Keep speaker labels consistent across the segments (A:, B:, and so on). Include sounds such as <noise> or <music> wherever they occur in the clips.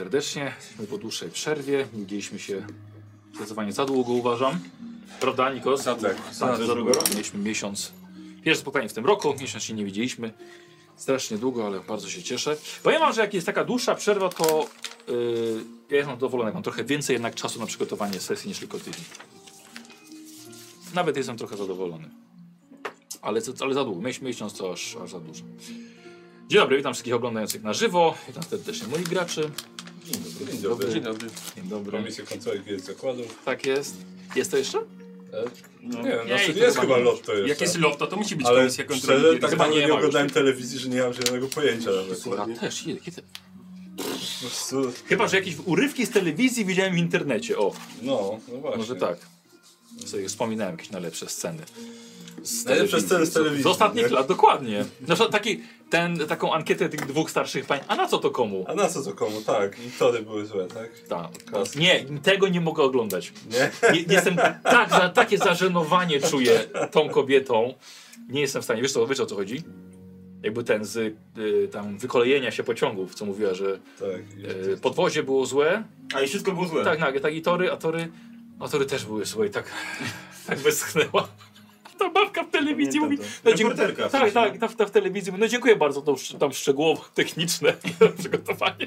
A: serdecznie. Jesteśmy po dłuższej przerwie. Nie Widzieliśmy się zdecydowanie za długo, uważam. Prawda, Nikos?
B: Za tak,
A: za,
B: tak,
A: za długo.
B: za długo.
A: Mieliśmy miesiąc. Pierwsze spotkanie w tym roku, miesiąc się nie widzieliśmy. Strasznie długo, ale bardzo się cieszę. Powiem wam, że jak jest taka dłuższa przerwa, to yy, ja jestem zadowolony. Mam trochę więcej jednak czasu na przygotowanie sesji niż tylko tydzień. Nawet jestem trochę zadowolony. Ale, co- ale za długo. Mieliśmy miesiąc, to aż, aż za dużo. Dzień dobry, witam wszystkich oglądających na żywo. Witam serdecznie moich graczy.
B: Dzień dobry. Dzień dobry.
A: Dzień
B: Dzień dobry.
A: Dzień dobry.
B: Komisja kontroli wiedzy zakładów.
A: Tak jest. Jest to jeszcze?
C: E,
B: No, nie,
C: ja
B: znaczy
C: i
B: nie
C: to
B: jest
C: chyba
B: chyba lotto jeszcze.
C: Jak jest lofto, to musi być
B: Ale
C: komisja kontroli.
B: szczerze,
C: Gier.
B: tak
A: Chyba
B: naprawdę
A: nie
B: nie,
A: ma
B: oglądałem telewizji, że nie mam żadnego pojęcia nawet.
A: Ja też. Ile, kiedy?
B: Po prostu-
A: Chyba, że jakieś urywki z telewizji widziałem w internecie. O,
B: No, no właśnie.
A: może tak. Sobie wspominałem jakieś najlepsze sceny. Z
B: Najlepsze sceny z telewizji,
A: Z ostatnich
B: nie?
A: lat, dokładnie. Na przykład taki, ten, taką ankietę tych dwóch starszych pań. A na co to komu?
B: A na co to komu? Tak, i tory były złe, tak?
A: Ta,
B: Kas.
A: nie, tego nie mogę oglądać.
B: Nie? <laughs>
A: Nie, jestem tak, za, takie zażenowanie czuję tą kobietą. Nie jestem w stanie. Wiesz, co, wiesz o co chodzi? Jakby ten z y, tam wykolejenia się pociągów, co mówiła, że
B: Tak.
A: y, podwozie było złe.
C: A i wszystko było złe.
A: Tak, nagle, tak i tory, a tory, a tory też były złe i tak, <laughs> tak wyschnęła. Ta babka w telewizji mówi.
C: Pamiętam to.
A: No, dziękuję-
C: Reporterka w
A: tak,
C: sensie,
A: tak, ta, ta w telewizji mówi. No dziękuję bardzo, to już tam szczegółowo <laughs> techniczne przygotowanie.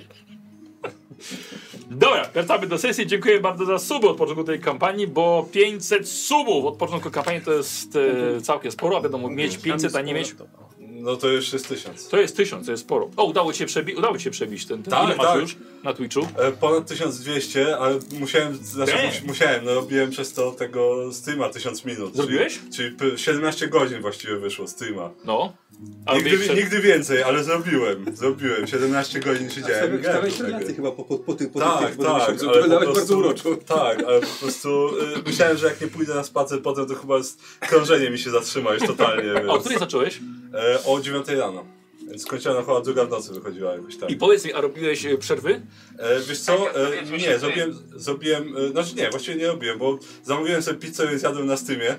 A: Dobra, wracamy do sesji. Dziękuję bardzo za suby od początku tej kampanii, bo 500 subów od początku kampanii to jest e, całkiem sporo, a wiadomo, mieć 500, a nie mieć.
B: No to już jest tysiąc.
A: To jest 1000, to jest sporo. O, udało ci się, przebi udało ci się przebić ten. ten
B: Tak,
A: ile masz
B: tak.
A: już na Twitchu?
B: E, Ponad 1200, ale musiałem, znaczy
C: Damn.
B: mus- musiałem, no robiłem przez to tego streama 1000 minut.
A: Zrobiłeś?
B: Czyli, czyli p- 17 godzin właściwie wyszło streama.
A: No. A
B: Nigdy,
A: wyjście-
B: nigdy więcej, ale zrobiłem. Zrobiłem. 17 godzin siedziałem. i grałem
D: Stawiałeś
B: w takie.
D: relacje chyba po, po, po tych po
B: Tak,
D: tych- po
B: tak,
D: tych-
B: ale po
D: Wyglądałeś
B: prostu-
D: bardzo uroczo.
B: Tak, ale po prostu y, myślałem, że jak nie pójdę na spacer potem, to chyba z- krążenie mi się zatrzyma już totalnie.
A: A <laughs> o
B: Więc,
A: której zacząłeś?
B: e, o 9 rano. Więc skończyłem na chyba druga w nocy wychodziła jakoś tak.
A: I powiedz mi, a robiłeś e, przerwy?
B: E, wiesz co, e, nie, zrobiłem, zrobiłem, e, znaczy nie, właściwie nie robiłem, bo zamówiłem sobie pizzę, więc jadłem na Steamie.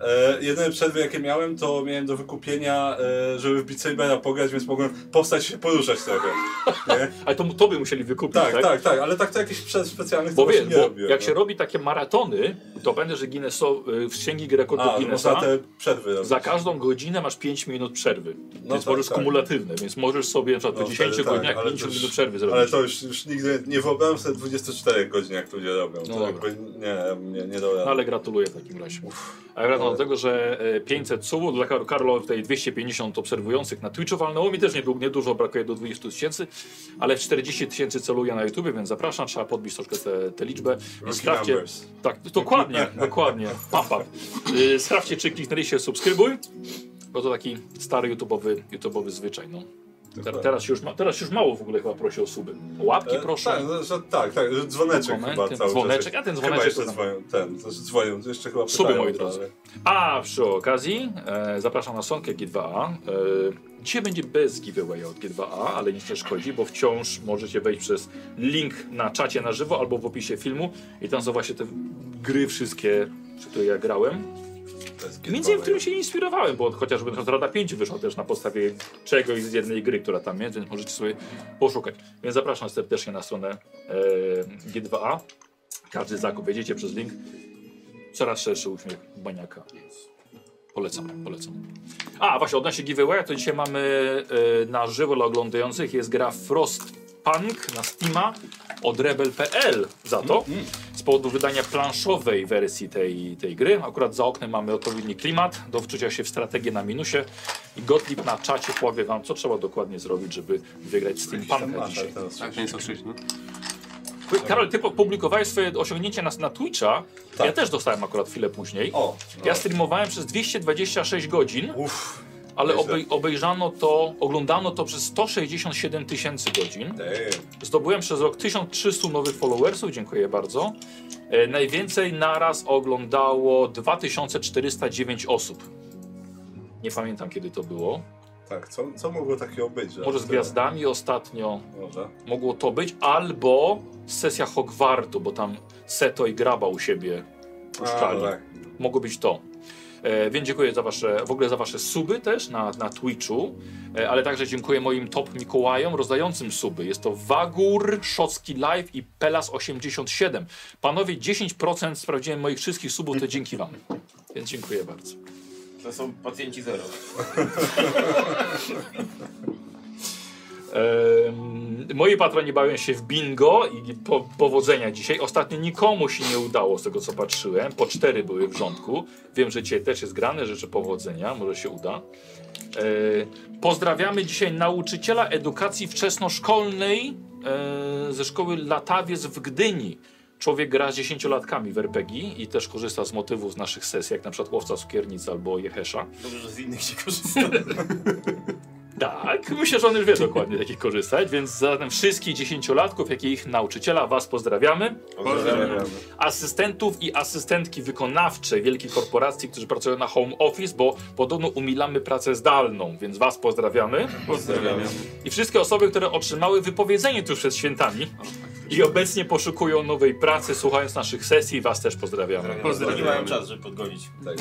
B: E, jedyne przerwy jakie miałem, to miałem do wykupienia, e, żeby w Beat Sabera pograć, więc mogłem powstać i się poruszać trochę.
A: <laughs>
B: Nie?
A: Ale to, to by musieli wykupić, tak?
B: Tak, tak, tak, ale tak to jakichś przerw specjalnych
A: Bo
B: to
A: wiesz,
B: właśnie nie
A: bo
B: robiłem.
A: jak
B: no.
A: się robi takie maratony, to będę, że Guinnesso, y, w księgi rekordów
B: A, no
A: Guinnessa
B: można te przerwy robić.
A: za każdą godzinę masz 5 minut przerwy. No więc
B: tak,
A: możesz
B: tak.
A: kumulatywne, więc możesz sobie na przykład
B: No
A: po 10
B: wtedy tak,
A: godzinach
B: ale
A: 5
B: to już-
A: minut przerwy zrobić.
B: Ale to już, już nigdy nie wyobrażam sobie 24 godzin, jak ludzie robią.
A: No
B: to
A: dobra.
B: jakby nie, nie, nie dobra.
A: No ale gratuluję w takim razie. A ja wracam do tego, że e, 500 subów dla Kar- Karlo w tej 250 obserwujących na Twitchu walnęło mi też niedu- niedużo, brakuje do 20 tysięcy, ale w 40 tysięcy celuję na YouTube, więc zapraszam, trzeba podbić troszkę tę tę liczbę. I
B: Rookie
A: sprawdźcie,
B: numbers.
A: tak,
B: <laughs>
A: dokładnie, dokładnie, pap, pap. Y, Sprawdźcie, czy kliknęliście subskrybuj, bo to taki stary YouTube'owy YouTube'owy zwyczaj, no. Ter,
B: Dokładnie.
A: teraz, się już ma, teraz się już mało w ogóle chyba prosi o suby. O Łapki
B: E,
A: proszę.
B: Tak, no, że, tak, tak, że dzwoneczek
A: Momenty,
B: chyba cały
A: dzwoneczek,
B: czas.
A: a ten
B: Chyba
A: dzwoneczek
B: jeszcze
A: to tam.
B: dzwonią, ten, znaczy dzwonią, jeszcze chyba
A: Suby,
B: pytają,
A: moi drodzy.
B: ale-
A: A przy okazji e, zapraszam na Sonkę G2A. E, dzisiaj będzie bez giveaway od G2A, ale nic nie szkodzi, bo wciąż możecie wejść przez link na czacie na żywo albo w opisie filmu i tam są właśnie te gry wszystkie, przy których ja grałem.
B: To jest
A: Między innymi, którym się inspirowałem, bo chociażby na przykład Rada 5 wyszła też na podstawie czegoś z jednej gry, która tam jest, więc możecie sobie poszukać. Więc zapraszam serdecznie na stronę e, G2A. Każdy zakup wejdziecie przez link. Coraz szerszy uśmiech baniaka. Polecam, polecam. A, właśnie odnośnie giveawaya, to dzisiaj mamy e, na żywo dla oglądających jest gra Frostpunk na Steama od Rebel.pl za to. Z powodu wydania planszowej wersji tej, tej gry. Akurat za oknem mamy odpowiedni klimat do wczucia się w strategię na minusie. I Gottlieb na czacie powie wam, co trzeba dokładnie zrobić, żeby wygrać Steampunka dzisiaj.
C: Tak, nie są sześć, no.
A: Ty- Karol, ty publikowałeś swoje osiągnięcie na, na Twitcha. Ja też dostałem akurat chwilę później.
B: O, no.
A: Ja streamowałem przez 226 godzin,
B: Uff,
A: ale
B: nieźle.
A: obej obejrzano to, oglądano to przez 167 tysięcy godzin.
B: damn.
A: Zdobyłem przez rok 1300 nowych followersów, dziękuję bardzo. E, najwięcej naraz oglądało 2409 osób. Nie pamiętam kiedy to było.
B: Tak, co, co mogło takiego być? Że
A: Może z gwiazdami ostatnio
B: Może.
A: mogło to być, albo sesja Hogwartu, bo tam Seto i Graba u siebie
B: A, no
A: puszczali.
B: tak.
A: Mogło być to. E, więc dziękuję za wasze, w ogóle za wasze suby też na, na Twitchu, e, ale także dziękuję moim top Mikołajom rozdającym suby. Jest to Wagur, Szocki Live i Pelas87. Panowie, 10% sprawdziłem moich wszystkich subów, to dzięki wam. Więc dziękuję bardzo.
E: To są pacjenci zero.
A: Em, moi patroni bawią się w bingo i po, powodzenia dzisiaj. Ostatnio nikomu się nie udało z tego co patrzyłem. Po cztery były w rządku. Wiem, że dzisiaj też jest grane. Życzę powodzenia, może się uda. E, pozdrawiamy dzisiaj nauczyciela edukacji wczesnoszkolnej e, ze szkoły Latawiec w Gdyni. Człowiek gra z dziesięciolatkami w RPG i też korzysta z motywów z naszych sesji, jak na przykład Łowca Cukiernicy albo Jehesza.
E: Dobrze, że z innych się korzysta.
A: Tak, myślę, że on już wie dokładnie, jak ich korzystać, więc zatem wszystkich dziesięciolatków, jak i ich nauczyciela, was pozdrawiamy.
B: Pozdrawiam.
A: Asystentów i asystentki wykonawcze wielkich korporacji, którzy pracują na home office, bo podobno umilamy pracę zdalną, więc was pozdrawiamy.
E: Pozdrawiam.
A: I wszystkie osoby, które otrzymały wypowiedzenie tuż przed świętami
B: tak,
A: i obecnie poszukują nowej pracy, słuchając naszych sesji, was też pozdrawiamy.
E: Pozdrawiam.
D: Pozdrawiam.
E: Nie mają czas, żeby podgonić. Tak.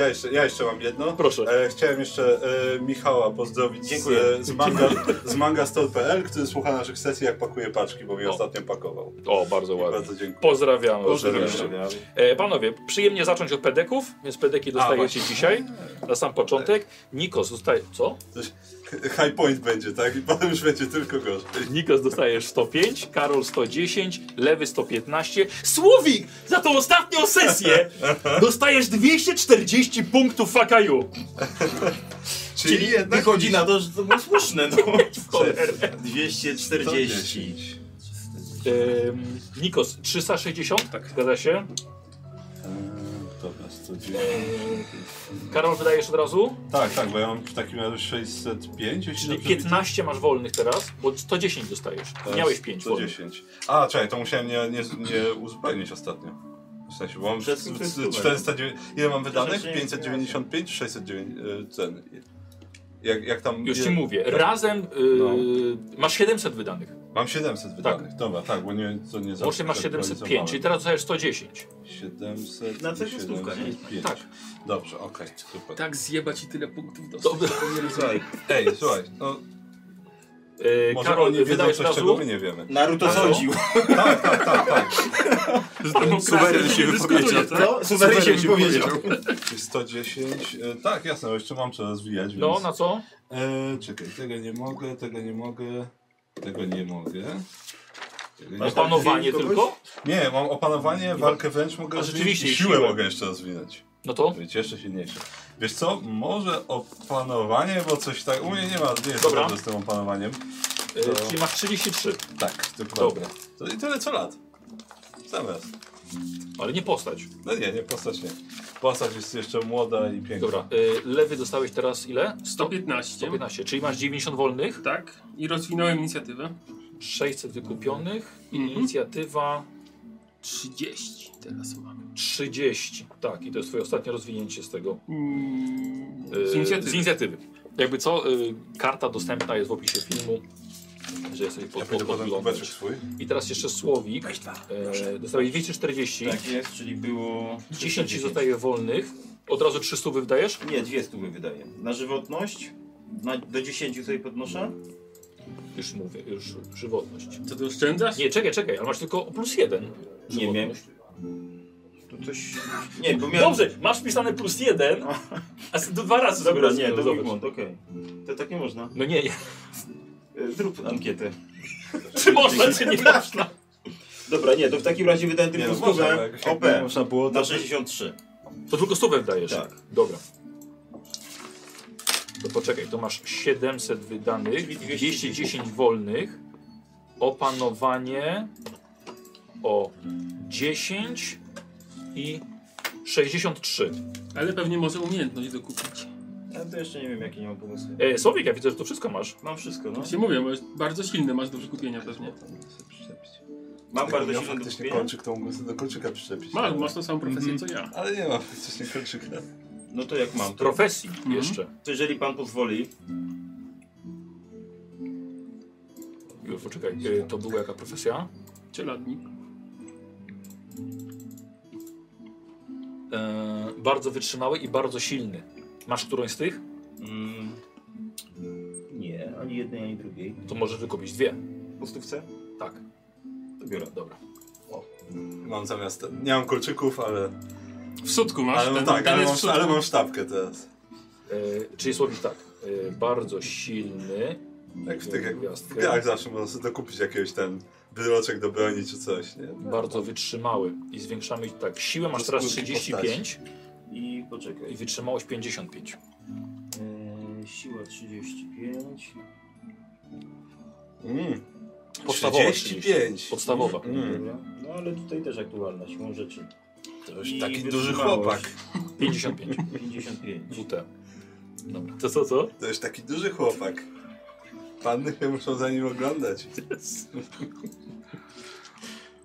B: Ja jeszcze, ja jeszcze mam jedno.
A: Proszę.
B: E, chciałem jeszcze e, Michała pozdrowić
E: Dziękuję.
B: z, z manga, z manga store.pl, który słucha naszych sesji jak pakuje paczki, bo mi
A: O.
B: ostatnio pakował.
A: O, bardzo
B: I
A: ładnie.
B: bardzo dziękuję.
A: Pozdrawiamy.
D: Pozdrawiam.
A: oczywiście. E, panowie, przyjemnie zacząć od pedeków, więc pedeki dostajecie dzisiaj na sam początek. Nikos dostaje. Co?
B: Coś, <laughs> high point będzie, tak? I potem już będzie tylko gorzej.
A: Nikos dostajesz 105, Karol 110, Lewy 115. Słowik! Za tą ostatnią sesję dostajesz 240 punktów fakaju.
E: Czyli, wychodzi na to, że to było słuszne. No.
A: Cholerę.
E: 240.
A: Ehm, Nikos 360, tak. zgadza się.
B: Dobra, 110.
A: Karol wydajesz od razu,
B: Tak, tak, bo ja mam w takim razie 605, jeśli
A: czyli
B: dobrze widzę.
A: 15 masz wolnych teraz, bo 110 dostajesz.
B: Teraz
A: Miałeś 5 wolnych.
B: 110. A, czekaj, to musiałem nie, nie, nie uzupełnić ostatnio. W sensie, bo mam
E: Przed tym
B: c-
E: wszystkim.
B: 409. Ile mam wydanych?
E: Przecież nie-
B: 595, 609 cen. e, Jak, jak tam.
A: Już
B: ile-
A: ci mówię.
B: tak.
A: Razem y, masz 700 wydanych.
B: Mam 700 wydanych. Dobra, tak, bo nie, to nie
A: Łącznie masz 705, czyli teraz dostajesz 110.
B: 700.
E: Na cechę stówka, nie?
B: 705.
A: Tak.
B: Dobrze, okej, super.
D: Tak zjebać i tyle punktów dostać.
A: Dobra.
E: Słuchaj,
B: Ej, słuchaj, no,
A: Yy,
B: może
A: Karol,
B: oni wiedzą
A: wydajesz
B: coś,
A: razu.
B: czego my nie wiemy.
E: Naruto sądził.
D: Suweren się wypowiedział, tak?
A: No,
E: Co? Suwery się wypowiedział.
B: 110, e, tak, jasne, jeszcze mam co rozwijać,
A: No,
B: więc...
A: na co?
B: E, czekaj, tego nie mogę, tego nie mogę, tego nie mogę. Tego nie...
E: Masz tam-
A: Panowanie
E: kogoś?
A: tylko?
B: nie, mam opanowanie, walkę wręcz mogę
A: A
B: rozwinąć
A: rzeczywiście,
B: i siłę
A: siłę.
B: mogę jeszcze rozwinąć.
A: No to?
B: Być jeszcze silniejsze. Wiesz co, może opanowanie, bo coś tak... U mnie nie ma, nie jest
A: Dobra.
B: dobrze z tym opanowaniem.
A: Yy,
B: E,
A: Czyli masz 33,
B: Tak, dokładnie.
A: Dobra.
B: To i tyle co lat. Zamiast.
A: ale nie postać.
B: No nie, nie, postać nie. Postać jest jeszcze młoda i piękna.
A: Dobra, yy, lewy dostałeś teraz ile?
D: 115.
A: 115, czyli masz 90 wolnych,
D: Tak. I rozwinąłem inicjatywę.
A: 600 wykupionych,
D: Mhm.
A: inicjatywa
D: 30 teraz mam.
A: 30. Tak, i to jest twoje ostatnie rozwinięcie z tego.
D: Mm,
A: yy,
D: Z
A: Z
D: inicjatywy.
A: inicjatywy. Jakby co, yy, karta dostępna jest w opisie filmu, że jesteś
B: Ja
A: pod, pod,
B: pójdę potem kubeczek
A: podglądać.
B: swój.
A: I teraz jeszcze Słowik,
E: Weź dwa.
A: yy, dostałeś 240,
E: Tak jest, czyli było...
A: 10 ci zostaje wolnych, od razu 300 wydajesz?
E: Nie, dwie stówy wydaje. Na żywotność, na, do 10 sobie podnoszę.
A: Już mówię, już żywotność.
D: Co ty oszczędzasz?
A: Nie, czekaj, czekaj, ale masz tylko plus jeden.
E: Nie wiem.
A: żywotność.
E: To coś... Nie, bo miałem...
A: Dobrze, masz wpisane plus jeden, a z- to dwa razy
E: Dobra,
A: sobie
E: nie, to
A: zobacz.
E: mój błąd, okej. To tak nie można.
A: No nie,
E: <laughs>
A: nie.
E: E, Zrób ankietę.
A: czy można, czy
E: Tak.
A: nie można.
E: Dobra, nie, to w takim razie wydałem
B: Nie,
E: tylko
B: no można,
E: stówę
B: ale Znaczy, jak-
E: OP
B: jak można było,
E: na
B: to
E: 63.
A: To tylko stówę wdajesz.
E: Tak.
A: Dobra. To poczekaj, to masz 700 wydanych,
E: Czyli 210.
A: 210 wolnych, opanowanie o 10 i 63.
D: Ale pewnie może umiejętność dokupić.
E: Ja to jeszcze nie wiem, jakie nie mam pomysły.
A: E, Słowik, ja widzę, że to wszystko masz.
E: Mam wszystko, no.
D: Właśnie mówię, bo jest bardzo silny masz do wykupienia pewnie.
E: Mam bardzo
B: miał
E: silne do
B: faktycznie
E: kupienia.
B: kolczyk, to mógł sobie do kolczyka przyczepić.
D: Masz, masz tą samą profesję
B: Mhm.
D: co ja.
B: Ale nie ma faktycznie <laughs> kolczyka.
E: No to jak mam? To,
A: Profesji jeszcze.
E: to jeżeli pan pozwoli,
A: Już, poczekaj, e, to była jaka profesja?
D: Czeladnik.
A: E, bardzo wytrzymały i bardzo silny. Masz którąś z tych?
E: Mm, nie, ani jednej, ani drugiej.
A: To możesz wykupić dwie.
E: Po stówce?
A: Tak,
E: To biorę.
A: dobra.
F: Mam zamiast. Nie mam kolczyków, ale.
G: W sutku masz.
F: Ale,
G: ten,
F: mam, tak,
G: ten
F: ale,
G: jest
F: mam,
G: w sutku.
F: ale mam sztabkę teraz.
A: E, czyli słowik tak. E, bardzo silny.
F: Jak w tych jak w
A: Gwiazdkę.
F: grach zawsze można sobie dokupić jakiegoś ten bryloczek do broni czy coś, nie?
A: Bardzo wytrzymały. I zwiększamy tak. Siłę masz
F: To
A: teraz
F: skutki
A: 35
E: I
A: i
E: poczekaj.
A: wytrzymałość 55.
E: E, siła 35.
F: Mm,
A: Podstawowa
F: 35.
A: Podstawowa.
F: Mm.
E: Dobra. No ale tutaj też aktualna siłą rzeczy.
F: To już
E: I
F: taki duży
E: wytrzymałość.
F: chłopak. <laughs>
A: 55.
E: 55.
A: WT. Dobra. To co, co?
F: To już taki duży chłopak. Panny się muszą za nim oglądać.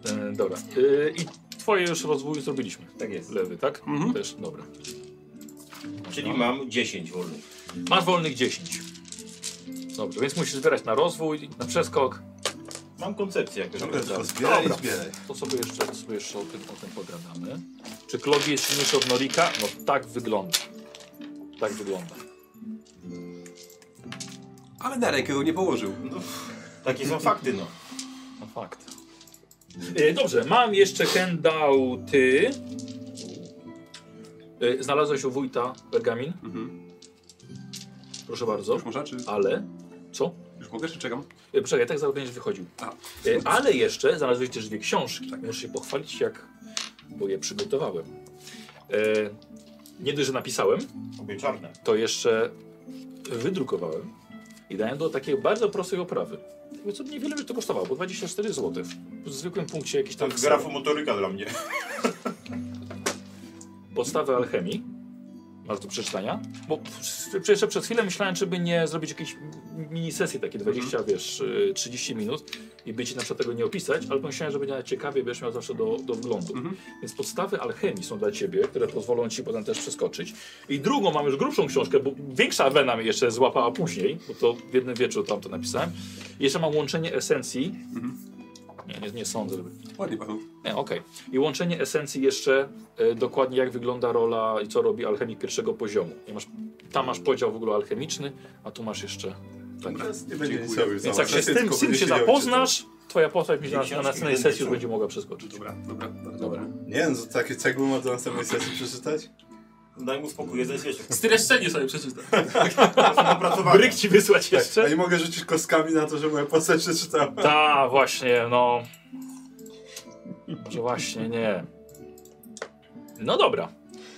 A: E, dobra. E, I twoje już rozwój zrobiliśmy.
E: Tak jest.
A: Lewy, tak?
G: Mhm.
A: Też, dobra.
F: No.
E: Czyli mam 10 wolnych.
A: Masz wolnych 10. Dobrze, więc musisz zbierać na rozwój, na przeskok.
E: Mam koncepcję jakoś.
F: Dobra,
E: Tak.
F: tylko zbieraj
A: Dobra.
F: i zbieraj.
A: To sobie jeszcze, to sobie jeszcze o, tym, o tym pogadamy. Czy Klogi jest silniejszy od Norika? No tak wygląda. Tak wygląda.
D: Ale na rękę go nie położył.
E: No, takie są fakty, no.
A: No fakt. E, dobrze, mam jeszcze handouty. E, znalazłeś u wójta pergamin,
D: Mhm.
A: proszę bardzo.
D: Już można, czy
A: Ale, co?
D: już mogę, czy czekam?
A: E, Poczekaj, tak za będziesz wychodził.
D: A.
A: E, Ale jeszcze znalazłeś też dwie książki. Muszę się pochwalić, jak, bo je przygotowałem. E, nie dość, że napisałem,
E: Obie czarne.
A: to jeszcze wydrukowałem i dałem do takiej bardzo prostej oprawy. Jakby Co niewiele by to kosztowało, bo 24 zł. W zwykłym punkcie jakiś tam
E: To
F: Tak
E: grafomotoryka dla mnie.
A: podstawy alchemii. Masz do przeczytania. Bo przecież jeszcze przez chwilę myślałem, czy by nie zrobić jakiejś mini sesji takiej 20, wiesz, y, 30 minut i by ci na przykład tego nie opisać, ale pomyślałem, że będzie nawet ciekawie, będziesz miał zawsze do, do wglądu.
D: Mhm.
A: Więc podstawy alchemii są dla ciebie, które pozwolą ci potem też przeskoczyć. I drugą mam już grubszą książkę, bo większa wena mnie jeszcze złapała później, bo to w jednym wieczór tam to napisałem. I jeszcze mam łączenie esencji. Nie, nie, nie sądzę, żeby
D: Ładnie panu.
A: E, Okej. I łączenie esencji jeszcze e, dokładnie jak wygląda rola i co robi alchemik pierwszego poziomu. I masz, tam masz podział w ogóle alchemiczny, a tu masz jeszcze. Tak.
F: Teraz nie będzie nic
D: Dziękuję.
F: robił.
A: Więc
F: Zobacz,
A: jak się z tym,
F: tylko
A: z tym
F: będzie
A: się
F: siedział i
A: zapoznasz, twoja postać będzie na, na
E: Książki
A: następnej
E: będę
A: sesji już
E: czytał.
A: będzie mogła przeskoczyć.
D: Dobra, dobra, bardzo
A: Dobra.
D: dobra.
F: czytał. Nie wiem, że takie cegły ma do następnej sesji przeczytać?
E: Daj mu spokój, jeden jest jeszcze.
G: Streszczenie sobie przeczytam.
E: Opracowanie.
A: Bryk ci wysłać
F: A
B: tak,
A: jeszcze?
F: nie mogę rzucić kostkami na to, że moja postać przeczytała.
A: Ta, właśnie, no. Może właśnie nie. No dobra.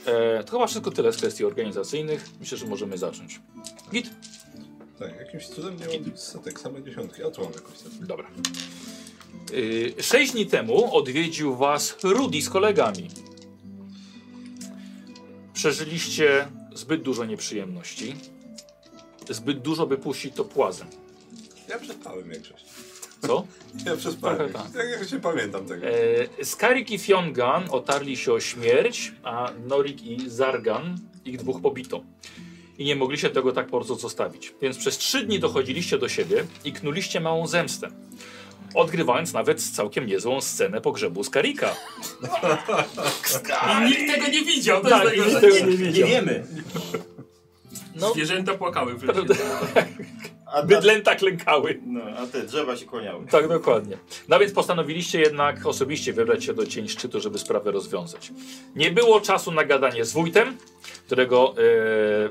A: E, to chyba wszystko tyle z kwestii organizacyjnych. Myślę, że możemy zacząć. Git?
F: Tak, jakimś cudem nie mam setek, same dziesiątki. A tu mam jakąś setkę.
A: Dobra. Y, Sześć dni temu odwiedził was Rudy z kolegami. Przeżyliście zbyt dużo nieprzyjemności. Zbyt dużo by puścić to płazem.
F: Ja przespałem większość.
A: Co?
F: Ja przespałem
A: Trochę
F: większość. Tak, jak się pamiętam tego.
A: E, Skarik i Fiongan otarli się o śmierć, a Norik i Zargan ich dwóch pobito. I nie mogli się tego tak po prostu zostawić. Więc przez trzy dni dochodziliście do siebie i knuliście małą zemstę. Odgrywając nawet całkiem niezłą scenę pogrzebu Skarika.
G: I nikt tego nie widział. To
A: Tak,
G: jest
A: i
G: najgorsze.
A: tego nie
E: Nie
A: wiedział.
E: wiemy.
A: No,
G: Zwierzęta płakały w lesie.
A: Prawda.
E: A, ta,
A: bydlęta klękały.
E: no, a te drzewa się kłaniały.
A: Tak, dokładnie. No więc postanowiliście jednak osobiście wybrać się do cień szczytu, żeby sprawę rozwiązać. Nie było czasu na gadanie z wójtem, którego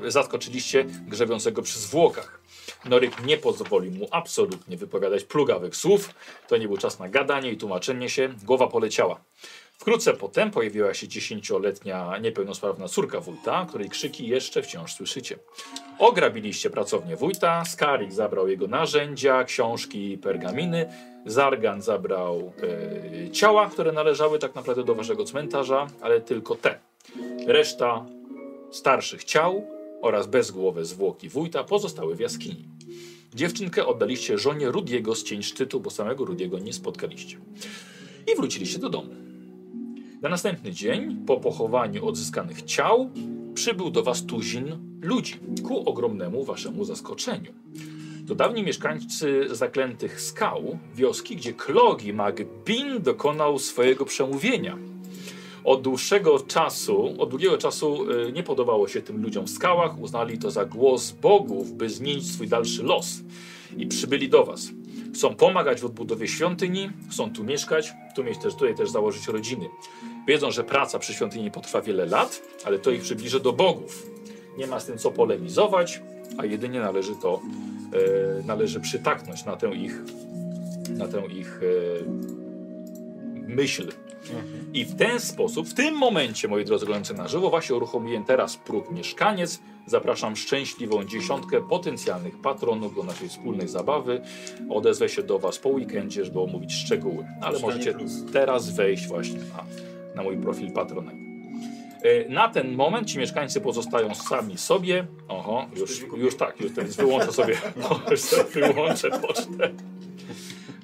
A: e, zaskoczyliście grzebiącego przy zwłokach. Noryk nie pozwolił mu absolutnie wypowiadać plugawych słów. To nie był czas na gadanie i tłumaczenie się. Głowa poleciała. Wkrótce potem pojawiła się dziesięcioletnia niepełnosprawna córka wójta, której krzyki jeszcze wciąż słyszycie. Ograbiliście pracownię wójta, Skarik zabrał jego narzędzia, książki i pergaminy, Zargan zabrał e, ciała, które należały tak naprawdę do waszego cmentarza, ale tylko te. Reszta starszych ciał oraz bezgłowe zwłoki wójta pozostały w jaskini. Dziewczynkę oddaliście żonie Rudiego z cień szczytu, bo samego Rudiego nie spotkaliście. I wróciliście do domu. Na następny dzień, po pochowaniu odzyskanych ciał, przybył do was tuzin ludzi, ku ogromnemu waszemu zaskoczeniu. To dawni mieszkańcy zaklętych skał, wioski, gdzie Klogi Magbin dokonał swojego przemówienia. Od dłuższego czasu, od długiego czasu y, nie podobało się tym ludziom w skałach, uznali to za głos bogów, by zmienić swój dalszy los i przybyli do was. Chcą pomagać w odbudowie świątyni, chcą tu mieszkać, tu mieć też, tutaj też założyć rodziny. Wiedzą, że praca przy świątyni potrwa wiele lat, ale to ich przybliży do bogów. Nie ma z tym co polemizować, a jedynie należy to, e, należy przytaknąć na tę ich, na tę ich e, myśl. I w ten sposób, w tym momencie, moi drodzy oglądający na żywo, właśnie uruchomiłem teraz próg mieszkaniec. Zapraszam szczęśliwą dziesiątkę potencjalnych patronów do naszej wspólnej zabawy. Odezwę się do Was po weekendzie, żeby omówić szczegóły. Ale
E: Czytanie
A: możecie
E: plus.
A: teraz wejść właśnie na, na mój profil Patronite. E, Na ten moment ci mieszkańcy pozostają sami sobie. Oho, już, już tak, już teraz wyłączę sobie, No, już sobie wyłączę pocztę.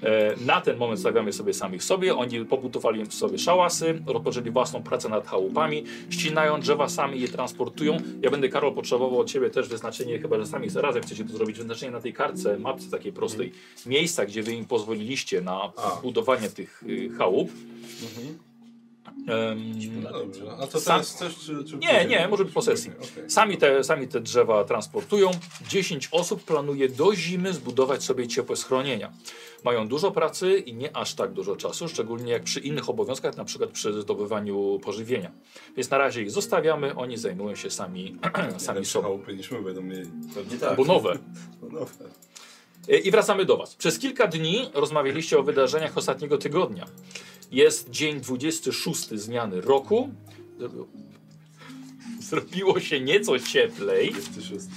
A: E, Na ten moment stawiamy sobie samych sobie. Oni pobutowali sobie szałasy, rozpoczęli własną pracę nad chałupami, ścinają drzewa sami, je transportują. Ja będę, Karol, potrzebował od Ciebie też wyznaczenie, chyba że sami zarazem chcecie to zrobić, wyznaczenie na tej kartce, mapce takiej prostej, miejsca, gdzie Wy im pozwoliliście na
F: A.
A: budowanie tych y, chałup. Em,
F: No dobrze, a to
A: Sam-
F: teraz też czy, czy
A: nie, nie, może być po sesji.
F: Okej.
A: Sami te, sami te drzewa transportują. 10 osób planuje do zimy zbudować sobie ciepłe schronienia. Mają dużo pracy i nie aż tak dużo czasu, szczególnie jak przy innych obowiązkach, na przykład przy zdobywaniu pożywienia. Więc na razie ich zostawiamy, oni zajmują się sami, <clears throat> sami
F: Lepsze
A: sobą.
F: chałupy niż my będą mieli.
E: Pewnie tak.
A: Bo nowe.
F: No, no.
A: E, I wracamy do Was. Przez kilka dni rozmawialiście o wydarzeniach ostatniego tygodnia. Jest dzień 26 zmiany roku. Zrobiło- Zrobiło się nieco cieplej.
F: Jest też jest.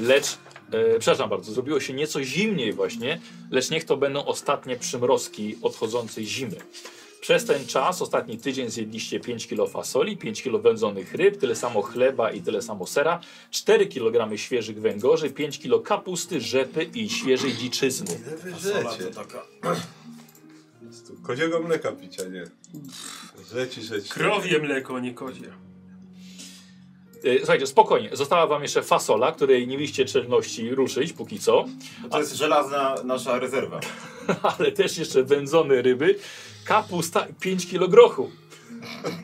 A: lecz e, przepraszam bardzo, zrobiło się nieco zimniej właśnie, lecz niech to będą ostatnie przymrozki odchodzącej zimy. Przez ten czas, ostatni tydzień zjedliście 5 kg fasoli, 5 kg wędzonych ryb, tyle samo chleba i tyle samo sera, 4 kg świeżych węgorzy, 5 kg kapusty, rzepy i świeżej dziczyzny.
F: Ile wy
E: Fasola
F: żrecie?
E: to taka.
F: Jest tu Koziego mleka picia, nie. Żreci, żreci.
G: Krowie mleko, nie kozie.
A: E, słuchajcie, spokojnie, została wam jeszcze fasola, której nie mieliście czelności ruszyć póki co. <laughs>
E: To jest żelazna nasza rezerwa.
A: ale też jeszcze wędzone ryby, kapusta i 5 kg grochu.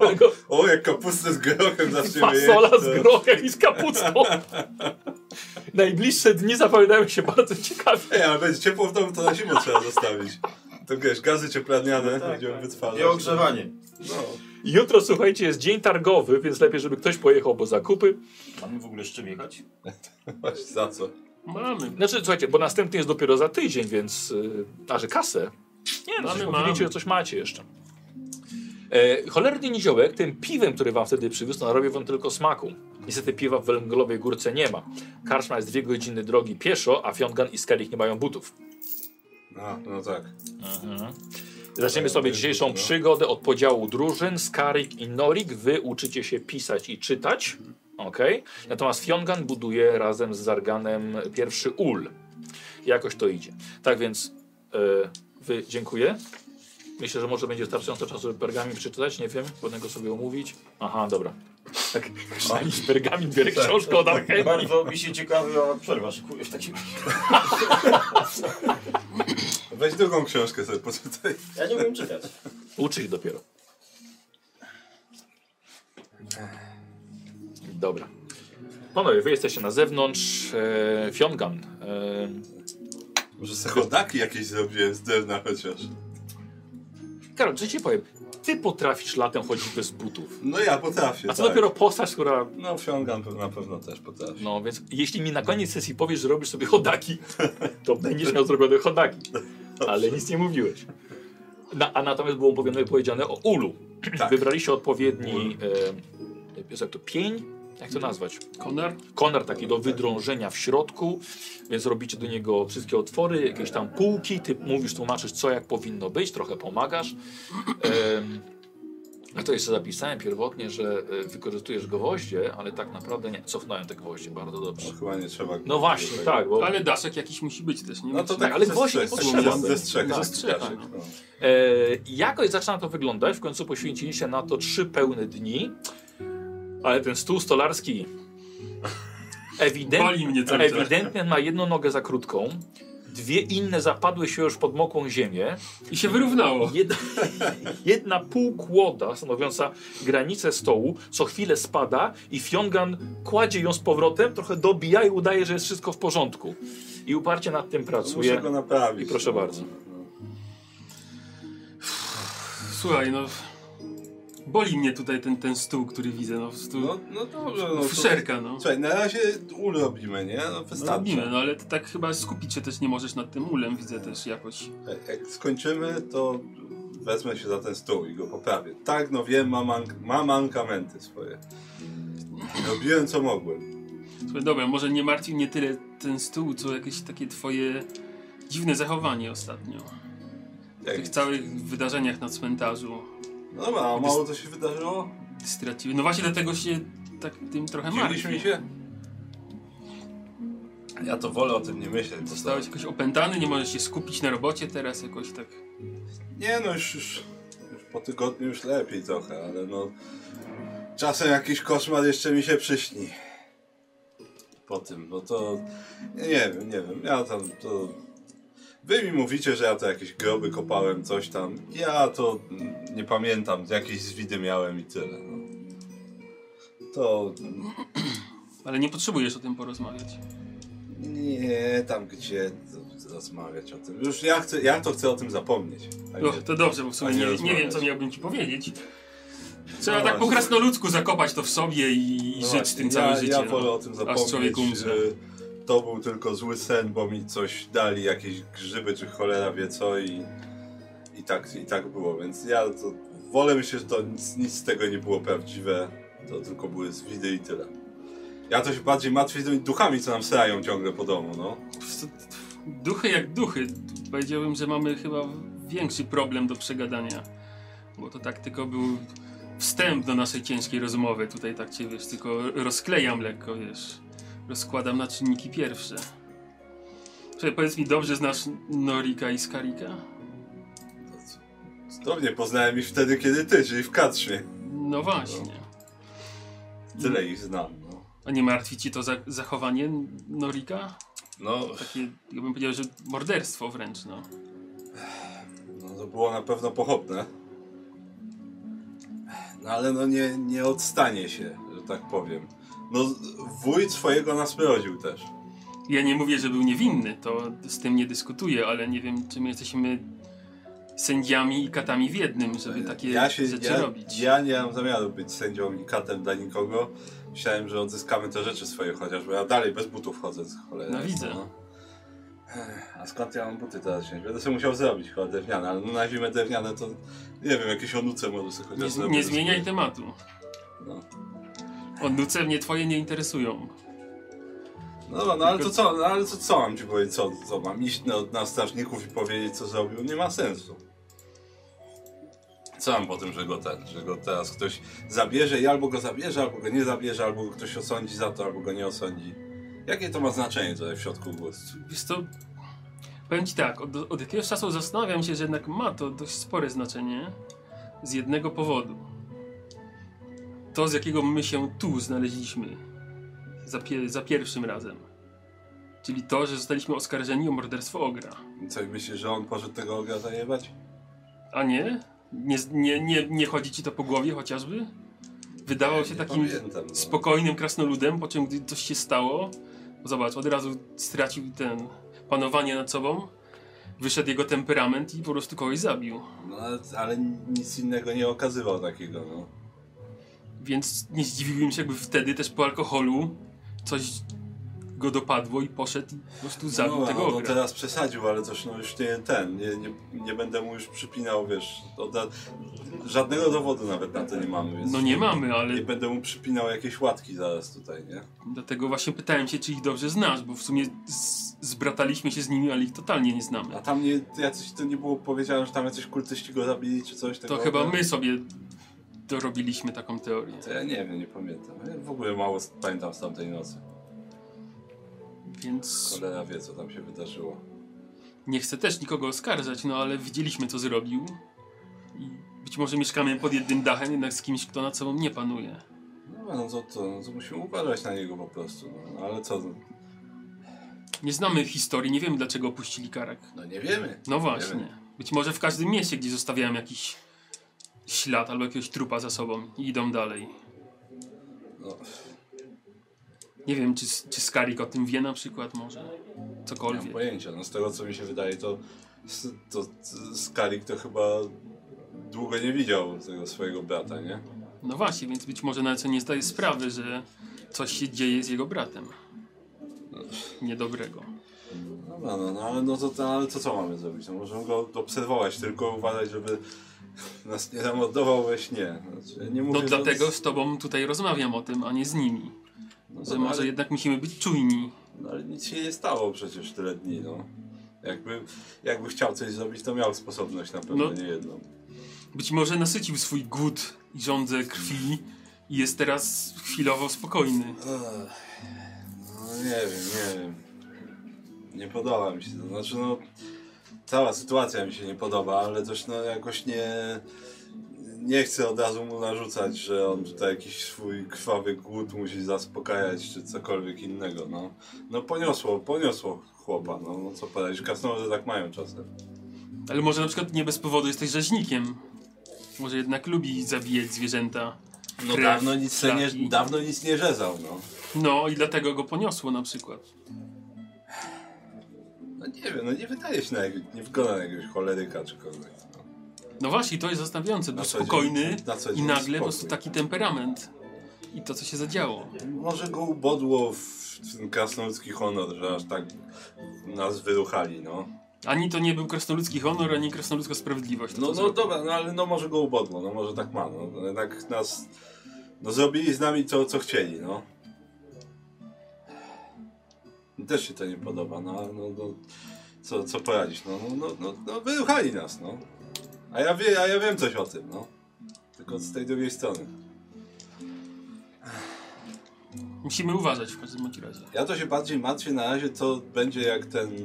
A: Tego
F: O, jak kapustę z grochem zaczniemy jeść.
A: fasola z
F: to-
A: grochem i z kapustą. Najbliższe dni zapowiadają się bardzo ciekawie.
F: Ej, ale będzie ciepło w domu, to na zimę trzeba zostawić. To wiesz, gazy cieplarniane będziemy wytwarzać.
E: I ogrzewanie.
F: No.
A: Jutro, słuchajcie, jest dzień targowy, więc lepiej, żeby ktoś pojechał po zakupy.
E: Mamy w ogóle z czym jechać?
F: Właśnie, za co?
G: Mamy.
A: Znaczy, słuchajcie, bo następny jest dopiero za tydzień, więc... Yy, a, że kasę? Nie, no,
G: Mamy,
A: coś
G: mamy.
A: mówiliście, że coś macie jeszcze. E, cholerny niziołek tym piwem, który wam wtedy przywiózł, narobił wam tylko smaku. Niestety piwa w Węglowej Górce nie ma. Karczma jest dwie godziny drogi pieszo, a Fiągan i Skalik nie mają butów.
F: No, no tak.
A: Zaczniemy sobie dzisiejszą przygodę od podziału drużyn. Skarik i Norik, wy uczycie się pisać i czytać. Okay. Natomiast Fiongan buduje razem z Zarganem pierwszy ul. Jakoś to idzie. Tak więc e, wy dziękuję. Myślę, że może będzie wystarczająco czasu, żeby pergamin przeczytać. Nie wiem, potem go sobie omówić. Aha, dobra. Tak, <laughs> przynajmniej pergamin biorę książkę od alchemii.
E: Bardzo mi się ciekawiła przerwa, szykuję w takim razie.
F: Weź drugą książkę sobie poczytaj.
E: Ja nie umiem czytać.
A: Uczy ich dopiero. Dobra. Panowie, wy jesteście na zewnątrz. E, Fiongan. E,
F: Może se chodaki jakieś zrobiłem z drewna chociaż.
A: Karol, czy ci powiem? Ty potrafisz latem chodzić bez butów.
F: No ja potrafię,
A: A co
F: tak.
A: dopiero postać, która...
F: No, wsiągam na pewno też potrafi.
A: No więc jeśli mi na koniec sesji powiesz, że robisz sobie chodaki, to będziesz miał zrobione chodaki. Ale nic nie mówiłeś. Na, a natomiast było powie- powiedziane o ulu.
F: Tak.
A: Wybraliście odpowiedni... E, jak to? Pień? Jak to nazwać?
G: Konar?
A: konar taki do wydrążenia w środku, więc robicie do niego wszystkie otwory, jakieś tam półki, ty mówisz, tłumaczysz co jak powinno być, trochę pomagasz. Em, A to jeszcze zapisałem pierwotnie, że e, wykorzystujesz gwoździe, ale tak naprawdę nie, cofnąłem te gwoździe, bardzo dobrze.
F: No, chyba nie trzeba.
A: No właśnie, tak, bo
G: Ale daszek jakiś musi być też, nie?
F: No to
G: Musi-
F: tak,
A: ale
F: ze
A: gwoździ nie
F: strzech,
A: potrzeba.
F: Ze strzech,
G: Tak.
F: ze strzech.
G: Tak.
F: no.
A: E, jakoś zaczyna to wyglądać. W końcu poświęciliście na to trzy pełne dni. Ale ten stół stolarski ewident,
G: Boli mnie cały czas.
A: ewidentnie ma jedną nogę za krótką. Dwie inne zapadły się już pod mokłą ziemię.
D: I się wyrównało.
A: Jedna, <laughs> jedna półkłoda stanowiąca granicę stołu co chwilę spada i Fiongan kładzie ją z powrotem, trochę dobija i udaje, że jest wszystko w porządku. I uparcie nad tym
B: Muszę
A: pracuje.
B: go naprawić.
A: I
F: No.
A: proszę bardzo.
D: Słuchaj, no... Boli mnie tutaj ten, ten stół, który widzę, no. Stół,
B: No, no dobrze, no. to-
D: Szerka, no.
B: Słuchaj, na razie urobimy, nie? No wystarczy.
D: Robimy, no ale ty tak chyba skupić się też nie możesz nad tym ulem, widzę też jakoś.
B: Jak- E, Jak skończymy, to wezmę się za ten stół i go poprawię. Tak, no wiem, mam, mank- mam mankamenty swoje. Robiłem co mogłem.
D: Słuchaj, dobra, może nie martwi mnie tyle ten stół, co jakieś takie twoje dziwne zachowanie ostatnio. W
B: Jak,
D: tych całych wydarzeniach na cmentarzu.
B: no dobra, a mało co się wydarzyło?
D: Straciły. No właśnie dlatego się tak tym trochę
B: Dziwiliśmy
D: martwię.
B: się? no. Ja to wolę o tym nie myśleć. co
D: Zostałeś jakoś opętany, nie możesz się skupić na robocie teraz jakoś tak.
B: Nie no, już, już, już po tygodniu już lepiej trochę, ale no... Czasem jakiś koszmar jeszcze mi się przyśni. Po tym, no to... Nie, nie wiem, nie wiem, ja tam to... Wy mi mówicie, że ja to jakieś groby kopałem, coś tam. Ja to mm, nie pamiętam, jakieś zwidy miałem i tyle. No. To... mm,
D: Ale nie potrzebujesz o tym porozmawiać.
B: Nie, tam gdzie to- rozmawiać o tym. Już ja, chcę, ja to chcę o tym zapomnieć.
D: No, to dobrze, bo w sumie
B: Tak A nie
D: nie, nie
B: rozmawiać.
D: wiem, co miałbym ci powiedzieć. Trzeba
B: No
D: tak po
B: właśnie.
D: krasnoludzku zakopać to w sobie i, i
B: No
D: żyć
B: właśnie,
D: tym całe
B: ja,
D: życie.
B: Ja
D: no.
B: wolę o tym zapomnieć.
D: człowiek umrze.
B: y, To był tylko zły sen, bo mi coś dali, jakieś grzyby czy cholera wie co i, i, tak, i tak było, więc ja to wolę myśleć, że to nic, nic z tego nie było prawdziwe, to tylko były zwidy i tyle. Ja to się bardziej martwię tymi duchami, co nam srają ciągle po domu, no.
D: Duchy jak duchy. Powiedziałbym, że mamy chyba większy problem do przegadania. Bo to tak tylko był wstęp do naszej ciężkiej rozmowy. Tutaj tak cię wiesz, tylko rozklejam lekko, wiesz. Rozkładam na czynniki pierwsze. Słuchaj, powiedz mi, dobrze znasz Norika i Skarika?
B: Cudownie poznałem ich wtedy, kiedy ty, czyli w Katrzmie.
D: No właśnie.
B: Tyle
D: Mm.
B: ich znam, no.
D: A nie martwi ci to za zachowanie Norika?
B: No,
D: Takie, ja bym powiedział, że morderstwo wręcz, no.
B: No to było na pewno pochopne. No ale no nie, nie odstanie się, że tak powiem. No wuj swojego nas urodził też.
D: Ja nie mówię, że był niewinny, to z tym nie dyskutuję, ale nie wiem, czy my jesteśmy sędziami i katami w jednym, żeby takie rzeczy
B: ja,
D: robić.
B: ja nie mam zamiaru być sędzią i katem dla nikogo. Myślałem, że odzyskamy te rzeczy swoje chociaż, bo ja dalej bez butów chodzę z cholery.
D: No widzę.
B: Ech, A skąd ja mam buty teraz wziąć? Będę sobie musiał zrobić chyba drewniane, ale no na zimę drewniane to nie wiem, jakieś onuce może sobie chociaż
D: Nie, z-
B: zrobić.
D: nie zmieniaj tematu.
B: No.
D: Odnuce mnie twoje nie interesują.
B: No, no, no ale to co, no, ale to co mam ci powiedzieć, co, co mam iść na, na strażników i powiedzieć co zrobił, nie ma sensu. Co mam po tym, że go ten, że go teraz ktoś zabierze i albo go zabierze, albo go nie zabierze, albo go ktoś osądzi za to, albo go nie osądzi. Jakie to ma znaczenie tutaj w środku głosu?
D: Wiesz co, powiem ci tak, od, od jakiegoś czasu zastanawiam się, że jednak ma to dość spore znaczenie z jednego powodu. To, z jakiego my się tu znaleźliśmy za, pie, za pierwszym razem. Czyli to, że zostaliśmy oskarżeni o morderstwo ogra.
B: Co myślisz, że on poszedł tego ogra zajebać?
D: A nie? Nie, nie, nie, nie chodzi ci to po głowie chociażby? Wydawał się
B: Nie
D: takim
B: pamiętam, no.
D: spokojnym krasnoludem, po czym gdy coś się stało, zobacz, od razu stracił ten panowanie nad sobą, wyszedł jego temperament i po prostu kogoś zabił.
B: No, ale, ale nic innego nie okazywał takiego, no.
D: Więc nie zdziwiłbym się, jakby wtedy też po alkoholu coś go dopadło i poszedł i po prostu zabił
B: no,
D: tego
B: no, no
D: ogra.
B: teraz przesadził, ale też no już nie ten, nie, nie, nie będę mu już przypinał, wiesz, od, żadnego dowodu nawet na to nie mamy, więc
D: No nie mamy, ale
B: nie będę mu przypinał jakieś łatki zaraz tutaj, nie?
D: dlatego właśnie pytałem się, czy ich dobrze znasz, bo w sumie z- zbrataliśmy się z nimi, ale ich totalnie nie znamy.
B: A tam nie, jacyś, to nie było powiedziane, że tam jacyś kultyści go zabili czy coś
D: To
B: tego.
D: chyba my sobie dorobiliśmy taką teorię.
B: To ja nie wiem, nie pamiętam. Ja w ogóle mało s- pamiętam z tamtej nocy.
D: Więc
B: Cholera wie, co tam się wydarzyło.
D: nie chcę też nikogo oskarżać, no ale widzieliśmy co zrobił. I być może mieszkamy pod jednym dachem, jednak z kimś, kto nad sobą nie panuje.
B: No, no to, to, no, to musimy uważać na niego po prostu, no. ale co...
D: Nie znamy historii, nie wiemy dlaczego opuścili Karak.
H: No nie wiemy.
D: No właśnie.
H: Wiemy.
D: Być może w każdym mieście, gdzie zostawiałem jakiś ślad albo jakiegoś trupa za sobą i idą dalej.
B: No.
D: Nie wiem, czy, czy Skarik o tym wie na przykład może.
B: Nie mam
D: Cokolwiek.
B: pojęcia. No z tego co mi się wydaje, to, to Skalik to chyba długo nie widział tego swojego brata, nie?
D: No właśnie, więc być może nawet sobie nie zdaje sprawy, że coś się dzieje z jego bratem. Niedobrego.
B: Dobra, no, no, ale, no to, to, ale to co mamy zrobić? No, możemy go obserwować, tylko uważać, żeby <laughs> nas nie zamordował we śnie. Znaczy, nie mówię,
D: No
B: że-
D: dlatego z tobą tutaj rozmawiam o tym, a nie z nimi.
B: No,
D: Że
B: dobra,
D: może
B: ale-
D: jednak musimy być czujni.
B: No ale nic się nie stało przecież tyle dni, no. Jakby, jakby chciał coś zrobić, to miał sposobność na pewno
D: No.
B: nie jedną.
D: Być może nasycił swój głód i żądzę krwi i jest teraz chwilowo spokojny.
B: No nie wiem, nie wiem. Nie podoba mi się to. Znaczy no, cała sytuacja mi się nie podoba, ale też no jakoś nie... Nie chcę od razu mu narzucać, że on tutaj jakiś swój krwawy głód musi zaspokajać, czy cokolwiek innego, no. No poniosło, poniosło chłopa, no, no co poradzić, kasnoludy tak mają czasem.
D: Ale może na przykład nie bez powodu jesteś rzeźnikiem. Może jednak lubi zabijać zwierzęta.
B: No
D: Krew,
B: dawno nic, se nie,
D: flaki.
B: dawno nic nie rzezał, no.
D: No i dlatego go poniosło na przykład.
B: No nie wiem, no nie wydaje się na jakiegoś, nie wygląda na jakiegoś choleryka czy kogoś. No.
D: No właśnie, to jest zastanawiające.
B: Na
D: Był
B: co dzień-
D: spokojny
B: na co
D: i
B: dzień
D: nagle po prostu
B: spokój.
D: taki temperament. I to, co się zadziało.
B: Może go ubodło w ten krasnoludzki honor, że aż tak nas wyruchali, no.
D: Ani to nie był krasnoludzki honor, ani krasnoludzka sprawiedliwość. To,
B: No,
D: co
B: no
D: zrobił.
B: dobra, no ale no może go ubodło, no może tak ma, no. no Jednak nas, no zrobili z nami to, co chcieli, no. Mi Też się to nie podoba, no, ale no, no co, co poradzić, no, no, no, no, no wyruchali nas, no. A ja, wie, a ja wiem coś o tym, no. Tylko z tej drugiej strony.
D: Musimy uważać w każdym bądź razie.
B: Ja to się bardziej martwię na razie, co będzie jak ten e,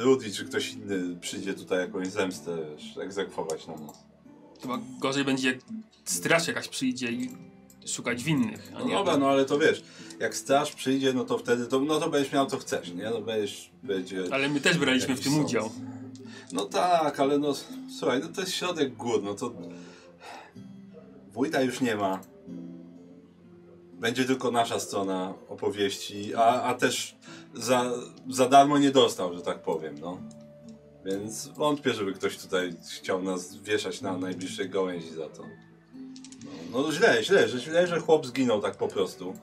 B: Rudy czy ktoś inny przyjdzie tutaj jakąś zemstę wiesz, egzekwować na
D: No
B: nas.
D: Chyba gorzej będzie, jak straż jakaś przyjdzie i szukać winnych. A
B: No
D: nie
B: dobra, no ale to wiesz, jak straż przyjdzie, no to wtedy, to, no to będziesz miał co chcesz, nie? No będziesz, będzie...
D: Ale my też braliśmy w
B: jakiś
D: tym
B: sąd.
D: udział.
B: No tak, ale no, słuchaj, no to jest środek gór, no to... Wójta już nie ma. Będzie tylko nasza strona opowieści, a, a też za, za darmo nie dostał, że tak powiem, no. Więc wątpię, żeby ktoś tutaj chciał nas wieszać na najbliższej gałęzi za to. No, no źle, źle, że, źle, że chłop zginął tak po prostu.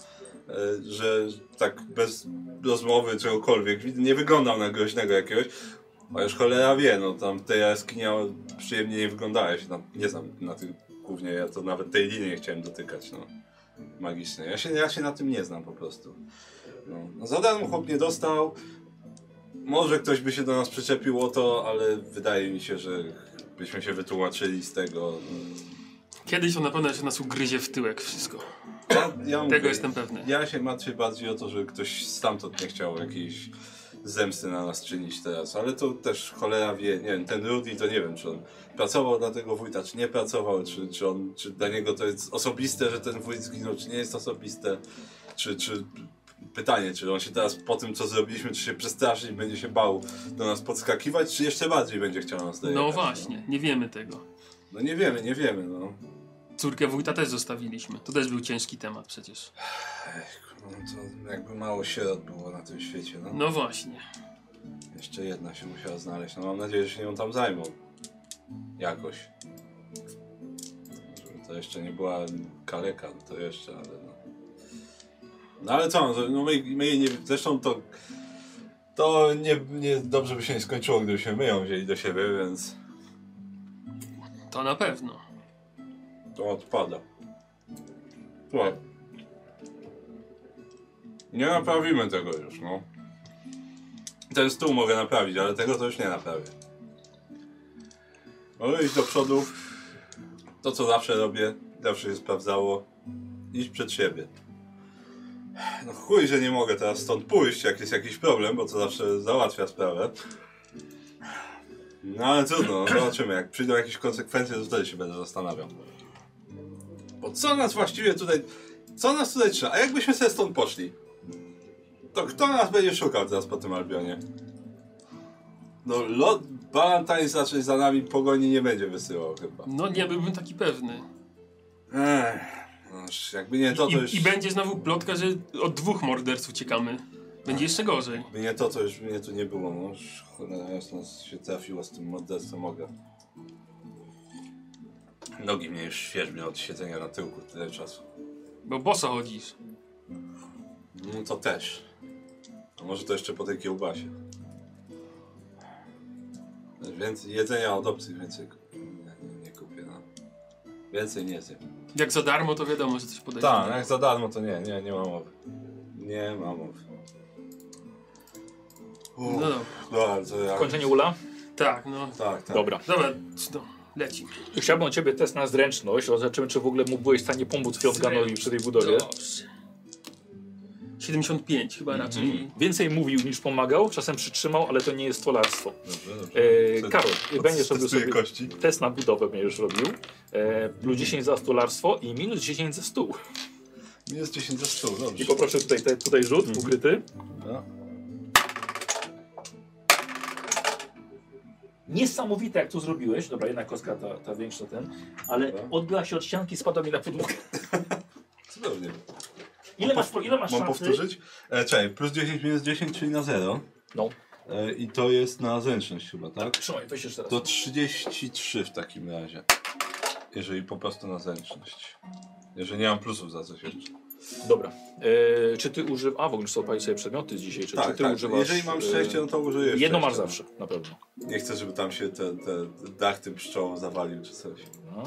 B: E, że tak bez rozmowy czegokolwiek, nie wyglądał na groźnego jakiegoś. A już cholera wie, no tam te jaskinia przyjemnie nie wyglądała, ja się tam nie znam na tym głównie, ja to nawet tej linii nie chciałem dotykać, no. Magicznej. Ja się, ja się na tym nie znam po prostu. No, no za darmo chłop nie dostał. Może ktoś by się do nas przyczepił o to, ale wydaje mi się, że byśmy się wytłumaczyli z tego.
D: Kiedyś on na pewno się nas ugryzie w tyłek wszystko.
B: No, Ja, ja
D: Tego jestem pewny.
B: Ja się martwię bardziej o to, że ktoś stamtąd nie chciał jakiejś zemsty na nas czynić teraz, ale to też cholera wie, nie wiem, ten Rudy to nie wiem, czy on pracował dla tego wójta, czy nie pracował, czy, czy, on, czy dla niego to jest osobiste, że ten wójt zginął, czy nie jest osobiste, czy, czy p- pytanie, czy on się teraz po tym, co zrobiliśmy, czy się przestraszy i będzie się bał do nas podskakiwać, czy jeszcze bardziej będzie chciał nas dojechać,
D: No właśnie, nie wiemy tego.
B: No, no nie wiemy, nie wiemy, no.
D: Córkę wójta też zostawiliśmy. To też był ciężki temat przecież.
B: No to jakby mało sierot było na tym świecie, no.
D: No właśnie.
B: Jeszcze jedna się musiała znaleźć. No mam nadzieję, że się nią tam zajmą. Jakoś. Żeby to jeszcze nie była kaleka, no to jeszcze, ale no. No ale co, no my, my jej nie... Zresztą to... To nie, nie... Dobrze by się nie skończyło, gdybyśmy my ją wzięli do siebie, więc...
D: To na pewno.
B: To odpada. Słuchaj. Nie naprawimy tego już, no. Ten stół mogę naprawić, ale tego to już nie naprawię. Mogę iść do przodu. To, co zawsze robię, zawsze się sprawdzało. Iść przed siebie. No chuj, że nie mogę teraz stąd pójść, jak jest jakiś problem, bo to zawsze załatwia sprawę. No ale trudno, no, zobaczymy. Jak przyjdą jakieś konsekwencje, to wtedy się będę zastanawiał. Bo co nas właściwie tutaj... Co nas tutaj trzyma? A jakbyśmy sobie stąd poszli? To kto nas będzie szukał teraz po tym Albionie? No, Lord Ballantyne znaczy za nami pogoni nie będzie wysyłał chyba.
D: No nie byłbym taki pewny.
B: Ech, noż, jakby nie to, to już...
D: I, I będzie znowu plotka, że od dwóch morderców uciekamy. Będzie jeszcze gorzej.
B: Jakby nie to, to już mnie tu nie było. No, już cholera jasna się trafiło z tym morderstwem mogę. Nogi mnie już świeżbią od siedzenia na tyłku tyle czasu.
D: Bo boso chodzisz.
B: No to też. A może to jeszcze po tej kiełbasie. Więcej jedzenia od obcych więcej ku- nie, nie, nie kupię, no. Więcej nie zjem.
D: Jak za darmo, to wiadomo, że coś podejdzie.
B: Tak, jak za darmo to nie, nie, nie mam mowy. Nie mam mowy.
D: No
B: Uff,
D: dobra.
B: dobra, No, to ja...
A: Kończenie ula?
D: Tak, no.
B: Tak, tak.
A: Dobra.
D: Dobra, no, lecimy.
A: Chciałbym od ciebie test na zręczność. o, Zobaczymy, czy w ogóle mu byłeś w stanie pomóc Fiotganowi przy tej budowie.
D: Dobrze. 75 chyba
B: Mhm.
D: raczej.
A: Więcej mówił niż pomagał, czasem przytrzymał, ale to nie jest stolarstwo.
B: Dobrze, dobrze.
A: E,
B: Co-
A: Karol,
B: co-
A: będziesz robił
B: testuję
A: sobie
B: kości.
A: test na budowę, będziesz robił. E,
B: Mhm.
A: plus 10 za stolarstwo i minus 10 za stół.
B: Minus 10 do 100, dobrze.
A: I poproszę tutaj, te, tutaj rzut ukryty.
B: No.
A: Niesamowite, jak to zrobiłeś. Dobra, jedna kostka, ta, ta większa, ten. Ale
B: Dobra.
A: odbiła się od ścianki i spadła mi na
B: <laughs>
A: podłogę.
B: Cudownie.
A: Ile masz, ile masz
B: Mam
A: szansy?
B: powtórzyć? E, czekaj, plus 10 minus 10, czyli na 0.
A: No,
B: E, I to jest na zręczność chyba, tak?
A: trzymaj, weź jeszcze raz.
B: To 33 w takim razie. Jeżeli po prostu na zręczność. Jeżeli nie mam plusów za coś jeszcze.
A: Dobra. E, czy ty używasz... A, w ogóle już są pali sobie przedmioty z dzisiaj. Czy, czy ty używasz...
B: Tak,
A: e,
B: Jeżeli mam szczęście, no to użyję
A: Jedno
B: szczęścia.
A: masz zawsze, na pewno.
B: Nie chcę, żeby tam się ten, ten dach tym pszczołom zawalił czy coś.
A: No.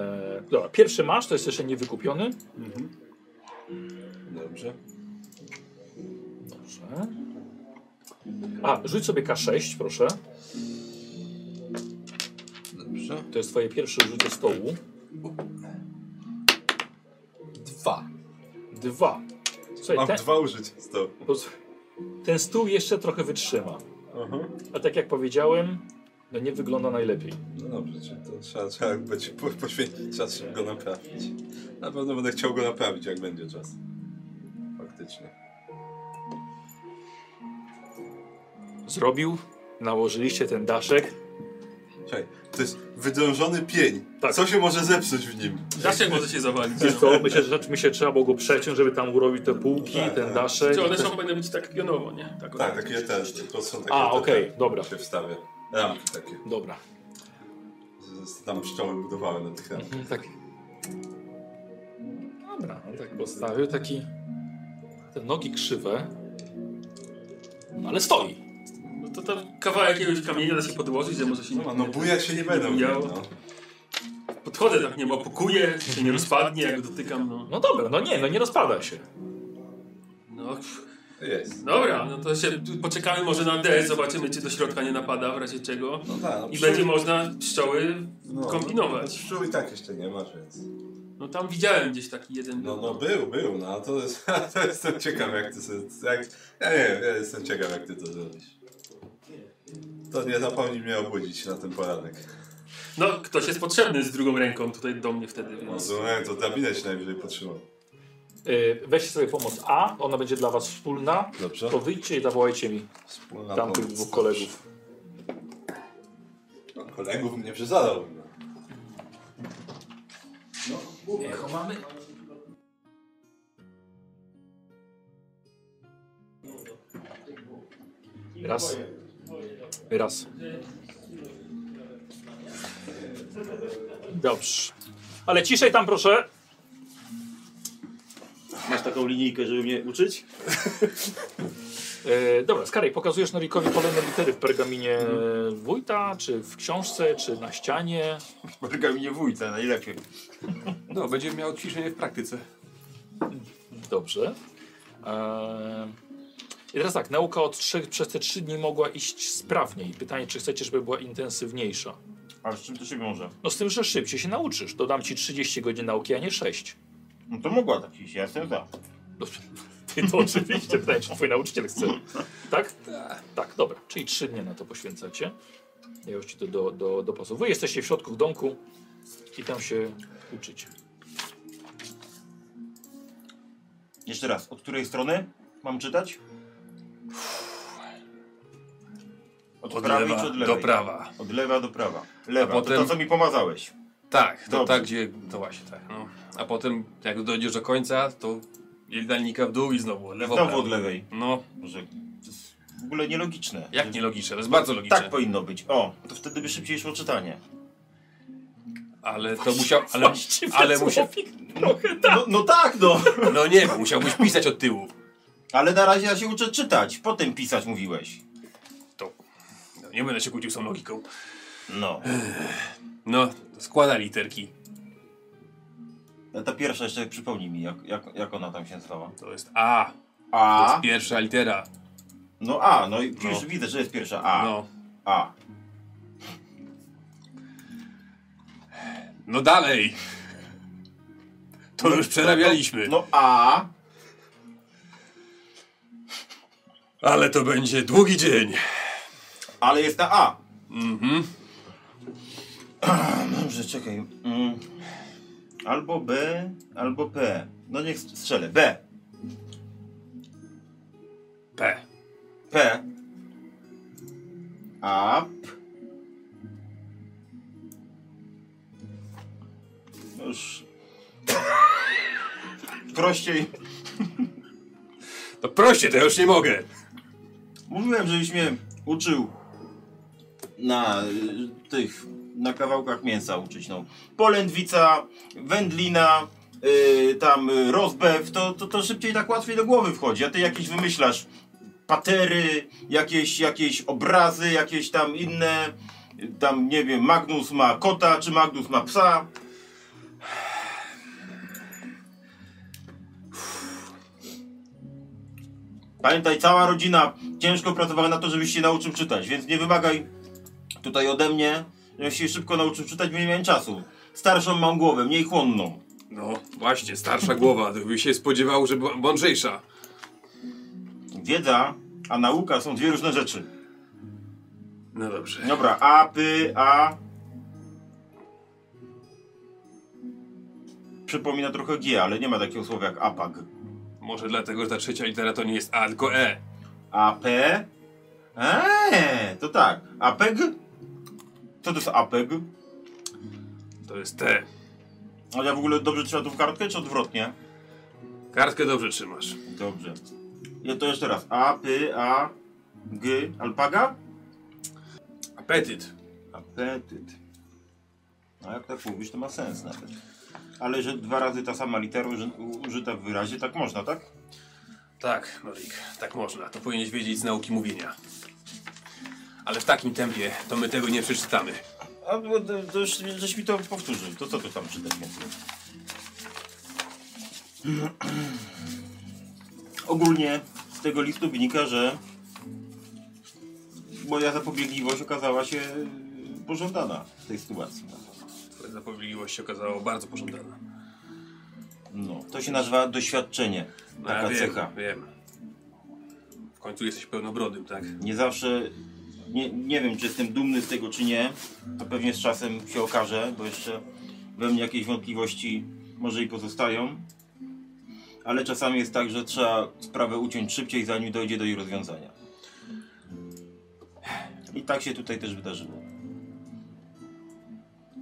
A: E, dobra, pierwszy masz, to jest jeszcze niewykupiony.
B: Dobrze.
A: Dobrze. A, rzuć sobie K6, proszę.
B: Dobrze.
A: To jest twoje pierwsze rzucie stołu.
B: Dwa.
A: Dwa. Słuchaj,
B: Mam
A: ten,
B: dwa użycia z to.
A: pos- ten stół jeszcze trochę wytrzyma.
B: Aha.
A: A tak jak powiedziałem, no nie wygląda najlepiej.
B: No dobrze, czyli to trzeba, trzeba będzie po- poświęcić czas, żeby go naprawić. Na pewno będę chciał go naprawić, jak będzie czas. Faktycznie.
A: Zrobił, nałożyliście ten daszek.
B: Czekaj, to jest wydrążony pień.
A: Tak.
B: Co się może zepsuć w nim?
D: Daszek może się zawalić.
A: Wiesz co, myślę, że myślę, trzeba było go przeciąć, żeby tam urobić te półki,
B: Tak,
A: ten
B: tak.
A: daszek.
D: Czy one są będą być tak pionowo, nie? Tak,
B: Tak, takie te, to są takie
A: A,
B: te-
A: okej,
B: te-
A: dobra.
B: się wstawia. Ramki takie.
A: Dobra.
B: Z- z- Tam pszczoły budowałem na tych ramkach.
A: Tak. Dobra, on tak postawił taki. Te nogi krzywe. No ale stoi.
D: No to tam kawałek jakiegoś kamienia da się podłożyć, że może się
B: No, no bujać się nie będą.
D: Ja-
B: No.
D: Podchodzę tak, nie wiem, opakuję, się nie rozpadnie, jak go dotykam, no.
A: No dobra, no nie, no nie rozpada się.
D: No, pff.
B: Jest.
D: dobra, no to się tu poczekamy może na D, zobaczymy, czy do środka nie napada, w razie czego.
B: No tak, no,
D: I
B: pszczół-
D: będzie można pszczoły
B: no, No,
D: kombinować.
B: pszczół i tak jeszcze nie masz, więc...
D: No tam widziałem gdzieś taki jeden.
B: No, no był, był, no a to <laughs> jest, to jestem ciekaw jak ty sobie, jak, ja nie wiem, ja jestem ciekaw jak ty to zrobisz. To nie zapomnij mnie obudzić na ten poranek.
D: No, ktoś jest potrzebny z drugą ręką tutaj do mnie wtedy, więc...
B: Rozumiem, to drabinę się najwyżej potrzymał.
A: Yy, weźcie sobie pomoc A, ona będzie dla was wspólna.
B: Dobrze.
A: To wyjdźcie i zawołajcie mi
B: Wspólna
A: tamtych
B: pomoc.
A: dwóch kolegów.
B: No, kolegów mnie przesadzał. no.
A: Echo mamy. Raz. Raz. Dobrze. Ale ciszej tam proszę.
E: Masz taką linijkę, żeby mnie uczyć?
A: E, dobra, Skary, pokazujesz Norikowi kolejne litery w pergaminie wójta, czy w książce, czy na ścianie.
E: Pergaminie wójta, najlepiej.
I: No, będzie miał ćwiczenie w praktyce.
A: Dobrze. Eee, I teraz tak, nauka od trzech, przez te trzy dni mogła iść sprawniej. Pytanie, czy chcecie, żeby była intensywniejsza?
E: A z czym to się wiąże?
A: No z tym, że szybciej się nauczysz. Dodam ci 30 godzin nauki, a nie 6.
E: No to mogła tak iść, ja jestem za.
A: <laughs> Ty to oczywiście pytanie, czy twój nauczyciel chce. Tak? Tak, dobra. Czyli 3 dni na to poświęcacie. Ja już ci to do, do, dopasowuję. Jesteście w środku w domku i tam się uczycie.
E: Jeszcze raz, od której strony? Mam czytać? Od,
D: Od
E: prawej
D: lewa
E: czy od
D: do
E: lewej?
D: prawa.
E: Od lewa do prawa. Lewa,
D: potem-
E: to to co mi pomazałeś.
D: Tak, to
E: Dobrze.
D: tak, gdzie. To właśnie tak. No. A potem, jak dojdziesz do końca, to jedalnika w dół i znowu lewo.
E: Znowu
D: prawo.
E: od lewej.
D: No,
E: Może to jest w ogóle nielogiczne.
D: jak nielogiczne, to jest bardzo logiczne.
E: Tak powinno być. O, to wtedy by szybciej szło czytanie.
D: Ale to musiał. Ale, ale musiał.
E: No, no tak, no. <laughs>
D: No nie, bo musiałbyś pisać od tyłu.
E: Ale na razie ja się uczę czytać, potem pisać mówiłeś.
D: To. No, nie będę się kłócił z tą logiką.
E: No.
D: No, składa literki.
E: A E, Ta pierwsza jeszcze przypomnij mi, jak, jak, jak ona tam się nazywała.
D: To jest A. To
E: A.
D: jest pierwsza litera.
E: No A, no i już
D: No.
E: widzę, że jest pierwsza A.
D: No.
E: A.
D: No dalej. To już przerabialiśmy.
E: No A.
D: Ale to będzie długi dzień.
E: Ale jest na A. Mhm. Dobrze, czekaj. Mm. Albo B, albo P. No niech strzelę. B.
D: P.
E: P. A. P. No Już. Prościej.
D: No prościej, to ja już nie mogę.
E: Mówiłem, żebyś mnie uczył na y, tych, na kawałkach mięsa uczyć. No. Polędwica, wędlina, y, tam y, rozbew, to, to, to szybciej tak łatwiej do głowy wchodzi, a ty jakieś wymyślasz patery, jakieś, jakieś obrazy, jakieś tam inne, y, tam nie wiem, Magnus ma kota, czy Magnus ma psa. Pamiętaj, cała rodzina ciężko pracowała na to, żebyś się nauczył czytać, więc nie wymagaj tutaj ode mnie, żebyś się szybko nauczył czytać, bo nie miałem czasu. Starszą mam głowę, mniej chłonną.
D: No właśnie, starsza głowa. To by się spodziewał, że była mądrzejsza.
E: Wiedza, a nauka są dwie różne rzeczy.
D: No dobrze.
E: Dobra, a, py, a... Przypomina trochę G, ale nie ma takiego słowa jak apag.
D: Może dlatego, że ta trzecia litera to nie jest A, tylko E.
E: A, p... Eee, to tak. Apeg? Co to jest apeg?
D: To jest T.
E: Ale ja w ogóle dobrze trzeba tu w kartkę, czy odwrotnie?
D: Kartkę dobrze trzymasz.
E: Dobrze. Ja to jeszcze raz. A, py, a, g, alpaga?
D: Apetyt.
E: Apetyt. A jak tak mówisz, to ma sens nawet. Ale że dwa razy ta sama litera uży- u- użyta w wyrazie, tak można, tak?
D: Tak, Norik, tak można. To powinieneś wiedzieć z nauki mówienia. Ale w takim tempie to my tego nie przeczytamy.
E: A bo to, to już żeś mi to powtórzył. To co to tam czytać więcej? <clears throat> Ogólnie z tego listu wynika, że moja zapobiegliwość okazała się y, pożądana w tej sytuacji.
D: Twoja zapobiegliwość się okazała bardzo pożądana.
E: No, to się nazywa doświadczenie.
D: No,
E: Taka
D: ja wiem,
E: cecha.
D: wiem. W końcu jesteś pełnobrodym, tak?
E: Nie zawsze, nie, nie wiem czy jestem dumny z tego czy nie, to pewnie z czasem się okaże, bo jeszcze we mnie jakieś wątpliwości może i pozostają. Ale czasami jest tak, że trzeba sprawę uciąć szybciej, zanim dojdzie do jej rozwiązania. I tak się tutaj też wydarzyło.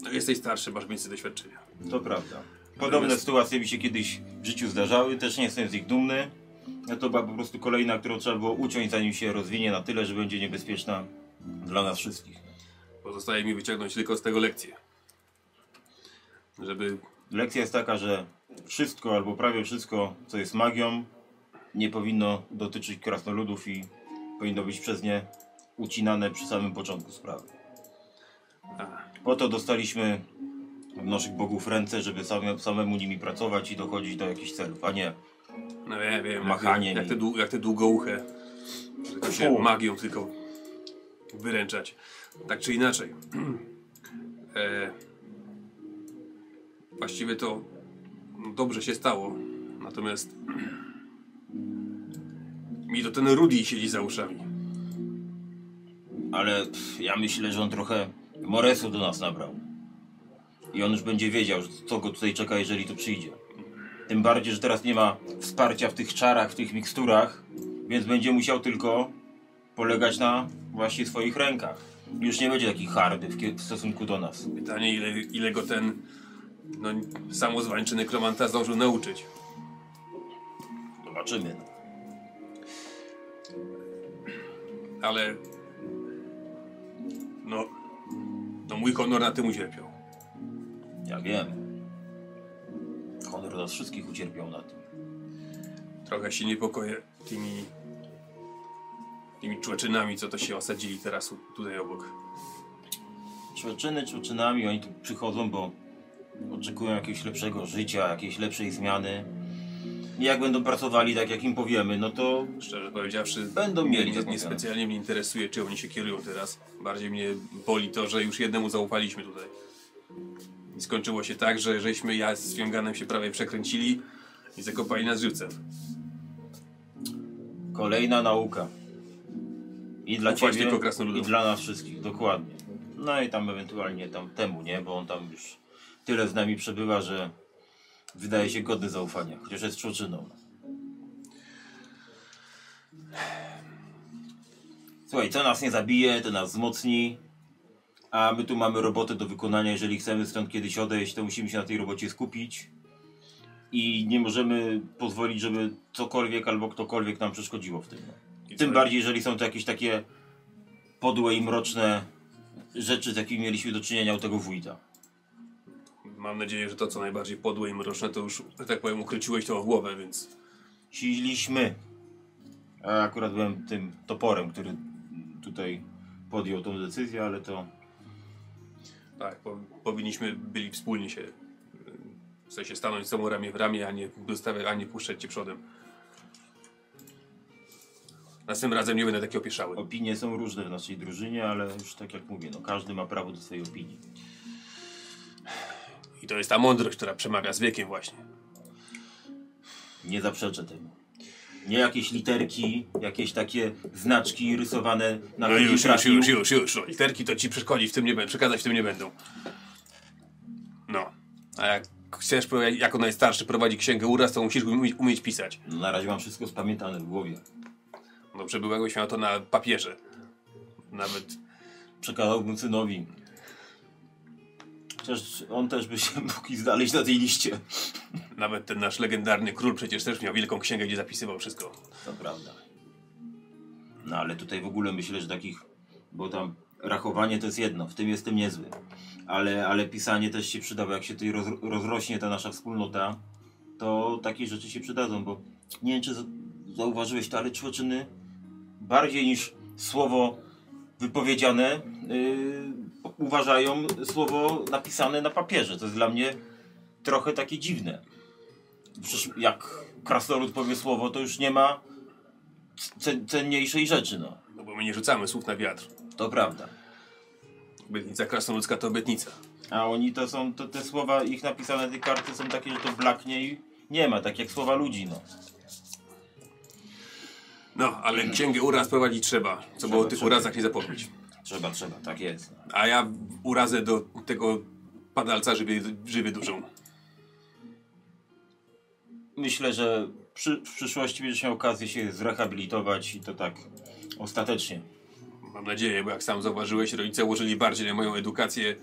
D: No, jesteś starszy, masz więcej doświadczenia.
E: To prawda. Podobne
D: Natomiast-
E: sytuacje mi się kiedyś w życiu zdarzały, też nie jestem z nich dumny. No to była po prostu kolejna, którą trzeba było uciąć, zanim się rozwinie na tyle, że będzie niebezpieczna dla nas wszystkich.
D: Pozostaje mi wyciągnąć tylko z tego lekcję. Żeby
E: Lekcja jest taka, że wszystko albo prawie wszystko, co jest magią, nie powinno dotyczyć krasnoludów i powinno być przez nie ucinane przy samym początku sprawy.
D: A.
E: Po to dostaliśmy naszych bogów ręce, żeby same, samemu nimi pracować i dochodzić do jakichś celów, a nie
D: No ja wiem,
E: Machanie
D: jak, jak,
E: mi.
D: te, dłu- jak te długouche, że to się
E: Fu.
D: magią tylko wyręczać. Tak czy inaczej. <clears throat> e, właściwie to no, dobrze się stało, natomiast <clears throat> mi to ten Rudy siedzi za uszami.
E: Ale pff, ja myślę, że on trochę Moresu do nas nabrał. I on już będzie wiedział, że co go tutaj czeka, jeżeli tu przyjdzie. Tym bardziej, że teraz nie ma wsparcia w tych czarach, w tych miksturach, Więc będzie musiał tylko polegać na właśnie swoich rękach. Już nie będzie taki hardy w, kie- w stosunku do nas.
D: Pytanie, ile, ile go ten no, samozwańczy nekromanta zdążył nauczyć.
E: Zobaczymy. no.
D: Ale... No... No mój honor na tym ucierpiał.
E: Ja wiem. Honor nas wszystkich ucierpiał na tym.
D: Trochę się niepokoję tymi... Tymi człeczynami, co to się osadzili teraz u- tutaj obok.
E: Człoczyny człoczynami, oni tu przychodzą, bo oczekują jakiegoś lepszego życia, jakiejś lepszej zmiany. I jak będą pracowali tak, jak im powiemy, no to
D: Szczerze powiedziawszy,
E: Będą mieli
D: Nie,
E: tak
D: nie
E: mówione.
D: specjalnie mnie interesuje, czy oni się kierują teraz. Bardziej mnie boli to, że już jednemu zaufaliśmy tutaj. I skończyło się tak, że żeśmy ja z Fiąganem się prawie przekręcili i zakopali nas żywcem.
E: kolejna nauka. I dla
D: Ufać
E: ciebie,
D: tylko krasnoludom.
E: i dla nas wszystkich, dokładnie. No i tam ewentualnie tam temu, nie? Bo on tam już tyle z nami przebywa, że wydaje się godny zaufania, chociaż jest człoczyną. Słuchaj, co nas nie zabije, to nas wzmocni, a my tu mamy robotę do wykonania. Jeżeli chcemy stąd kiedyś odejść, to musimy się na tej robocie skupić i nie możemy pozwolić, żeby cokolwiek albo ktokolwiek nam przeszkodziło w tym.
D: I
E: Tym
D: co?
E: bardziej, jeżeli są to jakieś takie podłe i mroczne rzeczy, z jakimi mieliśmy do czynienia u tego wójta.
D: Mam nadzieję, że to co najbardziej podłe i mroczne to już, że tak powiem, ukryciłeś to w głowę, więc
E: Siźliśmy. A akurat byłem tym toporem, który tutaj podjął tą decyzję, ale to
D: tak, po, powinniśmy byli wspólnie się, y, w sensie stanąć z sobą ramię w ramię, a nie, dostawiać, a nie puszczać cię przodem. Następnym razem nie będę taki opieszały.
E: opinie są różne w naszej drużynie, ale już tak jak mówię, no każdy ma prawo do swojej opinii.
D: I to jest ta mądrość, która przemawia z wiekiem właśnie.
E: Nie zaprzeczę temu. Nie jakieś literki, jakieś takie znaczki rysowane na
D: No
E: ludzi
D: już, już,
E: trafił.
D: już, już, już. No, literki to ci przeszkodzić w tym nie będą, przekazać w tym nie będą. No. A jak chcesz, pro- jako najstarszy prowadzi księgę uraz, to musisz umie- umieć pisać.
E: No, na razie mam wszystko spamiętane w głowie.
D: Dobrze byłego miał to na papierze. Nawet
E: Przekazałbym synowi. Chociaż on też by się <laughs> mógł i znaleźć na tej liście.
D: Nawet ten nasz legendarny król przecież też miał wielką księgę, gdzie zapisywał wszystko.
E: To prawda. No ale tutaj w ogóle myślę, że takich, bo tam rachowanie to jest jedno, w tym jestem niezły. Ale, ale pisanie też się przyda, bo jak się tutaj roz, rozrośnie ta nasza wspólnota, to takie rzeczy się przydadzą, bo nie wiem czy za- zauważyłeś to, ale człoczyny bardziej niż słowo wypowiedziane yy, uważają słowo napisane na papierze. To jest dla mnie trochę takie dziwne. Przecież jak krasnolud powie słowo, to już nie ma cen- cenniejszej rzeczy, no.
D: No bo my nie rzucamy słów na wiatr.
E: To prawda.
D: Obietnica krasnoludzka to obietnica.
E: A oni to są, to te słowa, ich napisane na tej karty są takie, że to blaknie i nie ma, tak jak słowa ludzi, no.
D: No, ale księgę uraz prowadzić trzeba, co było o tych
E: trzeba.
D: urazach nie zapomnieć.
E: Trzeba, trzeba, tak jest.
D: A ja urazę do tego padalca żywy, żywy dużą.
E: Myślę, że przy, w przyszłości będziesz miał okazję się zrehabilitować i to tak ostatecznie.
D: Mam nadzieję, bo jak sam zauważyłeś, rodzice ułożyli bardziej na moją edukację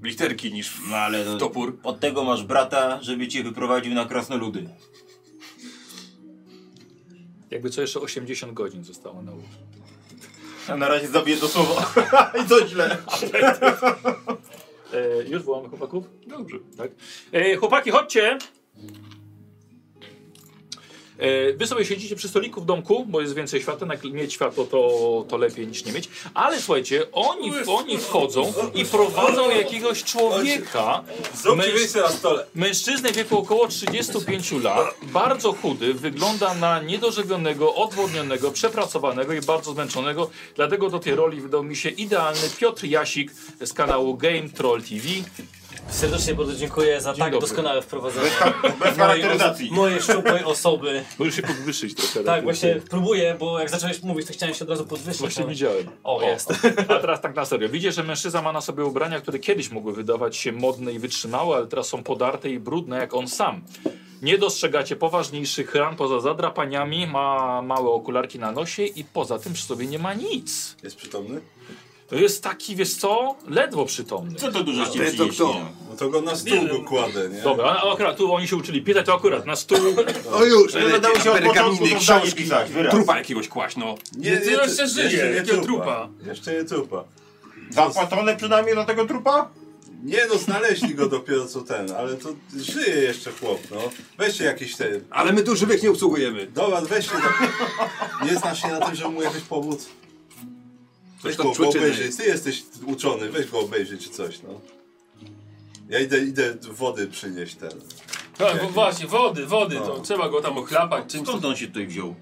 D: w literki niż w...
E: No ale to,
D: Topór.
E: od tego masz brata, żeby cię wyprowadził na krasnoludy.
A: Jakby co jeszcze 80 godzin zostało na uczy.
E: A na razie zabiję to słowo. <laughs> I to źle.
A: E, już wołamy chłopaków?
D: Dobrze.
A: Tak. E, chłopaki, chodźcie! E, Wy sobie siedzicie przy stoliku w domku, bo jest więcej światła, jak mieć światło to, to lepiej niż nie mieć. Ale słuchajcie, oni, oni wchodzą i prowadzą jakiegoś człowieka,
F: Zróbcie
A: Męż-
F: miejsce na stole.
A: mężczyznę w wieku około 35 lat, bardzo chudy, wygląda na niedożywionego, odwodnionego, przepracowanego i bardzo zmęczonego, dlatego do tej roli wydał mi się idealny Piotr Jasik z kanału Game Troll TV.
J: Serdecznie bardzo dziękuję za tak
A: dobry.
J: doskonałe wprowadzenie
E: Bez charakteryzacji.
J: mojej szczupłej osoby.
A: Możesz się podwyższyć trochę.
J: Tak, właśnie Tak. próbuję, bo jak zacząłeś mówić, to chciałem się od razu podwyższyć.
A: Właśnie
J: ale-
A: widziałem.
J: O, jest.
A: A teraz tak na serio. Widzisz, że mężczyzna ma na sobie ubrania, które kiedyś mogły wydawać się modne i wytrzymałe, ale teraz są podarte i brudne jak on sam. Nie dostrzegacie poważniejszych ran poza zadrapaniami, ma małe okularki na nosie i poza tym przy sobie nie ma nic.
B: Jest przytomny?
A: To jest taki, wiesz co, ledwo przytomny.
E: Co to dużo
B: A ty
E: ścieżki
B: to
E: jeśli
B: kto?
E: nie?
B: No to go na stół go kładę, nie?
A: Dobra, a- a akurat tu oni się uczyli pisać, to akurat na stół.
K: O już,
E: Że Będą się od początku
K: pergaminy,
E: to
K: książki.
E: książki pisać, wyraz.
L: Trupa jakiegoś kłaść, no.
D: Nie, ty jeszcze
B: tu-
D: żyjesz, jakiego trupa?
B: Jeszcze nie trupa.
E: Zapłacone przynajmniej dla tego trupa?
B: Nie no, znaleźli go dopiero co ten, ale to żyje jeszcze chłop, no. Weźcie jakiś ten...
L: Ale my tu żywych nie obsługujemy.
B: Dobra, weźcie tak. Nie znasz się na tym, żeby mu jakoś pomóc. Weź
L: tam
B: go, go
L: człoczyny.
B: obejrzyj, ty jesteś uczony, weź go obejrzyj czy coś, no. Ja idę, idę wody przynieść ten.
D: A, bo Tak, właśnie, wody, wody, to trzeba go tam ochlapać czymś.
E: Skąd on się tutaj wziął?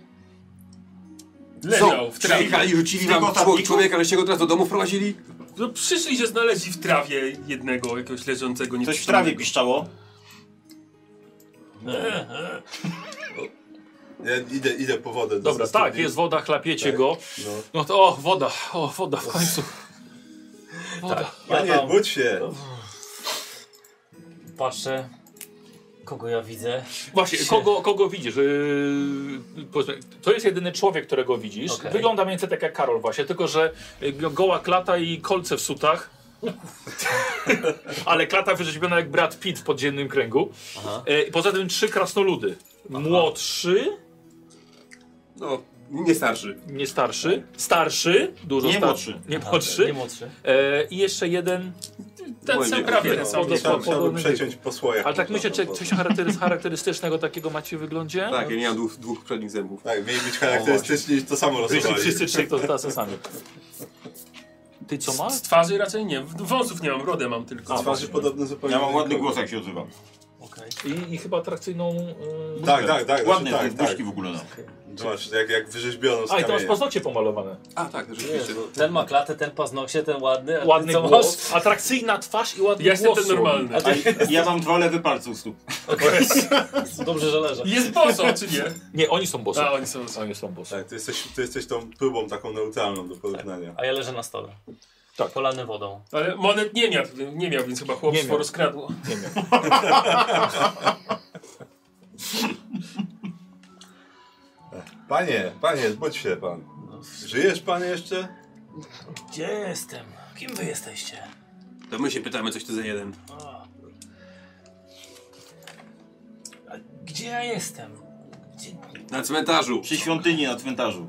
D: Leżał w trawie.
L: Przyjechali, rzucili wam
E: Tylko
L: człowiek,
E: tablików?
L: człowieka, żeście go teraz do domu wprowadzili?
D: No przyszli, że znaleźli w trawie jednego, jakiegoś leżącego.
E: Coś w trawie piszczało?
B: Ja idę, idę po wodę. do
A: Dobra,
B: studni.
A: tak, jest woda, chlapiecie
B: Tak.
A: go.
B: No.
A: No to, o, woda, o, woda w końcu. Woda.
B: Panie, budź się.
E: No,
J: Patrzę. Kogo ja widzę?
A: Właśnie, kogo, kogo widzisz? Yy, powiedzmy, to jest jedyny człowiek, którego widzisz.
J: Okej.
A: Wygląda mniej więcej tak jak Karol właśnie, tylko że y, go- goła klata i kolce w sutach. Ale klata wyrzeźbiona jak Brad Pitt w podziemnym kręgu.
J: Aha.
A: E, poza tym trzy krasnoludy. Młodszy,
L: No, nie starszy.
A: nie starszy, starszy, dużo
E: Nie
A: starszy,
E: młodszy.
A: nie
J: Aha,
A: młodszy.
J: Nie młodszy.
A: E, I jeszcze jeden,
D: Ten sam, prawie ten sam.
A: Woda.
D: jest.
B: Chciałbym, chciałbym
A: podobny
B: przeciąć po słojach.
A: ale tak
B: po
A: myślę,
B: prostu
A: czy
B: wodę.
A: coś charaktery- charakterystycznego takiego macie w wyglądzie?
L: Tak, ja nie mam dwóch, dwóch przednich zębów.
B: Tak, mieli
E: No
B: być charakterystyczni i to samo
A: Jeśli
B: losowali.
A: wszyscy trzej, to tacy sami. Ty co masz?
D: Z twarzy raczej nie, wąsów nie mam, brodę mam tylko.
B: Z Twarzy podobne zupełnie.
E: Ja mam
B: do
E: ładny
B: nikogo.
E: głos jak się odzywam.
J: Okej.
A: I, i chyba atrakcyjną. Yy...
B: Tak, tak, tak.
E: Ładne
B: znaczy,
E: te
B: tak, tak.
E: buźki w ogóle no.
B: Zobacz, jak, jak wyrzeźbiono z
A: A i to masz
B: kamienia.
A: paznokcie pomalowane.
L: A tak, rzeczywiście.
J: Ten ma klatę, ten paznokcie, ten ładny. a ty
A: Ładny
J: co
A: głos. Atrakcyjna twarz i ładny
D: Ja jestem
A: głos.
D: ten normalny.
E: A i- ja mam dwa lewe palce u stóp.
J: masz? <laughs> Dobrze, że leżę.
D: Jest boso, czy nie?
A: Nie, oni są bossy.
D: A, oni są boso.
A: Oni są bossy.
B: Tak, ty jesteś, ty jesteś tą próbą taką neutralną do porównania.
J: A ja leżę na stole.
A: Tak.
J: Polany wodą.
D: Ale monet nie miał, nie miał więc chyba
A: Nie
D: chłop
A: miał.
D: sporo skradło.
A: Nie wiem.
B: Panie, panie, zbudź się pan.
J: No,
B: Żyjesz pan jeszcze?
J: Gdzie jestem? Kim wy jesteście?
L: To my się pytamy, coś ty za jeden.
J: A. A Gdzie ja jestem? Gdzie...
L: Na cmentarzu.
E: Przy świątyni na cmentarzu.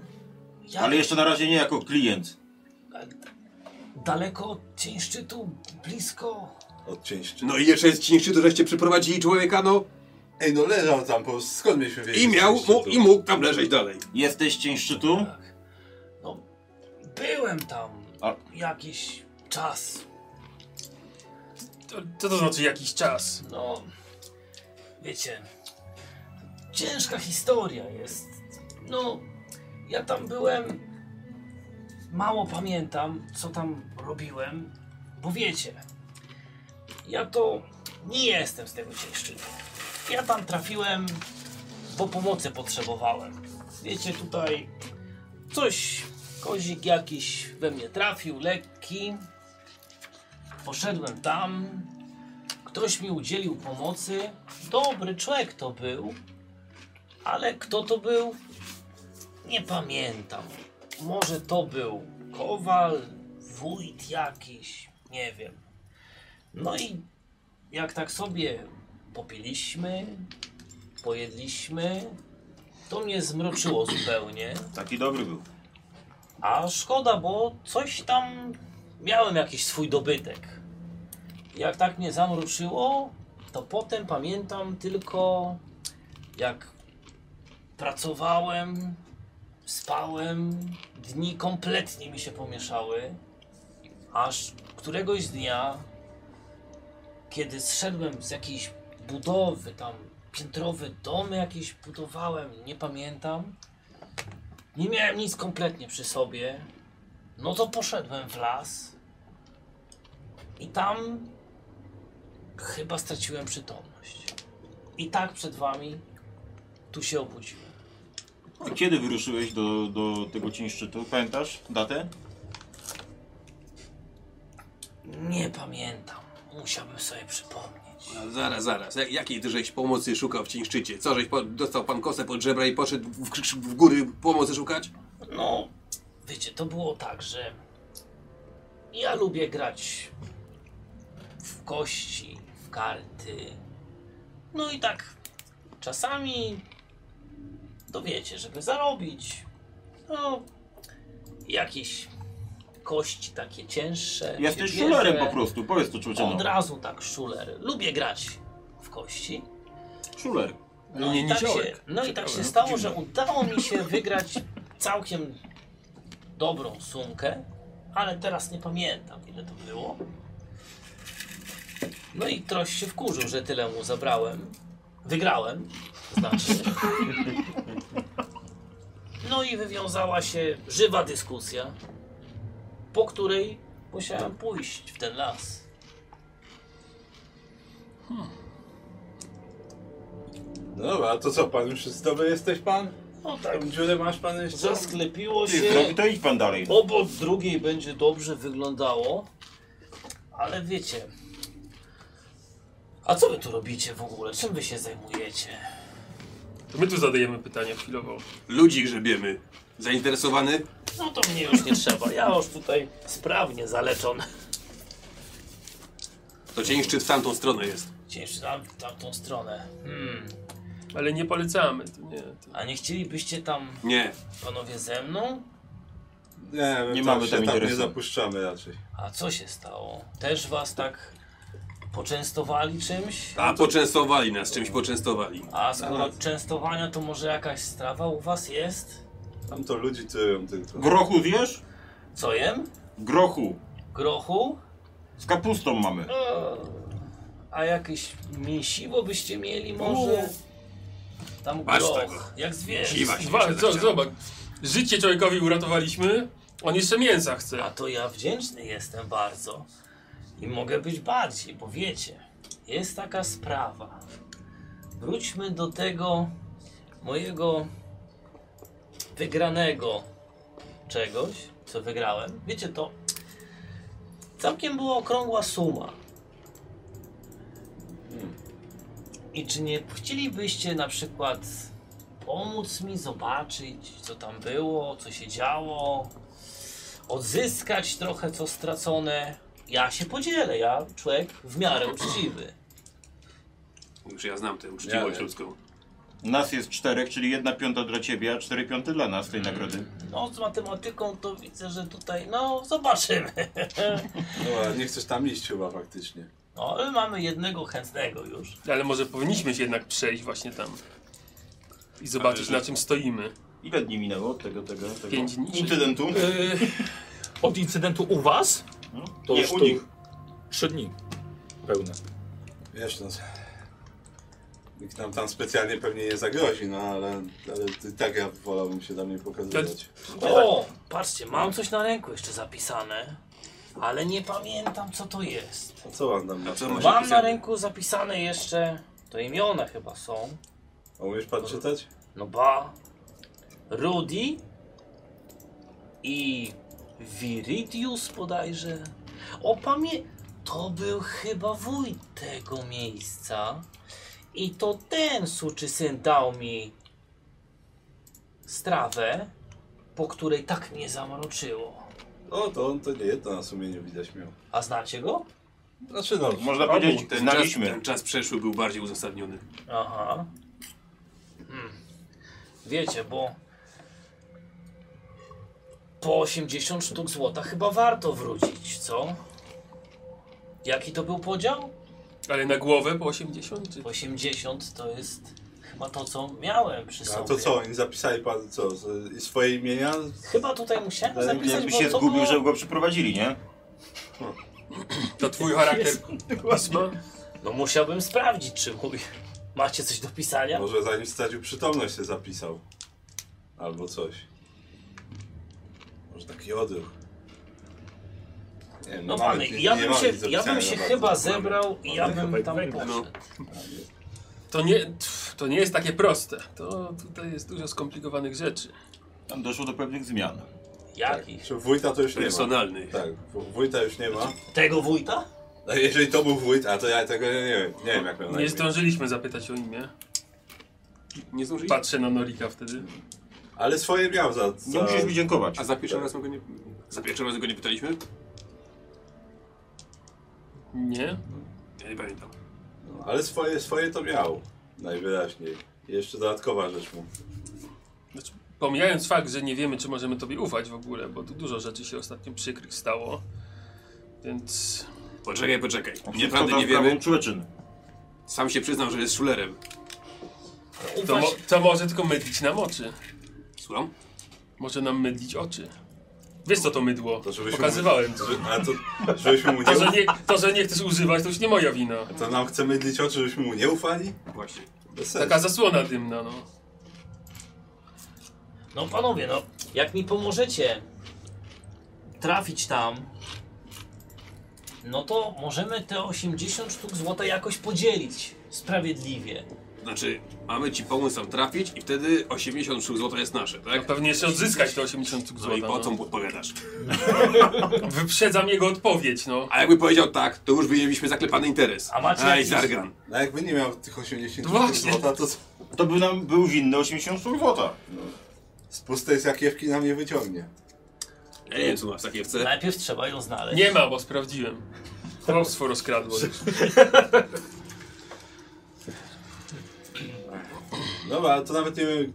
J: Ja...
E: Ale jeszcze na razie nie jako klient.
J: Daleko od cieńszczytu, blisko.
B: Od cięści.
L: No i jeszcze jest cińszy, to żeście przyprowadzili człowieka, no.
B: Ej, no leżał tam, po prostu skąd mieliśmy wiedzieć?
L: I miał,
B: że
L: mu,
B: cięści
L: i mógł tam leżeć dalej.
E: Jesteś cień szczytu?
J: Tak. No, byłem tam
E: A-
J: jakiś czas.
D: To, co to znaczy jakiś czas?
J: No, wiecie, ciężka historia jest. No, ja tam byłem, mało pamiętam, co tam robiłem, bo wiecie, ja to nie jestem z tego cięższego. Ja tam trafiłem, bo pomocy potrzebowałem. Wiecie, tutaj coś, kozik jakiś we mnie trafił, lekki. Poszedłem tam, Ktoś mi udzielił pomocy. Dobry człowiek to był, ale kto to był? Nie pamiętam. Może to był kowal, wójt jakiś, nie wiem. No i jak tak sobie popiliśmy, pojedliśmy, to mnie zmroczyło zupełnie.
E: Taki dobry był.
J: A szkoda, bo coś tam miałem jakiś swój dobytek. Jak tak mnie zamruczyło, to potem pamiętam tylko jak pracowałem, spałem, dni kompletnie mi się pomieszały, aż któregoś dnia, kiedy zszedłem z jakiejś budowy, tam piętrowe domy jakieś budowałem, nie pamiętam, nie miałem nic kompletnie przy sobie. No to poszedłem w las. I tam chyba straciłem przytomność. I tak przed wami tu się obudziłem.
E: A No, kiedy wyruszyłeś do, do tego cień szczytu? Pamiętasz datę?
J: Nie pamiętam. Musiałbym sobie przypomnieć.
D: A Zaraz, zaraz. Jak, jakiej ty żeś pomocy szukał w Cieńszczycie? Co, żeś po, dostał pan kosę pod żebra i poszedł w, krz- w góry pomocy szukać?
J: No, wiecie, to było tak, że ja lubię grać w kości, w karty. No i tak czasami to wiecie, żeby zarobić. No, jakieś kości takie cięższe.
E: Jesteś
J: się bierze.
E: szulerem po prostu, powiedz to człowiecie.
J: Od
E: No.
J: razu tak szuler. Lubię grać w kości.
E: Szuler.
J: No,
D: Nie
J: i tak się,
D: niziołek.
J: no i tak
D: Ciekawe,
J: się
D: no,
J: stało,
D: dziwne.
J: że udało mi się wygrać całkiem dobrą sumkę, ale teraz nie pamiętam ile to było. No i troś się wkurzył, że tyle mu zabrałem. Wygrałem, znaczy. No i wywiązała się żywa dyskusja, po której musiałem pójść w ten las.
F: No dobra, a to co pan? Już jest dobry jesteś pan?
J: No tak,
F: Dziurę masz pan jeszcze?
J: zasklepiło się.
E: Ty, to idź pan dalej.
J: obok drugiej będzie dobrze wyglądało, ale wiecie. A co wy tu robicie w ogóle? Czym wy się zajmujecie?
G: To my tu zadajemy pytania chwilowo.
D: Ludzi grzebiemy. Zainteresowany?
J: No to mnie już nie trzeba, ja już tutaj sprawnie zaleczony.
D: To Cieńszczyt w tamtą stronę jest.
J: Cięższy tam, tamtą stronę. Hmm.
G: Ale nie polecamy, to nie. To...
J: A nie chcielibyście tam,
D: Nie.
J: panowie, ze mną?
F: Nie, my
E: Nie
F: nie
E: mamy
F: mamy się
E: tam
F: tam nie
E: interesu.
F: zapuszczamy raczej.
J: A co się stało? Też was tak poczęstowali czymś?
D: A
G: No
D: poczęstowali nas, czymś poczęstowali.
J: A skoro od częstowania, to może jakaś strawa u was jest?
F: Tam to ludzi tyją tylko.
E: Grochu wiesz?
J: Co jem?
E: Grochu.
J: Grochu?
E: Z kapustą mamy.
J: A jakieś mięsiwo byście mieli może? Tam
D: Masz
J: groch,
D: tego.
J: jak zwierzę.
D: Siwa się
G: Dwa,
D: zachciało.
G: co, zobacz. Życie człowiekowi uratowaliśmy, on jeszcze mięsa
J: A
G: chce.
J: to ja wdzięczny jestem bardzo. I mogę być bardziej, bo wiecie, jest taka sprawa. Wróćmy do tego mojego wygranego czegoś, co wygrałem. Wiecie, to całkiem była okrągła suma. I czy nie chcielibyście na przykład pomóc mi zobaczyć, co tam było, co się działo, odzyskać trochę co stracone? Ja się podzielę, ja człowiek w miarę uczciwy.
D: Już ja znam tę uczciwość
F: Ja-
D: ludzką.
E: Nas jest czterech, czyli jedna piąta dla ciebie, a cztery piąte dla nas tej nagrody.
J: No, z matematyką to widzę, że tutaj, no, zobaczymy.
F: No, ale nie chcesz tam iść chyba faktycznie.
J: No, ale mamy jednego chętnego już.
G: Ale może powinniśmy się jednak przejść właśnie tam. I zobaczyć na czym stoimy.
E: Ile dni minęło od tego, tego, tego?
G: Pięć dni.
E: Incydentu?
A: Yy, <laughs> od incydentu u was? To
E: Nie,
A: już
E: u
A: tu
E: nich.
A: Trzy dni. Pełne.
F: Wiesz no, nikt nam tam specjalnie pewnie nie zagrozi, no ale, ale i tak ja wolałbym się tam nie pokazywać.
J: O, patrzcie, mam coś na ręku jeszcze zapisane, ale nie pamiętam co to jest.
F: A co pan tam ma?
D: co masz?
J: Mam na
D: Zapisane.
J: ręku zapisane jeszcze, to imiona chyba są.
F: A umiesz pan czytać?
J: No ba. Rudy i Viridius bodajże. O pamię... To był chyba wójt tego miejsca. I to ten suczy syn dał mi strawę, po której tak mnie zamroczyło.
F: O, to on to nie jedno na sumieniu widać miał.
J: A znacie go?
F: Znaczy no,
E: Można
D: Obu,
E: powiedzieć,
D: ten czas,
E: znaliśmy.
D: ten czas przeszły był bardziej uzasadniony.
J: Aha. Hmm. Wiecie, bo po 80 sztuk złota chyba warto wrócić, co? Jaki to był podział?
G: Ale na głowę po 80? Czy...
J: 80 to jest chyba to, co miałem przy sobie.
F: a to co, oni zapisali pan co, z, i swoje imienia?
J: Chyba tutaj musiałem zapisać,
E: Jakby
J: bo
E: się
J: to
E: zgubił,
J: było...
E: żeby go przyprowadzili, nie?
G: To twój charakter pisma?
J: No musiałbym sprawdzić, czy mój... <laughs> Macie coś do pisania?
F: Może zanim stracił przytomność się zapisał. Albo coś. Może taki odruch. Nie, wiem,
J: No
F: mamy-
J: panie,
F: nie-
J: ja
F: nie
J: bym
F: mamy
J: się,
F: nic do
J: ja bym
F: pisania no
J: się
F: bardzo.
J: chyba
F: Mamy-
J: zebrał i ja
B: No,
F: mamy
J: bym
F: chyba
J: tam
F: węgla.
J: poszedł.
G: To nie, tf, to nie jest takie proste. To tutaj jest dużo skomplikowanych rzeczy.
E: Tam doszło do pewnych zmian.
F: No,
J: Jakich?
F: Czy wójta to już nie ma.
B: tak,
D: Personalny.
F: Tak, w- wójta już nie ma.
J: Tego wójta?
B: No, jeżeli to był wójt, a to ja tego nie wiem. Nie wiem jak miał na
G: Nie
B: imię.
G: zdążyliśmy zapytać o imię.
D: Nie zdążyli.
G: Patrzę na Norika wtedy.
B: Ale swoje miał za. za...
E: Nie No musisz mi dziękować.
D: A za pierwszym razem go nie... Za pierwszym razem go nie pytaliśmy?
G: Nie?
D: Ja nie pamiętam.
B: Ale swoje, swoje to miał. Najwyraźniej. I Jeszcze dodatkowa rzecz mu.
G: Znaczy, pomijając fakt, że nie wiemy, czy możemy tobie ufać w ogóle, bo tu dużo rzeczy się ostatnio przykrych stało. Więc
D: Poczekaj, poczekaj.
E: Wszystko
D: Nieprawdy
E: tam
D: nie
E: w prawą
D: wiemy.
E: człeczynę.
D: Sam się przyznał, że jest szulerem.
G: to,
J: Ufasz,
G: mo- to może tylko mydlić nam oczy.
D: Słucham?
G: Może nam mydlić oczy. Wiesz co to mydło?
B: To żebyśmy
E: <laughs>
G: Pokazywałem ci.
B: Że- A to, żebyśmy mu nie,
G: To że,
B: uf...
G: nie, to, że nie chcesz używać, to już nie moja wina.
B: to nam chce mydlić oczy, żebyśmy mu nie ufali?
D: Właśnie.
B: Bez sensu.
G: Taka zasłona dymna, no.
J: no panowie, no, jak mi pomożecie trafić tam, no to możemy te 80 sztuk złota jakoś podzielić sprawiedliwie.
D: Znaczy, mamy ci pomóc tam trafić i wtedy 80 sztuk złota jest nasze,
G: A
D: tak?
G: pewnie jeszcze odzyskać te 80 sztuk
D: No i
G: złota.
D: po co
G: No.
D: mu odpowiadasz?
G: Wyprzedzam jego odpowiedź, no.
D: A jakby powiedział tak, to już mieliśmy zaklepany interes.
J: A macie
D: Aj,
J: jakiś-
D: Zargan.
B: No jakby nie miał tych 80
G: No Właśnie.
B: złota, to z-
E: To by nam był winny 80 sztuk złota.
B: z pustej sakiewki nam nie wyciągnie.
D: Ja nie wiem, co masz w sakiewce.
J: Najpierw trzeba ją znaleźć.
G: Nie ma, bo sprawdziłem. Chłopstwo rozkradło.
B: Dobra, ale to nawet nie wiem.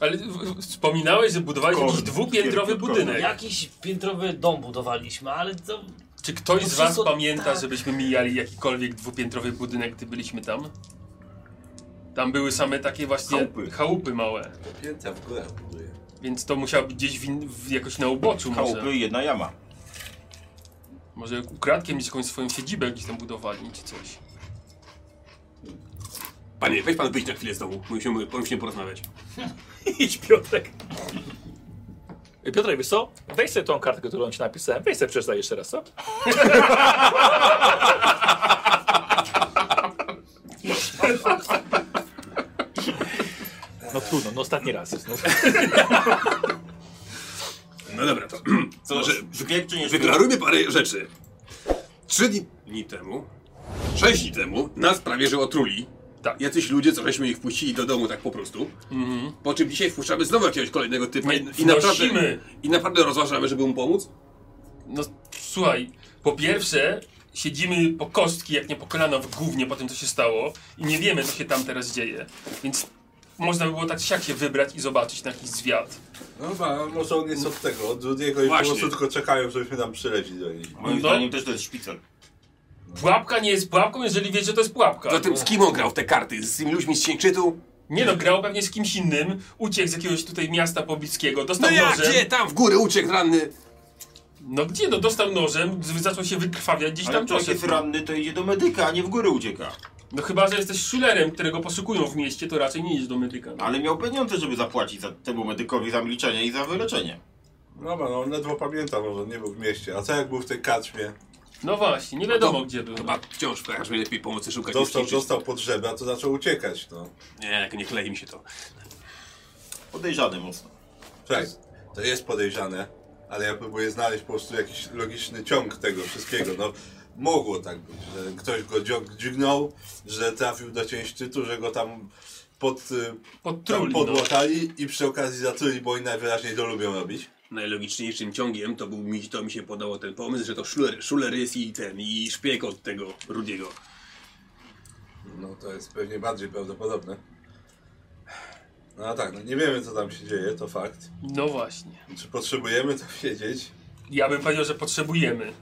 G: Ale w- w- wspominałeś, że budowałeś jakiś
E: Kurde,
G: dwupiętrowy
E: pierdolę.
G: budynek.
J: Jakiś piętrowy dom budowaliśmy, ale to
G: Czy ktoś
D: No
J: To
G: z was
J: wszystko
G: pamięta,
J: tak.
G: żebyśmy mijali jakikolwiek dwupiętrowy budynek, gdy byliśmy tam? Tam były same takie właśnie chałupy,
E: Chałupy.
G: małe,
B: Pięta w górę buduje.
G: więc to musiało być gdzieś w in, w, jakoś na uboczu może.
E: Chałupy i jedna jama.
G: Może ukradkiem gdzieś jakąś swoją siedzibę gdzieś tam budowali czy coś.
D: Panie, weź pan wyjść na chwilę z domu. Musimy, musimy porozmawiać.
A: Idź Piotrek. Ej, E, Piotrek, wiesz co? Weź sobie tą kartkę, którą ci napisałem, weź sobie przeczytaj jeszcze raz, co? No trudno, no ostatni raz jest. No.
D: No dobra, to <clears throat>
E: Co,
D: że-
E: szpieg czy nie szpieg?
D: wyklarujmy parę rzeczy. Trzy dni- dni temu, sześć dni temu, nas prawie że otruli.
G: Tak.
D: Jacyś ludzie, co żeśmy ich wpuścili do domu tak po prostu.
G: Mhm.
D: Po czym dzisiaj wpuszczamy znowu jakiegoś kolejnego typa
G: Nie,
D: i, i, naprawdę,
G: wnosimy.
D: i naprawdę rozważamy, żeby mu pomóc?
G: No słuchaj, po pierwsze siedzimy po kostki, jak nie po kolana w gównie po tym, co się stało i nie wiemy, co się tam teraz dzieje, więc można by było tak siak się wybrać i zobaczyć na jakiś zwiat.
B: No Dobra, może on jest od tego, od drugiego i po
D: Właśnie.
B: prostu tylko czekają, żebyśmy tam przyleci do nich.
E: Moim
G: No.
E: zdaniem też to jest szpicel.
G: Pułapka nie jest pułapką, jeżeli wiesz, że to jest pułapka.
D: Zatem z kim on grał w te karty? Z tymi ludźmi z Cieńczytu?
G: Nie no, grał pewnie z kimś innym, uciekł z jakiegoś tutaj miasta pobliskiego,
D: No
G: dostał
D: ja
G: nożem.
D: gdzie? Tam w góry uciekł ranny.
G: No gdzie? No dostał nożem, z- zaczął się wykrwawiać gdzieś
E: Ale
G: tam
E: to jak jest
G: poszedł.
E: ranny, to idzie do medyka, a nie w górę ucieka.
G: No chyba, że jesteś szulerem, którego poszukują w mieście, to raczej nie idź do medyka. No.
E: Ale miał pieniądze, żeby zapłacić za temu medykowi za milczenie i za wyleczenie.
B: Dobra, no on ledwo pamięta, może nie był w mieście. A co jak był w tej kaczmie?
G: no właśnie, nie wiadomo
D: to-
G: gdzie był.
D: Chyba wciąż w kojarzach lepiej pomocy szukać niż
B: Dostał,
D: Chińczyk.
B: dostał pod żebra, to zaczął uciekać, no.
D: Nie, nie klei mi się to.
E: Podejrzany mocno.
B: Słuchaj,
D: Tak.
B: to jest podejrzane, ale ja próbuję znaleźć po prostu jakiś logiczny ciąg tego wszystkiego. No, mogło tak być, że ktoś go dziog- dźgnął, że trafił do ciężczytu, że go tam pod, y, tam
G: Podtruli, no.
B: podłatali i przy okazji zatruli, bo oni najwyraźniej to lubią robić.
D: Najlogiczniejszym ciągiem to był mi, to mi się podobał ten pomysł, że to szuler, szuler jest i ten, i szpieg od tego Rudiego.
B: No to jest pewnie bardziej prawdopodobne. No a tak, no nie wiemy co tam się dzieje, to fakt.
G: No właśnie.
B: Czy potrzebujemy tak to wiedzieć?
G: Ja bym powiedział, że potrzebujemy.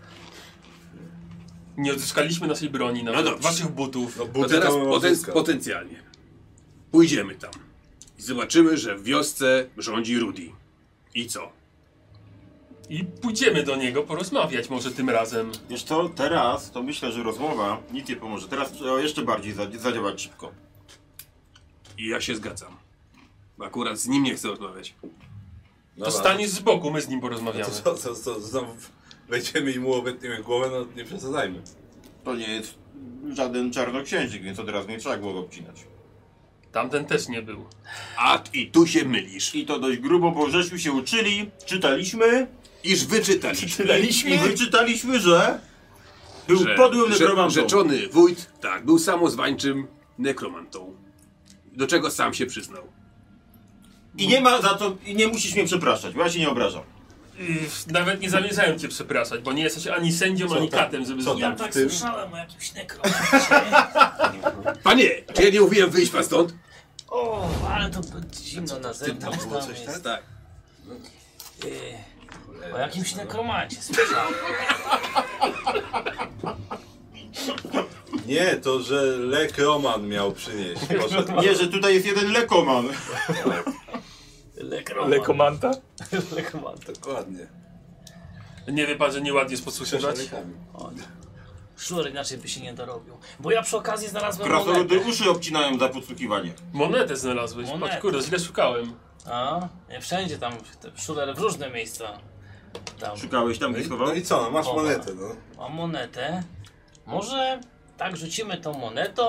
G: Nie odzyskaliśmy naszej broni, nawet
D: dobrze.
G: waszych butów.
B: No
D: No
B: buty
D: teraz
B: to
D: poten
B: odzyskał.
D: potencjalnie. Pójdziemy tam. I zobaczymy, że w wiosce rządzi Rudi. I co?
G: I pójdziemy do niego porozmawiać może tym razem.
E: Wiesz co, teraz to myślę, że rozmowa nic nie pomoże. Teraz trzeba jeszcze bardziej zadzi- zadziałać szybko.
D: I ja się zgadzam. Bo akurat z nim nie chcę rozmawiać.
B: No
G: to
B: dobra. No
G: stanie z boku, my z nim porozmawiamy.
B: To co, co, co, znowu wejdziemy i mu obetniemy głowę, no nie przesadzajmy.
E: To nie jest żaden czarnoksiężnik, więc od razu nie trzeba głowy obcinać.
G: Tamten też nie był.
D: A i tu się mylisz.
E: I to dość grubo, bo żeśmy się uczyli, czytaliśmy <laughs>
D: Iż wyczytaliśmy.
E: i wyczytaliśmy, że Był
D: Że-
E: podłym
D: że-
E: nekromantą.
D: Rzeczony wójt, tak, był samozwańczym nekromantą. Do czego sam się przyznał.
E: I nie ma za to, i nie musisz mnie przepraszać, bo ja się nie obrażam.
G: Yy, Nawet nie zamierzają cię przepraszać, bo nie jesteś ani sędzią, ani
B: tam?
G: katem, żeby
B: Co
J: Ja
G: zmienić.
B: tam?
J: tak
B: Ty-
J: słyszałem o jakimś nekromancie.
D: Panie, czy ja nie mówiłem wyjść pan stąd?
J: <laughs> O, ale to by zimno na zewnątrz tam jest.
D: tak.
J: Yy, O jakimś nekromancie słyszałem.
B: Nie, to że Lek Roman miał przynieść.
J: <laughs>
B: Poszedł.
E: Nie, że tutaj jest jeden lekoman.
J: Lekroman.
A: Lekomanta?
J: Lekomanta.
B: Dokładnie.
G: Nie wypadze nieładnie sposłuchiwać.
J: Szur inaczej by się nie dorobił. Bo ja przy okazji znalazłem monetę.
E: Krasnoludy uszy obcinają za podsłuchiwanie.
G: Monetę znalazłeś.
J: Monetę.
G: Patrz, kurde, źle szukałem.
J: A, nie wszędzie tam, te szuler w różne miejsca. Tam
E: Szukałeś tam, gdzie schował?
B: No i co, no masz monetę, no.
J: mam monetę. Może tak rzucimy tą monetą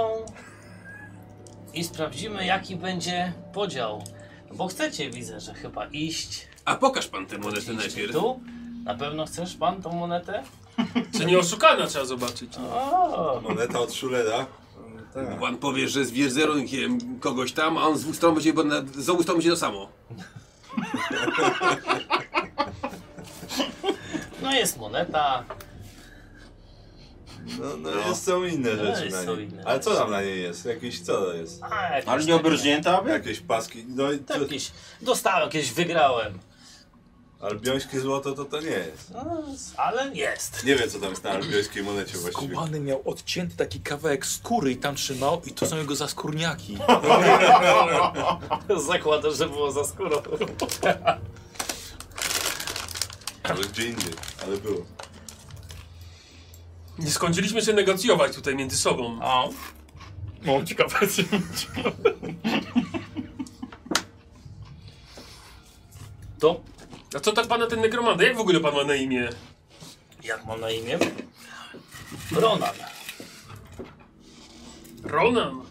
J: i sprawdzimy jaki będzie podział. Bo chcecie, widzę, że chyba iść.
D: A pokaż pan tę monetę najpierw.
J: Tu? Na pewno chcesz pan tą monetę?
G: Czy nie oszukana trzeba zobaczyć?
J: O,
B: Moneta od Schulera. Tak.
D: Pan powie, że z wierzerunkiem kogoś tam, a on z dwóch stron będzie, bo na, z obu stron będzie to samo.
J: no jest moneta.
B: No, no, jest są inne
J: No,
B: rzeczy
J: jest
B: na
J: są
B: niej.
J: inne
B: Ale co tam na niej jest? Jakieś co to jest?
J: A, jakieś
E: Ale nie
J: takie-
E: obrżnięta, aby?
B: Jakieś paski. No i to,
J: Jakieś, dostałem, jakieś wygrałem.
B: albiońskie złoto to to nie jest.
J: No, ale jest. <laughs>
B: Nie wiem co tam jest na albiońskiej monecie właściwie.
A: Kubany miał odcięty taki kawałek skóry i tam trzymał i to są jego <laughs> zaskórniaki.
J: Zakładam, że było za skórą.
B: Ale gdzie indziej, ale było.
G: Nie skończyliśmy się negocjować tutaj między sobą.
J: O,
A: No, ciekawe.
J: to
G: A co tak pana ten nekromanta? Jak w ogóle pan ma na imię?
J: jak mam na imię? Ronan.
G: Ronan.
E: A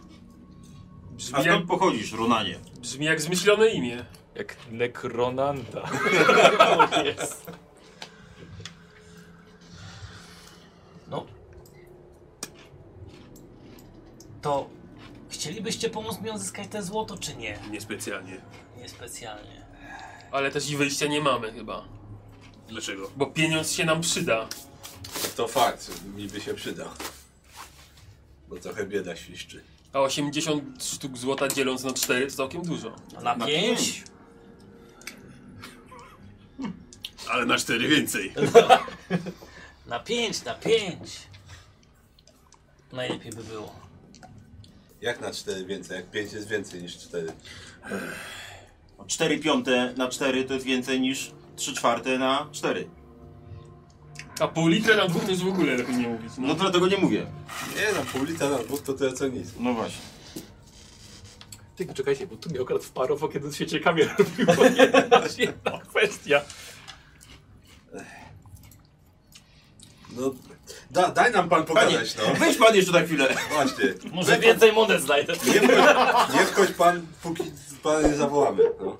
G: Brzmi jak,
E: skąd pochodzisz, Runanie?
G: brzmi jak zmyślone imię.
A: Jak nekronanta.
J: No. To chcielibyście pomóc mi odzyskać te złoto, czy nie?
D: Niespecjalnie.
J: Niespecjalnie.
G: Ale też i wyjścia nie mamy chyba.
D: Dlaczego?
G: Bo pieniądz się nam przyda.
B: To fakt, mi by się przydał. Bo trochę bieda świszczy.
G: A 80 sztuk złota dzieląc na 4 to całkiem dużo.
J: A No, Na,
E: Na
J: pięć?
E: pięć.
D: Ale na cztery więcej.
J: Na pięć, na pięć. Najlepiej by było.
B: Jak na cztery więcej? Jak pięć jest więcej niż cztery.
E: O 4 piąte na 4 to jest więcej niż 3 czwarte na 4.
G: A pół litra na dwóch to już w ogóle lepiej nie mówić. No.
E: No dlatego nie mówię.
B: Nie no, pół litra na dwóch to tyle co nic.
E: No właśnie.
A: Ty, poczekajcie, bo tu mnie akurat wparowo, kiedy się ciekawie robiło. <laughs> Jedna, jedna kwestia.
B: No, da, daj nam pan
E: Panie,
B: pogadać, no.
E: weź pan jeszcze na chwilę.
B: Właśnie.
J: Może więcej monet znajdę.
B: Nie wchodź, nie wchodź pan, póki pana nie zawołamy. No.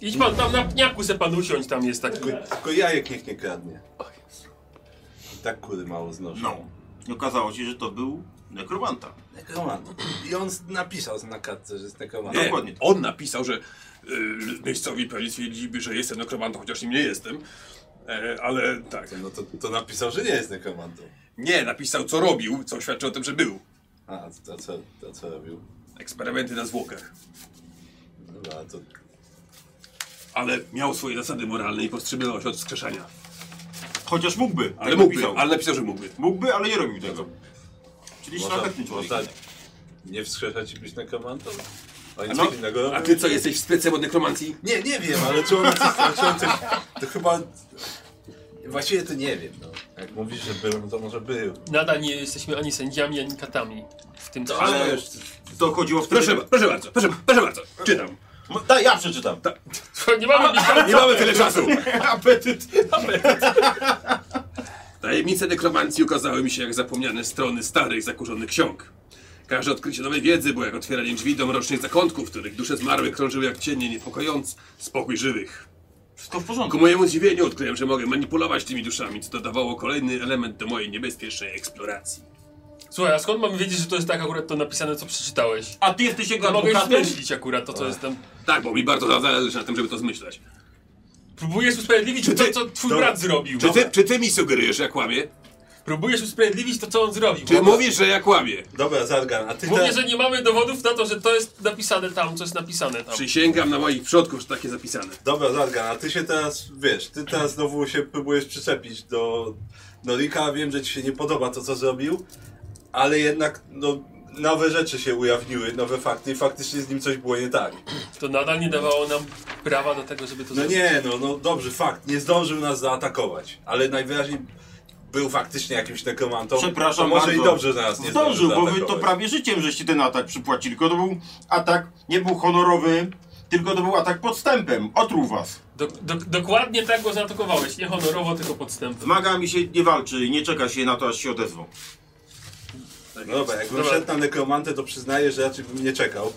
G: Idź pan tam na pniaku se pan usiądź, tam jest taki.
B: Tylko, tylko jajek niech nie kradnie. I tak kury mało znoszą.
E: No. I okazało się, że to był nekromanta.
B: Nekromant. I on z- napisał na kartce, że jest nekromant.
D: Nie,
E: Dokładnie.
D: on napisał, że yy, miejscowi pewnie stwierdziliby, że jestem nekromantą, chociaż nim nie jestem. E, ale tak.
B: No to, to napisał, że nie jest nekromantą.
D: Nie, napisał co robił, co świadczy o tym, że był.
B: A, to co, to co robił?
D: Eksperymenty na zwłokach.
B: Dobra, to...
D: Ale miał swoje zasady moralne i powstrzymywał się od wskrzeszania.
E: Chociaż mógłby.
D: Ale
E: tak
D: mógłby,
E: napisał.
D: ale napisał, że mógłby.
E: Mógłby, ale nie robił tego. Czyli szlachetny człowiek.
B: można nie wskrzeszać i być nekromantą? Oni
D: No,
B: co innego robią?
D: a ty co, jesteś w specem od nekromancji?
B: Nie, nie wiem, ale czy on coś, czy on coś To chyba... Właściwie to nie wiem, no. Jak mówisz, że był, no to może był.
G: Nadal nie jesteśmy ani sędziami, ani katami. W tym czasie.
E: Ale to chodziło wtedy...
D: Proszę, proszę bardzo, proszę, proszę bardzo, czytam.
E: No, Daj, ja przeczytam.
G: <laughs> Nie mamy nic
D: Nie mamy tyle czasu.
E: Apetyt.
D: Tajemnice nekromancji ukazały mi się jak zapomniane strony starych, zakurzonych ksiąg. Każde odkrycie nowej wiedzy było jak otwieranie drzwi do mrocznych zakątków, w których dusze zmarłych krążyły jak cienie, niepokojąc spokój żywych.
E: Wszystko w
D: Ku
E: porządku.
D: mojemu zdziwieniu odkryłem, że mogę manipulować tymi duszami, co dodawało kolejny element do mojej niebezpiecznej eksploracji.
G: Słuchaj, a skąd mam wiedzieć, że to jest tak akurat to napisane, co przeczytałeś?
E: A ty jesteś jego
G: Ja mogę już
E: adwokatem?
G: zmyślić akurat to, co jest tam.
D: Tak, bo mi bardzo zależy na tym, żeby to zmyślać.
G: Próbujesz usprawiedliwić to, co twój
B: Dobra.
G: brat zrobił.
D: Czy ty, czy ty mi sugerujesz, że ja kłamię?
G: Próbujesz usprawiedliwić to, co on zrobił.
D: Czy mówisz, że ja kłamię?
B: Dobra, Zargan, a ty
G: Mówię,
B: te...
G: że nie mamy dowodów na to, że to jest napisane tam, co jest napisane tam.
D: Przysięgam na moich przodków, że takie zapisane.
B: Dobra, Zargan, a ty się teraz, wiesz, ty teraz znowu się próbujesz przyczepić do, do Rika, wiem, że ci się nie podoba to, co zrobił, ale jednak, no, nowe rzeczy się ujawniły, nowe fakty i faktycznie z nim coś było nie tak.
G: To nadal nie dawało nam prawa do tego, żeby to
B: No
G: zrobić.
B: nie, no, no dobrze, fakt, nie zdążył nas zaatakować, ale najwyraźniej był faktycznie jakimś nekromantą.
E: Przepraszam
B: to może
E: bardzo.
B: i dobrze, że nas nie
E: Zdążył, bo wy to
B: zaatakować.
E: prawie życiem żeście ten atak przypłacili. Tylko to był atak, nie był honorowy, tylko to był atak podstępem. Otruł was.
G: Do, do, dokładnie tak go zaatakowałeś, nie honorowo, tylko podstępem.
E: Maga mi się nie walczy i nie czeka się na to, aż się odezwą. Tak
B: No dobra, jakbym
G: Dobra.
B: szedł na nekromantę, to przyznaję, że raczej bym nie czekał.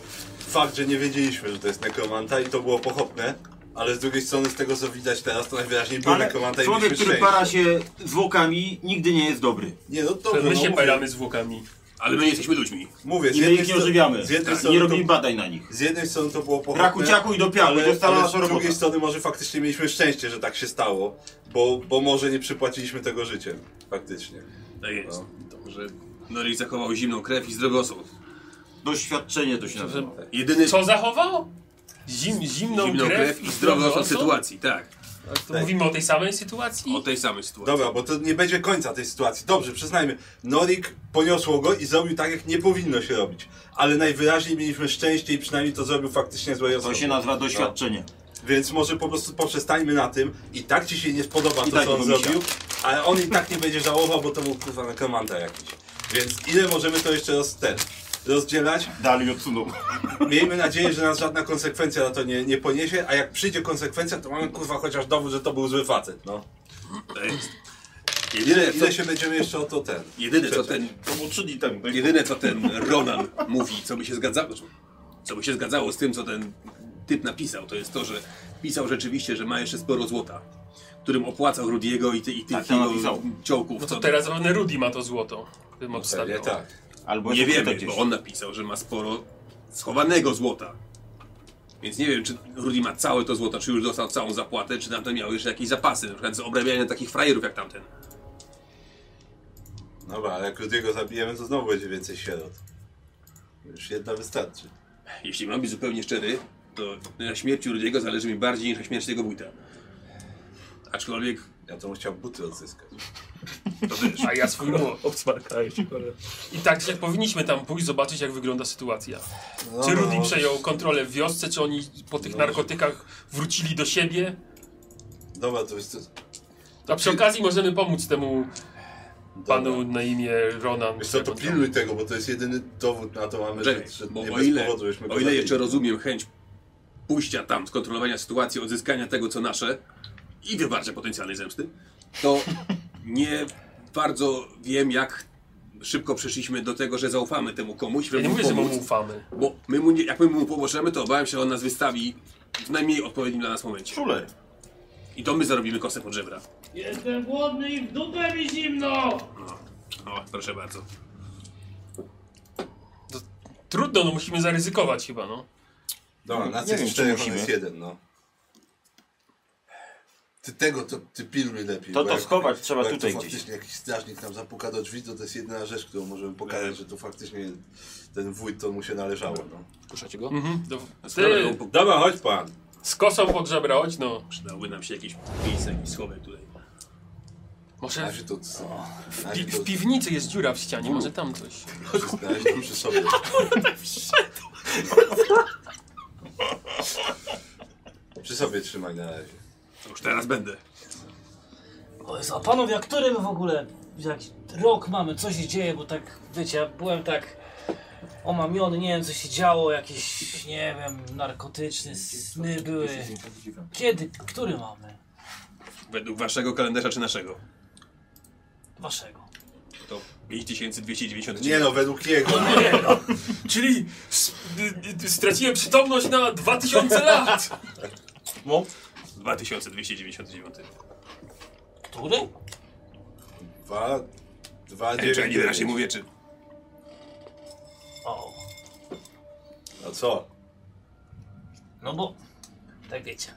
B: Fakt, że nie wiedzieliśmy, że to jest nekromanta i to było pochopne, ale z drugiej strony z tego co widać teraz, to najwyraźniej był
E: Ale
B: nekromanta i
E: człowiek,
B: mieliśmy
E: który
B: szczęście.
E: para się zwłokami, nigdy nie jest dobry.
B: Nie, no
G: To
B: dobrze,
G: my
B: no,
G: się
B: mówię,
G: paramy zwłokami.
D: Ale my nie jesteśmy ludźmi.
B: mówię, z
E: I my
B: jednej
E: ich nie
B: stro-
E: ożywiamy. Tak,
B: Z jednej,
E: Nie
B: strony to,
E: robimy badań na nich.
B: z jednej strony to było pochopne,
E: Braku ciaku i do piachu, to
B: ale,
E: jest cała
B: ale
E: nasza
B: z
E: robota.
B: drugiej strony może faktycznie mieliśmy szczęście, że tak się stało, bo, bo może nie przypłaciliśmy tego życiem, faktycznie.
D: Tak jest. To może Nori No zachował zimną krew i zdrowy osąd.
E: Doświadczenie to się nazywa.
D: Jedyny
G: Co zachował? Zim, zimną,
D: zimną krew i zdrowy osąd sytuacji, tak.
G: A To mówimy o tej samej sytuacji?
D: O tej samej sytuacji.
B: Dobra, bo to nie będzie końca tej sytuacji. Dobrze, przyznajmy, Norik poniosło go i zrobił tak, jak nie powinno się robić. Ale najwyraźniej mieliśmy szczęście i przynajmniej to zrobił faktycznie złej
E: To
B: osobie.
E: się nazywa doświadczenie.
B: Więc może po prostu poprzestańmy na tym i tak ci się nie spodoba to,
E: tak
B: co on
E: go misia.
B: zrobił, ale on i tak nie będzie żałował, bo to był kurwa nekromanta jakiś. Więc ile możemy to jeszcze roz, ten, rozdzielać?
E: Dalej odsunął.
B: Miejmy nadzieję, że nas żadna konsekwencja na to nie, nie poniesie, a jak przyjdzie konsekwencja, to mamy kurwa chociaż dowód, że to był zły facet, no.
D: To jest.
B: Ile,
D: Jedyne, co,
B: ile się będziemy jeszcze o to ten...
D: jedyne, co ten
E: To było trzy dni temu.
B: tak?
D: Jedyne co ten Ronan mówi, co by się zgadzało, znaczy, co by się zgadzało z tym, co ten typ napisał, to jest to, że pisał rzeczywiście, że ma jeszcze sporo złota, którym opłacał Rudiego i, ty, i tych
E: Tak, to
D: jego
E: napisał.
D: ciołków.
G: No
D: Co
G: to teraz pewnie Rudy ma to złoto.
D: No
G: Bym
B: Nie,
G: obstawiał.
B: tak.
E: Albo
D: nie
E: jest
D: wiemy,
E: ukryte
D: bo
E: gdzieś.
D: on napisał, że ma sporo schowanego złota. Więc nie wiem, czy Rudy ma całe to złoto, czy już dostał całą zapłatę, czy tamten miał jeszcze jakieś zapasy, na przykład z obrabiania takich frajerów jak tamten.
B: Dobra, ale jak Rudiego zabijemy, to znowu będzie więcej sierot. Już jedna wystarczy.
D: Jeśli mam być zupełnie szczery, to na śmierci Rudiego zależy mi bardziej niż na śmierci tego wójta. Aczkolwiek
B: Ja to bym chciał buty odzyskać.
G: A ja swój młot.
A: Obsmarkałeś, ale...
G: I tak jak powinniśmy tam pójść, zobaczyć jak wygląda sytuacja.
B: No,
G: Czy Rudy przejął kontrolę w wiosce, czy oni po tych narkotykach wrócili do siebie?
B: Dobra, to jest...
G: A przy okazji możemy pomóc temu panu
B: Dobra.
G: na imię Ronan.
B: Wiesz co, to pilnuj tego, bo to jest jedyny dowód na to mamy, że,
D: Czekaj,
B: że
D: bo
B: nie
D: o
B: bez
D: ile,
B: powodu żeśmy go
D: o ile
B: zabili.
D: jeszcze rozumiem chęć pójścia tam, skontrolowania sytuacji, odzyskania tego, co nasze i wywarcia potencjalnej zemsty, to nie bardzo wiem, jak szybko przeszliśmy do tego, że zaufamy temu komuś,
G: Ja
D: żeby
G: nie
D: mu
G: mówię, że mu
D: pomóc,
G: ufamy.
D: bo my mu nie, jak my mu pomożemy, to obawiam się, że on nas wystawi w najmniej odpowiednim dla nas momencie.
E: Czule.
D: I to my zarobimy kosę pod żebra.
J: Jestem głodny i w dupę mi zimno!
D: No, o, proszę bardzo.
G: Trudno, no musimy zaryzykować chyba, no.
B: Dobra, na
E: Nie
B: co
E: wiem,
B: jest
E: czy
B: cztery,
E: musimy.
B: jest jeden, no. Ty tego, to ty pilnuj lepiej.
E: To
B: bo
E: to
B: jak-
E: schować trzeba
B: bo jak
E: tutaj
B: to
E: gdzieś.
B: faktycznie jakiś strażnik nam zapuka do drzwi, to to jest jedyna rzecz, którą możemy
E: E.
B: pokazać, że to faktycznie ten wójt to mu się należało, no.
A: Puszczacie go?
G: Mhm. Do,
D: Sprawę,
G: ty,
D: bo
B: Dobra, chodź pan.
G: z kosą pod żebra, chodź no.
D: Przydałby nam się jakieś miejsce, jakiś schowek tutaj.
B: Na
G: Może
B: razie to... Na
G: w,
B: razie
G: pi-
B: to
G: w piwnicy jest dziura w ścianie, może tam coś.
B: na razie to przy
E: <laughs>
B: sobie. Przy sobie trzymaj na razie.
D: To już teraz będę.
J: O Jezu, a panowie, a który my w ogóle, jak rok mamy, co się dzieje, bo tak, wiecie, ja byłem tak omamiony, nie wiem co się działo, jakieś, nie wiem, narkotyczne sny były. Kiedy, który mamy?
D: Według waszego kalendarza czy naszego?
J: Waszego.
D: To 5290.
B: Nie no, według jego.
G: Czyli s- y- y- straciłem przytomność na 2000 lat!
E: No.
D: 2299.
J: Który?
B: Dwa, dwa,
D: Ej, Czy ja
B: dziewięć,
D: nie raczej
B: dziewięć.
D: mówię, czy...
J: O,
B: No co?
J: no bo, tak wiecie,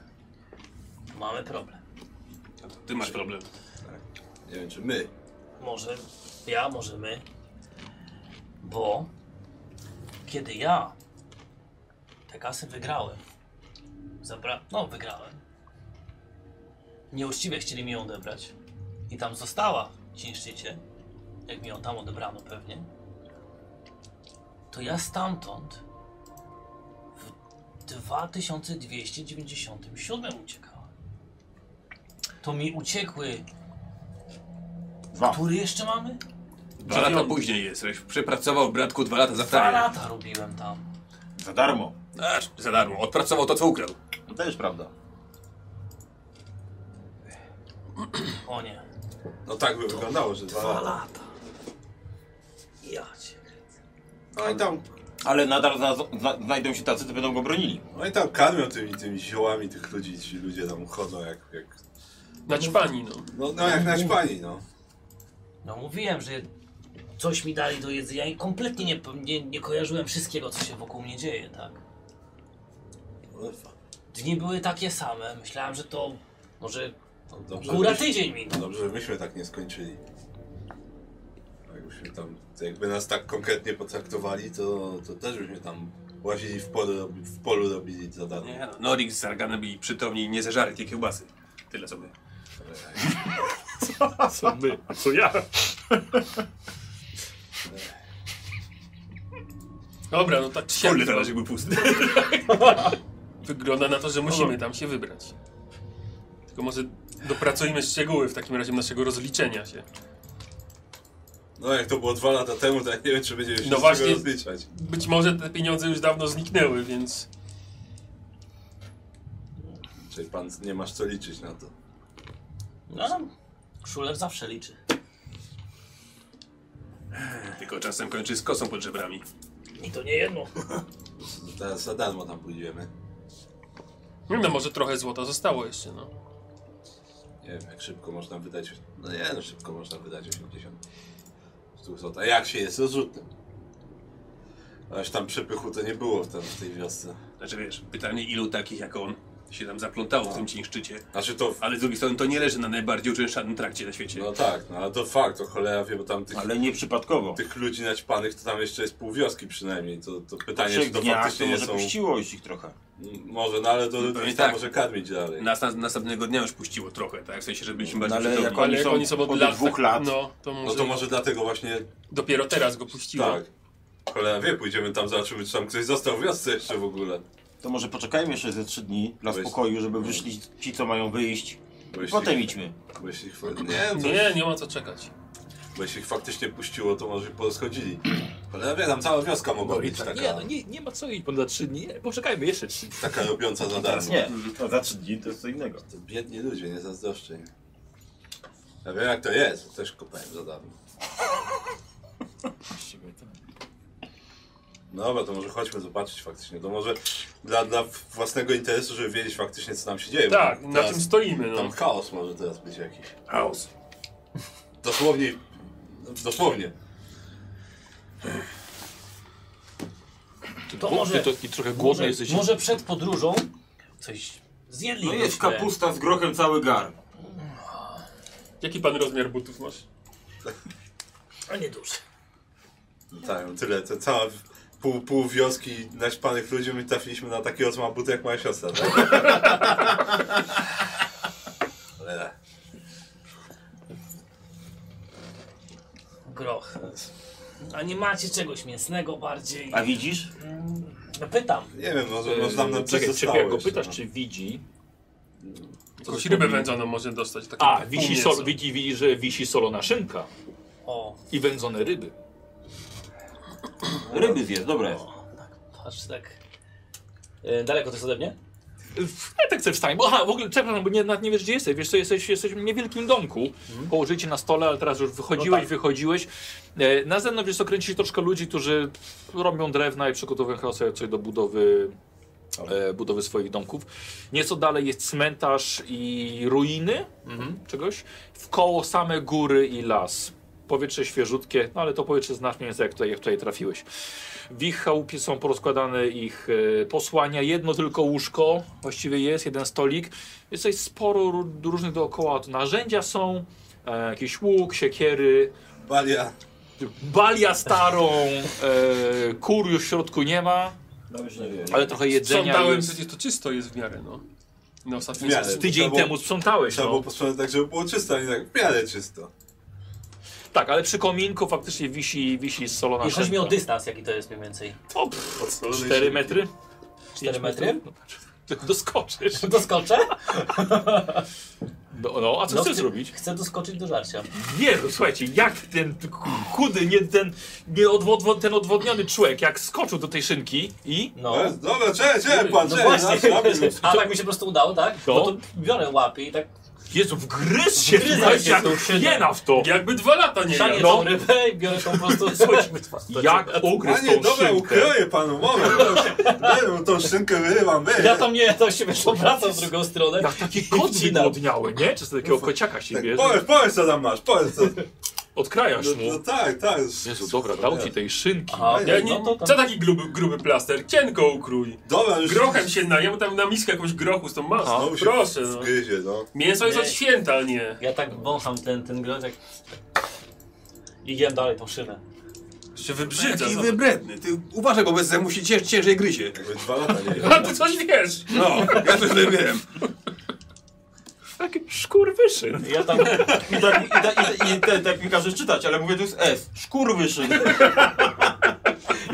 J: mamy problem.
D: No to Ty masz problem.
B: Nie wiem, czy my.
J: Może ja, może my. Bo kiedy ja te kasy wygrałem, zabra... no wygrałem, nieuczciwie chcieli mi ją odebrać i tam została w ciężczycie, jak mi ją tam odebrano pewnie, to ja stamtąd w 2297 uciekałem. To mi uciekły,
E: Dwa.
J: który jeszcze mamy?
D: Dwa lata później jesteś. Przepracował bratku dwa lata za
J: Dwa
D: wtarę.
J: lata robiłem tam.
E: Za darmo.
D: Aż za darmo. Odpracował to, co ukradł.
E: To też prawda.
J: O nie.
B: No tak by wyglądało, że dwa lata.
J: lata. Ja cię.
B: No i tam,
E: Ale nadal zna, zna, znajdą się tacy, co będą go bronili.
B: no i tam karmią tymi, tymi ziołami tych ludzi, ci ludzie tam chodzą jak, jak
G: Na czpani, no.
B: no, no jak nać pani, no.
J: No mówiłem, że coś mi dali do jedzenia i kompletnie nie, nie, nie kojarzyłem wszystkiego, co się wokół mnie dzieje, tak?
B: Kurwa.
J: Dni były takie same. Myślałem, że to może
B: No dobrze,
J: góra
B: byś-
J: tydzień minął.
B: Dobrze, że myśmy tak nie skończyli. Jakbyśmy tam, jakby nas tak konkretnie potraktowali, to, to też byśmy tam łazili w polu, robi- w polu robili zadanie.
D: Nie no, Norik z Zarganem byli przytomni i nie zeżarli tej kiełbasy. Tyle sobie.
A: A co my? A co ja?
G: Dobra, no tak czy siak
D: Kurde, teraz jakby pusty.
G: wygląda na to, że musimy tam się wybrać. Tylko może dopracujmy szczegóły w takim razie naszego rozliczenia się.
B: No jak to było dwa lata temu, to ja nie wiem, czy będziemy się
G: No
B: z
G: właśnie.
B: tego rozliczać.
G: Być może te pieniądze już dawno zniknęły, więc
B: Czyli pan nie masz co liczyć na to.
J: No, Szuler zawsze liczy.
D: Tylko czasem kończy z kosą pod żebrami.
J: I to nie jedno.
B: Teraz za darmo tam pójdziemy.
G: nie no może trochę złota zostało jeszcze, no.
B: Nie wiem, jak szybko można wydać. No nie, no szybko można wydać 80. Sztuk złota. A jak się jest rozrzutnym? Aż tam przepychu to nie było w, tam, w tej wiosce.
D: Znaczy wiesz, pytanie ilu takich jak on się tam zaplątało w tym cińszczycie.
B: Znaczy to.
D: Ale z drugiej strony to nie leży na najbardziej uczęszczanym trakcie na świecie.
B: No tak, no ale to fakt, to cholera wie, bo tam tych,
E: Ale nie przypadkowo.
B: tych ludzi naćpanych to tam jeszcze jest pół wioski przynajmniej. To, to pytanie, czy
E: Trzech
B: to
E: dniach to
B: faktycznie nie
E: może
B: są.
E: puściło już ich trochę.
B: M- Może, no ale to
D: No
B: ludzi
D: pewnie
B: tam
D: tak.
B: może karmić dalej.
D: Nas na, następnego dnia już puściło trochę, tak? W sensie, że byliśmy
E: No,
D: bardziej
E: ale
D: przytomni.
E: jak oni
G: Ale jak
E: są
G: oni są od
E: od
G: lat,
E: dwóch
G: tak-
E: lat.
G: No, to może,
B: No to może dlatego właśnie
G: dopiero teraz go puściło.
B: tak. Cholera wie, pójdziemy tam, zobaczymy, czy tam ktoś został w wiosce jeszcze w ogóle.
E: To może poczekajmy jeszcze ze trzy dni dla
B: Weź-
E: spokoju, żeby wyszli ci, co mają wyjść.
B: Bo jeśli-
E: Potem idźmy.
B: Bo jeśli, chwa- nie, to,
G: Nie, nie ma co czekać.
B: bo jeśli ich faktycznie puściło, to może się poschodzili. Ale wie, tam cała wioska mogła być
G: Tak.
B: taka,
A: Nie, no nie, nie ma co iść, bo za trzy dni. Poczekajmy jeszcze trzy dni.
B: taka robiąca za darmo.
E: Nie, to za trzy dni to jest co innego.
B: To biedni ludzie, nie zazdroszczę im. Ja wiem jak to jest, bo też kopałem za darmo.
A: Właściwie to-
B: No Dobra, to może chodźmy zobaczyć faktycznie. To może dla, dla własnego interesu, żeby wiedzieć faktycznie co nam się dzieje. bo
G: Tak, na
B: teraz-
G: czym stoimy, no.
B: Tam chaos może teraz być jakiś.
D: Chaos.
B: Dosłownie, dosłownie.
J: To
A: Bo
J: może,
A: Ty to taki trochę głodny
J: może,
A: jesteś.
J: może przed podróżą coś zjedli.
E: No jest
J: trochę.
E: kapusta z grochem cały gar.
G: Jaki pan rozmiar butów masz?
J: A nie dużo.
B: Tak, tyle, to cała pół, pół wioski naśpanych ludzi, my trafiliśmy na taki osma buty jak moja siostra, tak? <laughs> Cholera.
J: Groch. A nie macie czegoś mięsnego bardziej?
E: A widzisz?
J: No Pytam.
B: Nie wiem, może, może nam
A: Eee,
B: nam coś
A: Czekaj,
B: zostało
A: czekaj, jak go
B: jeszcze,
A: pytasz,
B: no.
A: czy widzi.
G: Jakąś rybę wędzoną może dostać. Taką
A: A, wisi,
G: mięso.
A: sol, widzi, widzi, że wisi solona szynka
J: O,
A: i wędzone ryby.
E: Ryby zjedz, dobra jest.
J: patrz tak. E, daleko to jest ode mnie?
A: Ja tak sobie wstałem. Aha, w ogóle, przepraszam, bo nie, nawet nie wiesz, gdzie jesteś. Wiesz co, jesteś, jesteś w niewielkim domku. Położyli cię na stole, ale teraz już wychodziłeś, wychodziłeś. E, na zewnątrz jest okręci troszkę ludzi, którzy robią drewna i przygotowują chyba sobie coś do budowy e, budowy swoich domków. Nieco dalej jest cmentarz i ruiny czegoś. W koło same góry i las. Powietrze świeżutkie, no ale to powietrze znacznie jest jak tutaj, jak tutaj trafiłeś. W ich chałupie są porozkładane ich e, posłania. Jedno tylko łóżko właściwie jest, jeden stolik. Jest tutaj sporo ró- różnych dookoła. Tu narzędzia są, e, jakiś łuk, siekiery,
B: Balia.
A: balia starą, e, kur już w środku nie ma, ale trochę jedzenia
G: Sprzątałem
A: jest.
G: przecież to czysto jest w miarę, no. Na ostatnim
B: W miarę.
G: sesji.
A: Tydzień
B: Trzeba było-
A: temu sprzątałeś,
B: Trzeba
A: no.
B: było posprzątać tak, żeby było czysto, a nie tak w miarę czysto.
A: Tak, ale przy kominku faktycznie wisi, wisi solona
J: I chodź mi o
A: szynka.
J: dystans, jaki to jest mniej więcej.
A: O, pff,
B: Odsolone
A: 4 metry? <laughs>
J: 4 metry? <laughs>
A: No, Doskoczysz.
J: Doskoczę?
A: No, no a co
J: No,
A: chcesz
J: ty-
A: zrobić?
J: Chcę doskoczyć do żarcia.
A: Jezu, no słuchajcie, jak ten chudy, nie, ten, nie odwo, odwo- ten odwodniony człowiek, jak skoczył do tej szynki i...
J: No.
B: No. Dobra, czekaj, czekaj pan,
J: No
B: czekaj,
J: właśnie.
A: <laughs>
B: nasz nabiór.
J: A tak mi się po prostu udało, tak?
A: No.
J: No to biorę łapy i tak
A: Jezu, wgryz się,
J: Wgryzaj
A: słuchajcie,
J: się
A: jak
J: w tą szynę.
A: hiena w to.
G: Jakby dwa lata nie
J: szanię
A: no.
J: tą rybę i biorę tą po prostu...
A: Jak ugryz
B: Panie,
A: tą
B: dobra,
A: szynkę.
B: ukroję panu, moment. Dobrze, tą szynkę wyrywam, wy.
J: Ja tam nie, tam się wiesz, obracam w drugą stronę.
A: Jak taki kot
J: Wcinam.
A: wygłodniały, nie? Czy z takiego kociaka się
B: Tak,
A: bierze?
B: powiedz, powiedz co tam masz, powiedz co.
A: Odkrajasz
B: No,
A: mu.
B: no tak, tak.
A: Jezu, dobra, dał ci tej szynki.
J: Aha,
G: Ja
J: no
G: nie,
J: to tam...
G: co taki gruby, gruby plaster? Cienko ukrój.
B: Dobra, już
G: Grochem się na, ja mu tam na miskę jakąś grochu z tą masą.
B: znowu się
G: Proszę, no.
B: wgryzie, no.
G: Mięso jest
J: Nie.
G: od święta, a nie.
J: Ja tak wącham ten, ten grot, jak... I jem dalej tą szynę.
G: Się wybrzydza. no.
D: Taki
G: za-
D: wybredny. Ty uważaj, bo bez zębu się cię, ciężej gryzie.
B: Jakby dwa lata nie
G: <laughs> <laughs> A ty coś wiesz.
D: No, ja to tyle wiem.
A: Taki szkurwyszyn.
J: Ja tam...
E: I tak, i, tak, i, tak- i ten, tak mi każe czytać, ale mówię, to jest F. Szkurwyszyn.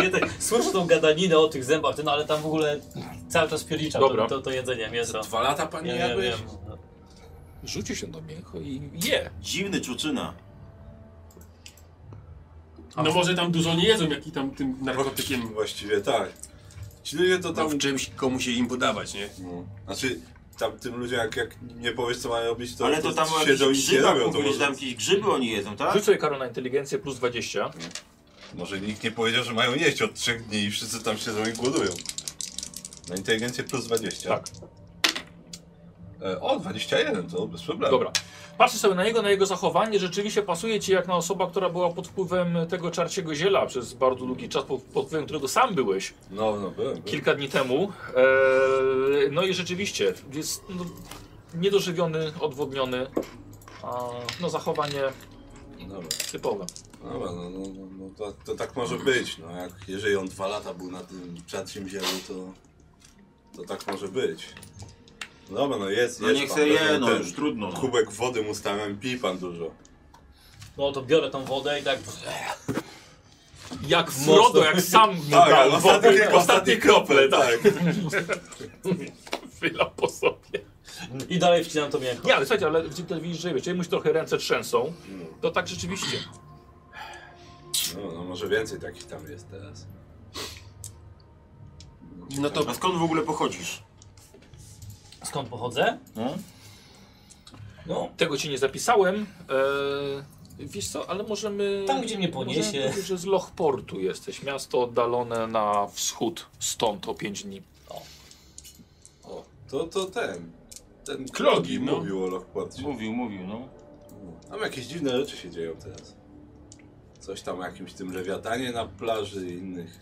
J: Ja tak słyszę tą gadaninę o tych zębach, ty, no ale tam w ogóle cały czas pierniczam
A: Dobra.
J: to, to, to jedzenie mięso.
D: Dwa lata pan
J: Nie,
D: nie
J: nie,
D: jadłeś?
J: wiem.
A: Rzucił się do mięcho i je.
E: Dziwny czuczyna.
G: No może tam dużo nie jedzą, jak i tam tym narkotykiem.
B: Właściwie tak. Ci ludzie to
D: No,
B: tam...
D: w czymś komu się im podawać, nie?
B: No. Znaczy, tam tym ludziom jak, jak nie powiesz co mają robić, to,
E: Ale to tam
B: siedzą i
E: jakieś
B: nic nie
E: grzyby,
B: robią. To
E: mówili, że tam
B: może,
E: jakieś grzyby oni jedzą, tak?
A: Rzuć sobie Karol na inteligencję plus 20.
B: może nikt nie powiedział, że mają jeść od trzech dni i wszyscy tam siedzą i głodują. Na inteligencję plus 20.
A: Tak.
B: E, o, 21, to bez problemu.
A: Dobra. Patrzę sobie na niego, na jego zachowanie. Rzeczywiście pasuje ci jak na osoba, która była pod wpływem tego czarciego ziela przez bardzo długi czas, pod, pod wpływem którego sam byłeś
B: No, no, byłem, byłem.
A: kilka dni temu. Eee, no i rzeczywiście jest no, niedożywiony, odwodniony. A, no zachowanie
B: Dobra.
A: typowe.
B: Dobra, no, no, no, no to, to tak może być. No, jak, jeżeli on dwa lata był na tym czarcim zielu, to, to tak może być. Dobra, no jest,
E: No
B: jest.
E: niech
B: pan,
E: se je,
B: pewnie
E: no
B: ten
E: już trudno. No.
B: Kubek wody mu stałem, pij pan dużo.
J: No to biorę tą wodę i tak...
A: Jak Frodo, jak sam
E: Tak,
A: nabrał
B: ale ostatnie-
A: wody, ostatnie
B: ostatnie
A: krople, tak,
B: Tak.
A: wyla po sobie.
J: I dalej wcinam to mięcho.
A: Nie, ale słuchajcie, ale widzicie, widzisz, że wiesz, mu się trochę ręce trzęsą, to tak rzeczywiście.
B: No, no może więcej takich tam jest teraz.
G: No to
E: A skąd w ogóle pochodzisz?
J: Skąd pochodzę?
E: No?
J: No,
A: Tego ci nie zapisałem. Eee, wiesz co, ale możemy.
J: Tam, gdzie mnie poniesie.
A: możemy powiedzieć, że z Lochportu jesteś. Miasto oddalone na wschód stąd o 5 dni.
B: O, to, to ten. Ten
G: Klogi, no.
B: mówił o Lochporcie.
E: Mówił, mówił, no.
B: Tam jakieś dziwne rzeczy się dzieją teraz. Coś tam o jakimś tym lewiatanie na plaży i innych.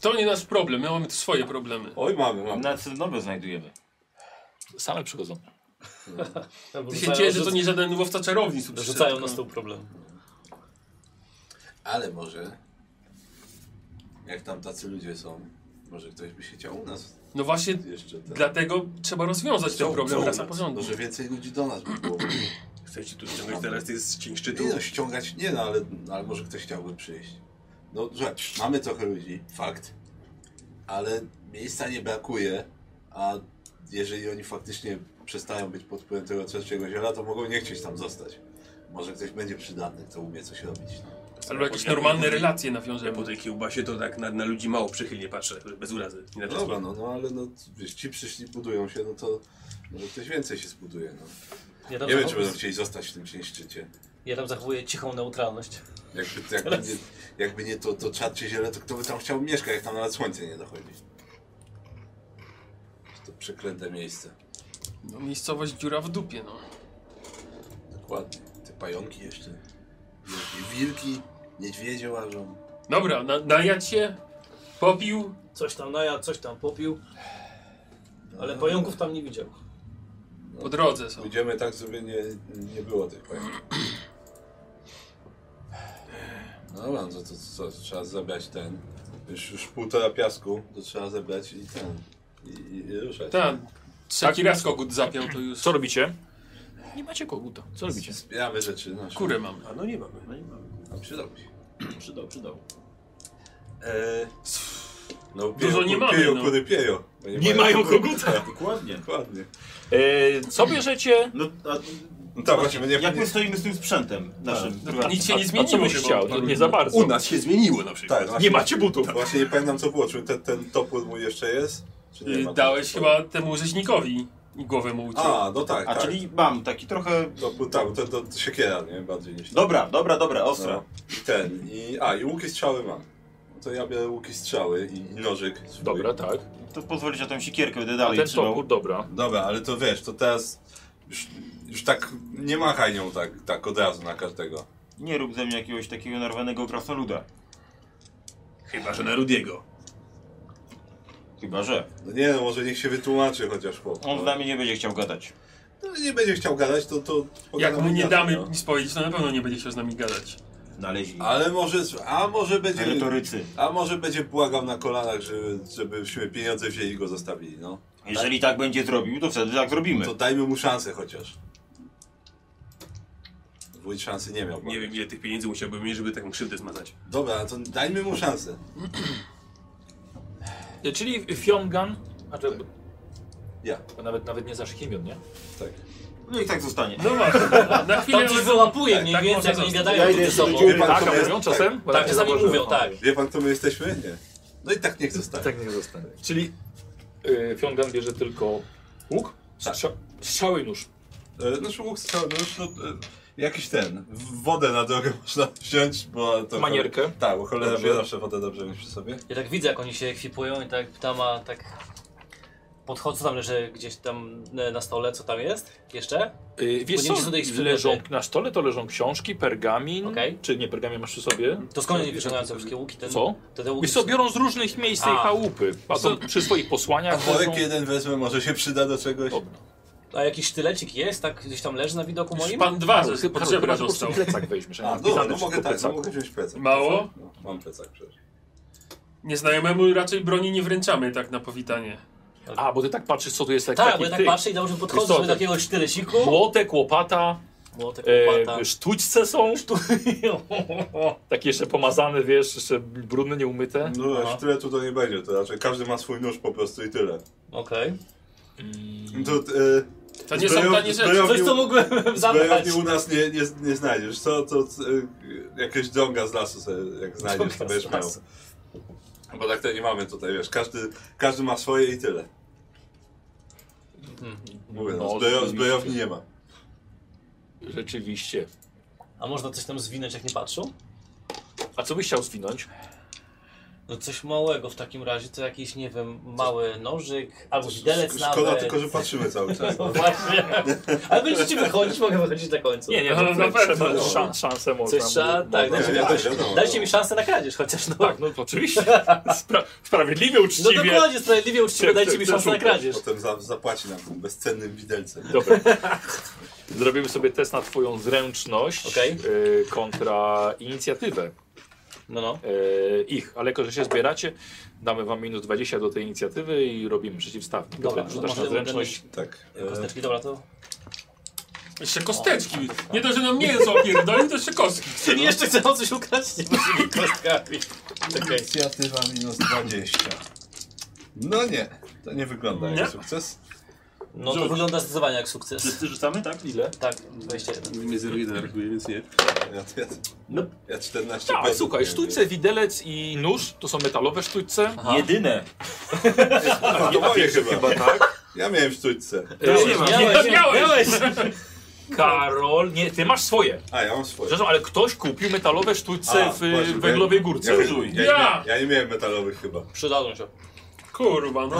G: to nie nasz problem, my mamy tu swoje problemy.
B: Oj, mamy, mamy.
E: Na nowe znajdujemy.
A: Same przychodzą.
G: Ty się cieszę, że to nie żaden łowca czarownic tu
J: Rzucają
G: przyszedł,
J: nas tu problem.
B: Ale może. Jak tam tacy ludzie są, może ktoś by się chciał u nas
G: No właśnie
B: jeszcze. Ten...
G: dlatego trzeba rozwiązać ten problem
B: u
G: raz na
B: nas.
G: porządku.
B: Może więcej ludzi do nas by było.
D: Chcecie tu ściągnąć teraz ty z cień szczytu?
B: Nie no, ściągać nie no, ale, ale może ktoś chciałby przyjść. No że mamy trochę ludzi, fakt. Ale miejsca nie brakuje, a jeżeli oni faktycznie przestają być pod wpływem tego trzeciego ziela, to mogą nie chcieć tam zostać. Może ktoś będzie przydatny, kto umie coś robić. No.
G: Albo jakieś
D: Ja po-
G: normalne
D: ja po-
G: relacje
D: Ja
G: nawiążemy.
D: po tej kiełbasie to tak na, na ludzi mało przychylnie patrzę, bez urazy. Nie na to
B: Dobra, no, no ale no, wiesz, ci przyszli, budują się, no to może ktoś więcej się zbuduje. No.
J: Ja tam,
B: Nie wiem, czy będą
J: zachowuję,
B: chcieli zostać w tym ciężczycie.
J: ja tam zachowuję cichą neutralność.
B: Jakby, jakby, nie, jakby nie to, to czarcie ziele, to kto by tam chciał mieszkać, jak tam nawet słońce nie dochodzi.
F: Przeklęte miejsce.
G: No, miejscowość dziura w dupie, no.
B: Dokładnie. Te pająki jeszcze. Wielkie Wilki, niedźwiedzie łażą.
G: Dobra, na, najadź się, popił.
M: Coś tam najadł, coś tam popił.
J: No.
M: Ale pająków tam nie widział.
G: Po drodze są.
B: Pójdziemy tak, żeby nie, nie było tych pająków. No mam, to, to, to, to trzeba zebrać ten. Już, już półtora piasku, to trzeba zebrać i ten. I, i ruszać.
G: Tak. Trzeci raz kogut zapiał, to już
A: Co robicie? Nie macie koguta. Co robicie?
B: Zbieramy rzeczy nasze.
G: kurę mamy.
D: A no nie mamy.
B: A przydałby się.
M: Przydał, przydał.
B: Eee, no,
G: Dużo nie mamy,
B: Pieją,
G: no.
B: kury pieją. Bo
A: Nie mają koguta.
E: Dokładnie.
B: Dokładnie.
A: E, co
E: <laughs>
A: bierzecie?
E: No, a
B: No tak, właśnie, my nie
E: jak my stoimy z tym sprzętem naszym?
G: Nic się
A: A-
G: nie
A: A co
G: zmieniło
A: byś
G: chyba
A: chciał? To
G: od paru
A: nie
G: dni.
A: za bardzo.
D: U nas się zmieniło na przykład.
B: Tak, właśnie,
A: Nie macie butów.
B: Właśnie nie pamiętam co było, czy ten, ten topór mój jeszcze jest? Czy
G: Y,
B: ma?
G: Dałeś chyba temu rzeźnikowi i głowę mu uciął.
B: A, no tak,
E: A
B: tak.
E: czyli mam taki trochę...
B: Topór, tak, to, to, to siekiera, nie? Bardziej niż...
E: Dobra, dobra, dobra, ostra.
B: No. I ten, i... A, i łuki strzały mam. No To ja biorę łuki strzały i i nożyk swój.
A: Dobra, tak.
E: To pozwolić na tą sikierkę, będę
A: A
E: dalej
A: ten
E: trzymał.
A: topór, dobra.
B: Dobra, ale to wiesz, to teraz... Już, już tak nie machaj nią tak, tak od razu na każdego.
E: Nie rób ze mnie jakiegoś takiego narwanego krasnoluda.
D: Chyba, że na Rudiego.
E: Chyba, że.
B: No nie no, może niech się wytłumaczy chociaż chłop.
E: On z nami nie będzie chciał gadać.
B: No, nie będzie chciał gadać, to... to
G: Jak mu
B: pogadamy
G: nie
B: inaczej,
G: damy
B: no.
G: nic powiedzieć, to na pewno nie będzie chciał z nami gadać.
E: Znaleźli.
B: Ale może... A może będzie...
E: Merytorycy.
B: A może będzie błagał na kolanach, żeby, żebyśmy pieniądze wzięli i go zostawili, no.
E: Jeżeli tak będzie zrobił, to wtedy tak zrobimy.
B: To dajmy mu szansę chociaż. Wójt szansy nie miał.
D: Nie wiem ile tych pieniędzy musiałbym mieć, żeby taką krzywdę zmazać.
B: Dobra, to dajmy mu szansę.
A: E, Czyli Fiongan. A to,
B: Ja.
A: bo nawet, nawet nie znasz imion, nie?
B: Tak.
E: No i tak zostanie.
G: No właśnie, na
J: Tam
G: chwilę...
J: ci wyłapuje mniej
A: tak
J: więcej,
A: można
J: jak oni
A: zostać.
J: gadają
B: Ja idę
J: między
B: sobie
J: sobą.
B: dziurę. Pan
A: Tak, a
B: sobie-
A: mówią czasem? Bo ja
J: Tak
A: nie
J: czasami
A: zauważyłem.
J: mówią, tak.
B: Wie pan, kto my jesteśmy? Nie. No i tak niech zostanie.
A: Tak nie zostanę. Czyli y, Fiongan bierze tylko łuk, strza strzały i nóż.
B: E, Nasz łuk strzały, no, już, no, e, jakiś ten, w- wodę na drogę <laughs> można wziąć, bo to...
A: Manierkę.
B: Tak, bo cholera
A: Dobrze.
B: wie zawsze wodę dobrze mieć przy sobie.
J: Ja tak widzę, jak oni się ekwipują i tak ptama tak podchodzą tam, leży gdzieś tam e, na stole, co tam jest jeszcze.
A: Y, wiesz
J: Bo nie
A: co,
J: widzę tutaj ich
A: leżą,
J: przedmioty.
A: na stole to leżą książki, pergamin.
J: Okej.
A: Czy nie, pergamin masz przy sobie?
J: To skąd oni wyciągają te wszystkie łuki? Ten,
A: Co?
J: Te, te łuki
A: Wiesz co, biorą z różnych miejsc tej
J: A.
A: chałupy. A to przy swoich
B: A
A: posłaniach
B: worek
A: leżą...
B: jeden wezmę, może się przyda do czegoś.
A: Dobra.
J: A jakiś sztylecik jest, tak gdzieś tam leży na widoku moim?
G: Pan dwa
A: Karol, Karol,
G: ze
A: chyba,
G: potrzeba
A: że po prostu
G: dostał.
A: plecak weźmiesz, a
B: A,
A: nie
B: dobra,
A: wpisane
B: no
A: wszystko
B: mogę
A: w
B: tak, no,
A: plecaku.
B: mogę wziąć plecak.
G: Mało?
B: No, mam plecak przecież.
G: Nieznajomemu raczej broni nie wręczamy tak na powitanie.
A: A, bo ty tak patrzysz, co tu jest jak
J: Tak,
A: taki
J: bo ja tak
A: tyk.
J: patrzę i dobrze
A: Wiesz co,
J: podchodzę do
A: to-
J: takiego sztyleciku.
A: Młotek, łopata,
J: Młotek, łopata.
A: e, sztućce są. Takie jeszcze pomazane, wiesz, jeszcze brudne, nieumyte.
B: No,
J: Aha.
B: aż tyle tu to nie będzie, to raczej każdy ma swój nóż po prostu i tyle.
J: Okej.
B: To, e,
G: To nie są
B: zbrojow-
G: tanie rzeczy.
B: zbrojowni-
J: Coś, co
B: <laughs>
J: mógłbym zabrać.
B: Zbrojowni u nas nie, nie, nie znajdziesz. Co to e, jakieś dąga z lasu sobie, jak znajdziesz, to
J: Dąga z
B: będziesz miał.
J: lasu.
B: Bo tak to nie mamy tutaj, wiesz, każdy, każdy ma swoje i tyle.
G: Mhm.
B: Mówię, no,
A: No,
B: zbrojo-
A: oczywiście.
B: zbrojowni nie ma.
A: Rzeczywiście.
J: A można coś tam zwinąć, jak nie patrzą?
A: A co byś chciał zwinąć?
J: No coś małego w takim razie, to jakiś, nie wiem, mały nożyk, albo widelec nawet.
B: Szkoda tylko, że patrzymy cały
J: <laughs>
B: czas.
J: No właśnie. Ale będziecie wychodzić, mogę wychodzić do końca.
A: Nie, nie,
G: No,
A: no,
G: na pewno.
A: trzeba, szan, szansę można.
J: Coś trzeba,
A: mu-
J: tak,
A: mu-
B: dajcie-
J: dajcie,
B: wiadomo,
J: mi-
B: wiadomo.
J: dajcie mi szansę na kradzież chociaż, no.
A: Tak, no to
J: <laughs>
A: oczywiście. Spra sprawiedliwie,
J: No
A: uczciwie.
J: dokładnie, sprawiedliwie uczciwie,
A: Ty-
J: dajcie
A: ty-
J: mi
A: ty
J: szansę na
A: szukaj.
J: kradzież.
B: Potem za, zapłaci nam tym bezcennym widelcem.
A: Dobra. <laughs> Zrobimy sobie test na twoją zręczność
J: Okej.
A: y, kontra inicjatywę
J: No, no.
A: y, ich, ale jako, że się zbieracie, damy wam minus 20 do tej inicjatywy i robimy przeciwstawkę.
J: Dobra,
B: no
A: Piotrek,
J: to
A: rzucasz na
J: może
A: zręczność.
J: zręczność.
B: Tak.
J: Kosteczki, dobra, to...
G: Jeszcze kosteczki. Nie to, że nam mięso opierdolił, to jeszcze kostki.
J: Czyli <laughs> jeszcze chcę o coś ukraść, nie musimy kostkami. Czekaj.
B: Inicjatywa minus 20. No nie, to nie wygląda
G: Nie.
B: jak sukces.
J: No to
G: Rzuć.
J: wygląda zdecydowanie jak sukces.
E: Wszyscy rzucamy, tak?
A: Ile?
J: Tak, 21.
D: Mówimy 0,1 rachuje, więc nie.
B: Ja, ja,
E: No.
B: ja 14
A: Tak,
B: punktów
A: słuchaj,
B: miałem.
A: sztućce, widelec i nóż to są metalowe sztućce.
E: Jedyne.
B: A, to moje chyba. tak? Ja miałem sztućce.
A: Ty
G: nie ma.
J: Miałeś,
A: E, nie,
J: miałeś!
A: Karol, nie, ty masz swoje.
B: A, ja mam swoje.
A: Przepraszam, ale ktoś kupił metalowe sztućce
B: A,
A: w
B: właśnie,
A: y, węglowej
B: bo
A: górce.
B: Ja, ja, nie
G: Ja!
B: miałem- ja nie miałem metalowych chyba. No
J: Przydadzą się.
G: Kurwa, no.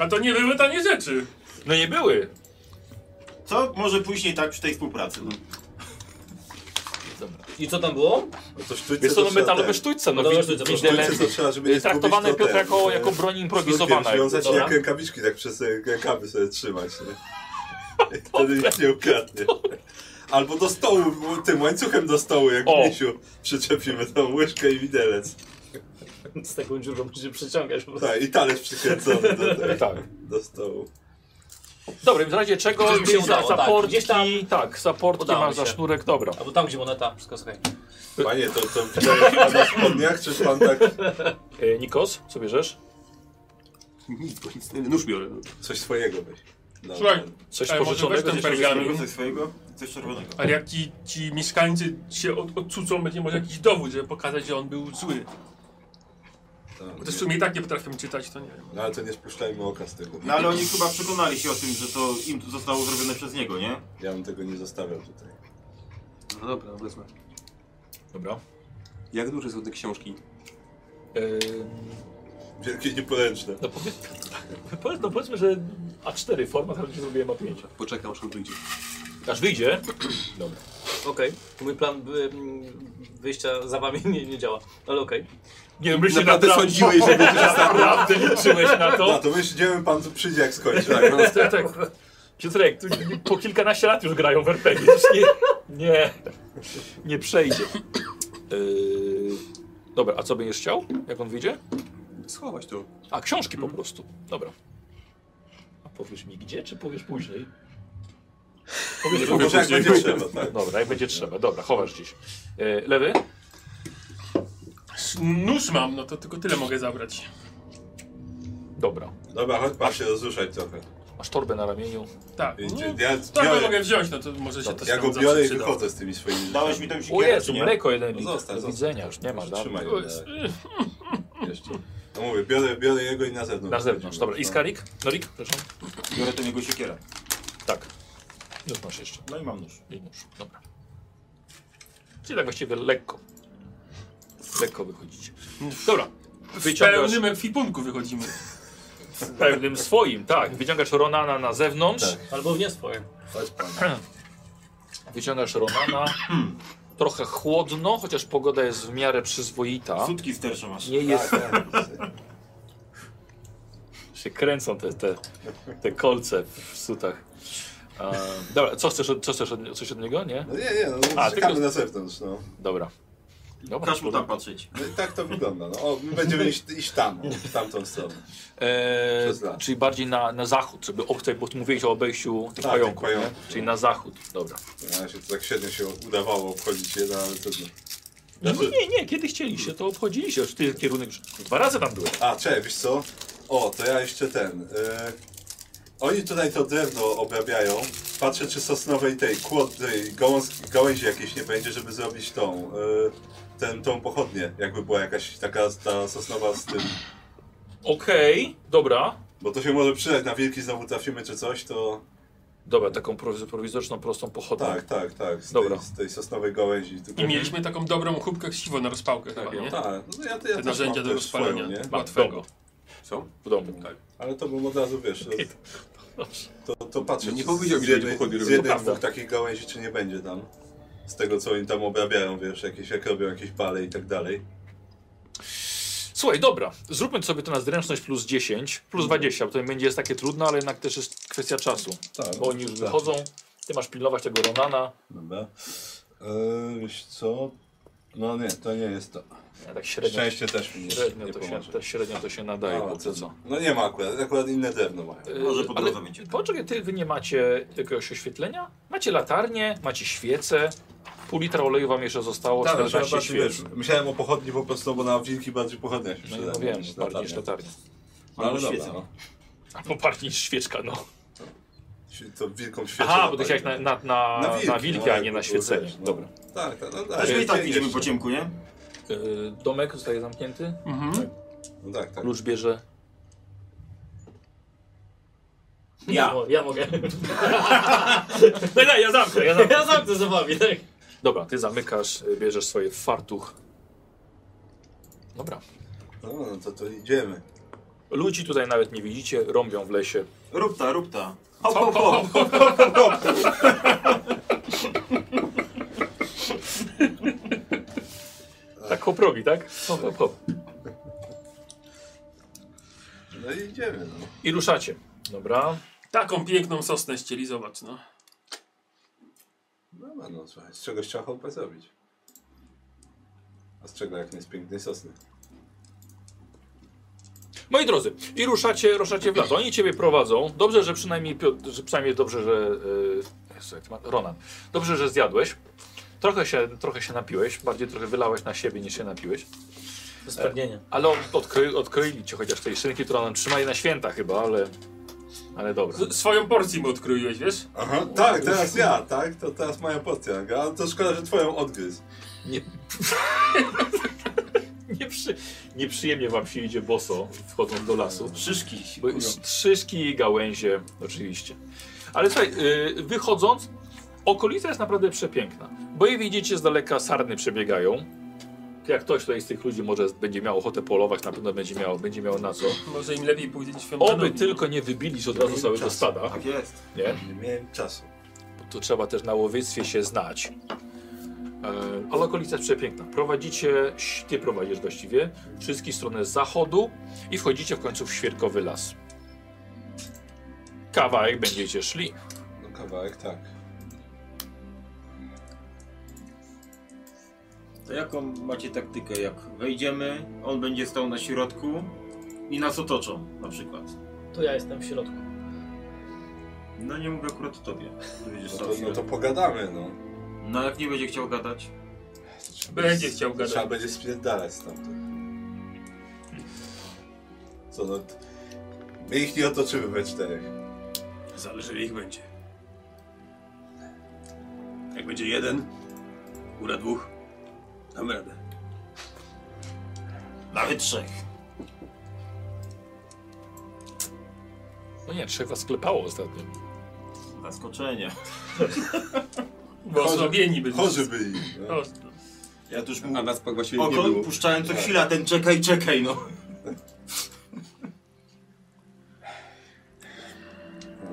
G: A to nie były tanie rzeczy.
A: No nie były.
E: Co może później tak przy tej współpracy? No.
J: I co tam było?
B: No to sztućce
A: Wiesz co,
B: to
A: no
B: trzeba
A: metalowe
B: ten.
A: sztućce, no
J: Metalowe
A: wi-
J: sztućce,
A: widzę
B: Sztućce
A: elementy.
B: to trzeba, żeby nie
A: Traktowane
B: zgubić, to
A: Piotr
B: ten,
A: jako,
B: e,
A: jako broń improwizowana.
B: Sznurkiem Związać
A: Dobra.
B: jak rękawiczki tak przez e, rękawy sobie trzymać,
A: <laughs>
B: nie? I Wtedy nikt nie ukradnie. Albo do stołu, tym łańcuchem do stołu, jak
A: O.
B: w misiu przyczepimy tą łyżkę i widelec.
J: Z taką dziurą będzie przyciągać po prostu.
B: Tak, i talerz przykręcony do, tej,
A: Tak.
B: do stołu.
A: Dobra, więc w razie czego
J: Gdzieś mi się
A: za-
J: udało, tak.
A: zaportki,
J: Gdzieś
A: tak,
J: tam-
A: zaportki
J: Udało
A: mam
J: mi
A: za
J: się.
A: sznurek, dobra.
J: Albo tam, gdzie moneta, wszystko słuchaj.
B: Panie, to, to wydaje pan na spodniach, czy pan tak
A: E, Nikos, co bierzesz?
D: Nic, bo nic, nóż biorę. No.
B: coś swojego weź? No,
G: Słuchaj,
A: Coś
G: Ale E, może weź
A: pożyczonego?
G: ten
A: gdzieś-
G: pergamin.
E: Coś swojego? Coś czerwonego.
G: Ale jak ci, ci mieszkańcy się od, odcucą, będzie może jakiś dowód, żeby pokazać, że on był zły. Bo to w sumie i tak nie potrafią czytać, to nie wiem.
B: no ale to nie spuszczajmy oka z tego.
E: No ale oni chyba przekonali się o tym, że to im to zostało zrobione przez niego, nie?
B: Ja bym tego nie zostawiał tutaj.
D: no dobra, wezmę.
A: Dobra.
D: Jak duże są te książki?
A: E,
B: Wielkie nieporęczne.
A: no, powiedz, <laughs> powiedz, no powiedzmy, że A4 format, ale ci zrobiłem A5.
D: Tak Poczekam, aż on wyjdzie.
A: Aż wyjdzie. Dobra.
J: Okej. Mój plan by, mm, wyjścia za wami nie, nie działa, ale okej.
A: Nie, myślę
D: Naprawdę sądziłeś,
A: <laughs>
D: że będzie
A: Naprawdę liczyłeś na
B: No
A: to?
B: to myśl, gdzie pan tu przyjdzie, jak skończy.
A: Tak, <laughs> no, tak, tak. Piotrek, tu po kilkanaście lat już grają w RPG. Już nie, nie, nie przejdzie. Yy, dobra, a co będziesz chciał, jak on wyjdzie?
D: Schować to.
A: A, książki
G: Mhm.
A: po prostu. Dobra. A powiesz mi gdzie, czy powiesz później? Powiesz
B: Bo może jak
A: później.
B: będzie trzeba, tak.
A: Dobra, jak będzie trzeba. Dobra, chowasz gdzieś. Yy, lewy?
G: S- Nóż mam, no to tylko tyle mogę zabrać.
A: Dobra.
B: Dobra, chodź pan się rozruszać trochę.
A: Masz torbę na ramieniu.
G: Tak.
B: Idzie.
G: No,
B: Ja
G: tak,
B: biorę-
G: mogę wziąć, no to może się to
B: Ja
G: tam
B: go
G: zawsze
B: biorę i
G: przyda.
B: wychodzę z tymi swoimi
E: Dałeś
B: rzeczami.
E: mi tą
A: O
E: sikierę,
A: Jezu,
E: czy nie?
A: mleko jeden
B: No
A: litr.
B: zostań,
A: Do
B: zostań.
A: widzenia, już nie ma. da-
B: Trzymaj
G: O,
B: go
G: jest-
A: <laughs>
B: jeszcze. No mówię, biorę, biorę jego i na zewnątrz.
A: Na zewnątrz, dobra. I skarik? Norik? Przepraszam.
E: Biorę tą jego siekierę.
A: Tak. Już masz jeszcze.
E: No i mam nóż.
A: I nóż. Dobra. Czyli tak właściwie lekko. Lekko wychodzicie. Dobra.
G: W
A: Wyciągasz
G: pełnym ekwipunku wychodzimy.
A: pewnym swoim, tak. Wyciągasz Ronana na
B: Tak.
A: zewnątrz.
J: Albo w nie swoje.
B: Chodź pan.
A: <clears throat> Wyciągasz Ronana. Trochę chłodno, chociaż pogoda jest w miarę przyzwoita.
E: Sutki z terszą masz.
A: Nie jest.
B: Tak,
A: Się kręcą te, te, te kolce w sutach. Ehm, dobra, co chcesz, od- co chcesz od, coś od niego? Nie?
B: no nie, nie, no
A: A,
B: A,
A: tylko-
B: czekamy na zewnątrz, no.
A: Dobra. Dobra.
E: Każ mu tam patrzeć.
B: no. i Tak to wygląda, no. O, my będziemy iść, iść tam, no, w tamtą stronę.
A: Eee,
B: Przez las.
A: czyli bardziej na, na zachód, żeby obcej, bo tu mówiłeś o obejściu tych
B: Tak,
A: pająków.
B: tych pająków.
A: nie? Czyli na zachód, dobra.
B: Na razie to tak średnio się udawało obchodzić je, no, ale trudno.
A: No,
B: Znaczy-
A: nie, nie, kiedy chcieliście, to obchodziliście. Już ty kierunek. Dwa razy tam byłem.
B: A, czekaj, wiesz co? O, to ja jeszcze ten. e, Oni tutaj to drewno obrabiają. Patrzę, czy sosnowej tej kłodnej gałąz, gałęzi jakiejś nie będzie, żeby zrobić tą. e, Ten, tą pochodnię, jakby była jakaś taka ta sosnowa z tym.
A: Okej, dobra.
B: Bo to się może przydać na wilki, znowu trafimy czy coś, to.
A: Dobra, taką prowiz- prowizoryczną, prostą pochodnią.
B: Tak, tak, tak. Z,
A: Dobra.
B: Tej, z tej sosnowej gałęzi. Tylko...
G: I mieliśmy taką dobrą chubkę siwo na rozpałkę
D: Tak,
G: chyba,
D: ja
G: nie?
B: Tak, no ja, to ja
G: Te
B: też
G: narzędzia
B: mam
G: do
B: też swoją,
G: rozpalenia
B: nie?
A: Mam,
G: łatwego.
A: dobra.
D: Co?
A: W domu.
D: Tak.
B: Ale to bym od razu wiesz. To, to, to patrzę.
D: No nie
B: czy
D: powiedział
B: z
D: mi, że
B: jednej,
D: nie pochodnie
B: z
D: robią.
B: jednej
A: To
B: dwóch
A: prawda.
B: takich gałęzi, czy nie będzie tam. Z tego co oni tam obrabiają, wiesz, jakieś, jak robią jakieś bale i tak dalej.
A: Słuchaj, dobra, zróbmy sobie to na zręczność plus 10, plus 20, bo to nie będzie jest takie trudne, ale jednak też jest kwestia czasu.
N: Tak,
A: Bo oni już wychodzą, ty masz pilnować tego Ronana.
N: Dobra.
B: E,
N: Eee, wiesz co? No nie, to nie jest to.
A: Ja tak średnio,
N: Szczęście też mi nie,
A: średnio,
N: nie
A: to się,
N: pomoże.
A: te, średnio to się nadaje,
B: A,
A: bo co
B: to-
A: co. E,
B: No nie ma akurat, akurat inne drewno mają.
E: Może po
A: Ale
E: drodze będzie.
A: Poczekaj, ty, wy nie macie jakiegoś oświetlenia? Macie latarnię, macie świece, pół litra oleju wam jeszcze zostało,
B: Tak, no, to ja
A: 14
B: bardziej,
A: świec.
B: wiesz, myślałem o pochodni po prostu, bo na wilki bardziej pochodnia się
A: No,
B: przyda.
A: no wiem,
B: niż
A: bardziej
B: latarnia.
A: niż latarnia.
B: No, ale dobra,
E: Świecę.
B: no.
A: Albo bardziej niż świeczka, no.
B: Si- To wilką świecę.
A: Aha, bo ty
B: zapaliłem.
A: chciałeś na, na, na, na wilki, a
B: no,
A: nie na
B: jakby
A: świecenie.
B: było, wiesz, no.
A: Dobra.
B: Tak, tak, no, tak.
E: Też my i tak
B: Dzień
E: idziemy
B: jeszcze.
E: po ciemku, nie?
A: Y, domek zostaje zamknięty,
G: Mhm.
B: No tak, tak.
A: klucz bierze
E: Ja.
J: O, ja mogę.
A: No nie, ja zamknę, ja zamknę.
J: ja zamknę za wami, tak?
A: Dobra, ty zamykasz, y, bierzesz swoje fartuch. Dobra.
B: No, no to, to idziemy.
A: Ludzi tutaj nawet nie widzicie, rąbią w lesie.
E: Rób ta, rób ta. Hop, hop, hop, hop, hop, hop, hop.
A: Tak hop robi, tak? Hop, hop, hop.
B: No i idziemy, no.
A: I ruszacie. Dobra.
G: Taką piękną sosnę ścieli, zobacz no.
B: Dobra, no słuchaj, z czegoś trzeba chałupę zrobić. A z czego jak nie z pięknej sosny?
A: Moi drodzy, i ruszacie, ruszacie w las. Oni ciebie prowadzą. Dobrze, że przynajmniej Piotr, że przynajmniej dobrze, że. e, Jezu, jak to ma- Ronan. Dobrze, że zjadłeś. Trochę się, trochę się napiłeś, bardziej trochę wylałeś na siebie niż się napiłeś.
M: Do spragnienia.
A: Ale od- odkry, odkryli cię chociaż tej szynki, którą nam trzymali na święta chyba, ale. Ale dobra.
G: Z, swoją porcję mu odkroiłeś, wiesz?
B: Aha, tak, teraz ja, tak? To teraz moja porcja, a to szkoda, że twoją odgryz.
A: <laughs> Nieprzy, nieprzyjemnie wam się idzie boso, wchodząc do lasu.
E: Szyszki. się
A: Bo
E: kują.
A: Strzyżki i gałęzie, oczywiście. Ale słuchaj, y, wychodząc, okolica jest naprawdę przepiękna. Bo je widzicie z daleka, sarny przebiegają. Jak ktoś tutaj z tych ludzi może będzie miał ochotę polować, na pewno będzie miał, będzie miał na co.
D: No,
G: Może im lepiej pójdzie świątanowi.
A: Oby tylko nie wybili się od razu całego stada,
E: Tak jest.
A: nie?
B: Nie miałem czasu.
A: Bo to trzeba też na łowiectwie się znać. E, Ale okolica jest przepiękna. Prowadzicie, ty prowadzisz właściwie, wszystkich w stronę zachodu i wchodzicie w końcu w świerkowy las. Kawałek będziecie szli.
B: No kawałek tak.
E: To jaką macie taktykę? Jak wejdziemy, on będzie stał na środku i nas otoczą na przykład.
M: To ja jestem w środku.
E: No nie mówię akurat o tobie. że Będziesz
B: No
E: stał
B: to,
E: w
B: no to
E: środku.
B: pogadamy, no.
E: no jak nie będzie chciał gadać?
B: To trzeba
G: Będzie
B: będzie-
G: chciał
B: to
G: gadać.
B: Trzeba będzie Hmm. spierdalać stamtąd. Co no... t- My ich nie otoczymy we czterech.
D: Zależy ile ich będzie. Jak będzie jeden, góra dwóch, dam radę.
E: Nawet trzech.
A: No nie, trzech was sklepało ostatnio.
E: Zaskoczenie.
G: Bo osłabieni byli.
B: Chorzy byli. No.
G: O,
E: Ja tu już
D: A
E: mówię.
D: nas pak właściwie nie
E: Oko
D: było.
E: puszczałem co chwila, ten czekaj, czekaj, no.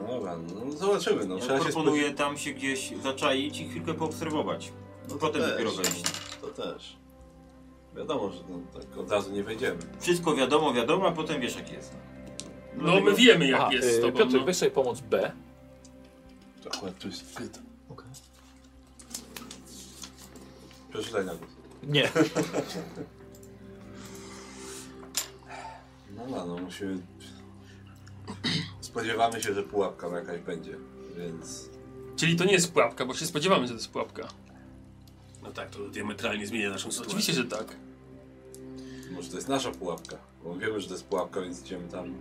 B: No dobra, no zobaczymy, no.
E: Ja
B: Trzeba się
E: proponuję tam się gdzieś zaczaić i chwilkę poobserwować.
B: No to
E: Potem
B: też,
E: dopiero wejść.
B: To też. Wiadomo, że no, tak od razu nie wejdziemy.
E: Wszystko wiadomo, wiadomo, a potem wiesz jak jest.
G: no my wiemy jak
A: Aha,
G: jest z
A: y,
G: tobą.
A: Piotr,
G: no.
A: weź sobie pomoc B.
B: To akurat tu jest pyta. Przeczytaj na głos.
A: Nie.
B: No no, no musimy... Spodziewamy się, że pułapka jakaś będzie, więc...
G: Czyli to nie jest pułapka, bo się spodziewamy, że to jest pułapka.
D: No tak, to diametralnie zmienia naszą
G: No,
D: sytuację.
G: oczywiście, że tak.
B: Może to jest nasza pułapka. Bo wiemy, że to jest pułapka, więc idziemy tam.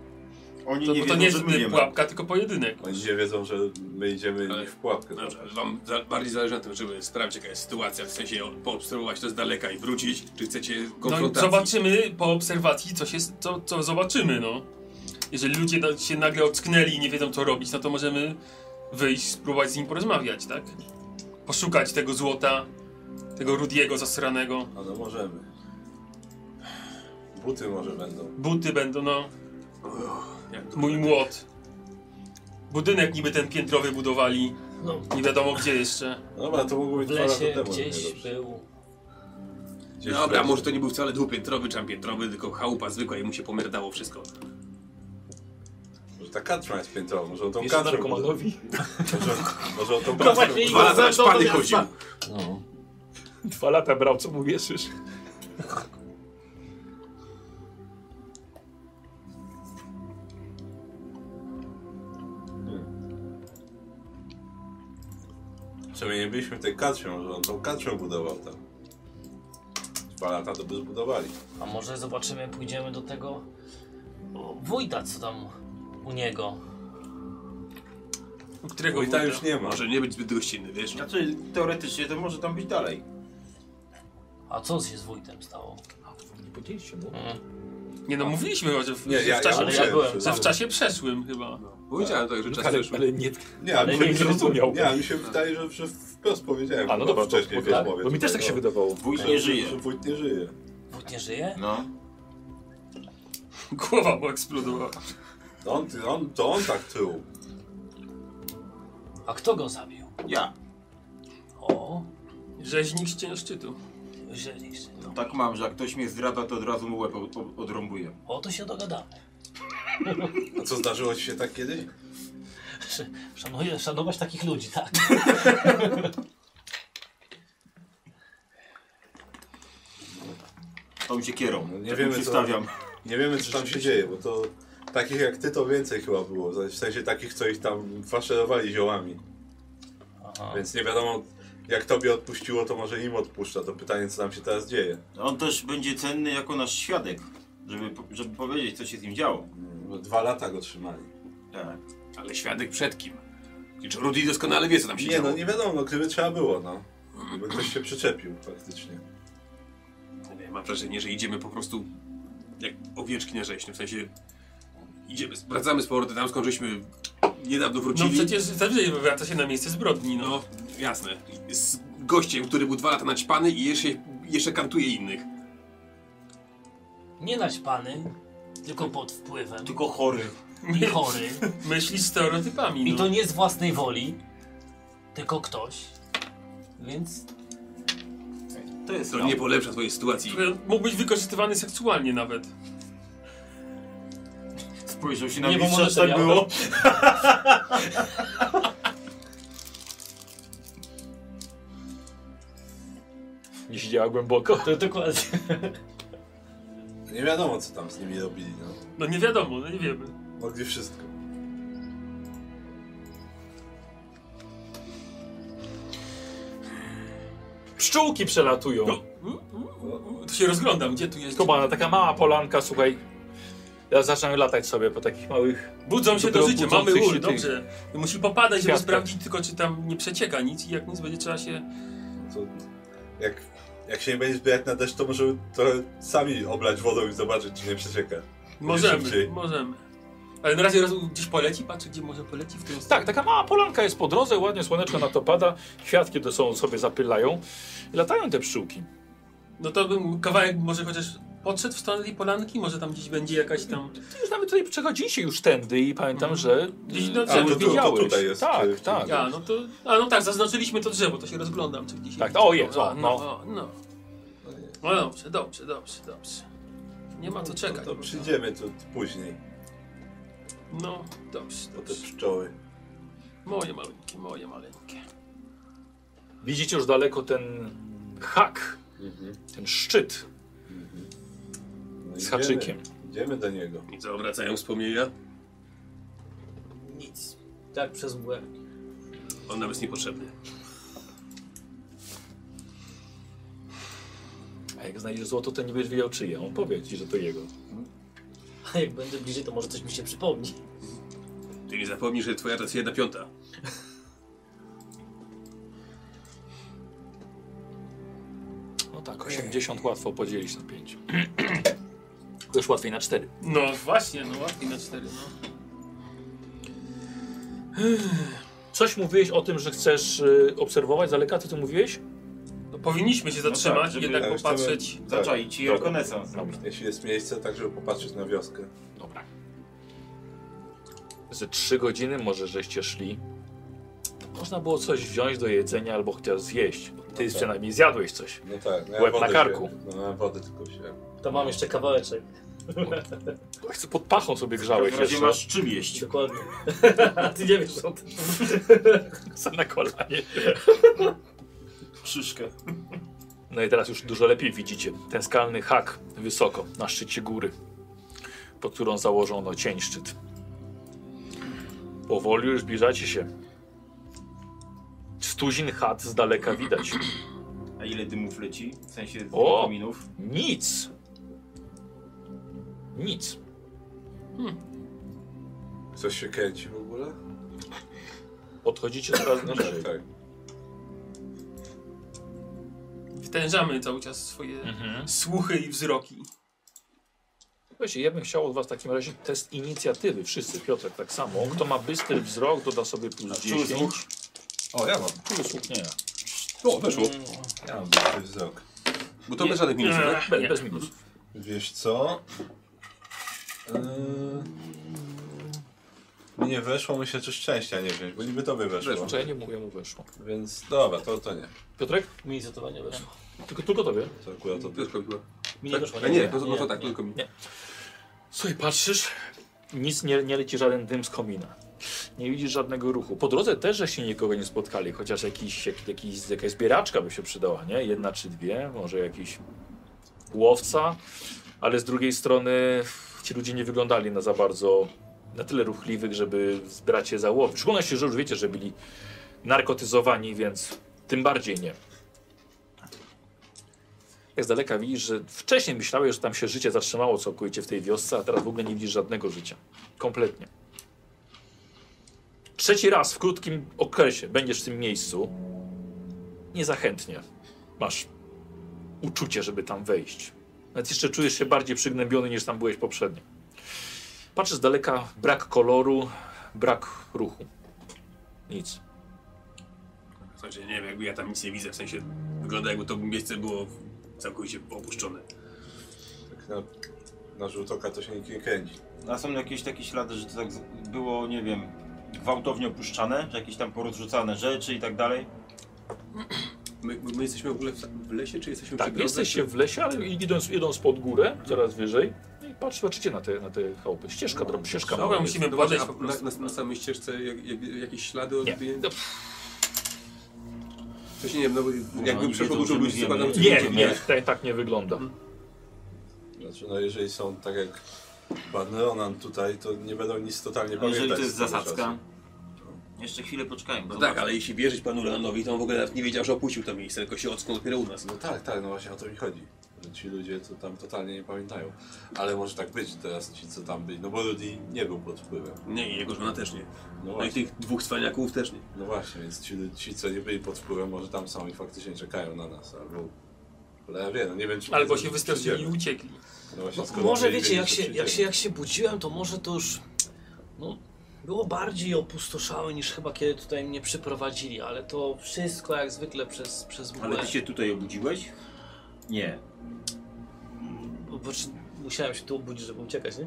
E: Oni
G: To,
E: nie
G: bo to
E: wiedzą,
G: nie jest
E: że my wiemy.
G: pułapka, tylko pojedynek. No
B: Oni nie wiedzą, że my idziemy
D: Ale-
B: ich w pułapkę.
D: Dobrze,
B: złapać.
D: ale wam za, bardziej zależy na tym, żeby sprawdzić jaka jest sytuacja, w sensie o- poobserwować to z daleka i wrócić, czy chcecie
G: No i
D: konfrontacji.
G: zobaczymy po obserwacji, co, się, co, co zobaczymy, no. Jeżeli ludzie na, się nagle ocknęli i nie wiedzą, co robić, no to możemy wyjść, spróbować z nim porozmawiać, tak? Poszukać tego złota, tego rudiego zasranego.
B: A no możemy. Buty może będą.
G: Buty będą, no,
D: Jak to
G: mój młot. Budynek niby ten piętrowy budowali,
J: No,
G: nie wiadomo gdzie jeszcze.
B: No Dobra, to mogło być
J: w
B: dwa lata
J: lesie
B: temu. nie
J: gdzieś
B: dobrze.
J: był.
B: Gdzieś w
D: No Dobra,
B: lesie.
D: może to nie był wcale dwupiętrowy czy piętrowy, tylko chałupa zwykła i mu się pomierdało wszystko.
B: Może ta katra jest piętrowa, może o tą
A: Jeszcze
B: katrę.
A: narkomanowi.
B: Może, może o tą
J: No
B: katrę.
J: właśnie,
D: Dwa lata
J: zresztą to
D: szpany
J: ja-
D: chodził.
B: No.
A: Dwa lata brał, co mu wieszysz.
B: Przynajmniej nie byliśmy w tej katrze, może on tą katrę budował tam. Dwa lata to by zbudowali.
J: A może zobaczymy, pójdziemy do tego o, wójta, co tam u niego.
G: U którego
B: Bo i tam
G: wójta?
B: już nie ma.
D: Może nie być zbyt gościnny, wiesz?
E: Znaczy, teoretycznie to może tam być dalej.
J: A co się z wójtem stało?
A: Nie no. podzieliście mu.
J: Mm.
G: Nie no, mówiliśmy, że w,
B: Nie,
G: że
B: ja,
G: w
B: ja,
G: czasie,
J: ale ja
B: mówiłem,
J: byłem.
B: że-
G: że w czasie przeszłym chyba. No,
D: Powiedziałem tak, że czas
A: Ale,
D: wyszły.
A: ale nie.
B: Nie, ale
A: nie
B: mi się
A: zrozumiał.
B: Nie, ale mi się wydaje, że, że wprost powiedziałem.
A: A no
B: chyba
A: dobra, to,
B: wcześniej w
A: tak,
B: rozmowie
A: bo mi też
B: tutaj,
A: tak się
B: no.
A: wydawało.
E: Wójt
B: Że-
E: nie żyje.
B: Że wójt nie żyje.
J: Wójt nie żyje?
E: No.
G: Głowa mu eksplodowała.
B: On, on, to on tak tył.
J: A kto go zabił?
E: Ja.
J: O,
G: Rzeźnik z cienia szczytu.
J: jeżeli się-
E: Tak mam, że jak ktoś mnie zdrada, to od razu mu łeb od- od- odrąbuję.
J: O to się dogadamy. <laughs>
B: A co zdarzyło ci się tak kiedyś?
J: Sz- Szanuję, szanować takich ludzi, tak.
E: Tą siekierą. Tak
B: No nie
E: Taką
B: wiemy, co-
E: przystawiam.
B: Nie wiemy, co tam się dzieje, bo to takich jak ty to więcej chyba było. W sensie takich, co ich tam faszerowali ziołami. Więc nie wiadomo, jak tobie odpuściło, to może im odpuszcza. To pytanie, co nam się teraz dzieje.
E: On też będzie cenny jako nasz świadek, żeby, po- żeby powiedzieć, co się z nim działo.
B: Bo Dwa lata go trzymali.
E: Tak.
D: Ale świadek przed kim? I czy Rudy doskonale wie, co tam się
B: Nie
D: dzieje?
B: no, nie wiadomo, no, gdyby trzeba było, no. Gdyby ktoś się przyczepił faktycznie.
D: Nie, Mam wrażenie, że idziemy po prostu jak owieczki na rzeźni, w sensie idziemy, wracamy z powrotem tam, skąd żeśmy niedawno
G: No
D: wrócili.
G: przecież zawsze wraca się na miejsce zbrodni, no.
D: No, jasne. Z gościem, który był dwa lata naćpany i jeszcze, jeszcze kantuje innych.
J: Nie naćpany, tylko pod wpływem.
E: Tylko chory.
J: I chory.
G: Myśli stereotypami,
J: I
G: no.
J: to nie z własnej woli, tylko ktoś. Więc
E: To jest
D: To
E: to
D: nie polepsza twojej sytuacji.
G: Który Mógł być wykorzystywany seksualnie nawet.
E: Spojrzał się na
M: Nie, bo
E: mistrza,
M: może
E: czy
M: to
E: tak
M: miało.
E: było.
A: Nie siedziała głęboko.
M: To dokładnie.
B: Nie wiadomo, co tam z nimi robili, no.
G: No nie wiadomo, no nie wiemy.
B: Mogli wszystko.
A: Pszczółki przelatują.
G: No. To się rozglądam, gdzie tu jest.
A: Skubana, no taka mała polanka, słuchaj. Ja zaczynam latać sobie po takich małych.
G: Budzą się do
A: Dopiero
G: życia, mamy
A: budzących się
G: ul,
A: tych-
G: dobrze. Musi popadać, żeby
A: Kwiatka.
G: sprawdzić tylko, czy tam nie przecieka nic i jak nic będzie trzeba się...
B: To, jak, jak się nie będzie zbierać na deszcz, to możemy trochę sami oblać wodą i zobaczyć, czy nie przecieka.
G: Możemy,
B: szybciej.
G: możemy. Ale na razie roz... gdzieś poleci, patrzy gdzie może poleci w tym
A: Tak, taka mała polanka jest po drodze, ładnie słoneczko na to pada, kwiatki do są sobie zapylają. I latają te pszczółki.
G: No to bym kawałek może chociaż podszedł w stronę tej polanki, może tam gdzieś będzie jakaś tam...
A: Ty już nawet tutaj przechodziliście już tędy i pamiętam, że.
G: Gdzieś
A: y,
G: do
A: cały
G: drzewa.
B: Mm. A, to
A: widziałeś.
B: tu- to tutaj jest,
A: Tak,
B: przecież.
A: tak.
G: A, no to... A no tak, zaznaczyliśmy to drzewo, to się rozglądam, czy gdzieś...
A: Tak, o, jest, o,
G: A,
A: no.
G: no. no. No dobrze, dobrze, dobrze, dobrze. Nie ma co czekać.
B: To, to
G: bo-
B: przyjdziemy tu później,
G: No, dobrze,
B: po te
G: dobrze.
B: pszczoły.
G: Moje maleńkie, moje maleńkie.
A: Widzicie już daleko ten hak,
B: Mhm.
A: ten szczyt
B: No
A: z
B: idziemy-
A: haczykiem.
B: Idziemy do niego.
D: I co, wracają wspomnienia?
M: Nic. Tak przez mgłę.
D: On nam jest niepotrzebny.
A: A jak znajdziesz złoto, to nie będziesz wiedział czyje. On powie ci, że to jego.
M: A jak będę bliżej, to może coś mi się przypomni.
D: Ty nie zapomnij, że twoja to jest jedna piąta.
A: No tak, 80 łatwo podzielić na <clears throat> 5. Też łatwiej na 4.
G: No właśnie, no łatwiej na cztery, no.
A: Coś mówiłeś o tym, że chcesz y, obserwować z daleka, co ty mówiłeś?
G: no powinniśmy się zatrzymać,
E: tak, żeby-
G: jednak
B: tak,
G: popatrzeć.
E: Zaczaić i
B: Dobra.
E: rekonesans.
A: Dobra.
B: Jeśli jest miejsce, tak żeby popatrzeć na wioskę.
A: Mhm. Dobra. Ze 3 godziny może żeście szli. Można było coś wziąć do jedzenia albo chociaż zjeść. Ty przynajmniej zjadłeś coś.
B: No tak. No ja
A: Łeb na
B: wodę
A: karku.
B: wziąłem. No na wodę tylko się.
M: To mam jeszcze kawałeczek.
A: Pod pachą sobie grzałeś
E: W razie
A: jeszcze.
E: masz czym jeść.
M: Dokładnie. <laughs> A ty nie wiesz o tym.
A: no, <laughs> Na kolanie.
E: Krzyżkę.
A: No i teraz już dużo lepiej widzicie ten skalny hak wysoko na szczycie góry, pod którą założono cień szczyt. Powoli już zbliżacie się. Stuzin chat z daleka widać.
E: A ile dymów leci? W sensie z
A: O!
E: kominów.
A: Nic. Nic.
B: Coś się kręci w ogóle?
A: Podchodzicie coraz
B: No
A: bliżej.
B: tak, tak.
G: Wtężamy cały czas swoje <laughs>
A: Mhm.
G: słuchy i wzroki.
A: Słuchajcie, ja bym chciał od was w takim razie test inicjatywy. Wszyscy, Piotrek tak samo. Kto ma bystry wzrok, doda sobie plus 10.
B: O, ja mam.
A: Plus słuch nie.
D: O, weszło.
B: Ja mam dobry wzrok.
G: tak?
D: Bo to bez żadnych minusów, tak?
A: Bez, bez minus.
B: Wiesz co? Mi Yy, nie weszło, myślę, czy szczęścia nie wziąć, bo niby tobie weszło.
A: Weszło, ja nie mówię, mu weszło.
B: Więc dobra, to, to nie.
A: Piotrek?
M: Mi za to nie weszło.
A: Tylko, tylko tobie.
B: To akurat to
D: Tylko chyba.
M: Mi nie
D: Tak?
M: weszło.
D: A nie, no to, no to
M: nie,
D: tak,
M: nie.
D: tylko mi.
A: Nie. Słuchaj, patrzysz, nic nie, nie leci żaden dym z komina. Nie widzisz żadnego ruchu. Po drodze też żeście nikogo nie spotkali, chociaż jakiś, jak, jakiś, jakaś zbieraczka by się przydała, nie? Jedna czy dwie, może jakiś łowca, ale z drugiej strony ci ludzie nie wyglądali na za bardzo, na tyle ruchliwych, żeby zbrać się za łowy. W szczególności, że już wiecie, że byli narkotyzowani, więc tym bardziej nie. Jak z daleka widzisz, że wcześniej myślałeś, że tam się życie zatrzymało całkowicie w tej wiosce, a teraz w ogóle nie widzisz żadnego życia. Kompletnie. Trzeci raz w krótkim okresie będziesz w tym miejscu. Niezachętnie masz uczucie, żeby tam wejść. Nawet jeszcze czujesz się bardziej przygnębiony niż tam byłeś poprzednio. Patrzysz z daleka, brak koloru, brak ruchu. Nic.
D: W sensie, nie wiem, jakby ja tam nic nie widzę, w sensie wygląda jakby to miejsce było całkowicie opuszczone.
B: tak na, na żółtoka to się nikt nie kręci.
E: A są jakieś takie ślady, że to tak z- było, nie wiem, gwałtownie opuszczane, że jakieś tam porozrzucane rzeczy i tak dalej?
D: My, my jesteśmy w ogóle w, w lesie, czy jesteśmy
A: Tak,
D: drodze,
A: jesteś
D: czy-
A: się w lesie, ale idąc, idąc pod górę, coraz wyżej, i patrz, patrzycie na te, na te chałupy. Ścieżka, no, ścieżka
G: Dobra,
A: mała jest.
G: musimy
D: Dobra,
G: podejść po
D: a na,
G: prostu.
D: na, na samej ścieżce jak, jak, jakieś ślady od...
A: Nie. No,
D: Wcześniej nie wiem, no bo jakby
E: oni
D: przeszło
E: wiedzą,
D: dużo
E: że
D: ludzi,
E: my
D: zakładam,
E: wiemy.
A: Nie,
D: że ludzie-
A: nie, tak, tak nie wygląda.
B: Znaczy, no jeżeli są tak jak Barneronan tutaj, to nie będą nic totalnie
E: A
B: pamiętać.
E: jeżeli
B: z
E: to jest
B: tego
E: zasadzka?
B: czasu.
E: Jeszcze chwilę poczekajmy.
D: No
E: zobaczymy.
D: tak, ale jeśli wierzyć panu Lanowi, to on w ogóle nawet nie wiedział, że opuścił to miejsce, tylko się ocknął dopiero u nas.
B: No tak, tak, no właśnie o to mi chodzi. Że ci ludzie to tam totalnie nie pamiętają. Ale może tak być teraz ci, co tam byli. No bo Rudy nie był pod wpływem.
D: Nie, i jego żona też nie.
B: No
D: No i
B: właśnie,
D: tych dwóch cwaniaków też nie.
B: no właśnie więc ci, lu- ci, co nie byli pod wpływem, może tam sami faktycznie czekają na nas. Albo... Ale ja wiem, no nie wiem czy...
G: Albo
B: czy-
G: się
B: czy
G: wystraszyli i
B: przyjdziemy.
G: uciekli.
B: No właśnie, skoro
M: Może
B: byli
M: wiecie,
B: wiedzieli,
M: jak
B: że
M: się, jak, się,
B: przyjdziemy.
M: jak się budziłem, to może to już no, było bardziej opustoszałe niż chyba kiedy tutaj mnie przyprowadzili, ale to wszystko jak zwykle przez, przez mgłę.
E: Ale ty się tutaj obudziłeś? Nie.
M: Bo, bo, czy- musiałem się tu obudzić, żeby uciekać, nie?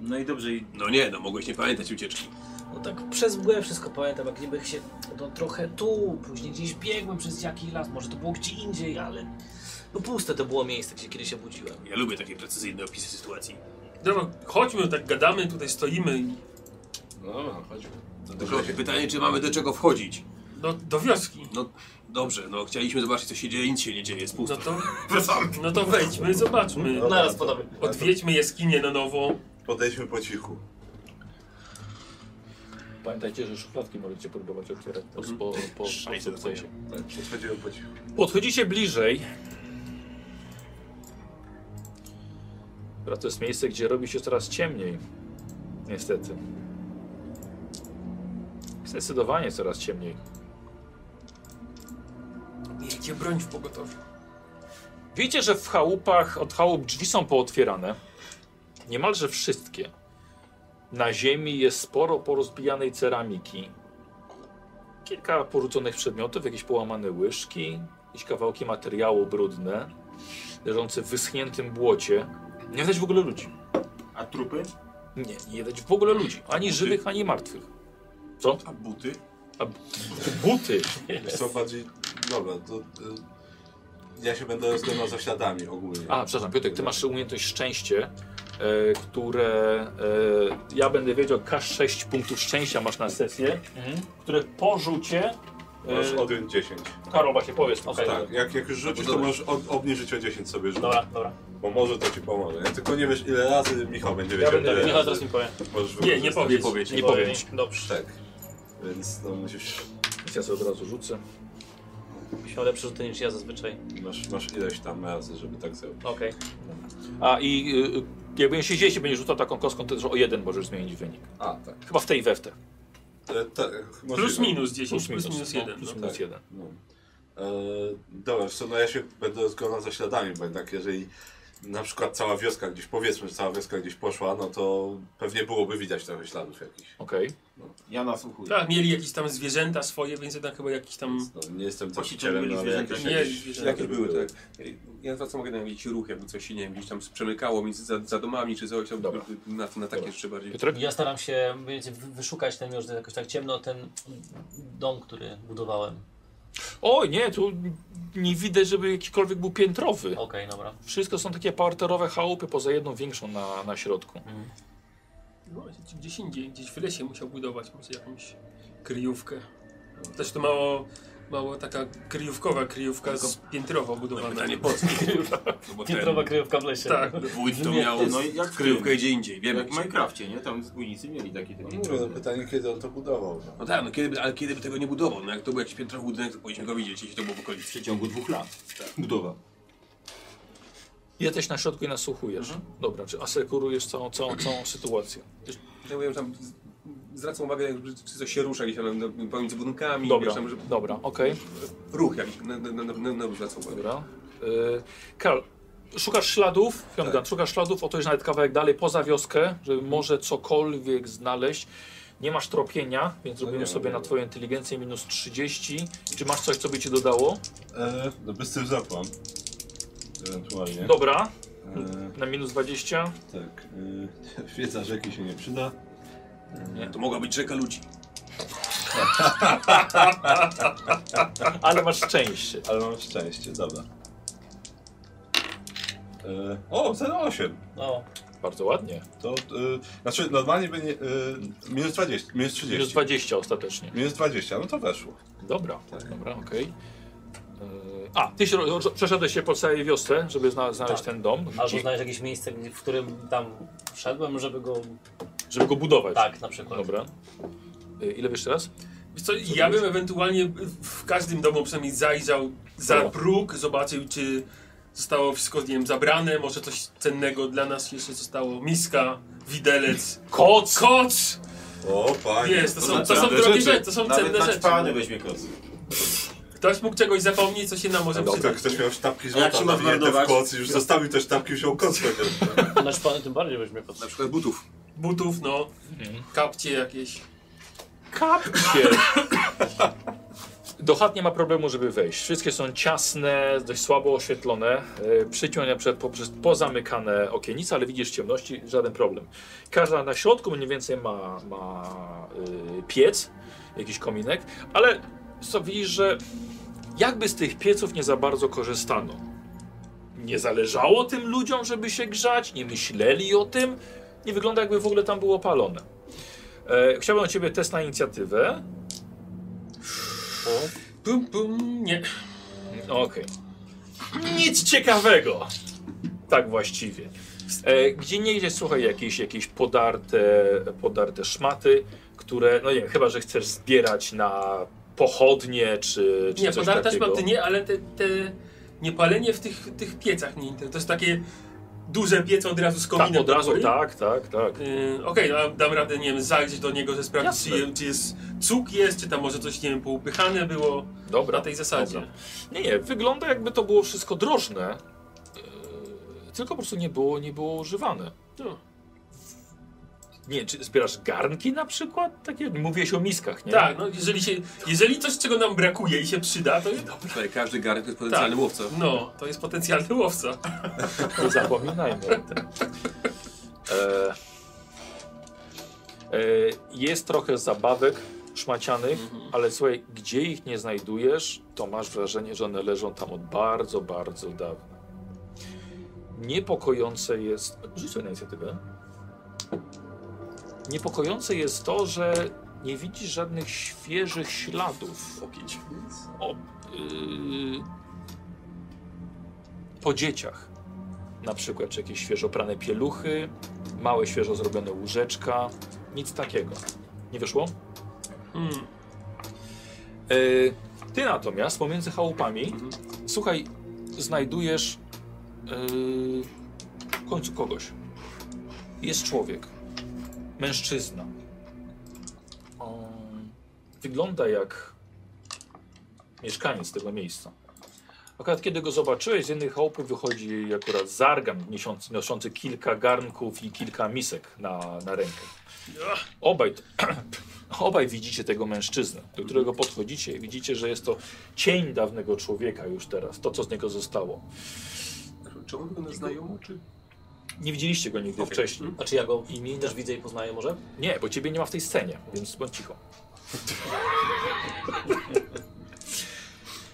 E: No i dobrze, i
D: No nie, no mogłeś nie pamiętać ucieczki.
M: No tak przez mgłę wszystko pamiętam, jak niby się no, trochę tu, później gdzieś biegłem przez jakiś las, może to było gdzie indziej, ale no puste to było miejsce, gdzie kiedyś się budziłem.
D: Ja lubię takie precyzyjne opisy sytuacji.
G: Dobra, chodźmy, tak gadamy, tutaj stoimy i
B: No dobra, chodźmy. To
D: Tylko
B: dobrze się-
D: pytanie, czy mamy do czego wchodzić?
G: do, do wioski.
D: No dobrze, no chcieliśmy zobaczyć co się dzieje, nic się nie dzieje, jest
G: No
D: pusto. <laughs>
G: to, no to wejdźmy, zobaczmy.
B: No Dobra,
M: Naraz
B: to-
M: podamy.
G: Odwiedźmy jaskinię na nowo.
B: Podejdźmy po cichu.
A: Pamiętajcie, że szufladki możecie próbować otwierać po, po, po, po
D: Szajce
A: sukcesie.
B: Tak, podchodzimy po cichu.
A: Podchodzicie bliżej. Dobra, To jest miejsce, gdzie robi się coraz ciemniej. Niestety. Zdecydowanie coraz ciemniej.
G: Miejcie broń w pogotowiu.
A: Widzicie, że w chałupach, od chałup drzwi są pootwierane. Niemalże wszystkie. Na ziemi jest sporo porozbijanej ceramiki. Kilka porzuconych przedmiotów, jakieś połamane łyżki, jakieś kawałki materiału brudne, leżące w wyschniętym błocie. Nie widać w ogóle ludzi.
E: A trupy?
A: Nie, nie widać w ogóle ludzi. Ani żywych, ani martwych. Co?
D: A buty?
A: Buty!
B: Wiesz Co bardziej... Dobra, to... y, Ja się będę rozglądał za śladami ogólnie.
A: A, przepraszam, Piotrek, ty masz umiejętność szczęście, e, które e, ja będę wiedział, K6 punktów szczęścia masz na sesję, które po rzucie.
B: Masz
A: E,
B: odjąć 10.
A: Karol, właśnie powiedz. Okay.
B: Tak, jak, jak już rzucisz, to możesz od, obniżyć o 10 sobie rzut.
A: Dobra, dobra.
B: Bo może to ci pomoże. Ja tylko nie wiesz ile razy Michał będzie wiedział.
A: będę
B: ile
A: wiedział.
B: razy
A: Michał teraz mi
M: powie.
B: możesz
G: Nie, nie
B: wykorzystać.
G: powiedz.
D: Powiedz.
A: Nie powiem ci.
M: Dobrze,
B: Tak. Więc no musisz...
A: Więc Ja sobie od razu rzucę.
M: miał lepsze rzuty niż ja zazwyczaj.
B: Masz, masz ileś tam razy, żeby tak zrobić.
M: Okej.
A: A i y, jak będziesz się gdzieś będziesz rzucał taką kostką, to też o jeden możesz zmienić wynik.
B: A, tak.
A: Chyba w tej we w te.
B: E, tak
G: Plus
B: możliwe.
G: minus 10,
A: Plus minus. no,
G: 1.
A: Plus
G: No.
A: minus
B: Tak.
A: jeden.
B: No. E, dobra, wiesz co, no ja się będę rozglądał za śladami, bo jednak jeżeli na przykład cała wioska gdzieś, powiedzmy, że cała wioska gdzieś poszła, no to pewnie byłoby widać trochę śladów jakichś.
A: Okej.
E: Ja nasłuchuję.
G: Tak, mieli jakieś tam zwierzęta swoje, więc jednak chyba jakiś tam...
B: No, nie jestem
E: Właśnie
B: właścicielem,
E: byli
B: no, ale
E: zwierzęta.
B: jakieś,
G: Nie,
B: jakieś,
G: zwierzęta.
B: ślady
D: Jakie były, tak. Ja za co mogę nawiedzić ruch, jakby coś się, nie wiem, gdzieś tam przemykało między za, za domami czy coś, tam,
A: Dobra.
D: na, na takie jeszcze bardziej.
A: Piotrek?
J: Ja staram się wiecie, wy- wyszukać ten już jakoś tak ciemno, ten dom, który budowałem.
A: Oj, nie, tu nie widać, żeby jakikolwiek był piętrowy.
J: Okej, dobra.
A: Wszystko są takie parterowe chałupy, poza jedną większą na, na środku.
G: No, gdzieś indziej, gdzieś w lesie musiał budować może jakąś kryjówkę. No, Też to mało, mało taka kryjówkowa kryjówka z piętrowo budowana.
D: Pytanie po co? No bo
J: Piętrowa
D: ten
J: kryjówka w lesie.
G: Tak.
D: wójt to miał
E: No i jak w
D: kryjówkę
E: tym,
D: gdzie indziej, wiemy.
E: Jak w
D: gdzie.
E: Minecrafcie, nie? Tam wspólnicy mieli takie te
B: No mówię, no pytanie kiedy on to budował. No.
D: No tak, no kiedy, by- ale kiedy by tego nie budował? No jak to był jakiś piętrowy budynek, to powinniśmy go widzieć, jeśli to było w
E: W
D: okolicy.
E: przeciągu dwóch lat. Budowa.
A: Jesteś na środku i nasłuchujesz. Dobra, czy asekurujesz całą, całą, całą sytuację.
D: Ja mówiłem tam, z- zwracam uwagę, jakby czy coś się rusza gdzieś tam na- pomiędzy budynkami,
A: Dobra,
D: wiesz, tam, że
A: dobra, okej,
D: ruch jakiś, na, na, na, na, na zwracam uwagę.
A: dobra. Y, Karl, szukasz śladów, Fiongdan,
J: Tak.
A: szukasz śladów, oto jest nawet kawałek dalej, poza wioskę, żeby
J: Mhm.
A: może cokolwiek znaleźć. Nie masz tropienia,
J: No
A: więc robimy
D: nie mam,
A: sobie
D: nie
A: na
D: mam.
A: twoją inteligencję minus 30. Czy masz coś, co by ci dodało?
B: E, no bez tych zapłon. Ewentualnie.
A: Dobra,
B: E,
J: Yy.
A: na minus 20.
B: tak. E, <laughs> wiedza rzeki się nie przyda.
D: To mogła być rzeka ludzi.
A: Ale masz szczęście.
B: Ale mam szczęście, dobra. E, o, 08.
J: No,
A: Bardzo ładnie.
B: To, e, znaczy normalnie by nie, e, minus 20, minus 30.
A: Minus
B: Minus,
A: 20 ostatecznie.
B: 20, no to weszło.
A: Dobra,
J: Tak.
A: dobra, okej. Yy, A, ty się, ro- ro- przeszedłeś się po całej wiosce, żeby zna, znaleźć
J: Tak.
A: ten dom,
J: albo
A: gdzie-
J: znaleźć jakieś miejsce, gdzie- w którym tam wszedłem, żeby go...
A: żeby go budować.
J: Tak, na przykład.
A: Dobra. Yy, Ile wiesz teraz?
G: Wiesz co, ja bym ewentualnie w każdym domu przynajmniej zajrzał za
A: Dobra.
G: próg, zobaczył czy zostało wszystko, nie wiem, zabrane, może coś cennego dla nas jeszcze zostało, miska, widelec, koc, koc!
B: O, panie.
G: Jest, to są,
E: na
G: to są
E: cenne
G: drogie
E: rzeczy.
G: rzeczy, to są
E: Nawet
G: cenne
E: na
G: rzeczy.
E: czpany weźmie koc.
G: Ktoś mógł czegoś zapomnieć, co się nam może
B: Kto,
G: przydać.
B: ktoś miał sztabki
E: jak
B: złota
E: się ma
B: nawinięte w
E: zmarnować?
B: koc i już zostawił te sztabki i wziął koc. chociaż.
J: Na szpany tym bardziej weźmie pod...
D: Na przykład butów.
G: Butów, no,
D: Mhm.
G: kapcie jakieś.
A: Kapcie! Do chat nie ma problemu, żeby wejść. Wszystkie są ciasne, dość słabo oświetlone. Yy, Przyciąg na przykład poprzez pozamykane okienice, ale widzisz ciemności, żaden problem. Każda na środku mniej więcej ma, ma yy, piec, jakiś kominek, ale co widzisz, że jakby z tych pieców nie za bardzo korzystano. Nie zależało tym ludziom, żeby się grzać, nie myśleli o tym. Nie wygląda jakby w ogóle tam było palone. E, chciałbym od ciebie test na inicjatywę.
G: Pum, pum, nie.
A: No, Okej. Nic ciekawego. Tak właściwie. E, gdzie nie idzie, słuchaj, jakieś, jakieś podarte, podarte szmaty, które, no nie wiem, chyba że chcesz zbierać na pochodnie czy, czy
G: Nie,
A: coś
G: podarta
A: takiego.
G: szmaty nie, ale te, te niepalenie w tych, tych piecach nie inter- To jest takie duże piece od razu z kominem.
A: Tak, od
G: do
A: razu,
G: góry.
A: tak, tak, tak.
G: Yy, Okej, no, a dam radę, nie wiem, zajrzeć do niego, że sprawdzić,
A: Jasne.
G: czy, czy jest cuk jest, czy tam może coś, nie wiem, poupychane było
A: Dobra.
G: na tej zasadzie.
A: Dobra. Nie, nie, wygląda jakby to było wszystko drożne, yy, tylko po prostu nie było, nie było używane.
G: No.
A: Nie, czy zbierasz garnki na przykład? Takie, mówiłeś o miskach, nie?
G: Tak, no jeżeli, się, jeżeli coś, czego nam brakuje i się przyda, to
D: Tutaj każdy garnek to jest potencjalny łowca.
G: no, to jest potencjalny łowca.
A: Nie <laughs> zapominajmy o tym. E, e, jest trochę zabawek szmacianych, ale słuchaj, gdzie ich nie znajdujesz, to masz wrażenie, że one leżą tam od bardzo, bardzo dawna. Niepokojące jest... Rzuć sobie na inicjatywę. Niepokojące jest to, że nie widzisz żadnych świeżych śladów
D: Opić.
A: o, y, yy, po dzieciach. Na przykład czy jakieś świeżo prane pieluchy, małe świeżo zrobione łóżeczka, nic takiego. Nie wyszło?
G: Hmm.
A: Yy, ty natomiast pomiędzy chałupami, słuchaj, znajdujesz yy, w końcu kogoś. Jest człowiek, mężczyzna. On wygląda jak mieszkaniec tego miejsca. Akurat kiedy go zobaczyłeś, z jednych chałupy wychodzi akurat zargan niosący, noszący kilka garnków i kilka misek na, na rękę. Obaj, <clears throat> obaj widzicie tego mężczyznę, do którego podchodzicie i widzicie, że jest to cień dawnego człowieka już teraz, to co z niego zostało.
D: Czy on wygląda znajomo, czy...
A: Nie widzieliście go nigdy wcześniej.
M: A czy ja go też widzę i poznaję może?
A: Nie, bo ciebie nie ma w tej scenie, więc bądź cicho.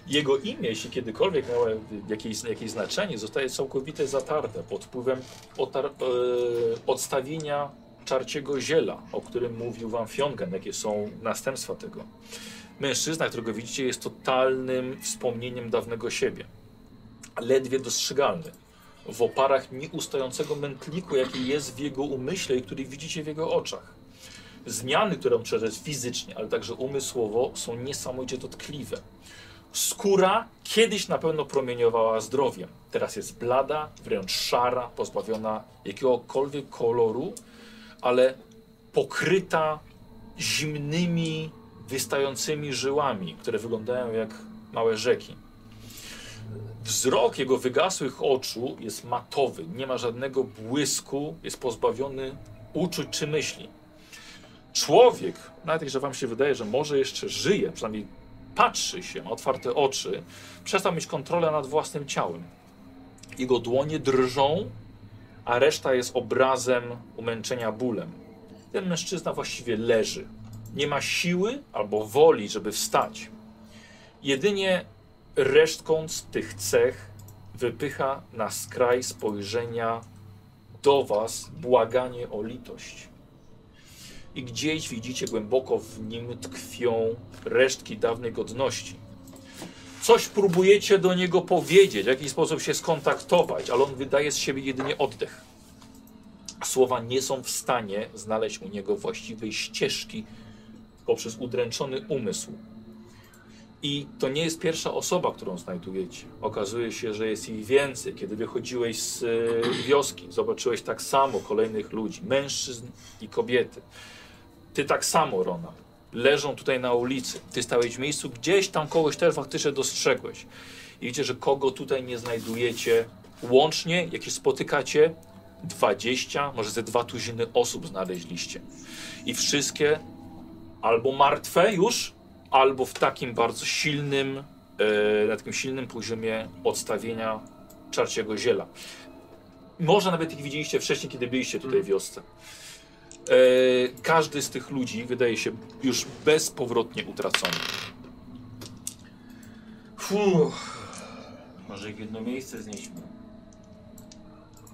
A: Jego imię, jeśli kiedykolwiek miało jakieś, jakieś znaczenie, zostaje całkowite zatarte pod wpływem otar- e, odstawienia czarciego ziela, o którym mówił wam Fiongen, jakie są następstwa tego. Mężczyzna, którego widzicie, jest totalnym wspomnieniem dawnego siebie. Ledwie dostrzegalny. W oparach nieustającego mętliku, jaki jest w jego umyśle i który widzicie w jego oczach. Zmiany, które on przeżył fizycznie, ale także umysłowo, są niesamowicie dotkliwe. Skóra kiedyś na pewno promieniowała zdrowiem. Teraz jest blada, wręcz szara, pozbawiona jakiegokolwiek koloru, ale pokryta zimnymi, wystającymi żyłami, które wyglądają jak małe rzeki. Wzrok jego wygasłych oczu jest matowy, nie ma żadnego błysku, jest pozbawiony uczuć czy myśli. Człowiek, nawet że wam się wydaje, że może jeszcze żyje, przynajmniej patrzy się, ma otwarte oczy, przestał mieć kontrolę nad własnym ciałem. Jego dłonie drżą, a reszta jest obrazem umęczenia bólem. Ten mężczyzna właściwie leży. Nie ma siły albo woli, żeby wstać. Jedynie resztką z tych cech wypycha na skraj spojrzenia do was błaganie o litość i gdzieś widzicie głęboko w nim tkwią resztki dawnej godności. Coś próbujecie do niego powiedzieć, w jakiś sposób się skontaktować, ale on wydaje z siebie jedynie oddech. Słowa nie są w stanie znaleźć u niego właściwej ścieżki poprzez udręczony umysł. I to nie jest pierwsza osoba, którą znajdujecie. Okazuje się, że jest ich więcej. Kiedy wychodziłeś z e, wioski, zobaczyłeś tak samo kolejnych ludzi, mężczyzn i kobiety. Ty tak samo, Rona. Leżą tutaj na ulicy. Ty stałeś w miejscu, gdzieś tam kogoś też faktycznie dostrzegłeś. I widzicie, że kogo tutaj nie znajdujecie. Łącznie, jakieś spotykacie, 20, może ze dwa tuziny osób znaleźliście. I wszystkie albo martwe już, albo w takim bardzo silnym, e, na takim silnym poziomie odstawienia czarciego ziela. Może nawet ich widzieliście wcześniej, kiedy byliście tutaj w wiosce. E, każdy z tych ludzi wydaje się już bezpowrotnie utracony.
E: Fuh. Może jedno miejsce znieśmy.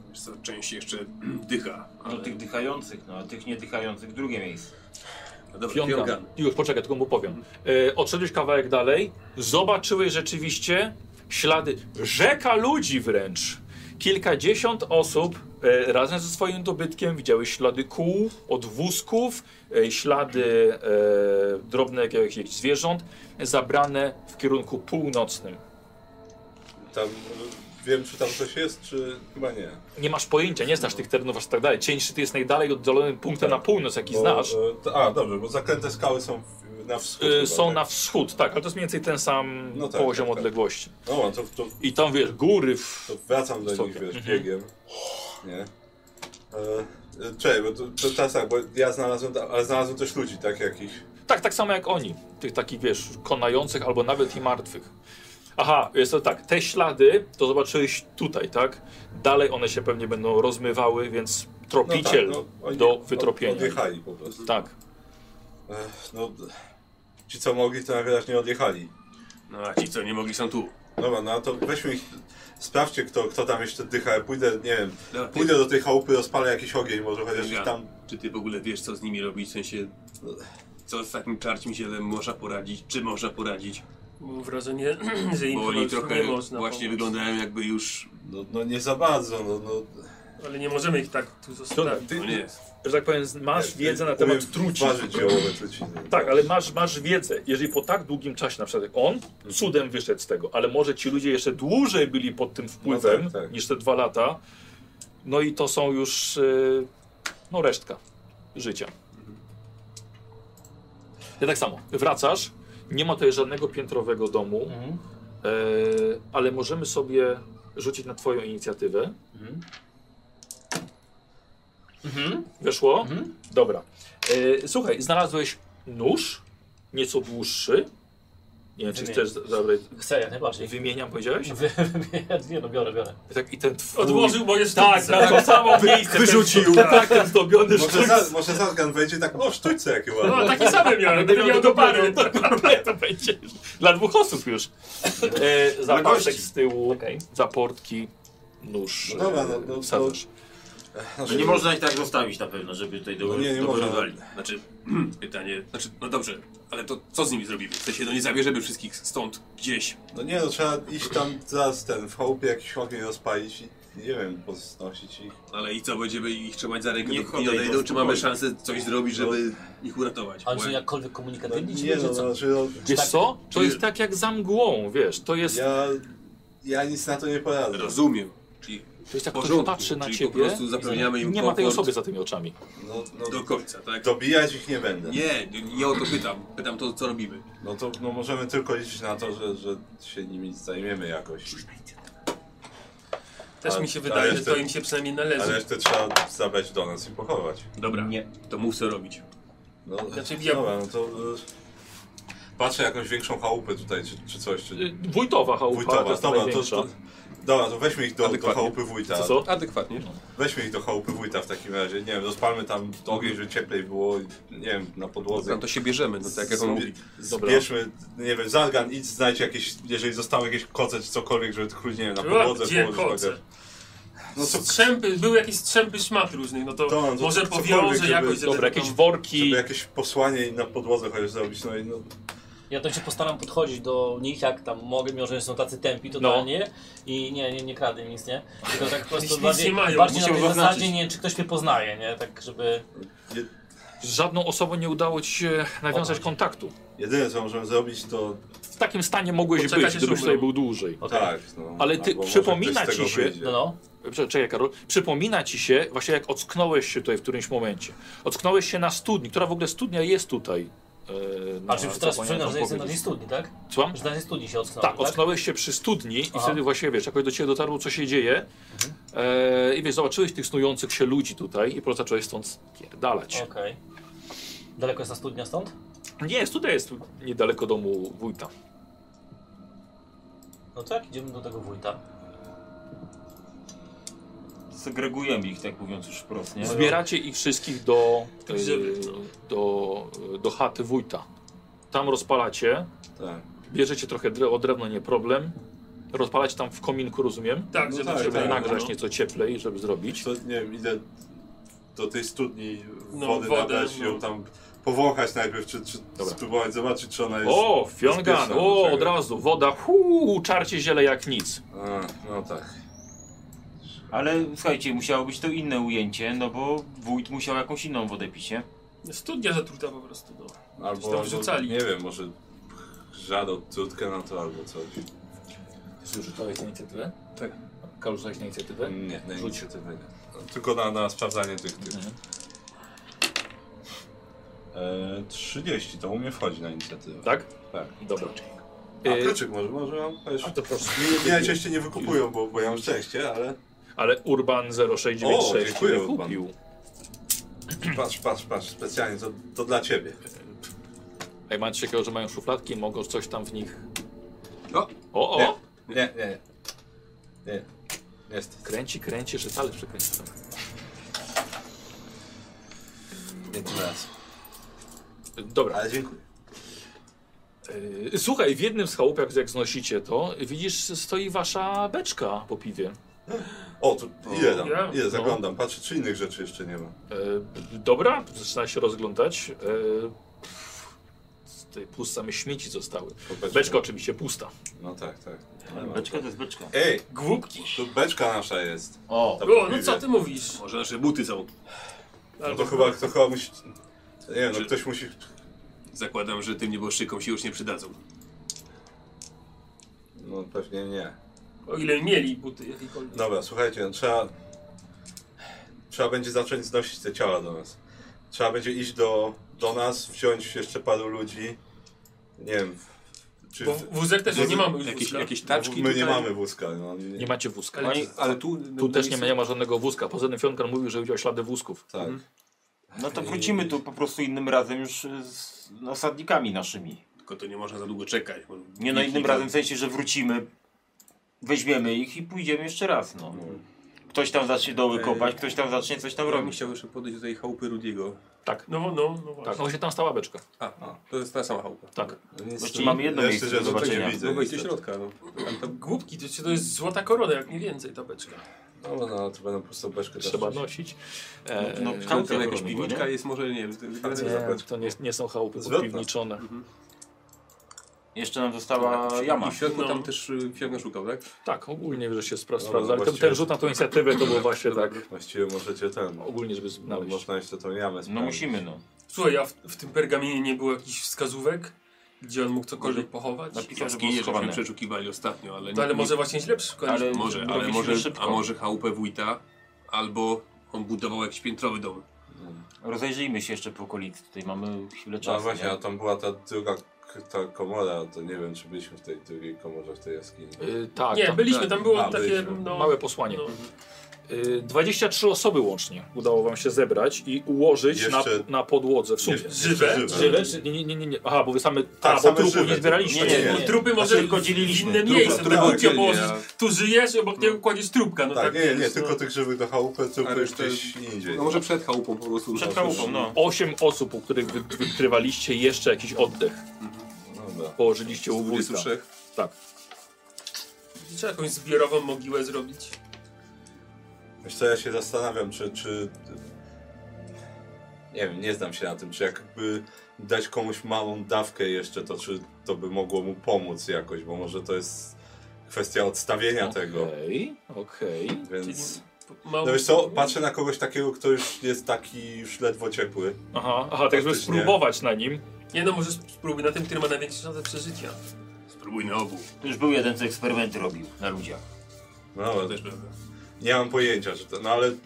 D: Wiesz co, część jeszcze <clears throat> dycha,
E: No
D: ale...
E: tych dychających, no a tych niedychających drugie miejsce.
D: No dobra,
A: Fiongan.
D: Fiongan.
A: Już, poczekaj, tylko mu powiem. E, odszedłeś kawałek dalej, zobaczyłeś rzeczywiście ślady, rzeka ludzi wręcz. Kilkadziesiąt osób e, razem ze swoim dobytkiem widziałeś ślady kół, odwózków, e, ślady e, drobne jakiegoś jakichś zwierząt zabrane w kierunku północnym.
B: Tam y, wiem, czy tam coś jest, czy chyba nie.
A: Nie masz pojęcia, nie znasz tych terenów aż tak dalej. Cień szczyty jest najdalej oddalonym punktem na północ, jaki
B: Bo,
A: znasz.
B: y, to- a, dobrze, bo zaklęte skały są w, na wschód.
A: E,
B: chyba,
A: są
B: tak?
A: na wschód, tak, ale to jest mniej więcej ten sam
B: No tak,
A: poziom
B: tak, tak.
A: odległości.
B: No, to, to,
A: I tam wiesz, góry. W...
B: to wracam do nich,
A: Wysokie.
B: wiesz, biegiem. Nie? E, e, czekaj, bo to, to teraz tak, bo ja znalazłem, ta- ale znalazłem też ludzi, tak, jakichś.
A: Tak, tak samo jak oni. Tych takich, wiesz, konających albo nawet i martwych. Aha, jest to tak. Te ślady to zobaczyłeś tutaj, tak? Dalej one się pewnie będą rozmywały, więc
B: No tak,
A: tropiciel
B: no, oni
A: do
B: od-
A: wytropienia.
B: Odjechali po prostu.
A: tak.
B: Ech, no, d- ci co mogli, to najwyraźniej odjechali.
D: No a ci co nie mogli są tu.
B: Dobra, no to weźmy ich, sprawdźcie kto, kto tam jeszcze dycha, ja pójdę, nie wiem,
D: Dobra, ty,
B: pójdę do tej chałupy, rozpalę jakiś ogień, może chociaż ich tam...
D: Czy ty w ogóle wiesz co z nimi robić? W sensie, co z takim czarcim zielem można poradzić? Czy można poradzić?
G: Mam wrażenie, <clears throat> że im
D: Bo
G: chyba
D: oni
G: już nie
D: trochę
G: można
D: właśnie
G: pomóc.
D: wyglądają jakby już...
B: No, no nie za bardzo, no, no
G: Ale nie możemy ich tak tu zostawić.
D: No nie,
A: Że tak powiem, masz wiedzę na
B: umiem
A: temat truci.
B: Ważyć ziołowe trucizny.
A: <laughs> Tak, ale masz, masz wiedzę. Jeżeli po tak długim czasie, na przykład jak on, cudem wyszedł z tego, ale może ci ludzie jeszcze dłużej byli pod tym wpływem
B: No tak, tak.
A: niż te dwa lata, no i to są już yy, no resztka życia. Ja tak samo. Wracasz, nie ma tutaj żadnego piętrowego domu. E, ale możemy sobie rzucić na twoją inicjatywę. Weszło? Mhm. Dobra. E, słuchaj, znalazłeś nóż, nieco dłuższy. Nie wiem, czy
J: Wymień.
A: chcesz zabrać.
J: Chcę jak najbardziej.
A: Wymieniam, powiedziałeś?
J: Wy- <laughs> wy- Nie no, biorę, biorę.
A: Tak, i ten twój...
G: Odłożył moje
A: Tak,
G: sztuce.
A: na to samo <laughs> miejsce. Wyrzucił. Tak, ten zdobiony
B: Może,
A: szczyt.
B: za, może Zadgan wejdzie tak, o sztućce jakie ładne.
G: No, takie same miałem, będę miał do
A: <laughs>
G: pary.
A: To, to będzie dla dwóch osób już. E, zapaczek z tyłu,
J: Okej.
A: zaportki, nóż.
B: No dobra,
A: e,
B: no, no, to-
A: wsadzasz.
E: No nie można ich tak zostawić na pewno, żeby tutaj do,
B: No nie, nie
E: do
B: można.
D: Wali. Znaczy, pytanie, znaczy, no dobrze, ale to co z nimi zrobimy? W sensie, no nie zabierzemy wszystkich stąd, gdzieś.
B: No nie no, trzeba iść tam zaraz ten, w chałupie jakiś ogień rozpalić i nie wiem, poznosić ich.
D: Ale i co, będziemy ich trzymać za rękę,
E: Nie-
D: dopóki nie
E: nie
D: odejdą?
E: odejdą,
D: Czy mamy
E: spokojnie.
D: szansę coś zrobić, żeby ich uratować?
J: A
D: Bo
J: czy
D: jak-
J: jakkolwiek
B: No,
J: komunikatywni, czy
B: nie
J: będzie
B: no,
J: co?
B: znaczy no,
A: Wiesz
J: tak-
A: co? To
D: Czy-
A: jest tak jak za mgłą, wiesz, to jest...
B: ja, ja nic na to nie poradzę.
D: Rozumiem. Czyli
A: To jest jak ktoś
D: porządku,
A: patrzy na
D: czyli po
A: ciebie
D: prostu zapewniamy
A: i
D: im
A: nie ma tej
D: komfort
A: osoby za tymi oczami.
B: No,
D: do
B: no,
D: końca, tak?
B: dobijać ich nie będę.
D: Nie, nie, nie o to pytam. Pytam to, co robimy.
B: No to no możemy tylko liczyć na to, że, że się nimi zajmiemy jakoś.
G: Też mi się wydaje, że to im się przynajmniej
B: Ale
G: należy.
B: resztę trzeba zabrać do nas i pochować.
D: Dobra, nie. to mów co robić.
B: No,
G: Znaczy, ja-
B: dobra, no to... y, Patrzę jakąś większą chałupę tutaj, czy, czy coś, czy...
A: Y, Wójtowa chałupa,
B: Wójtowa,
A: to jest
B: dobra, to,
A: największa.
B: to, dobra, to weźmy ich do, do
D: Adekwatnie.
B: chałupy wójta.
A: Co, co?
D: Adekwatnie.
B: Weźmy ich do chałupy wójta w takim razie. Nie wiem, rozpalmy tam ogień, żeby cieplej było, nie wiem, na podłodze.
D: No to się bierzemy, no tak jak on
B: Zbie-
D: mówi.
A: Dobra.
B: Zbierzmy, nie wiem, zargan, idź znajdź jakieś, jeżeli zostały jakieś koce czy cokolwiek, żeby tylko, nie wiem, na
G: A,
B: podłodze
G: Gdzie
B: położyć
G: koce?
B: chociaż. No co,
G: Strzępy, były jakieś strzępy szmat różnych, no to,
B: To, no to
G: może
B: cokolwiek,
G: powiąże
B: żeby-
G: jakoś... że
A: Dobra,
G: ten-
A: jakieś worki.
B: żeby jakieś posłanie im na podłodze chociaż zrobić, no i no...
J: Ja to się postaram podchodzić do nich, jak tam mogę, mimo że są tacy tępi totalnie i nie, nie, nie kradę nic, nie? Tylko tak po prostu
G: Nic
J: bardziej,
G: nie mają,
J: bardziej na
D: musiał
J: tej
D: zaznaczyć.
J: zasadzie, nie, czy ktoś mnie poznaje, nie? Tak, żeby...
B: Je,
A: Z żadną osobą nie udało ci się nawiązać
J: Opadź.
A: kontaktu.
B: jedyne co możemy zrobić to...
A: W takim stanie mogłeś
G: Poczekać,
A: być,
G: aż
A: gdybyś
G: umrą.
A: tutaj był dłużej.
J: Okej.
B: Tak, no.
A: Ale ty-
B: albo może
A: przypomina
B: ktoś
A: ci
B: z tego
A: się-
B: wyjdzie.
J: No, no.
A: Prze- Czekaj, Karol. Przypomina ci się, właśnie jak ocknąłeś się tutaj w którymś momencie. Ocknąłeś się na studni, która w ogóle studnia jest tutaj. e, na-
J: A czy już teraz
A: co
J: przypominam,
A: powinienem
J: że jestem na tej
A: powiedzieć.
J: studni, tak?
A: Słucham?
J: Że na tej studni się ocknąłem,
A: Tak, ocknąłeś się przy studni i
J: Aha. Mhm.
A: wtedy właśnie wiesz, jakoś do ciebie dotarło, co się dzieje. E, I wiesz, zobaczyłeś tych snujących się ludzi tutaj i po prostu zacząłeś stąd pierdalać.
J: Okej. Daleko jest ta studnia stąd?
A: Nie, studia jest niedaleko domu wójta.
J: No to jak idziemy do tego wójta?
E: Segregujemy ich, tak mówiąc już wprost, nie?
A: Zbieracie ich wszystkich do, e,
G: Ziemi, no.
A: do, do chaty wójta. Tam rozpalacie,
B: Tak.
A: bierzecie trochę dre o drewno, nie problem. Rozpalać tam w kominku, rozumiem?
G: Tak, żeby
B: No tak,
A: Żeby
B: tak,
A: nagrzać
G: no.
A: nieco cieplej, żeby zrobić.
B: To, nie wiem, idę do tej studni
G: No,
B: wody
G: wodę,
B: nabrać i
G: no.
B: ją tam powąchać najpierw, czy, czy
A: Dobra.
B: spróbować zobaczyć, czy ona jest...
A: O, fiongan,
B: bezpieczna do
A: o,
B: czego.
A: od razu, woda, huu, czarcie ziele jak nic.
B: A, no tak.
E: Ale słuchajcie, musiało być to inne ujęcie, no bo wójt musiał jakąś inną wodę pić, nie?
G: Studnia zatruta po prostu, no.
B: Albo,
G: tam wrzucali.
B: nie wiem, może żadą trutkę na to albo coś.
A: Zużytałeś na inicjatywę?
D: Tak.
A: Karol, rzucałeś na inicjatywę?
B: Nie, na
A: Rzuć.
B: inicjatywę nie. No, Tylko na, na sprawdzanie tych tych.
A: Mhm.
B: E, 30, to u mnie wchodzi na inicjatywę.
A: Tak?
B: Tak.
A: Dobra.
B: A
A: Y,
B: kluczyk może, może mam też.
A: to proszę.
B: Mnie najczęściej nie wykupują, bo, bo ja mam szczęście, ale... <clears throat>
A: Ale Urban
B: O,
A: 0696
B: dziękuję,
A: cię
B: Urban.
A: kupił.
B: Patrz, patrz, patrz, specjalnie, to, to dla ciebie.
A: Ej, macie takiego, że mają szufladki, mogą coś tam w nich...
D: O.
A: O,
B: Nie.
A: o!
B: Nie, nie, nie. Nie. Jest.
A: Kręci, kręci, że talerz przekręci. tak.
B: Nie tym razem.
A: Dobra.
B: Ale dziękuję.
A: Y, Słuchaj, w jednym z chałup, jak, jak znosicie to, widzisz, stoi wasza beczka po piwie.
B: O, tu ile tam?
G: ja?
B: Ile zaglądam? Patrzę, czy innych rzeczy jeszcze nie ma.
A: E, dobra, zaczyna się rozglądać. E, pff, tutaj puste same śmieci zostały.
B: Popatrzę.
A: Beczka oczywiście pusta.
B: No tak, tak.
E: Ale beczka to jest beczka.
B: Ej,
G: Głupki.
B: tu beczka nasza jest.
E: O,
B: Ta
G: O,
B: po
G: no
B: piwie.
G: co ty mówisz?
D: Może nasze buty są.
B: No to chyba, to chyba musi... Nie wiem, no
D: Czy-
B: ktoś musi...
D: Zakładam, że tym nieboszczykom się już nie przydadzą.
B: No pewnie nie.
G: O ile mieli buty jakiekolwiek.
B: Dobra, słuchajcie, no, trzeba... Trzeba będzie zacząć znosić te ciała do nas. Trzeba będzie iść do, do nas, wziąć jeszcze paru ludzi. Nie wiem, Czy
G: Bo wózek też nie mamy już
D: Jakieś,
G: wózka.
D: jakieś taczki
B: my nie
D: tutaj?
B: mamy wózka. No, nie,
A: Nie macie wózka.
D: Oni, ale tu...
A: Tu też nie ma, nie ma żadnego wózka. Poza tym Fionkan mówił, że widział ślady wózków.
B: Tak.
E: No to wrócimy tu po prostu innym razem już y, z osadnikami naszymi.
D: Tylko to nie można za długo czekać. bo-
E: Nie no
B: tak.
E: innym razem w sensie, że wrócimy, weźmiemy ich i pójdziemy jeszcze raz. No. Ktoś tam zacznie doły
B: E,
D: Ej.
E: kopać, ktoś tam zacznie coś tam
D: Ja bym
E: robić.
D: chciał jeszcze podejść do tej chałupy Rudiego.
A: Tak.
G: No, no, no właśnie.
A: Tak, no właśnie tam stała beczka.
D: A, to jest ta sama chałupa.
A: Tak.
E: Właściwie mamy jedno miejsce do
B: rzeczy
E: zobaczenia.
B: nie widzę.
D: No wejść do
B: niestety.
D: środka, no. Tam, tam,
G: Głupki, to, to jest złota korona, jak nie więcej ta beczka.
B: No, no, to będą po prostu beczkę też
A: Trzeba
B: rzucić.
A: nosić. E,
E: No,
D: tam,
E: Chałupy
D: tam jakaś
E: Rudiego, nie?
D: piwniczka jest może, nie wiem. to- to-
A: nie, to nie, nie są chałupy
B: Zwrotna.
A: podpiwniczone.
E: Jeszcze nam
B: Tak,
E: została
D: I
E: e, jama.
D: w środku
G: No.
D: tam też y, Fiona szukał, tak?
A: Tak, ogólnie, że się spra-
B: no,
A: sprawdza. Ale ten,
B: właściwie-
A: ten rzut na tą inicjatywę to był właśnie tak.
B: Właściwie możecie ten.
A: Ogólnie, żeby
B: No,
A: znaleźć.
B: można jeszcze tą jamę
E: No
B: sprawdzić.
E: musimy no.
G: Słuchaj, a w, w tym pergaminie nie było jakichś wskazówek, gdzie on mógł cokolwiek pochować?
E: Napi- Pisał, że było
D: Jaskinie żeśmy
E: schowane.
D: przeszukiwali ostatnio, ale...
G: No, ale
D: nie-
G: może właśnie źle przykład.
E: Ale-
D: Może, ale
E: Robiliśmy
D: może,
E: szybko.
D: a może chałupę wójta, albo on budował jakiś piętrowy dom.
E: Rozejrzyjmy się jeszcze po okolicy. Tutaj mamy chwilę
B: No
E: czasu.
B: właśnie,
E: nie?
B: a tam była ta druga k- ta komora, to nie wiem, czy byliśmy w tej drugiej komorze, w tej jaskini.
A: Y, tak,
G: nie,
A: tam
G: byliśmy, tam było
B: A,
G: takie
B: byliśmy.
G: no,
A: małe posłanie.
G: No,
A: Y, 23 osoby łącznie udało wam się zebrać i ułożyć na,
B: Jeszcze-
A: na podłodze w sumie.
B: Jeszcze-
G: żywe?
B: jeszcze
A: Żywe? czy- Nie, nie, nie, nie, nie. Aha, bo wy same,
B: Tak,
A: a, bo
B: same
A: trupów
B: żywe
A: nie zbieraliście.
E: tylko. Nie, nie, nie.
G: Trupy może
E: tylko
G: w
E: dzieliliśmy.
G: inne
E: Trupa-
G: miejsce,
B: trupa
G: tak bo cię
B: oddzielnie,
G: położyć. Tu żyjesz, obok nie układziesz trupka. No tak,
B: Tak, nie, nie,
G: jest,
B: tylko
G: no.
B: tych żywych do chałupy, tylko
D: Ale
B: już
D: to-
B: gdzieś indziej.
D: No może przed chałupą po prostu.
E: Przed chałupą, no.
A: Osiem osób, u których wy, wykrywaliście jeszcze jakiś oddech.
B: Dobra.
A: Położyliście u wózka.
D: 23.
A: Tak.
G: Trzeba jakąś zbiorową mogiłę zrobić.
B: Wiesz co, ja się zastanawiam, czy, czy... Nie wiem, nie znam się na tym, czy jakby dać komuś małą dawkę jeszcze, to czy to by mogło mu pomóc jakoś, bo może to jest kwestia odstawienia
E: No.
B: tego,
A: Okej, okej.
B: więc...
G: Mało...
B: No wiesz co, patrzę na kogoś takiego, kto już jest taki już ledwo ciepły.
A: Aha, aha, tak żeby
B: Faktycznie.
A: spróbować na nim.
G: Nie no, może spróbuj na tym, który ma największe szanse przeżycia.
D: Spróbuj na obu.
E: Tu już był jeden, co eksperymenty robił na ludziach.
B: No,
D: To też prawda.
B: nie mam pojęcia, że to, no ale w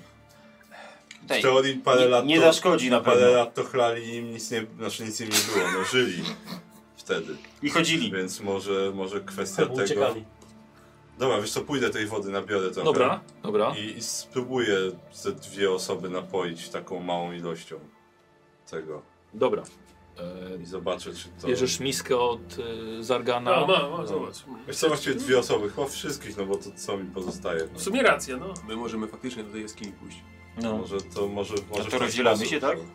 E: Tej,
B: teorii parę
E: nie,
B: lat
E: nie
B: to,
E: zaszkodzi na
B: parę
E: pewno.
B: lat to chlali i im nic nie, znaczy nic im nie było, no żyli wtedy.
E: I chodzili.
B: Więc może, może kwestia
M: Albo
B: tego...
M: uciekali.
B: Dobra, wiesz co, pójdę tej wody, nabiorę trochę.
A: Dobra, dobra.
B: I, I spróbuję ze dwie osoby napoić taką małą ilością tego.
A: Dobra. E,
B: I zobaczę, czy to...
A: Bierzesz miskę od y, Zargana.
G: No, ma, ma, zobacz.
B: Wiesz co, właściwie dwie osoby, chyba wszystkich, no bo to co mi pozostaje.
G: W
B: No.
G: sumie racja, no.
D: My możemy faktycznie do tej jaskini pójść.
E: No.
B: Może to, może, może w ten
E: rozdzielamy
B: sposób
E: się, tak?
B: to-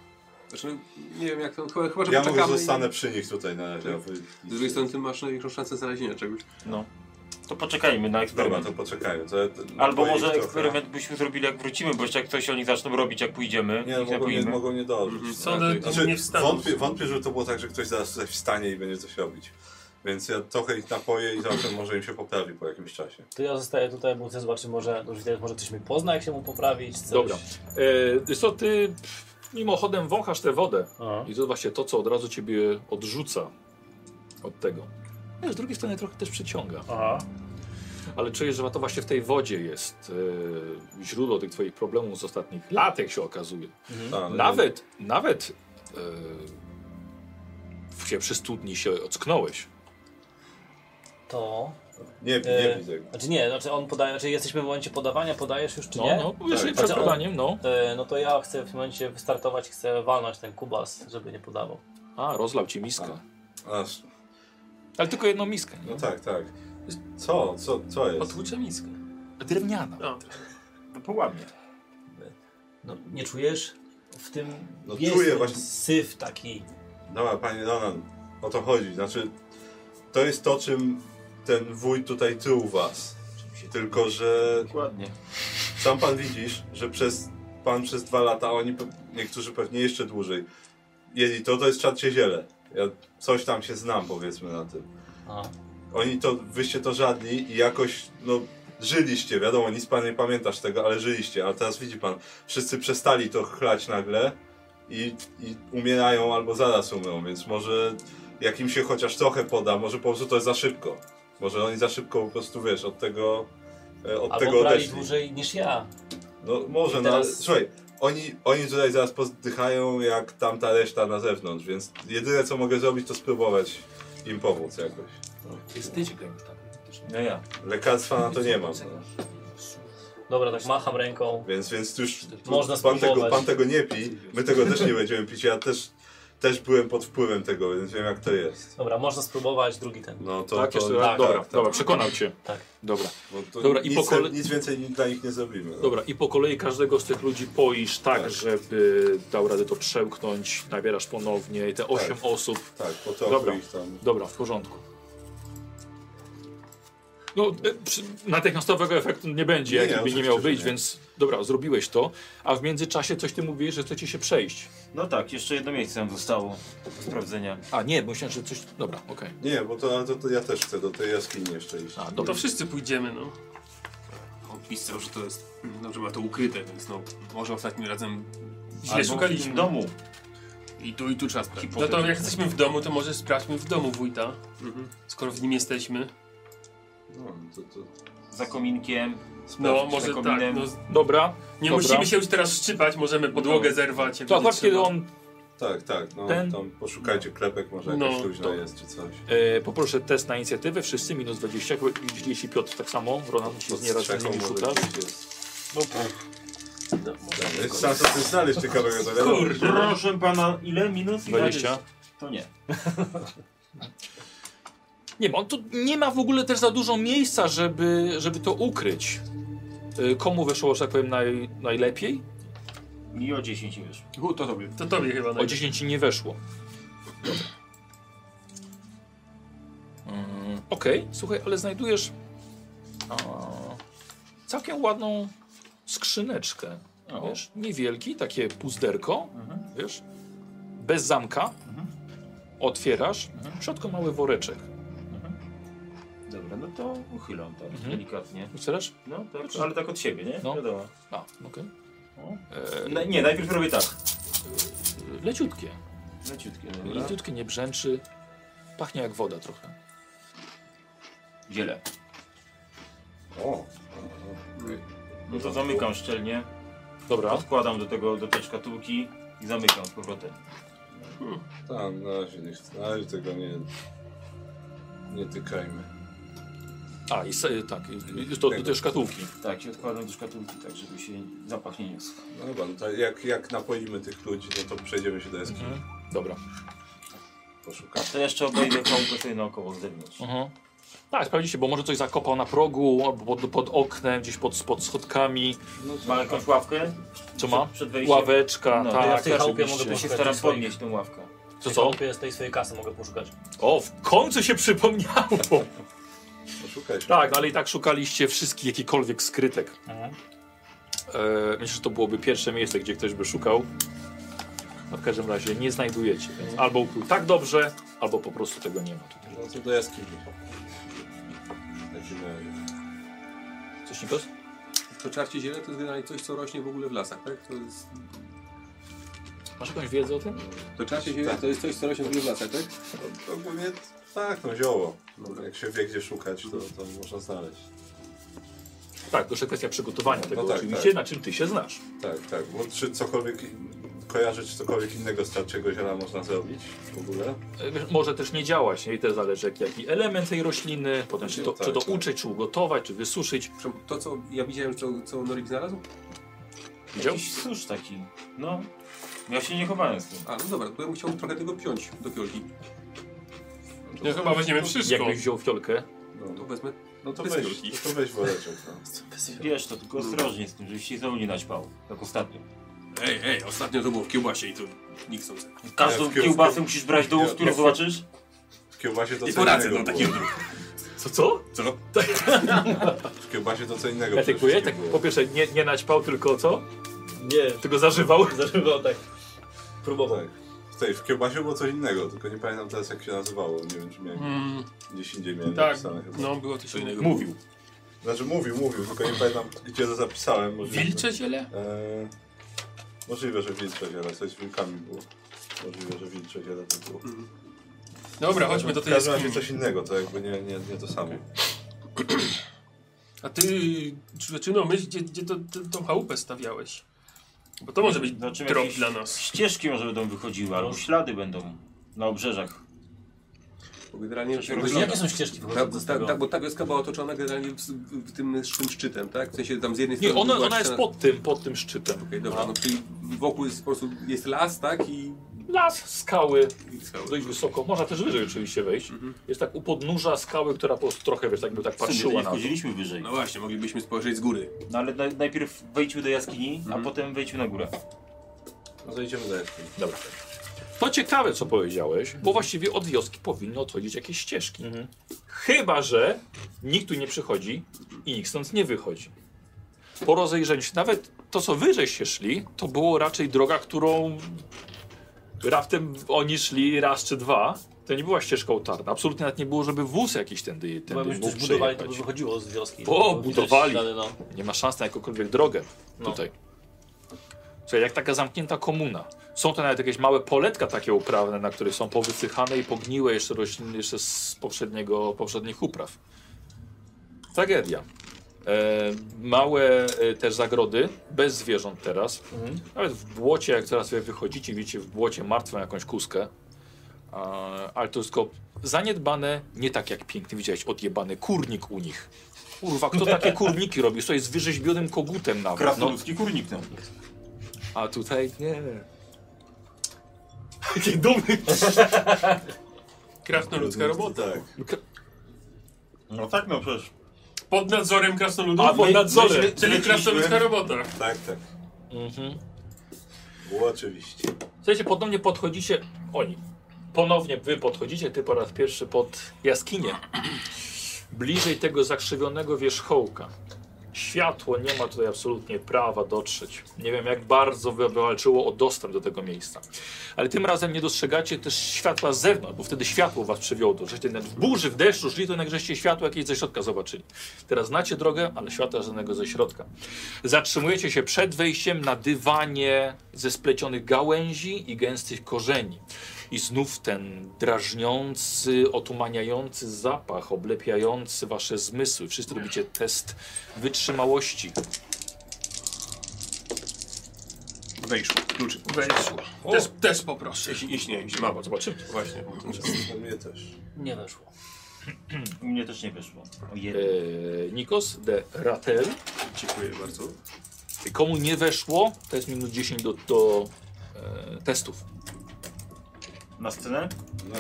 D: Znaczy, nie wiem jak to, chyba, chyba że
B: Ja
D: poczekamy
B: może
D: i- Tak.
B: zostanę przy nich tutaj na razie. a wy-
D: Z drugiej strony ty masz największą szansę znalezienia czegoś.
E: To poczekajmy na
B: Dobra,
E: eksperyment.
B: to poczekajmy. To ja, to,
E: Albo
B: boję
E: może
B: ich trochę.
E: eksperyment byśmy zrobili jak wrócimy, bo jeszcze jak coś oni zaczną robić jak pójdziemy,
B: Nie, no,
E: ich
B: mogą nie,
E: napoimy.
B: mogą nie dołożyć.
D: Mhm.
G: Co one
D: Znaczy,
G: znaczy, nie
B: Znaczy,
G: wstaną.
B: wątpię, wątpię, żeby to było tak, że ktoś zaraz coś wstanie i będzie coś robić. Więc ja trochę ich napoję i zobaczę, może im się poprawi po jakimś czasie.
M: To ja zostaję tutaj, bo chcę zobaczyć, może, może ktoś mnie pozna, jak się mu poprawić. Coś.
A: Dobra. E, wiesz co, ty pff, mimochodem wąchasz tę wodę.
M: A.
A: I to właśnie to, co od razu ciebie odrzuca od tego. No, z drugiej strony trochę też przyciąga.
M: Aha.
A: Ale czujesz, że to właśnie w tej wodzie jest e, źródło tych twoich problemów z ostatnich lat, jak się okazuje.
B: Ale-
A: Nawet, nawet e, się przy studni się ocknąłeś.
M: To.
B: Nie, nie
M: E,
B: widzę.
M: Znaczy nie, znaczy on podaje, znaczy jesteśmy w momencie podawania, podajesz już czy
A: No,
M: nie?
A: no, jeżeli
M: Tak.
A: przed podaniem, no.
M: E, no to ja chcę w tym momencie wystartować, chcę walnąć ten kubas, żeby nie podawał.
A: A, rozlał ci miskę.
B: Aż,
A: Ale tylko jedną miskę.
B: no tak, tak. Co, co, co jest?
G: Potłucze miskę.
A: Nie? Drewniana.
G: No.
E: No połamie.
M: No, nie czujesz? W tym
B: No
M: jest
B: czuję
M: ten
B: właśnie.
M: syf taki.
B: Dobra, panie Donan, o to chodzi. Znaczy, to jest to, czym ten wójt tutaj tył was. Tylko, że
E: Dokładnie.
B: Sam pan widzisz, że przez pan przez dwa lata, a oni pe- niektórzy pewnie jeszcze dłużej, jedli to, to jest czarcie ziele. Ja coś tam się znam, powiedzmy, na tym.
M: A.
B: Oni to, wyście to żadli i jakoś, no, żyliście, wiadomo, nic pan nie pamiętasz tego, ale żyliście, a teraz widzi pan, wszyscy przestali to chlać nagle i, i umierają albo zaraz umrą, więc może jak im się chociaż trochę poda, może po prostu to jest za szybko. Może oni za szybko po prostu, wiesz, od tego, e, od
M: Albo
B: tego
M: brali
B: odeszli.
M: dłużej niż ja.
B: No może,
M: I
B: no ale
M: teraz-
B: słuchaj, oni, oni tutaj zaraz pozdychają jak tamta reszta na zewnątrz, więc jedyne co mogę zrobić to spróbować im pomóc jakoś.
O: Jest tydzień już tak.
B: Nie ja. Lekarstwa na to nie mam. No.
J: Dobra, tak macham ręką.
B: Więc, więc tu już tu
J: Można
B: pan, tego,
J: spróbować.
B: pan tego nie pi, my tego też nie będziemy pić. Ja też, też byłem pod wpływem tego, więc wiem jak to jest.
J: Dobra, można spróbować drugi ten.
B: No to,
A: tak,
B: to,
A: jeszcze raz.
B: tak,
A: dobra,
B: tak,
A: dobra, przekonał cię.
J: Tak.
A: Dobra.
B: bo to
A: Dobra, i
B: nic,
A: po kolei-
B: nic więcej dla nich nie zrobimy. No.
A: Dobra, i po kolei każdego z tych ludzi poisz tak,
B: Tak.
A: żeby dał radę to przełknąć, nabierasz ponownie i te 8 osób.
B: Tak, po to
A: Dobra.
B: ich tam.
A: Dobra, w porządku. No, e, przy, natychmiastowego efektu nie będzie,
B: Nie,
A: jaki by nie
B: oczywiście,
A: miał
B: że
A: wyjść,
B: nie.
A: więc dobra, zrobiłeś to, a w międzyczasie coś ty mówiłeś, że chcecie się przejść.
E: No tak, jeszcze jedno miejsce nam zostało do sprawdzenia.
A: A nie, myślałem, że coś... Dobra, okej.
B: Nie, bo to, to, to ja też chcę do tej jaskini jeszcze iść.
A: A,
G: No
A: dobra.
G: to wszyscy pójdziemy, no.
D: Pisał, że to jest. Dobrze, ma to ukryte, więc no. Może ostatnim razem.
G: Źle
D: Albo-
G: szukaliśmy.
E: W domu.
D: I tu, i tu czas.
G: No to jak jesteśmy w domu, to może sprawdźmy w domu wójta,
D: Mhm.
G: skoro w nim jesteśmy.
B: No, to, to...
E: Za kominkiem.
G: No,
E: sprawdzić
G: może
E: za
G: tak.
E: kominem.
G: No,
A: Dobra,
G: nie
A: Dobra.
G: musimy się już teraz szczypać, możemy podłogę zerwać. jak
A: to
G: będzie
A: akurat kiedy
G: trzeba.
A: on...
B: Tak, tak, no
A: Ten-
B: tam poszukajcie klepek, może jakaś
G: No,
B: luźna
G: to-
B: jest czy coś.
A: E, poproszę test na inicjatywę, wszyscy minus 20, jeśli- jeśli Piotr tak samo, Ronan ci z nieraz
B: Strzechą
A: nie
B: może
A: szukasz.
B: gdzieś jest. No, jest szansa coś znaleźć ciekawego, to wiadomo.
E: Kurde. Proszę pana, ile minus? Ile
A: 20.
E: jest? To nie.
A: Nie ma, on tu nie ma w ogóle też za dużo miejsca, żeby, żeby to ukryć. Y, Komu wyszło, że tak powiem, naj, najlepiej?
E: Mi o 10 wiesz.
D: U, to tobie.
G: To tobie chyba
A: O
G: najpierw.
A: 10 nie weszło. Mm, Okej, słuchaj, ale znajdujesz a, całkiem ładną skrzyneczkę. Wiesz, niewielki, takie puzderko, wiesz, bez zamka. Otwierasz, w środku mały woreczek.
E: Dobra, no to uchylam tak
A: Mhm.
E: delikatnie.
A: Otwierasz?
E: No tak, ale tak od siebie, nie?
A: No.
E: Wiadomo.
A: A, okej.
E: O.
A: E,
E: Na, nie, najpierw robię tak.
A: leciutkie.
E: Leciutkie, dobra.
A: Leciutkie, nie brzęczy. Pachnie jak woda trochę.
E: Dzielę.
B: O,
E: No to zamykam szczelnie,
A: Dobra.
E: odkładam do tego, do tej szkatułki i zamykam z powrotem.
B: tam na razie nie chcę, na razie tego nie, nie tykajmy.
A: A, i se, tak, i- i to do tej szkatułki.
E: Tak, i odkładam do szkatułki, tak żeby się zapach nie niósł.
B: No dobra, no to jak, jak napoimy tych ludzi, no to przejdziemy się do jaskini,
A: Mhm. Dobra.
B: poszukamy.
E: To jeszcze obejdę kołko sobie naokoło z zewnątrz.
A: Mhm. Tak, sprawdzicie, bo może coś zakopał na progu, albo pod, pod oknem, gdzieś pod, pod schodkami.
E: Ma jakąś ławkę?
A: Co ma?
E: Przed wejściem.
A: Ławeczka,
E: No, to ja
A: tak,
E: w tej
J: chałupie
A: oczywiście.
J: mogę
E: Ja
J: poszukać.
E: się staram
J: Swoich-
E: podnieść tą ławkę.
A: Co, co?
J: Z tej swojej kasy mogę poszukać.
A: O, w końcu się przypomniało!
B: Poszukajcie.
A: Tak, no ale i tak szukaliście wszystkich jakichkolwiek skrytek. E,
E: Mhm.
A: myślę, że to byłoby pierwsze miejsce, gdzie ktoś by szukał. No w każdym razie nie znajdujecie, więc albo ukrył tak dobrze, albo po prostu tego nie ma tutaj.
B: No to do jaskini. Lecimy.
A: Coś nie bez?
D: To czarcie ziele to jest generalnie coś, co rośnie w ogóle w lasach, tak? To, jest...
A: Masz jakąś wiedzę o tym?
D: to czarcie ziele to jest coś, co rośnie w ogóle w lasach, tak?
B: No, ogólnie tak, no zioło. Jak się wie gdzie szukać, to, to można znaleźć.
A: Tak, to jeszcze kwestia przygotowania tego
B: tak,
A: oczywiście,
B: tak.
A: na czym ty się znasz.
B: Tak, tak, bo czy cokolwiek, kojarzyć cokolwiek innego z czarciego ziela można zrobić w ogóle?
A: E, wiesz, Może też nie działać, nie? I też zależy jak- jaki element tej rośliny, potem czy to,
B: Tak,
A: czy to
B: tak.
A: uczyć, czy ugotować, czy wysuszyć.
D: Przepraszam, To, co ja widziałem, co, co Norik znalazł?
A: Widział?
E: Jakiś susz taki. No. Ja się nie chowałem z tym.
D: A, no dobra, to ja bym chciał trochę tego piąć do fiolki.
G: No chyba weźmiemy wszystko.
A: Jakbyś wziął fiolkę.
B: No,
D: To wezmę.
B: no to
D: bez
B: weź,
D: wielki.
B: no to weź woreczek. No.
E: Wiesz, to tylko ostrożnie z tym, żebyś się znowu nie naćpał. Jak ostatnio.
D: Ej, ej, ostatnio to było w kiełbasie i to nikt sądzę.
E: Każdą
B: w kieł-
E: kiełbasę musisz brać do ust, którą zobaczysz?
B: W kiełbasie to
D: I
B: co
D: poradzę,
B: innego
D: no taki
B: było.
D: odruch.
A: Co, co?
D: Co?
B: W kiełbasie to co innego
A: Ja
B: przecież
A: tykuję?
B: nie
A: Tak,
B: było.
A: po pierwsze nie, nie naćpał, tylko co?
O: Nie,
A: Tylko zażywał.
O: zażywał tak. Próbował.
B: Tak. W tej, w kiełbasie było coś innego, tylko nie pamiętam teraz jak się nazywało. Nie wiem czy miałem
G: Mm,
B: gdzieś indziej miałem
G: tak,
B: napisane chyba.
G: no było coś
D: Co
G: innego.
D: innego.
A: Mówił.
B: Znaczy mówił, mówił, tylko nie pamiętam gdzie to zapisałem. Możliwe,
G: Wilcze ziele?
B: E, możliwe, że wilcze ziele, coś z wilkami było. Możliwe, że wilcze ziele to było.
G: Mhm. Dobra, chodźmy do
B: W
G: tej
B: każdym razie
G: jaskini.
B: coś innego, to jakby nie, nie, nie to samo.
G: A ty, człowieczyno, myśl, gdzie, gdzie to, ty, tą chałupę stawiałeś? Bo to może być
E: Znaczy,
G: trop
E: jakieś-
G: dla nas.
E: Ścieżki może będą wychodziły, albo ślady będą na obrzeżach.
D: Bo generalnie
J: Bo
M: No.
J: Jakie są
A: Tak,
J: ścieżki wychodzące z
D: ta, ta,
J: tego?
D: ta, Tak, bo ta wioska była otoczona generalnie z- w tym, z tym szczytem, tak? W sensie tam z jednej
A: Nie,
D: strony...
A: ona,
D: była
A: ona jest
D: ściana-
A: pod tym, pod tym szczytem.
D: Okej, dobra, no czyli wokół jest po prostu jest las, tak? I...
A: Las, skały,
D: i skały.
A: dość wysoko. Można też wyżej oczywiście wejść.
B: Mhm.
A: Jest tak u podnóża skały, która po prostu trochę, wiesz, tak by tak
E: W sumie to
A: patrzyła
E: nie
A: na to.
E: wchodziliśmy wyżej.
D: No właśnie, moglibyśmy spojrzeć z góry.
E: No ale naj- najpierw wejdźmy do jaskini,
D: Mhm.
E: a potem wejdźmy na górę.
F: No to idziemy dalej.
A: Dobra. To ciekawe, co powiedziałeś, bo właściwie od wioski powinno odchodzić jakieś ścieżki.
J: Mhm.
A: Chyba, że nikt tu nie przychodzi i nikt stąd nie wychodzi. Po rozejrzeniu się, nawet to, co wyżej się szli, to było raczej droga, którą raptem oni szli raz czy dwa. To nie była ścieżka otarna. Absolutnie nawet nie było, żeby wóz jakiś tędy,
J: Bo
A: tędy
J: jakbyśmy
A: mógł
J: coś budowali, to
A: przejechać.
J: by wychodziło z wioski.
A: O,
J: Bo widać
A: budowali.
J: ślady, no.
A: Nie ma szans na jakąkolwiek drogę tutaj. Czyli jak taka zamknięta komuna. Są to nawet jakieś małe poletka takie uprawne, na których są powysychane i pogniłe jeszcze rośliny jeszcze z poprzedniego, poprzednich upraw. Tragedia. E, małe e, też zagrody, bez zwierząt teraz. Nawet w błocie, jak teraz wy wychodzicie, widzicie w błocie martwą jakąś kuskę. E, ale to jest tylko zaniedbane, nie tak jak piękny. Widziałeś odjebany kurnik u nich. Kurwa, kto takie kurniki robi? To jest wyrzeźbionym kogutem nawet. No,
E: Krasnoludzki kurnik tam.
A: a tutaj nie. Jaki dumny.
G: Krasnoludzka robota.
B: Tak.
E: No tak, no przecież.
G: Pod nadzorem krasnoludów.
A: A, pod
G: My-
A: nadzorem.
G: myśmy- Czyli
E: Myśmy-
G: krasnoludzka robota.
B: Tak, tak.
A: Mhm.
B: Było oczywiście.
A: Słuchajcie, podobnie podchodzicie. Oni. Ponownie wy podchodzicie, ty po raz pierwszy pod jaskinię. <clears throat> Bliżej tego zakrzywionego wierzchołka. Światło nie ma tutaj absolutnie prawa dotrzeć. Nie wiem, jak bardzo wy- wywalczyło o dostęp do tego miejsca. Ale tym razem nie dostrzegacie też światła z zewnątrz, bo wtedy światło was przywiodło. Żeście nawet w burzy, w deszczu szli, to jednak żeście światło jakieś ze środka zobaczyli. Teraz znacie drogę, ale światła żadnego ze środka. Zatrzymujecie się przed wejściem na dywanie ze splecionych gałęzi i gęstych korzeni. I znów ten drażniący, otumaniający zapach, oblepiający wasze zmysły. Wszyscy robicie test wytrzymałości.
D: Wejszło, kluczyk.
G: Wejszło. Też, też poproszę. No,
D: Jeśli, jeśli nie, jeśli ma, bo
A: Zobaczymy.
D: Właśnie.
B: Na mnie też.
J: Nie weszło.
E: U mnie też nie wyszło. O jedno.
A: Eee, Nikos de Ratel.
D: Dziękuję bardzo.
A: Komu nie weszło, to jest minus 10 do, do e, testów.
E: Na scenę?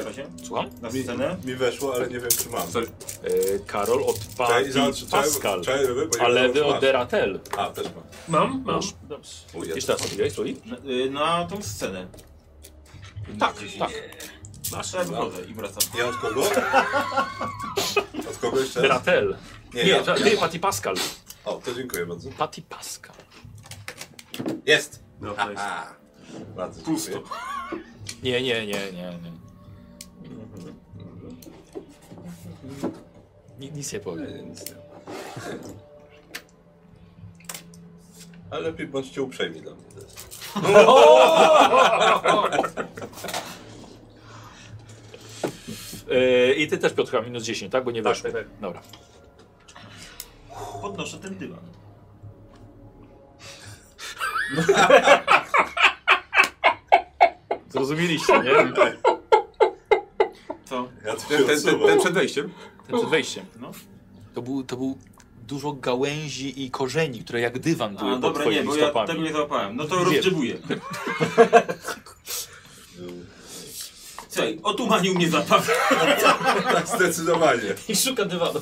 E: Proszę?
A: Słucham?
E: Na scenę?
B: Mi weszło, ale nie wiem czy mam.
D: Sorry.
A: E, Karol od pa,
B: Czaj- za-
A: i
B: czaj-
A: Pascal,
B: czaj ryby, bo nie
A: a
B: wiem,
A: lewy
B: czy
A: od
B: masz.
A: de Ratel.
B: A, też mam.
G: Mam? Mam.
E: Dobrze.
B: U, ja
A: Jeszcze raz powiedziałeś, Suli?
E: Na, y, na tą scenę.
A: Tak, tak.
E: Masz? Ja wychodzę i wracam.
B: Ja od kogo? Od kogo jeszcze raz?
A: Ratel. Nie,
B: ja,
A: ża- ty, Patty Pascal.
B: O, to dziękuję bardzo.
A: Patty Pascal.
B: Jest!
D: No, to jest.
B: Bardzo Pusto.
A: Nie, nie, nie, nie. nie. Ni- Nic nie powiem.
B: Ale lepiej bądźcie uprzejmi dla mnie. to jest.
A: E, I ty też, Piotrka, minus 10, tak? Bo nie weszło. Dobra.
E: Podnoszę ten dywan.
A: Zrozumieliście, <laughs> nie?
E: Co?
B: Ja to się
D: Ten, ten, ten,
B: odsuwam.
D: ten przed wejściem.
A: Ten przed wejściem.
E: No.
A: To był, to był dużo gałęzi i korzeni, które jak dywan były
E: A,
A: No, pod
E: dobra, nie,
A: twoimi
E: bo ja
A: stopami.
E: tego nie załapałem. No to
A: Wiem.
E: rozgrzebuję. Słuchaj, otumanił mnie zapach.
B: Tak, zdecydowanie.
J: I szuka dywanu.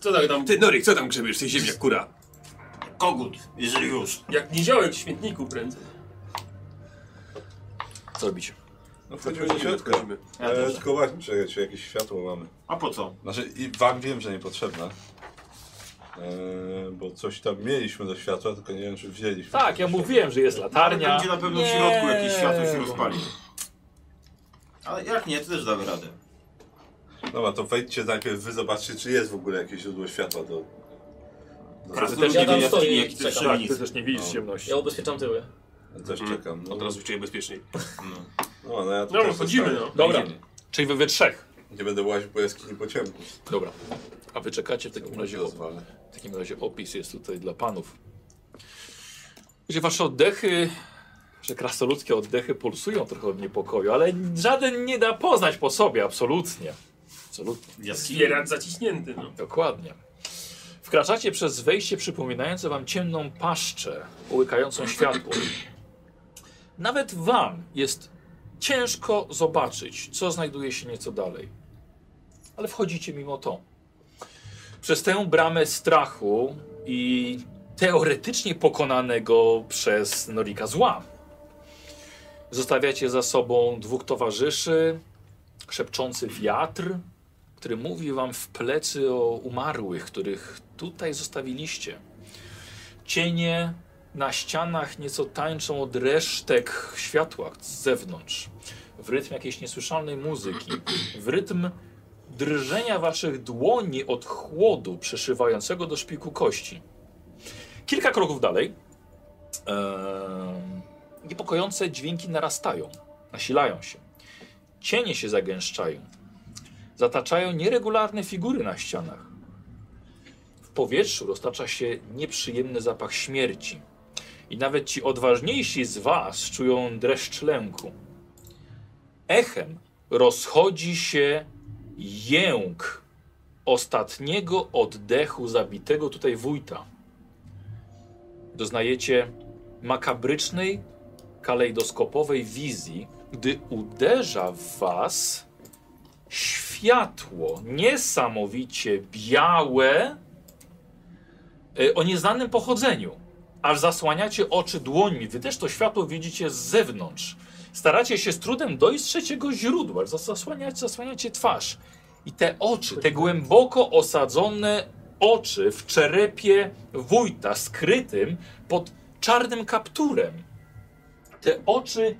G: Co tak tam?
D: Ty, Norik, co tam grzebiesz? Ty ziemniak, kura.
E: Kogut, jeżeli już.
G: Jak niziołek w śmietniku prędzej.
A: Co robicie?
B: No wchodzimy do środka.
D: Wchodzimy.
E: Ja
B: E,
E: też.
B: tylko właśnie, czekajcie, jakieś światło mamy.
E: A po co?
B: Znaczy, i wam wiem, że niepotrzebne. E, bo coś tam mieliśmy do światła, tylko nie wiem, czy wzięliśmy.
A: Tak, ja mówiłem, że jest latarnia.
E: Będzie na pewno w
A: Nie.
E: środku jakieś światło się rozpali. Ale jak nie, to też damy radę.
B: Dobra, to wejdźcie najpierw, wy zobaczcie, czy jest w ogóle jakieś źródło światła do... do
E: Krasnolud
J: Ja
E: nie
J: tam
E: wie,
J: stoję
E: jaki-
J: i
E: jaki to
J: czekam.
E: jest
A: Tak, ty
E: szewinic.
A: też nie widzisz ciemności.
J: Ja ubezpieczam tyły.
B: Ja też czekam. No,
D: Od razu czuję bezpieczniej.
B: no, no ja tu
G: No,
B: też
G: wchodzimy,
B: zostanę.
G: no.
A: Dobra, czyli wy we trzech.
B: Nie będę łaził po jaskini po ciemku.
A: Dobra. A wy czekacie w takim razie o
B: rozwalę.
A: W takim razie opis jest tutaj dla panów. Gdzie wasze oddechy że krasnoludzkie oddechy pulsują trochę od niepokoju, ale żaden nie da poznać po sobie, absolutnie. Absolutnie.
G: Zwierat zaciśnięty, no.
A: Dokładnie. Wkraczacie przez wejście przypominające wam ciemną paszczę, łykającą światło. Nawet wam jest ciężko zobaczyć, co znajduje się nieco dalej. Ale wchodzicie mimo to. Przez tę bramę strachu i teoretycznie pokonanego przez Norika zła. Zostawiacie za sobą dwóch towarzyszy, szepczący wiatr, który mówi wam w plecy o umarłych, których tutaj zostawiliście. Cienie na ścianach nieco tańczą od resztek światła z zewnątrz, w rytm jakiejś niesłyszalnej muzyki, w rytm drżenia waszych dłoni od chłodu przeszywającego do szpiku kości. Kilka kroków dalej em, niepokojące dźwięki narastają, nasilają się. Cienie się zagęszczają zataczają nieregularne figury na ścianach. W powietrzu roztacza się nieprzyjemny zapach śmierci. I nawet ci odważniejsi z was czują dreszcz lęku. Echem rozchodzi się jęk ostatniego oddechu zabitego tutaj wójta. Doznajecie makabrycznej, kalejdoskopowej wizji, gdy uderza w was światło niesamowicie białe e, o nieznanym pochodzeniu. Aż zasłaniacie oczy dłońmi. Wy też to światło widzicie z zewnątrz. Staracie się z trudem dojść jego źródła. Zas- Zasłaniacie, zasłaniacie twarz. I te oczy, te głęboko osadzone oczy w czerepie wójta, skrytym pod czarnym kapturem. Te oczy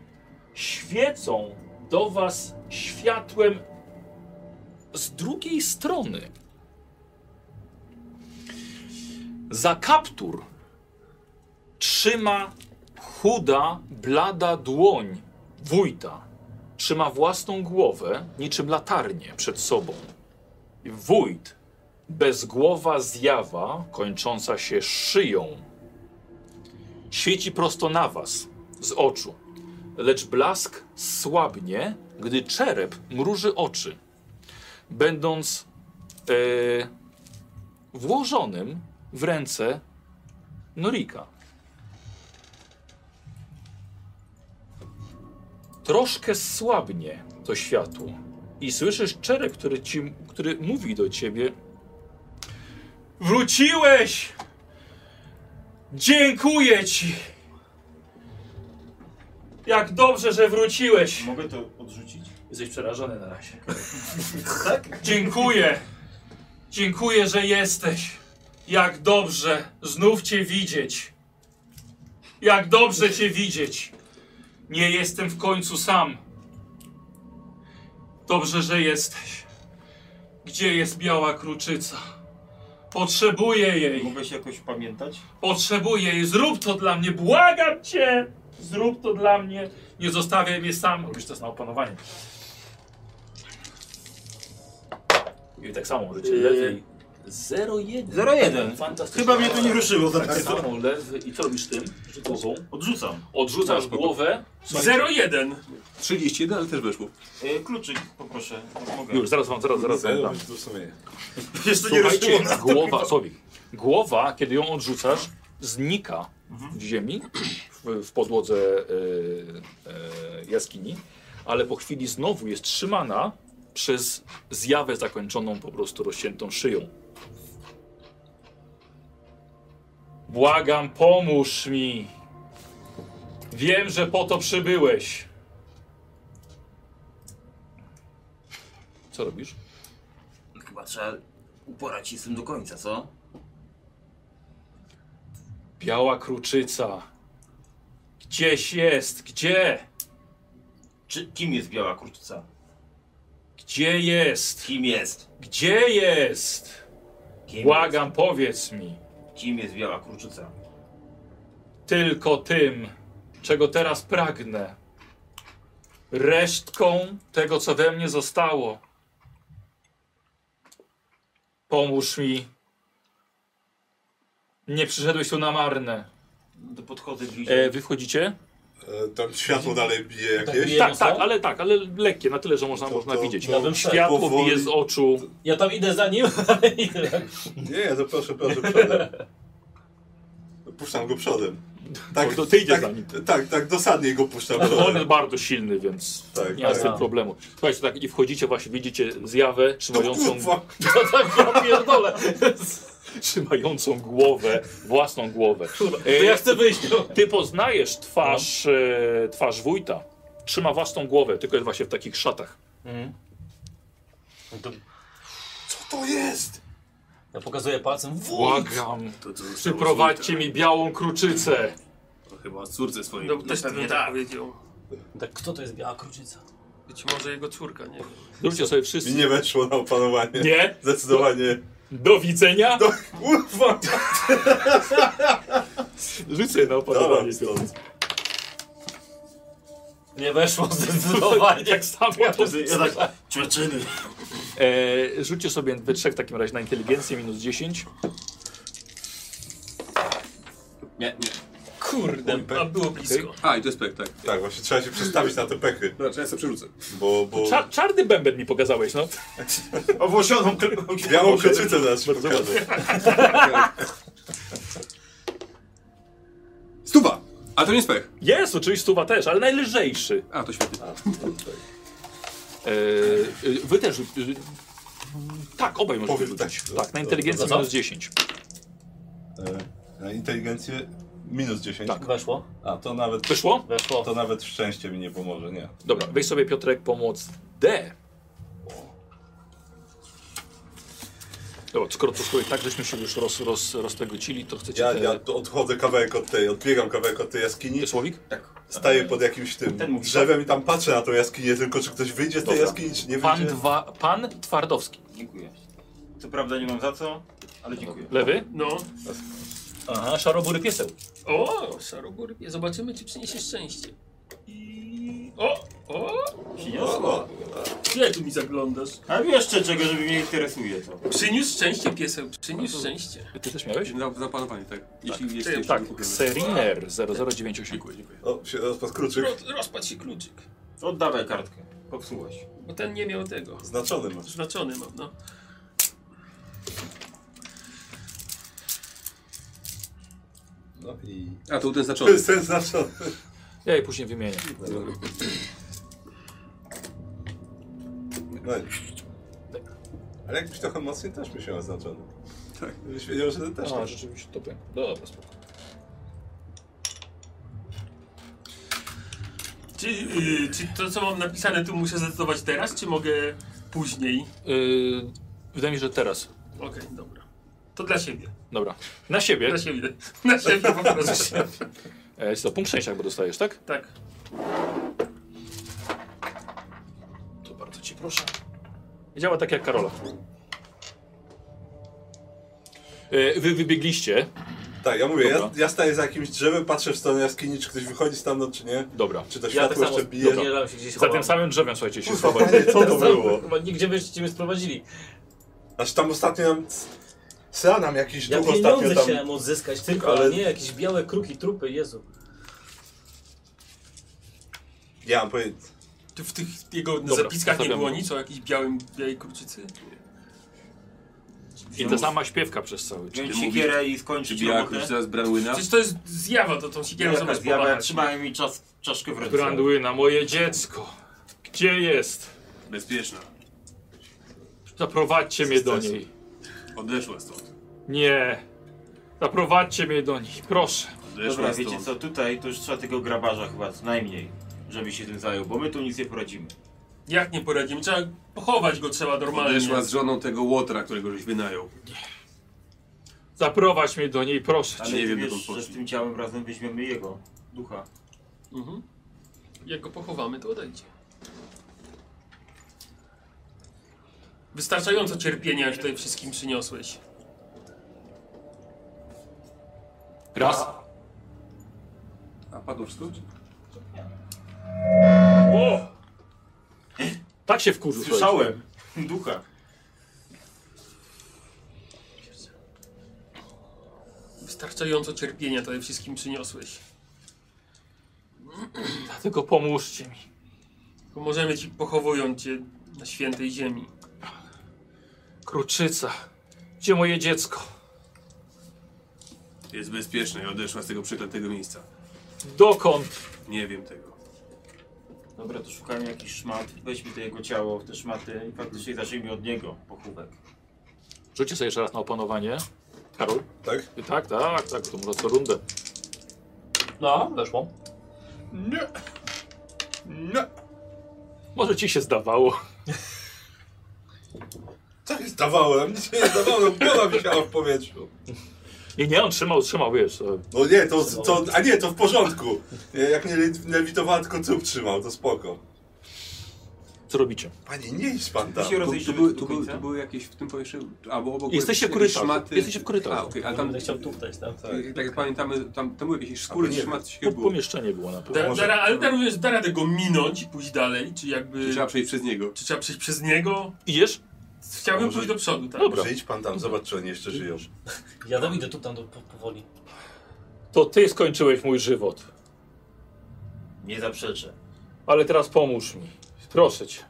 A: świecą do was światłem z drugiej strony. Za kaptur trzyma chuda, blada dłoń wójta. Trzyma własną głowę, niczym latarnię przed sobą. Wójt, bezgłowa zjawa, kończąca się szyją, świeci prosto na was z oczu, lecz blask słabnie, gdy czerep mruży oczy będąc e, włożonym w ręce Norika. Troszkę słabnie to światło i słyszysz czerek, który, ci, który mówi do ciebie Wróciłeś! Dziękuję ci! Jak dobrze, że wróciłeś!
E: Mogę to odrzucić?
A: Jesteś przerażony na razie. tak? Dziękuję. Dziękuję, że jesteś. Jak dobrze znów cię widzieć. Jak dobrze cię widzieć. Nie jestem w końcu sam. Dobrze, że jesteś. Gdzie jest biała kruczyca? Potrzebuję jej.
E: Mogę się jakoś pamiętać?
A: Potrzebuję jej. Zrób to dla mnie. Błagam cię. Zrób to dla mnie. Nie zostawiaj mnie sam. Robisz to na opanowanie. I tak samo możecie
E: Yy,
A: lewy. 0-1.
E: 0-1.
A: Fantastycznie.
E: Chyba mnie to nie ruszyło
A: Tak
E: zaraz.
A: samo lewy. I co robisz z tym? Głową.
E: Odrzucam.
A: Odrzucasz głowę.
G: 0-1!
D: 31, ale też weszło.
E: E, kluczyk poproszę. Mogę.
A: Już, zaraz wam, zaraz, zaraz wam
B: Zero
A: dam.
B: być tu w sumie.
E: Jeszcze nie ruszyło.
A: Słuchajcie, głowa, sobie. Głowa, kiedy ją odrzucasz, znika w ziemi, w, w podłodze e, e, jaskini, ale po chwili znowu jest trzymana przez zjawę zakończoną po prostu rozciętą szyją. Błagam, pomóż mi. Wiem, że po to przybyłeś. Co robisz?
P: Chyba trzeba uporać się z tym do końca, co?
A: Biała kruczyca. Gdzieś jest, gdzie?
E: Czy, kim jest biała kurczca?
A: Gdzie jest?
E: Kim jest?
A: Gdzie jest?
E: Kim
A: Błagam, powiedz mi.
E: Jest? Kim jest biała kurczca?
A: Tylko tym, czego teraz pragnę. Resztką tego, co we mnie zostało. Pomóż mi. Nie przyszedłeś tu na marne.
E: No to podchodzę bliżej.
A: E, wy wchodzicie?
B: E, Tam światło dalej bije
M: Tak
B: jakieś.
M: bije.
A: Tak, tak, ale tak, ale lekkie, na tyle, że można,
B: To-
A: można
B: to-
A: widzieć.
M: Ja bym szedł.
A: Światło
B: powoli-
A: bije z oczu.
M: Ja tam idę za nim, <laughs> ale idę.
B: Nie, to proszę, proszę, przodem. Puszczam go przodem.
A: To- to ty idziesz
B: tak,
A: za nim.
B: Tak, tak, dosadnie go puszczam
A: On
B: przodem.
A: jest bardzo silny, więc
B: Tak,
A: nie ma z
B: tak.
A: tym problemu. Słuchajcie, tak i wchodzicie, właśnie widzicie zjawę
B: To
A: trzymającą,
B: No
A: <laughs> tak,
B: kurwa,
M: Ja pierdolę.
A: trzymającą głowę, własną głowę. Y,
M: To ja chcę wyjść. no.
A: Ty poznajesz twarz, e, twarz wójta. Trzyma własną głowę, tylko jest właśnie w takich szatach.
B: co to jest?
M: Ja pokazuję palcem. Wójt!
A: Błagam,
D: To, to
A: przyprowadźcie mi białą kruczycę.
D: To chyba córce swojej.
G: No, też bym tak powiedział.
M: Tak, kto to jest biała kruczyca?
G: Być może jego córka, nie wiem.
A: Zróbcie sobie
B: I
A: wszyscy.
B: nie weszło na opanowanie.
A: Nie?
B: Zdecydowanie.
A: Do widzenia?
B: Do... Kurwa!
A: Rzuć sobie na
B: Dobra,
A: opanowanie.
B: stąd.
M: Nie weszło zdecydowanie.
A: Jak samo to
E: Ja tak, ćwiczyny.
A: e, Rzućcie sobie we trzech w takim razie na inteligencję minus 10.
G: Kurde, a było blisko.
D: A, i to jest pek, tak.
B: Tak, właśnie trzeba się przestawić na te peky,
D: Znaczy, ja sobie przerzucę.
B: bo... bo...
A: Cza czarny bęben mi pokazałeś, no.
E: O włosioną <laughs> kl-
B: Białą koczycę zaraz ci pokażę.
A: <laughs>
D: Stuwa! A to nie jest pech.
A: Jest, oczywiście stuwa też, ale najlżejszy.
D: A, to świetnie.
A: E, e, wy też... E, tak, obaj możecie
B: Powiem
A: rzucić.
B: tak.
A: Tak, na inteligencję
M: Dobra.
A: minus 10.
B: E, Na inteligencję minus 10.
A: Tak.
M: Weszło?
B: A, to nawet...
A: Wyszło?
M: Weszło.
B: To nawet szczęście mi nie pomoże, nie.
A: Dobra, weź sobie Piotrek pomoc D. Dobra, skoro to sobie tak, żeśmy się już roz, roz, roztegocili, to chcecie
B: Ja,
A: te...
B: ja odchodzę kawałek od tej, odbiegam kawałek od tej jaskini,
A: Słowik?
M: Tak.
B: staję pod jakimś
E: Ten
B: tym
E: mówi.
B: drzewem i tam patrzę na tą jaskinię, tylko czy ktoś wyjdzie z tej
A: Dobra.
B: jaskini, czy nie
A: Pan,
B: wyjdzie.
A: dwa, pan Twardowski.
E: Dziękuję. Co prawda nie mam za co, ale dziękuję.
A: Lewy?
G: No.
A: Aha, szarobury pieseł.
G: O, Szarogór, zobaczymy, czy przyniesie szczęście. I... O, o,
B: O,
G: gdzie tu mi zaglądasz?
E: A jeszcze czego, żeby mnie interesuje to.
G: Przyniósł szczęście, pieseł, przyniósł szczęście.
A: Ty też miałeś?
D: Za, za panowanie, tak. Jeśli jest
G: Ty,
D: jeszcze
A: Tak,
D: dokupione.
A: Seriner 0098.
D: Dziękuję, dziękuję.
B: o się rozpadł kruczyk.
G: Ro, rozpadł się kluczyk,
E: Oddawaj kartkę. Popsułaś.
G: bo ten nie miał tego.
B: Znaczony masz.
G: Znaczony mam, no.
B: No i...
D: A, to był ten
B: To
D: zaczątek.
B: jest <laughs> ten znaczony.
A: Ja je później wymienię.
B: No i... Ale jakbyś trochę mocniej też by się oznaczony.
D: Tak.
B: Byś wiedział, że ty też tak.
A: A,
B: masz.
A: rzeczywiście to pękło. Dobra, spoko.
G: Czy, y, czy to, co mam napisane, tu muszę zdecydować teraz, czy mogę później?
A: Yy, wydaje mi się, że teraz.
G: Okej, dobra. To dla siebie.
A: Dobra. Na siebie.
G: Na siebie. Na siebie po prostu.
A: E, jest to punkt szczęścia chyba dostajesz, tak?
G: Tak.
A: To bardzo cię proszę. Działa tak jak Karola. E, Wy wybiegliście.
B: Tak, ja mówię, ja,
A: Dobra.
B: ja staję za jakimś drzewem, patrzę w stronę jaskini, czy ktoś wychodzi stamtąd, czy nie.
A: Dobra.
B: Czy to
M: Ja
B: światło
M: tak samo
B: jeszcze bije. no.
M: zbieram się gdzieś
A: Za tym samym drzewem, słuchajcie, się
B: Kurwa,
A: schowaliście.
B: panie, co to było?
M: Chyba nigdzie byście mnie sprowadzili.
B: Znaczy tam ostatnio nam... Sra nam jakiś
M: Ja
B: duch ostatnio
M: pieniądze
B: tam...
M: chciałem odzyskać tylko,
B: Ale-
M: ale nie, jakieś białe kruki, trupy, Jezu.
B: Ja mam powiedzieć...
G: Czy w tych jego
A: Dobra,
G: zapiskach nie
A: zostawiamy.
G: było nic o jakiejś białym, białej kruczycy?
A: I ta sama śpiewka przez cały czas.
E: Wziąć
D: mówisz?
E: siekierę i
D: Czy
E: skończyć
D: biała
E: robotę.
D: kruczyca z Branwyna?
G: Przecież to jest zjawa, to tą sikierą
E: Jaka
G: zamiast
E: zjawa,
G: pomachać.
E: trzymałem mi czas, czaszkę w ręce.
A: Brandwina, moje dziecko. Gdzie jest?
D: Bezpieczna.
A: Zaprowadźcie mnie do
B: stresu.
A: niej.
D: Odeszła stąd.
A: Nie. Zaprowadźcie mnie do niej, proszę.
E: Dobra,
D: Odeszła
E: wiecie
D: stąd.
E: co, tutaj to już trzeba tego grabarza chyba co najmniej, żeby się tym zajął, bo my tu nic nie poradzimy.
G: Jak nie poradzimy? Trzeba pochować go trzeba normalnie.
D: Odeszła z żoną tego łotra, którego żeś wynajął.
A: Zaprowadź mnie do niej, proszę.
E: Ale
D: nie
E: nie
D: wiem,
E: wiesz,
D: dokąd
E: że z
D: poszli.
E: tym ciałem razem weźmiemy jego ducha.
G: Mhm. Jak go pochowamy, to odejdzie. Wystarczająco cierpienia już tutaj wszystkim przyniosłeś.
A: Raz.
D: A padło wszystko? czy-
A: O! Tak się wkurzył. słuchajcie.
E: Słyszałem <laughs> ducha.
G: Wystarczająco cierpienia tutaj wszystkim przyniosłeś.
A: Tylko pomóżcie mi.
G: Pomożemy ci pochowując cię na świętej ziemi.
A: Kruczyca. Gdzie moje dziecko?
D: Jest bezpieczna i odeszła z tego przeklętego miejsca.
A: Dokąd?
D: Nie wiem tego.
E: Dobra, to szukamy jakiś szmat. Weźmy to jego ciało w te szmaty i faktycznie zacznijmy od niego pochówek.
A: Rzućcie sobie jeszcze raz na opanowanie. Karol?
B: Tak?
A: Ty Tak, tak, tak, to może co rundę.
J: No, weszło.
B: Nie. Nie.
A: Może ci się zdawało.
B: Tak zdawałem, nic nie zdawałem, głowa wisiała w powietrzu.
A: Nie, nie, on trzymał, trzymał, wiesz. e,
B: No nie, to, to, a nie, to w porządku. Nie, Jak mnie le- lewitowała, tylko tył trzymał, to spoko.
A: Co robicie?
B: Panie, nie idź pan tam.
D: Tu,
B: bo-
D: tu, były, tu, były, tu były jakieś w tym pomieszczeniu, albo obok
A: Jesteście w
D: jakieś
A: korytarzu.
D: szmaty.
A: Jesteście w korytarzu.
D: A, okej, a tam,
J: Będę chciał tuptać tam.
D: tak, tak jak pamiętamy, tam, tam były jakieś
B: A,
D: skóry
B: nie wiem.
D: szmat się
A: Po,
D: było.
A: No, pomieszczenie było na pewno.
G: Da,
B: Może-
G: da, ale da, również da radę go minąć i pójść dalej, czy jakby...
D: Trzeba przejść przez niego.
G: Czy trzeba przejść przez niego?
A: Idziesz?
G: Chciałbym
B: Może- No.
G: pójść do przodu, tak?
A: Dobra.
B: Może idź pan tam, zobacz, czy oni jeszcze żyją.
J: Ja tam idę tuptam do, po, powoli.
A: To ty skończyłeś mój żywot.
E: Nie zaprzeczę.
A: Ale teraz pomóż mi. Proszę cię.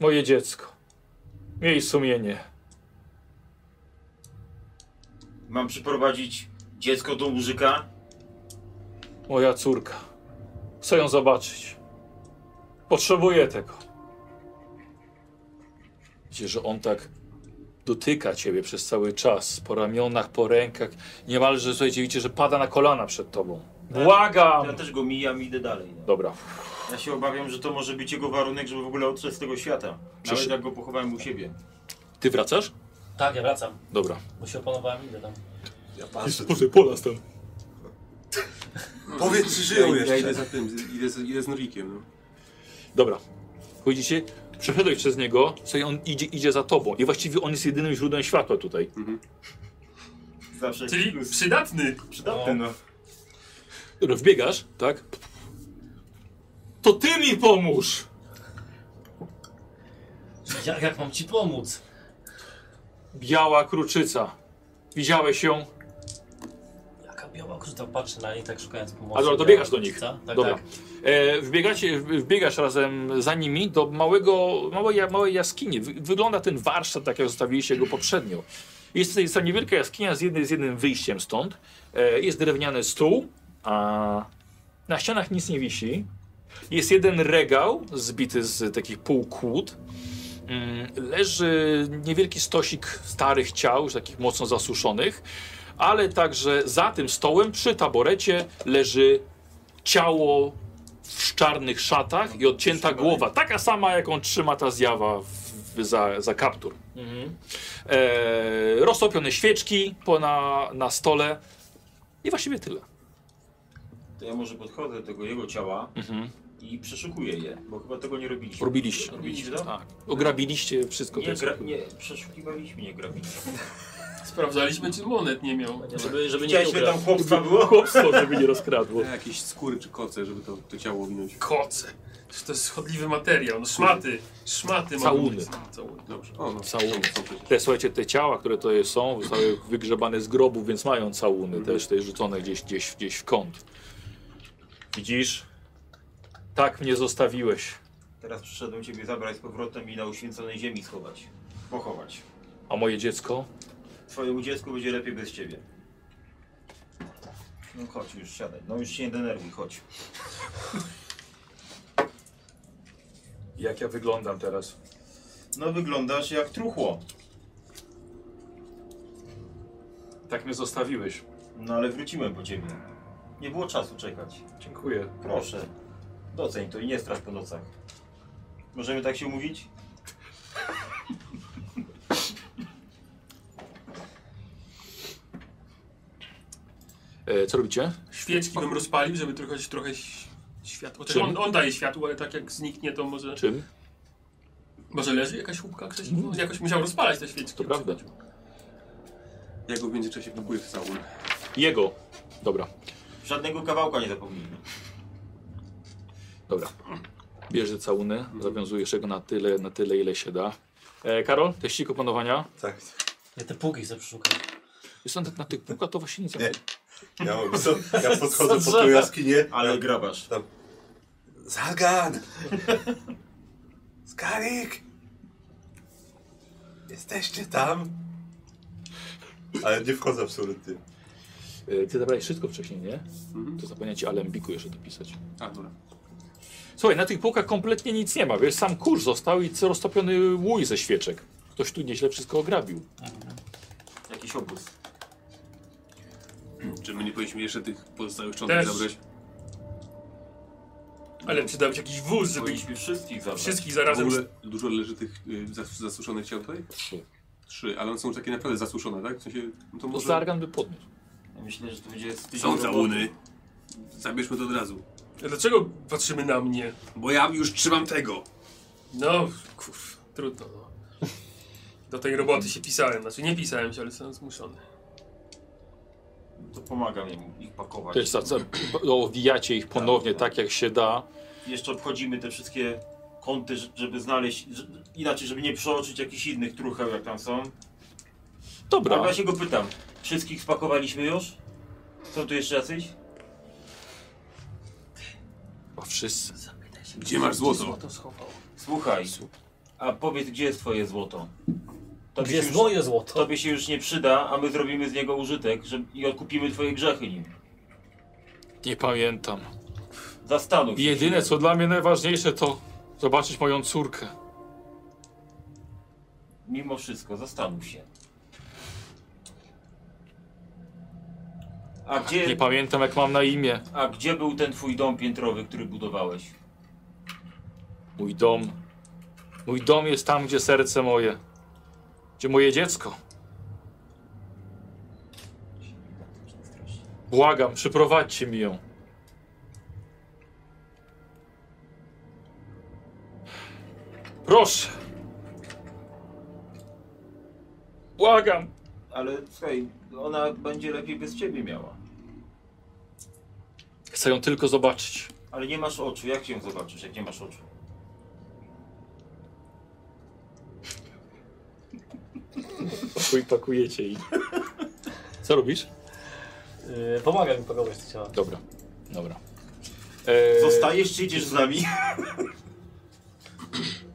A: Moje dziecko. Miej sumienie.
E: Mam przyprowadzić dziecko do Łużyka?
A: Moja córka. Chcę ją zobaczyć. Potrzebuję tego. Widzisz, że on tak dotyka ciebie przez cały czas. Po ramionach, po rękach. Niemalże, słuchajcie, widzicie, że pada na kolana przed tobą.
E: Tak. Ja
A: Błagam!
E: też go mijam i idę dalej. No.
A: Dobra.
E: Ja się obawiam, że to może być jego warunek, żeby w ogóle odszedł z tego świata. Nawet
A: Przecież-
E: jak go pochowałem u siebie.
A: Ty wracasz?
J: Tak, ja wracam,
A: Dobra.
J: bo się opanowałem, idę tam.
B: Ja patrzę.
A: Boże, pola tam.
B: Powiedz, czy
D: Ja,
B: żyją
D: ja idę
B: jeszcze.
D: za tym, z- idę, z- idę z Norikiem. No.
A: Dobra. Chodzicie, przeszedłeś przez niego, co on idzie, idzie za tobą. I właściwie on jest jedynym źródłem światła tutaj.
E: Zawsze
G: Czyli przydatny.
E: przydatny, no.
A: Wbiegasz, tak? To ty mi pomóż!
J: Jak, jak mam ci pomóc?
A: Biała kruczyca. Widziałeś ją?
J: Jaka biała kruta patrzy na niej, tak szukając pomocy.
A: A dobra, to
J: Biała
A: biegasz do nich.
J: kruta, Tak,
A: Dobra.
J: tak.
A: E, wbiegacie, w- wbiegasz razem za nimi do małego, małej, ja- małej jaskini. Wy- Wygląda ten warsztat, tak jak zostawiliście go poprzednio. Jest tutaj jest tam niewielka jaskinia z, jednym z jednym wyjściem stąd. E, jest drewniany stół, a na ścianach nic nie wisi. Jest jeden regał zbity z takich półkłód. Mm, Leży niewielki stosik starych ciał, już takich mocno zasuszonych, ale także za tym stołem przy taborecie leży ciało w czarnych szatach i odcięta głowa. Taka sama, jaką trzyma ta zjawa w, w, za, za kaptur.
E: Mhm.
A: E, roztopione świeczki po na, na stole i właściwie tyle.
E: To ja może podchodzę do tego jego ciała i przeszukuję je, bo chyba tego nie robiliśmy.
A: Robiliście.
E: Robiliście,
A: Robiliście,
E: no?
A: Tak. Ograbiliście wszystko. to
E: Nie,
A: jest-
E: gra, nie, przeszukiwaliśmy, nie grabiliśmy.
G: Sprawdzaliśmy, czy monet nie miał.
J: Żeby, żeby nie
E: Widzieliśmy
J: ugrać.
E: tam chłopstwa
A: <laughs>
E: było?
A: Chłopstwo, żeby
E: <laughs>
A: nie rozkradło.
D: Ja Jakieś skóry czy koce, żeby to, to ciało ominąć.
G: Koce. To jest schodliwy materiał. No, szmaty. Szmaty. mogą
A: Całuny.
G: być. Całuny. Dobrze.
D: O, no.
A: Całuny.
D: Są przecież.
A: Te, słuchajcie, te ciała, które to jest- są, zostały wygrzebane z grobów, więc mają całuny
E: Mhm.
A: też, te rzucone gdzieś, gdzieś, gdzieś w kąt. Widzisz? Tak mnie zostawiłeś.
E: Teraz przyszedłem ciebie zabrać z powrotem i na uświęconej ziemi schować. Pochować.
A: A moje dziecko?
E: Twojemu dziecku będzie lepiej bez ciebie. No chodź już, siadaj. No już się nie denerwuj, chodź.
A: Jak ja wyglądam teraz?
E: No wyglądasz jak truchło.
A: Tak mnie zostawiłeś.
E: No ale wróciłem po ciebie. Nie było czasu czekać.
A: Dziękuję.
E: Proszę. Doceń to i nie strasz po nocach. Możemy tak się umówić?
A: E, co robicie?
G: Świeczki bym rozpalił, żeby trochę, trochę ś- światło. Chociaż
A: Czym?
G: On, on daje światło, ale tak jak zniknie, to może.
A: Czym?
G: Może leży jakaś łupka gdzieś? No, Jakoś musiał rozpalać te świeczki.
A: To prawda.
D: Ja go w międzyczasie pakuję w całun.
A: Jego. Dobra,
E: Żadnego kawałka nie zapomnijmy.
A: dobra. Bierz te całuny, zawiązujesz jego na tyle, na tyle ile się da. E, Karol, teścik opanowania.
B: Tak.
J: Ja te półki chcę przeszukać.
A: Jest on tak na tych półkach, to właśnie nic
B: Nie. Ja, mam- ja podchodzę
J: Co
B: pod tą
J: drzewa.
B: jaskinię,
E: Ale grabasz.
B: Tam.
F: Zagan! Skarik! Jesteście tam? Ale nie wchodzę
B: <gasps>
F: absolutnie.
A: E, Ty zabrałeś wszystko wcześniej, nie? To zapomniałem ci alembiku jeszcze dopisać.
D: Mhm. A, dobra.
A: Słuchaj, na tych półkach kompletnie nic nie ma, wiesz, sam kurz został i co roztopiony łój ze świeczek. Ktoś tu nieźle wszystko ograbił.
P: Jakiś obóz.
D: Czy my nie powinniśmy jeszcze tych pozostałych szczątek
G: Też.
D: zabrać?
G: Ale przydałby się jakiś wóz, żeby ich
D: Powinniśmy wszystkich zabrać.
G: wszystkich
D: W
G: zarazem...
D: ogóle dużo leży tych y, zas- zasuszonych ciał tutaj?
A: Trzy.
D: Trzy, ale one są takie naprawdę zasuszone, tak? W sensie, no to
A: To
D: może...
A: Zargan by podniósł.
P: Ja myślę, że to będzie z tydzień
D: Są
P: roboty.
D: całuny. Zabierzmy to od razu.
G: Dlaczego patrzymy na mnie?
D: Bo ja już trzymam tego.
G: No, kurw, trudno. No. Do tej roboty się pisałem, znaczy nie pisałem się, ale jestem zmuszony.
E: To pomagam im ich pakować.
A: Też za, za, owijacie ich ponownie tak jak się da.
E: Jeszcze obchodzimy te wszystkie kąty, ż- żeby znaleźć, ż- inaczej, żeby nie przeoczyć jakichś innych trucheł, jak tam są.
A: Dobra,
E: Ale ja się go pytam, wszystkich spakowaliśmy już? Są tu jeszcze jacyś?
A: a wszyscy.
D: Gdzie masz złoto?
J: Złoto schował.
E: Słuchaj, a powiedz, gdzie jest twoje złoto? Tobie
J: Gdzie
E: się
J: jest
E: już-
J: moje złoto?
E: Tobie się już nie przyda, a my zrobimy z niego użytek żeby, i odkupimy twoje grzechy nim.
A: Nie pamiętam.
E: Zastanów się.
A: Jedyne co dla mnie najważniejsze to zobaczyć moją córkę.
E: Mimo wszystko, zastanów się. A
A: Nie
E: gdzie,
A: pamiętam jak mam na imię.
E: a gdzie był ten twój dom piętrowy, który budowałeś?
A: Mój dom. Mój dom jest tam, gdzie serce moje. Gdzie moje dziecko. Błagam, przyprowadźcie mi ją. Proszę. Błagam.
E: Ale słuchaj, ona będzie lepiej bez ciebie miała.
A: Chcę ją tylko zobaczyć.
E: Ale nie masz oczu, jak ją zobaczysz, jak nie masz oczu?
A: Chuj, pakujecie i. Co robisz?
J: Yy, pomaga mi pakować te ciała.
A: Dobra, dobra. Eee,
E: Zostajesz czy idziesz z <laughs> nami?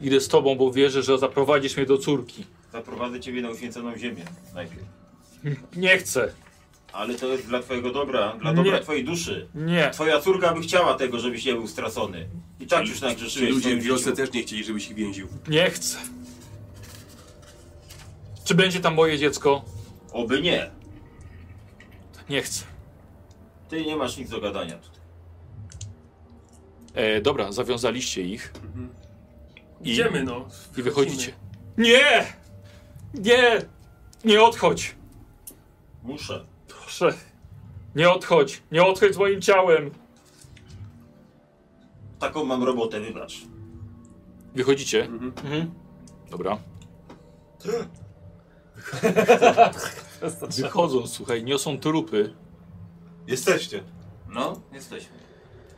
A: Idę z tobą, bo wierzę, że zaprowadzisz mnie do córki.
E: Zaprowadzę ciebie na uświęconą ziemię najpierw.
A: Nie chcę.
E: Ale to jest dla twojego dobra, dla dobra
A: Nie.
E: twojej duszy.
A: Nie.
E: Twoja córka by chciała tego, żebyś nie był stracony. I tak już nagrzeszyłeś w
D: Ludzie
E: swoim
D: w wiosce
E: życiu.
D: też nie chcieli, żebyś ich więził.
A: Nie chcę. Czy będzie tam moje dziecko?
E: Oby nie.
A: Nie chcę.
E: Ty nie masz nic do gadania tutaj.
A: E, dobra, zawiązaliście ich I-
G: Idziemy no.
A: i wychodzicie. Nie! Nie! Nie odchodź!
E: Muszę.
A: Proszę. Nie odchodź! Nie odchodź z moim ciałem!
E: Taką mam robotę, wybacz.
A: Wychodzicie? Mhm. Dobra. Wychodzą, słuchaj, niosą trupy.
F: Jesteście.
E: No, jesteśmy.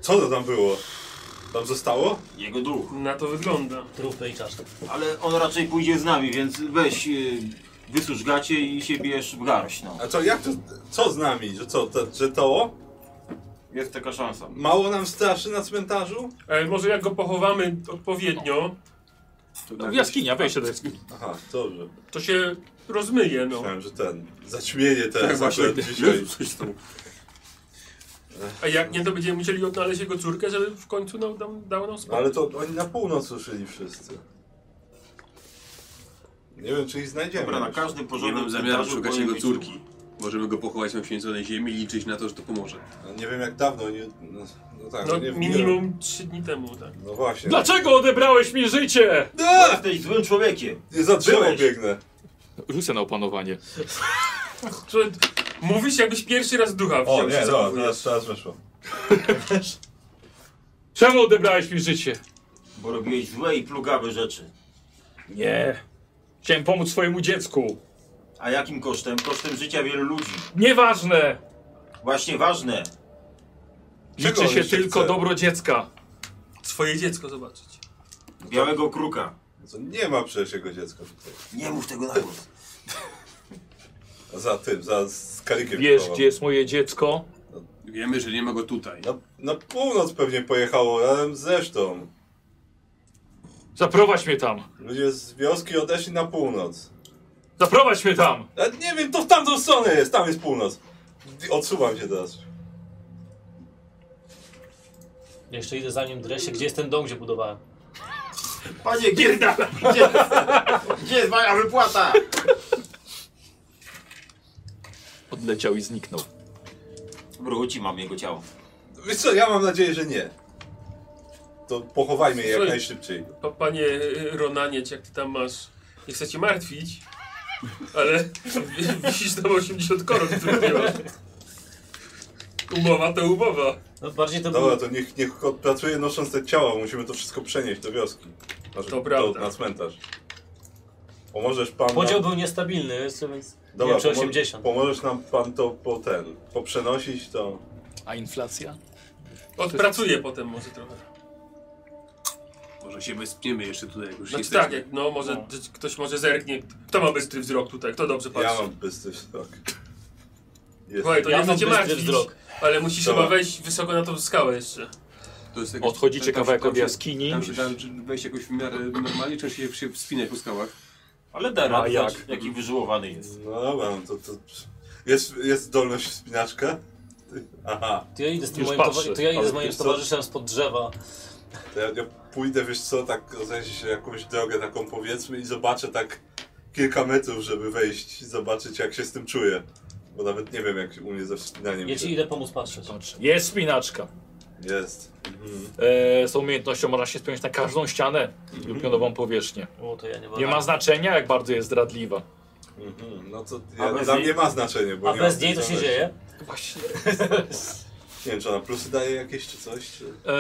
F: Co to tam było? Tam zostało?
E: Jego duch.
G: Na to wygląda.
J: Trupy i czaszki.
E: Ale on raczej pójdzie z nami, więc weź, yy, wysusz gacie i się bierz w garść, no.
F: A co, jak to, co z nami? Że co, to, że to?
E: Jest taka szansa.
F: Mało nam straszy na cmentarzu?
G: Ale E, może jak go pochowamy odpowiednio,
A: No, jaskinia, wejście do <laughs> jaskini.
F: Aha, dobrze.
G: to się rozmyje no.
B: Tak.
F: Myślałem, że ten, zaćmienie ten,
D: Tak właśnie.
F: akurat dzisiaj.
D: Jezus, coś tam.
G: A jak nie, to będziemy musieli odnaleźć jego córkę, żeby w końcu nam, dam, dał nam
F: No
G: spokój.
F: ale to oni na północ ruszyli wszyscy. Nie wiem, czy ich znajdziemy.
E: Dobra, na
F: już.
E: każdym
D: Nie mam
E: porządku
D: zamiaru szukać jego córki. Możemy go pochować na uświęconej ziemi i liczyć na to, że to pomoże.
F: No, Nie wiem jak dawno oni... No, no tak,
G: No,
F: nie, Nie,
G: minimum trzy dni temu, tak.
F: no właśnie.
A: Dlaczego odebrałeś mi życie?
E: Jesteś złym człowiekiem.
F: Nie za drzewo
E: Byłeś.
F: biegnę.
A: Rzucę na opanowanie.
G: Że mówisz jakbyś pierwszy raz ducha
F: O
G: wziął
F: nie, dobra,
G: się zachowujesz.
F: teraz, teraz weszło.
A: Czemu odebrałeś mi życie?
E: Bo robiłeś złe i plugawe rzeczy.
A: Nie. Chciałem pomóc swojemu dziecku.
E: A jakim kosztem? Kosztem życia wielu ludzi.
A: Nieważne!
E: Właśnie ważne.
A: Liczy
F: Czego
A: się
F: on się
A: tylko
F: chce?
A: dobro dziecka.
G: Swoje dziecko zobaczyć.
E: Białego kruka.
F: Co, Nie ma przecież jego dziecka tutaj.
E: Nie mów tego na głos.
F: Za tym, za skalikiem.
A: Wiesz, gdzie jest moje dziecko?
D: Wiemy, że nie ma go tutaj.
B: Na, na północ pewnie pojechało, razem zresztą.
A: Zaprowadź mnie tam!
B: Ludzie z wioski odeszli na północ.
A: Zaprowadź mnie tam!
B: A nie wiem, to w tamtą stronę jest, tam jest północ. Odsuwam się teraz.
J: Jeszcze idę za nim dresie, gdzie jest ten dom, gdzie budowałem.
E: Panie, gdzie, gdzie, jest, gdzie jest moja wypłata?
A: Odleciał i zniknął.
E: Wróci, mam jego ciało.
B: Wiesz co, ja mam nadzieję, że nie. To pochowajmy je jak
G: Słuchaj.
B: najszybciej.
G: Pa, panie y, Ronanie, jak ty tam masz? Nie chcę cię martwić, ale wi- wisisz tam 80 koron, których nie masz. Umowa to umowa.
J: No bardziej to
B: Dobra,
J: był...
B: to niech, niech kot pracuje nosząc te ciała, musimy to wszystko przenieść do wioski. Znaczy,
G: To prawda.
B: Do, na cmentarz. Pomożesz pan...
J: Podział
B: nam...
J: był niestabilny, więc...
B: No. Dobra,
J: nie wiem, czy
B: pomo-
J: 80.
B: Pomożesz nam pan to po ten, poprzenosić to...
A: A inflacja?
G: Odpracuję potem może trochę. Znaczy
D: Może się wyspniemy jeszcze tutaj, jak już
G: Znaczy
D: jesteśmy.
G: tak, jak, no może d- ktoś może zerknie. Kto ma bystry wzrok tutaj? Kto dobrze patrzy?
B: Ja mam bystry wzrok. Jest.
G: Słuchaj, to
J: Ja
G: nie
J: mam
G: chcę cię
J: bystry
G: martwić,
J: wzrok.
G: ale musisz
B: Dobra.
G: chyba wejść wysoko na tą skałę jeszcze.
D: To jest jakoś-
A: Odchodzicie
D: tam się-
A: kawałek
D: tam
A: od
D: się-
A: jaskini.
D: Tam się da wejść jakoś w miarę normalnie, czy się, się wspinać po skałach?
E: Ale da
A: A
E: radę,
A: jak?
E: zobacz, jaki wyżyłowany jest.
B: No dobra, no to, to... Jest, jest zdolność wspinaczka? Aha,
J: To ja idę z, tym
A: Już
J: moim
A: patrzę.
J: towa- to ja idę
B: Ale
J: z moim
B: wiesz co?
J: towarzyszem spod drzewa.
B: to ja, ja pójdę, wiesz co, tak w sensie jakąś drogę taką powiedzmy i zobaczę tak kilka metrów, żeby wejść i zobaczyć jak się z tym czuję. Bo nawet nie wiem jak u mnie ze wspinaniem
J: Ja
B: się-
J: ci idę pomóc patrzeć.
A: Jest spinaczka.
B: jest. Mhm.
A: E, z tą umiejętnością można się spiąć na każdą ścianę lub pionową powierzchnię.
J: O, to ja nie,
A: Nie ma znaczenia, jak bardzo jest zdradliwa.
B: Mhm, No to
E: A
B: ja,
E: bez
B: dla
E: niej-
B: mnie ma znaczenie, bo
J: A
B: nie
J: bez
B: mam
J: niej to się
B: zdolności.
J: dzieje?
B: Nie wiem, czy ona plusy daje jakieś czy coś, czy...
A: E,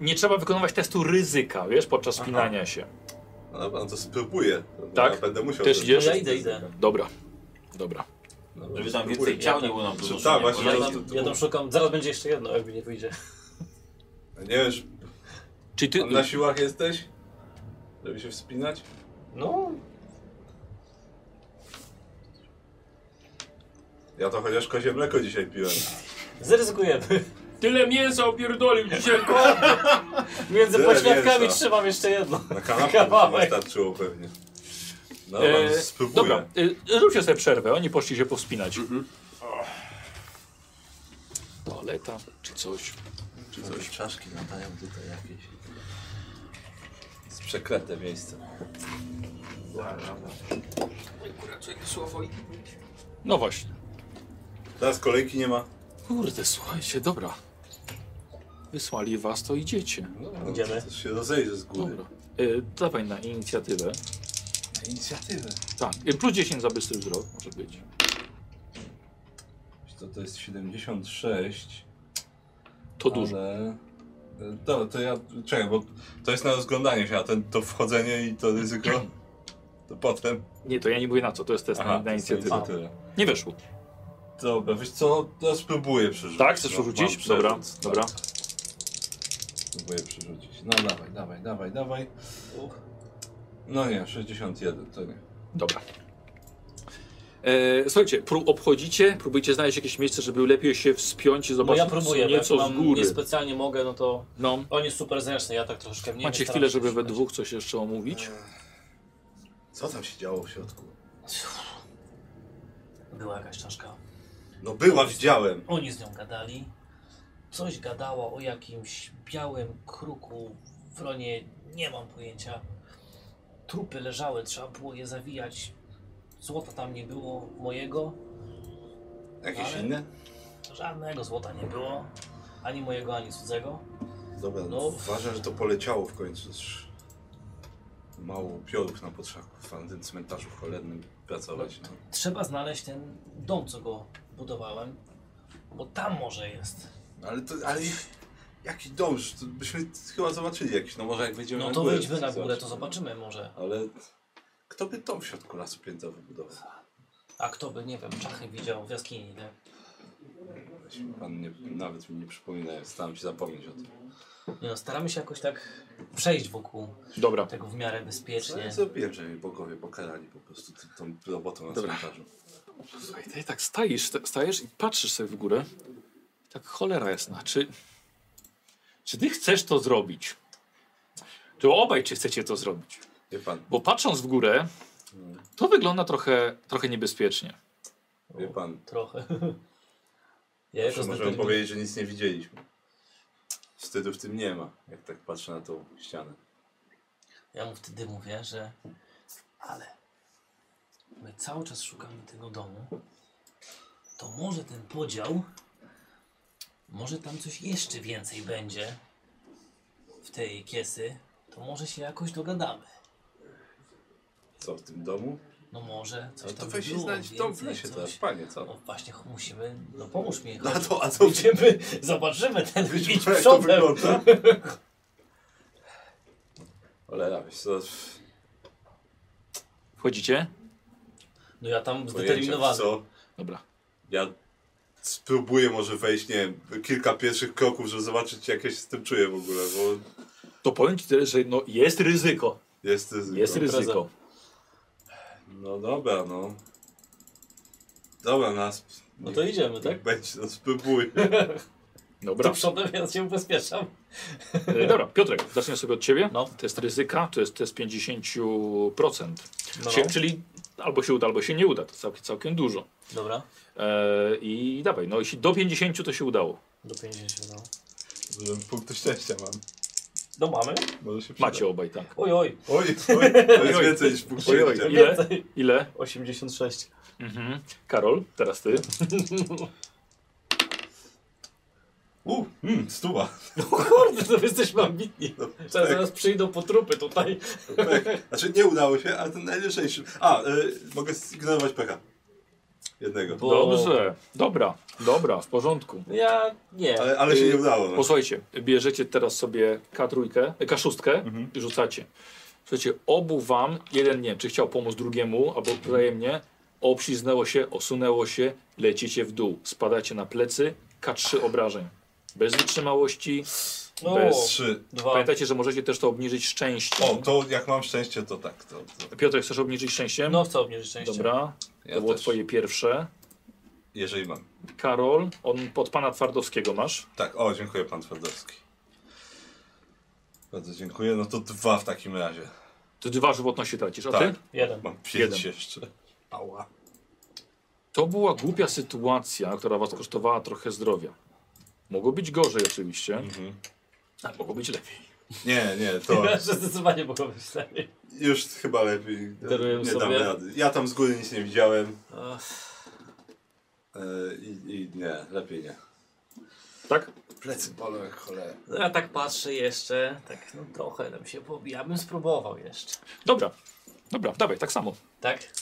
A: nie trzeba wykonywać testu ryzyka, wiesz, podczas spinania się.
B: No dobra, no to spróbuję. No,
A: Tak?
B: Ja będę musiał...
A: Też
B: to-
A: idziesz?
J: No ja idę, idę.
A: Dobra, dobra.
B: Dobra,
E: Żeby tam
B: spróbuję.
E: więcej ciał nie było nam
B: Czy-
E: dużo.
B: tak, właśnie,
J: Ja
B: to-
J: tam, ja tam szukam, zaraz będzie jeszcze jedno, jakby nie wyjdzie.
B: Nie wiem, czy
A: Czyli ty...
B: tam na siłach jesteś? Żeby się wspinać?
J: No,
B: Ja to chociaż kozie mleko dzisiaj piłem.
J: zaryzykujemy.
G: Tyle mięsa opierdolił dzisiaj,
J: <laughs> Między
B: Tyle
J: pośladkami
B: mięsa.
J: trzymam jeszcze jedno.
B: Na
A: <laughs>
B: kanapie
J: Kawałek.
B: by wystarczyło pewnie. No,
A: E,
B: e, spróbuję. Mhm.
A: dobra, e, zróbcie sobie przerwę, oni poszli się powspinać. Toaleta czy coś.
B: Czy coś czaszki nadają tutaj jakieś? Jest przeklęte miejsce.
A: No właśnie.
B: Teraz kolejki nie ma.
A: Kurde, słuchajcie, dobra. Wysłali was, to idziecie.
B: No, no,
J: Idziemy.
B: To się rozejrzy z góry.
A: Dobra. E, dawaj na inicjatywę.
B: Inicjatywę.
A: Tak, e, plus 10 za bystry wzrok może być.
B: To, to jest 76.
A: To dużo.
B: Ale... Dobra, to ja... Czekaj, bo to jest na rozglądanie się, a ten, to wchodzenie i to
A: <clears throat>
B: ryzyko... To potem...
A: Nie, to ja nie mówię na co, to jest test na-
B: to
A: na
B: jest
A: inicjatywę.
B: inicjatywa.
A: Nie weszło.
B: Dobra, wiesz co, ja spróbuję przerzucić.
A: Tak, chcesz
B: No, mam
A: rzucić?
B: przerzut,
A: Dobra,
B: tak.
A: dobra.
B: Spróbuję przerzucić. No dawaj, dawaj, dawaj, dawaj. No nie, 61, to nie.
A: Dobra. E, słuchajcie, pró obchodzicie, próbujcie znaleźć jakieś miejsce, żeby lepiej się wspiąć i
J: No
A: zobaczyć
J: ja próbuję, bo jak
A: nieco z
J: mam
A: góry.
J: niespecjalnie mogę, no to
A: No,
J: on jest super zręczny, ja tak troszeczkę mniej.
A: macie
J: staram
A: chwilę,
J: się
A: żeby we
J: szukać.
A: dwóch coś jeszcze omówić.
B: Co tam się działo w środku?
J: Była jakaś czaszka.
B: No była, widziałem.
J: Oni z nią gadali. Coś gadała o jakimś białym kruku w ronie, nie mam pojęcia. Trupy leżały, trzeba było je zawijać. Złota tam nie było mojego,
B: Jakieś
J: Ale-
B: inne?
J: żadnego złota nie było. Ani mojego, ani cudzego.
B: Dobra,
J: No.
B: uważam, że to poleciało w końcu. Już Mało piorów na potrzebach w tym cmentarzu cholernym pracować. No.
J: Trzeba znaleźć ten dom, co go budowałem, bo tam może jest.
B: Ale to, ale jaki dom, że to byśmy chyba zobaczyli jakiś, no może jak wejdziemy
J: No
B: na
J: to
B: górę.
J: wyjdźmy na górę, to zobaczymy może.
B: Ale kto by dom w środku lasu piętra wybudował?
J: A kto by, nie wiem, Czachy widział w jaskini, nie?
B: Pan nie, nawet mi nie przypomina, ja staram się zapomnieć o tym.
J: nie no, staramy się jakoś tak przejść wokół
A: Dobra.
J: tego w miarę
B: Ale
J: bezpiecznie.
B: No ja zrobiłem, że mi bogowie pokarali po prostu t- tą robotą na
A: Dobra.
B: cmentarzu.
A: Słuchaj, ty tak stajesz, stajesz i patrzysz sobie w górę. Tak cholera jasna. Czy, czy ty chcesz to zrobić? Czy obaj czy chcecie to zrobić?
B: Wie pan,
A: Bo patrząc w górę, to wygląda trochę, trochę niebezpiecznie.
B: wie pan.
J: Trochę.
B: <laughs>
J: Ja jako
B: Że możemy
J: znakomity-
B: powiedzieć, że nic nie widzieliśmy. Wstydu w tym nie ma, jak tak patrzę na tą ścianę.
J: Ja mu wtedy mówię, że ale my cały czas szukamy tego domu. To może ten podział, może tam coś jeszcze więcej będzie w tej kiesy, to może się jakoś dogadamy.
B: Co, w tym domu?
J: No może coś
B: No
J: tam
B: to weź się
J: było
B: znać w dom w
J: więcej,
B: lesie
J: coś.
B: teraz, panie,
J: No
B: co?
J: właśnie musimy, no pomóż mi.
B: A
J: chodź.
B: to, a to
J: Idziemy, <laughs> zobaczymy ten
B: <laughs> Widzisz,
J: widz
B: jak to
J: przodem.
B: wygląda?
J: <laughs>
B: Olera, wiesz co,
A: Wchodzicie?
J: No ja tam
B: pojęcia,
J: zdeterminowany.
B: co?
A: Dobra.
B: Ja spróbuję może wejść, nie wiem, kilka pierwszych kroków, żeby zobaczyć jak ja się z tym czuję w ogóle, bo
A: To powiem ci tyle, że no, jest ryzyko.
B: jest ryzyko.
A: Jest ryzyko.
B: No dobra, no. Dobra, nas.
J: No to idziemy, tak?
B: Będzie, no spróbuj.
A: Dobra.
J: Do przodem ja się ubezpieczam.
A: E, Dobra, Piotrek, zacznę sobie od ciebie.
J: No.
A: Test ryzyka to jest test 50%.
J: No,
A: Czyli, czyli albo się uda, albo się nie uda. To całkiem, całkiem dużo.
J: Dobra,
A: E, I dawaj, no jeśli do 50 to się udało.
J: do 50 no.
B: Punktu szczęścia mam.
J: No mamy?
B: Może się przyda.
A: Macie obaj, tak.
J: Oj, oj.
B: Oj, oj, to jest więcej niż punkt
A: Oj, oj.
B: szczęścia.
A: Ile?
J: Więcej.
A: Ile?
Q: 86.
A: Mhm. Karol, teraz ty.
B: U, mm, stuwa.
J: Kurde, to jesteśmy ambitni.
B: No,
J: Teraz
B: tak,
J: zaraz przyjdą po trupy tutaj.
B: tak. Znaczy nie udało się, ale ten najlżejszy. A, y, mogę zignorować pecha. Jednego.
J: Bo-
A: Dobrze, dobra, dobra, w porządku.
J: Ja nie.
B: Ale, ale
A: Y,
B: się nie udało. No.
A: Posłuchajcie, bierzecie teraz sobie K3, e, K6
B: Mhm.
A: i rzucacie. Słuchajcie, obu wam, jeden nie wiem, czy chciał pomóc drugiemu, albo wzajemnie, obśliznęło się, osunęło się, lecicie w dół, spadacie na plecy, K3 obrażeń. Bez wytrzymałości,
J: No,
A: bez...
B: Trzy.
J: dwa.
A: Pamiętajcie, że możecie też to obniżyć szczęściem.
B: O, to jak mam szczęście, to tak. To, to.
A: Piotr, chcesz obniżyć szczęściem?
J: No chcę obniżyć szczęście.
A: Dobra,
B: Ja
A: to było
B: też.
A: twoje pierwsze.
B: Jeżeli mam.
A: Karol, on pod pana Twardowskiego masz.
B: Tak, o, dziękuję pan Twardowski. Bardzo dziękuję. No to dwa w takim razie.
A: Ty dwa żywotności tracisz, a ty?
B: Tak.
J: Jeden.
B: Mam pięć
A: Jeden.
B: jeszcze. Ała.
A: To była głupia sytuacja, która was kosztowała trochę zdrowia. Mogło być gorzej oczywiście, a mogło być lepiej.
B: Nie, nie, to
J: Chyba, że zdecydowanie mogło być lepiej.
B: już chyba lepiej. e,
J: Daruję
B: nie
J: sobie.
B: dam rady. Ja tam z góry nic nie widziałem. E, I, I nie, lepiej nie.
A: Tak?
B: Plecy bolą jak cholera.
J: No ja tak patrzę jeszcze, tak no trochę nam się pobija. Ja bym spróbował jeszcze.
A: Dobra, dobra, dawaj, tak samo.
J: Tak?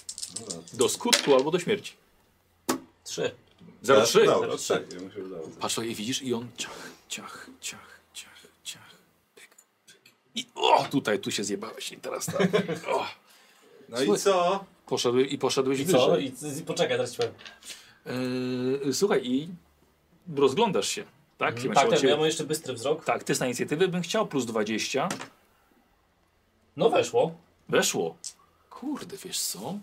A: Do skutku albo do śmierci.
J: Trzy.
A: Zero
B: Ja
A: trzy.
B: udało się, Tak, ja mu się udało.
A: Patrz, i widzisz, i on ciach, ciach, ciach, ciach, ciach. pyk, pyk. I o, tutaj, tu się zjebałeś i teraz tak. O,
B: No i co?
A: poszedłeś, I poszedłeś
J: I co?
A: wyżej.
J: I, i poczekaj, teraz ci powiem.
A: Yy, słuchaj, i rozglądasz się, tak? Ja bym
J: Tak,
A: chciał
J: tak, bo
A: cię-
J: ja mam jeszcze bystry wzrok.
A: tak, ty z na inicjatywy bym chciał plus 20.
J: No weszło.
A: Weszło. Kurde, wiesz co?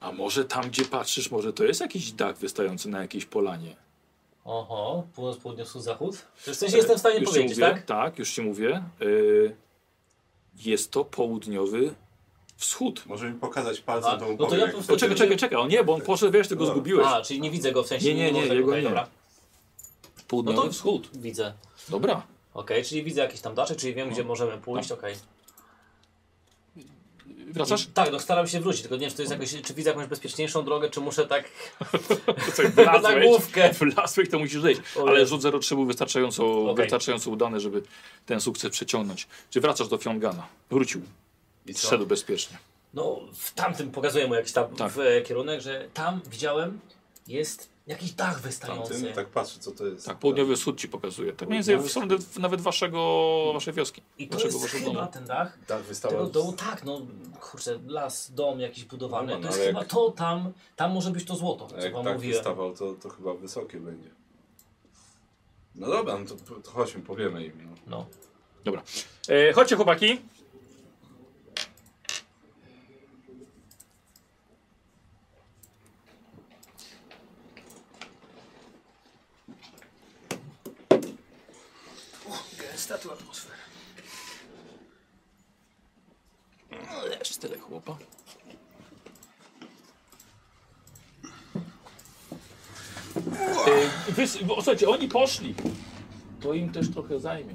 A: A może tam, gdzie patrzysz, może to jest jakiś dach wystający na jakiejś polanie?
J: Oho, północ, południu, wschód, zachód. W sensie jestem w stanie
A: Już ci
J: powiedzieć,
A: mówię,
J: tak?
A: już ci mówię. Y, jest to południowy wschód.
B: Może mi pokazać palcem
J: A,
B: tą
J: no to
B: powiem,
J: ja
B: jak
J: po prostu-
A: O, czekaj, czekaj, czekaj. O nie, bo on poszedł, wiesz, ty go
B: No.
A: zgubiłeś.
J: A, czyli nie widzę go, w sensie
A: Nie, nie, nie,
J: mogę tego-
A: jego
J: okej,
A: nie.
J: Dobra. No
A: Południowy
J: to
A: wschód.
J: wschód widzę.
A: Dobra.
J: Okej, czyli widzę jakiś tam daczek, czyli
A: No.
J: wiem, gdzie możemy pójść,
A: Tak.
J: okej.
A: Wracasz?
J: Tak, no staram się wrócić, tylko nie wiem, czy, to jest
A: No.
J: jakoś, czy widzę jakąś bezpieczniejszą drogę, czy muszę tak <laughs>
A: Coś <laughs>
J: na główkę.
A: Wlazłych to musisz zejść.
J: O
A: Ale
J: Jezu.
A: rzut 03 był wystarczająco,
J: Okej.
A: wystarczająco udany, żeby ten sukces przeciągnąć. Czy wracasz do Fiongana? Wrócił. I Szedł bezpiecznie.
J: No, w tamtym pokazuję mu jakiś tam
A: Tak.
J: w, e, kierunek, że tam widziałem, jest jakiś dach wystający.
B: Tamtym, tak patrzę, co to jest.
A: Tak, południowy wschód ci pokazuje. Tak mniej więcej w stronę nawet waszego, waszej wioski.
J: I to
A: waszego,
J: jest
A: waszego
J: chyba
A: domu.
J: ten dach.
B: Tak,
J: Tego
B: wystawa.
J: dołu, tak, no kurczę, las, dom jakiś budowany.
B: No, no,
J: to jest
B: ale
J: chyba
B: jak-
J: to tam, tam może być to złoto,
B: A
J: co
B: jak
J: wam
B: tak
J: mówiłem.
B: wystawał, to, to chyba wysokie będzie. No dobra, no to, to chodźmy, powiemy im. No.
J: No.
A: Dobra.
G: tak,
A: E, chodźcie chłopaki.
M: Statua atmosfery.
A: No, Lecz tyle chłopa. Yy, wys- bo, słuchajcie, oni poszli. To im też trochę zajmie.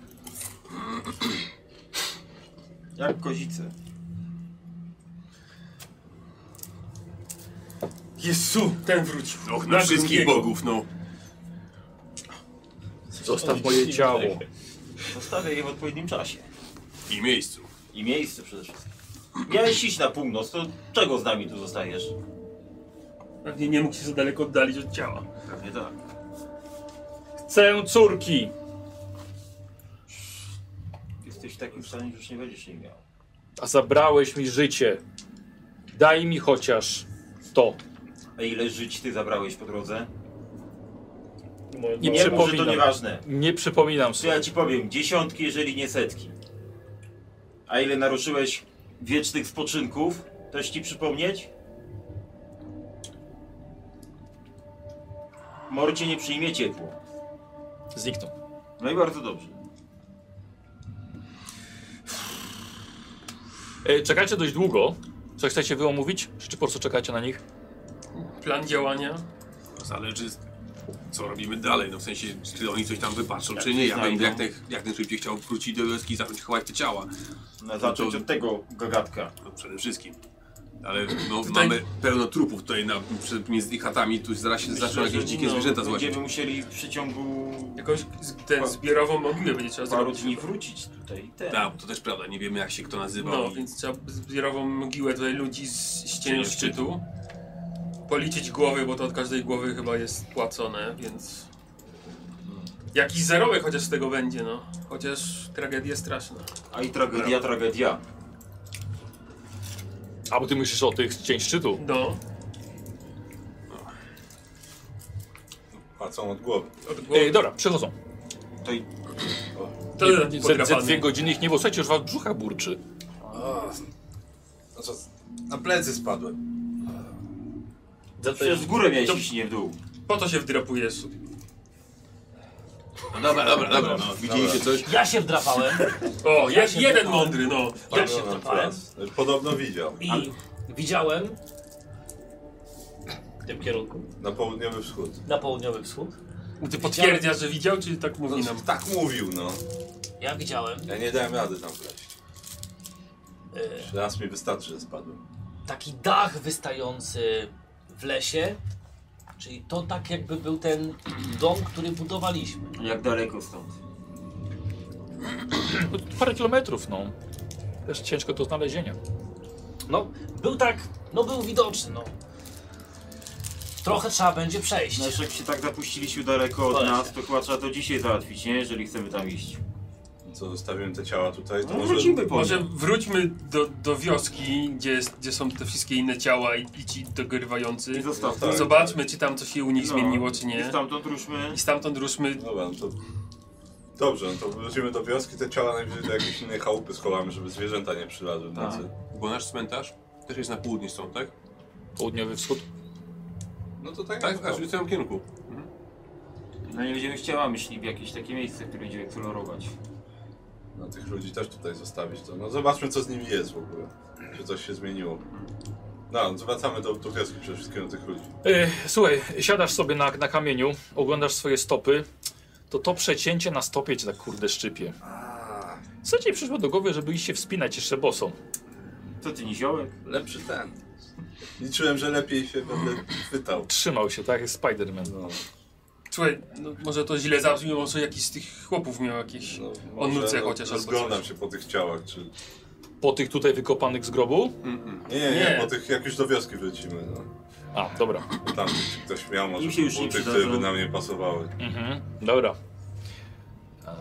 E: Jak kozice.
D: Jezu!
G: Ten wrócił.
D: Och, na wszystkich
G: drugiego.
D: bogów, no.
A: Zostaw moje ciało.
E: Zostawię je w odpowiednim czasie.
D: I miejscu.
E: I miejsce przede wszystkim. Miałeś iść na północ, to czego z nami tu zostajesz?
G: Pewnie nie mógł się za daleko oddalić od ciała.
E: Pewnie tak.
A: Chcę córki.
E: Jesteś w takim stanie, że już nie będziesz jej miał.
A: A zabrałeś mi życie. Daj mi chociaż to.
E: A ile żyć ty zabrałeś po drodze?
A: Nie
E: Nie mów, że to
A: przypominam.
E: nieważne.
A: Nie przypominam
E: To
A: sobie.
E: ja ci powiem, dziesiątki, jeżeli nie setki. A ile naruszyłeś wiecznych spoczynków? Też ci przypomnieć? Morcie nie przyjmie ciepło.
A: Zniknął.
E: No i bardzo dobrze.
A: E, czekajcie dość długo. Co chcecie wy omówić? Czy po prostu czekacie na nich?
G: Plan działania.
D: To Zależy, co robimy dalej. No w sensie, czy oni coś tam wypatrzą, czy nie. Ja
E: znajdą.
D: będę jak, naj, jak najszybciej chciał wrócić do wioski i zacząć chować te ciała.
E: No, zacząć
D: to-
E: od tego gagatka.
D: No przede wszystkim. Ale no,
G: Tutaj-
D: mamy pełno trupów tutaj na, przed, między chатami, tu zaraz się zaczną jakieś
E: no,
D: dzikie zwierzęta złapić.
E: Będziemy musieli w przeciągu
G: Jakąś z- ten zbiorową mogiłę będzie trzeba
E: paru
G: zrobić.
E: dni wrócić tutaj. Ten.
D: Tak, bo to też prawda, nie wiemy jak się kto nazywał.
G: No,
D: i-
G: więc trzeba zbiorową mogiłę tutaj ludzi z ścieniu
D: Cieniu
G: szczytu. Policzyć głowy, bo to od każdej głowy chyba jest płacone, więc... Jakiś zarobek chociaż z tego będzie, no. Chociaż tragedia straszna.
E: A i tragedia, tragedia.
A: A bo ty myślisz o tych z cień szczytu.
G: No,
B: Płacą od głowy.
G: od głowy.
A: E, dobra, przechodzą.
E: To i
G: to
A: Nie, ze, ze
G: podrapany.
A: dwie godziny ich nie było. Słuchajcie, już was brzucha burczy.
B: Znaczy, na plecy spadłem.
E: przecież w górę miałeś iść, nie w dół.
G: Po to się wdrapujesz.
D: No, dobra, dobra, dobra, no, widzieliście coś?
J: Ja się wdrapałem.
G: O,
J: Ja
G: jed,
J: się
G: jeden
J: wdrapałem.
G: mądry, no.
J: Ja się wdrapałem.
B: Podobno widział.
J: I widziałem w tym kierunku,
B: Na południowy wschód.
J: na południowy wschód.
G: Ty potwierdzasz, że widział, czy tak mówi nam?
B: Tak mówił, no.
J: Ja widziałem
B: Ja nie dałem rady tam wleść.
J: e,
B: Raz mi wystarczy, że spadłem.
J: taki dach wystający w lesie, czyli to tak jakby był ten dom, który budowaliśmy.
E: Jak daleko stąd?
A: No, Parę kilometrów, no. Też ciężko do znalezienia.
J: No, był tak, no był widoczny, no. Trochę trzeba będzie przejść.
E: No, jak się tak zapuściliśmy daleko od
J: Polecam.
E: nas, to chyba trzeba to dzisiaj załatwić, nie? Jeżeli chcemy tam iść.
B: Co, zostawiłem te ciała tutaj, to
E: No,
B: może...
E: wrócimy po
G: Może
E: nie.
G: wróćmy do, do wioski, gdzie, jest, gdzie są te wszystkie inne ciała i, i ci
E: I
G: dogrywający.
E: zostaw
B: tak.
G: Zobaczmy, czy tam coś się u nich
E: No,
G: zmieniło, czy nie.
E: I stamtąd ruszmy.
G: I stamtąd ruszmy.
B: Dobra, no to... Dobrze, no to wrócimy do wioski, te ciała najwyżej do jakiejś innej chałupy schowamy, żeby zwierzęta nie przylazły w nocy.
D: No, Bo nasz cmentarz też jest na południe stąd, tak?
A: Południowy wschód.
B: No to tak,
D: Tak, aż
B: jak
D: w tym kierunku.
E: No nie będziemy chciała myśli w jakieś takie miejsce, które będziemy eksplorować.
B: No tych ludzi też tutaj zostawić, to no zobaczmy co z nimi jest w ogóle. Czy coś się zmieniło. No, no, wracamy do, do wioski przede wszystkim do tych ludzi.
A: E, słuchaj, siadasz sobie na, na kamieniu, oglądasz swoje stopy. To to przecięcie na stopie cię tak kurde szczypie. Co ci przyszło do głowy, żeby iść się wspinać jeszcze bosą?
E: Co ty, niziołek?
B: Lepszy ten. Liczyłem, że lepiej się będę chwytał.
A: Trzymał się, tak jak Spiderman.
B: No,
G: Słuchaj, no, może to źle zabrzmi, może jakiś z tych chłopów miał jakieś.
B: no,
G: O nuce
B: no,
G: chociaż albo
B: Rozglądam
G: coś.
B: się po tych ciałach, czy...
A: Po tych tutaj wykopanych z grobu?
B: Nie, nie,
G: Nie.
B: nie, po tych, jak już do wioski wrócimy, no.
A: A, dobra.
B: Bo Tam czy ktoś miał może
E: Im się już nie
B: buty, które
E: przydadzą.
B: by nam nie pasowały.
A: Mhm, dobra. Eee,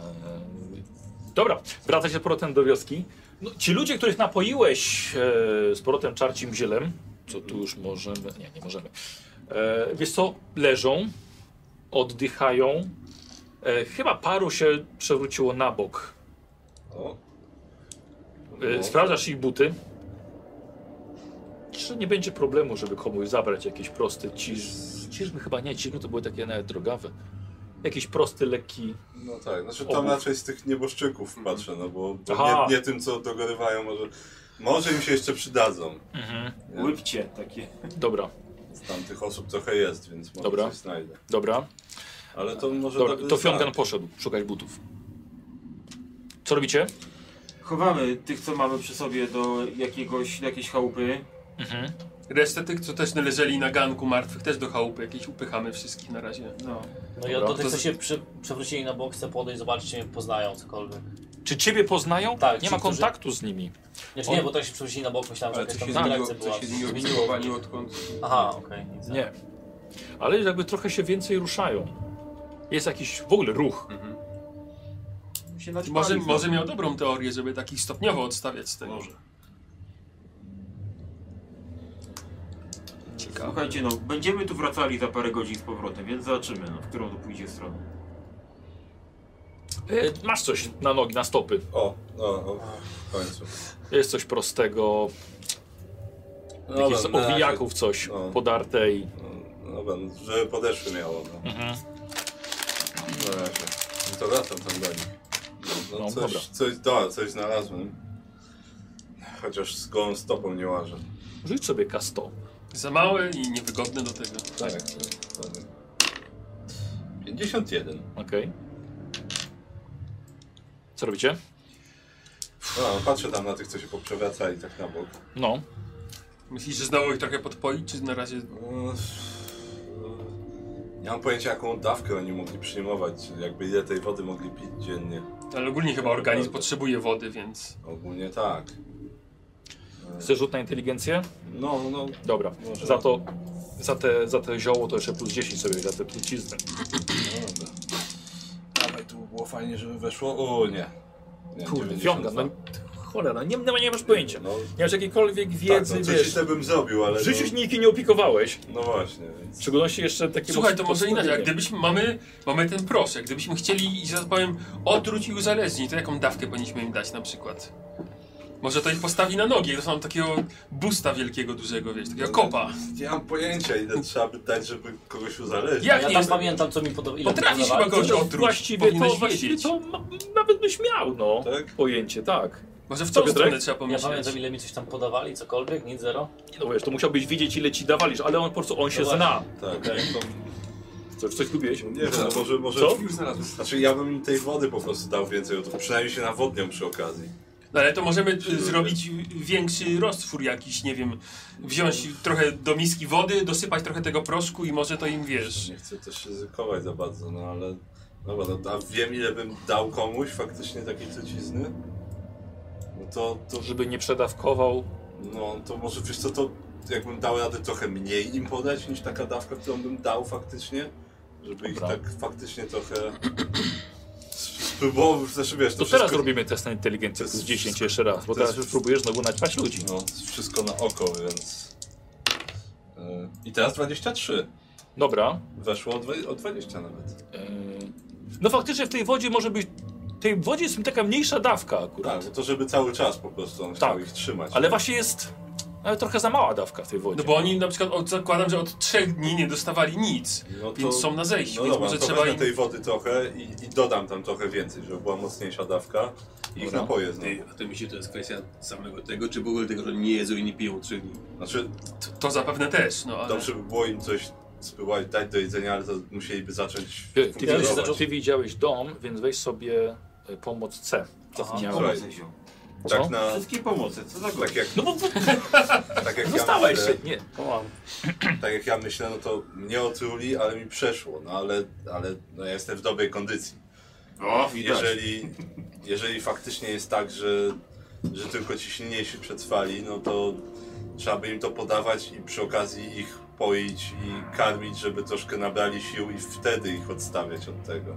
A: dobra, wraca się z powrotem do wioski. No, ci ludzie, których napoiłeś e, z powrotem czarcim zielem, co tu już możemy. Nie, nie możemy. E, wiesz co, leżą, oddychają. E, chyba paru się przewróciło na bok.
B: O.
A: E, sprawdzasz ich buty. Czy nie będzie problemu, żeby komuś zabrać jakieś proste ciż... Ciżmy chyba nie, ciżmy to były takie nawet drogawe. Jakiś prosty, lekki.
B: No tak, znaczy
A: Obu.
B: tam raczej z tych nieboszczyków patrzę, no bo, bo
A: Aha.
B: nie, nie tym, co dogorywają, może, może im się jeszcze przydadzą.
Q: Łybcie takie.
A: Dobra,
B: Z tamtych osób trochę jest, więc może
A: Dobra.
B: coś znajdę.
A: dobra.
B: Ale to może... tak
A: dobra.
B: dobry
A: To
B: znak.
A: Fiągan poszedł szukać butów. Co robicie?
E: Chowamy tych, co mamy przy sobie do jakiegoś, jakiejś chałupy.
G: Resztę tych, co też leżeli na ganku martwych, też do chałupy jakieś upychamy wszystkich na razie.
E: No.
J: No i
A: Dobra,
J: do tych,
A: to
J: co się przy, przewrócili na bok, chcę podejść, zobaczyć, czy mnie poznają cokolwiek.
A: Czy ciebie poznają?
J: Tak,
A: Nie
J: ci,
A: ma
J: którzy-
A: kontaktu z nimi.
J: Znaczy
A: On-
J: nie, bo tak się przewrócili na bok, myślałem, że
D: Ale
J: jakaś
D: coś
J: tam
D: się zmieniło, coś
J: interakcja była.
D: się zmieniło w zachowaniu, odkąd...
J: Aha, okej. nic.
A: Nie. Ale jakby trochę się więcej ruszają. Jest jakiś w ogóle ruch.
Q: Się naćpali
G: Może,
Q: znowu.
G: może miał dobrą teorię, żeby takich stopniowo odstawiać z tego. Może. Ciekawe.
E: Słuchajcie, no, będziemy tu wracali za parę godzin z powrotem, więc zobaczymy, no, w którą to pójdzie stronę.
A: E, Masz coś na nogi, na stopy.
B: O, no, o, w końcu.
A: Jest coś prostego,
B: No,
A: jakichś z
B: dobra, na razie-
A: owijaków coś
B: no.
A: podarte i...
B: No, dobra, no, żeby podeszły miało, no.
A: Mhm.
B: Na razie. No to wracam tam do nich. No,
A: No,
B: coś,
A: dobra.
B: coś, dobra, coś znalazłem. Chociaż z gołą stopą nie łażę.
A: Rzuć sobie K100.
G: Za małe i niewygodne do tego.
B: Tak. to- to- 51.
A: Okej. Co robicie?
B: No, patrzę tam na tych, co się poprzewracali tak na bok.
A: No.
G: Myślisz, że zdało ich trochę podpoić, czy na razie...
B: Mm, Nie mam pojęcia, jaką dawkę oni mogli przyjmować, jakby ile tej wody mogli pić dziennie.
G: Ale ogólnie chyba organizm potrzebuje wody, więc...
B: Ogólnie tak.
A: Chcesz rzut na inteligencję?
B: No, no,
A: Dobra.
B: Może.
A: Za to... Za te, za te zioło to jeszcze plus 10 sobie, za te trucizny.
B: dawaj, tu było fajnie, żeby weszło. O, nie. nie
A: Kurde,
B: 92.
A: Fiągan, no... Cholera, nie, nie, nie masz pojęcia.
B: No,
A: Nie masz jakiejkolwiek
B: tak,
A: wiedzy,
B: no, coś
A: wiesz.
B: źle bym zrobił, ale
A: W
B: no,
A: życiu się nikim nie opiekowałeś.
B: no właśnie, więc...
A: W szczególności jeszcze takie...
G: Słuchaj,
A: pos-
G: to może inaczej, jak
A: postanowienie.
G: gdybyśmy... Mamy, mamy ten proszek, gdybyśmy chcieli, że tak powiem, otruć i uzależnić, to jaką dawkę powinniśmy im dać na przykład? Może to ich postawi na nogi, to są takiego busta wielkiego, dużego, wiesz, takiego kopa.
B: Nie mam pojęcia, ile trzeba by dać, żeby kogoś uzależnić.
G: Jak
J: Ja
G: nie-
J: tam pamiętam, co mi podobało. ile
G: Potrafisz
J: podawali.
G: chyba kogoś otruć,
A: Właściwie to,
G: powinieneś
A: właściwie
G: wiedzieć.
A: to ma, nawet byś miał, no.
B: Tak?
A: Pojęcie, tak.
G: Może w
A: Co,
G: tą
A: Piotrek?
G: stronę trzeba
J: Ja
G: pomyśleć.
J: pamiętam, ile mi coś tam podawali, cokolwiek, nic, zero.
A: No wiesz, to musiałbyś wiedzieć, ile ci dawaliż, ale on po prostu, on się
J: No
A: zna.
B: Tak,
A: Coś, coś lubiłeś?
B: nie wiem, no może... może...
A: Co?
D: Już znalazłem.
B: Znaczy, ja bym im tej wody po prostu dał więcej, bo to przynajmniej się nawodnią przy okazji.
G: No ale to możemy y, zrobić większy roztwór jakiś, nie wiem, wziąć trochę do miski wody, dosypać trochę tego proszku i może to im wiesz.
B: Nie chcę też ryzykować za bardzo, no ale... Dobra, no, a wiem, ile bym dał komuś faktycznie takiej trucizny? No to, to
A: Żeby nie przedawkował.
B: No to może wiesz co, to jakbym dał radę trochę mniej im podać niż taka dawka, którą bym dał faktycznie, żeby ich
A: Dobra.
B: tak faktycznie trochę s- spróbował, znaczy wiesz, to,
A: To
B: wszystko,
A: teraz robimy test na inteligencję
B: To
A: plus
B: jest
A: 10
B: wszystko-
A: jeszcze raz, bo
B: to
A: teraz
B: jest-
A: już próbujesz znowu naćpać ludzi.
B: No, wszystko na oko, więc... Yy, I teraz 23.
A: Dobra.
B: Weszło o, dwa- o 20 nawet.
A: Yy, No faktycznie w tej wodzie może być... W tej wodzie jest taka mniejsza dawka akurat.
B: Tak, bo to żeby cały czas po prostu on chciał
A: Tak.
B: ich trzymać.
A: Ale właśnie jest... Ale trochę za mała dawka w tej wodzie.
G: No bo oni na przykład, od, zakładam, że od trzech dni nie dostawali nic,
B: No to-
G: więc są na zejściu,
B: No
G: więc
B: dobra,
G: może
B: to
G: trzeba
B: wezmę
G: im...
B: tej wody trochę i, i dodam tam trochę więcej, żeby była mocniejsza dawka i ich
A: Dobra.
B: napoję znowu.
D: Ty, a to mi się to jest kwestia samego tego, czy w ogóle tego, że nie jedzą i nie piją trzy dni.
B: Znaczy,
G: To zapewne też, no ale...
B: Dobrze by było im coś spróbować dać do jedzenia, ale to musieliby zacząć
A: Ty, ty, widziałeś,
B: funkcjonować.
A: ty widziałeś dom, więc weź sobie y, pomoc C. Miałem.
B: Słuchaj,
A: Co?
B: Tak, na,
E: Wszystkie pomocy, co za gość.
B: tak jak,
A: No bo, bo
B: <laughs> tak, jak ja
A: zostałeś
B: myślę,
A: się. Nie.
B: tak jak ja myślę, no to mnie otruli, ale mi przeszło, no ale, ale no ja jestem w dobrej kondycji.
E: O, widać.
B: Jeżeli, jeżeli faktycznie jest tak, że, że tylko ci silniejsi przetrwali, no to trzeba by im to podawać i przy okazji ich poić i karmić, żeby troszkę nabrali sił i wtedy ich odstawiać od tego.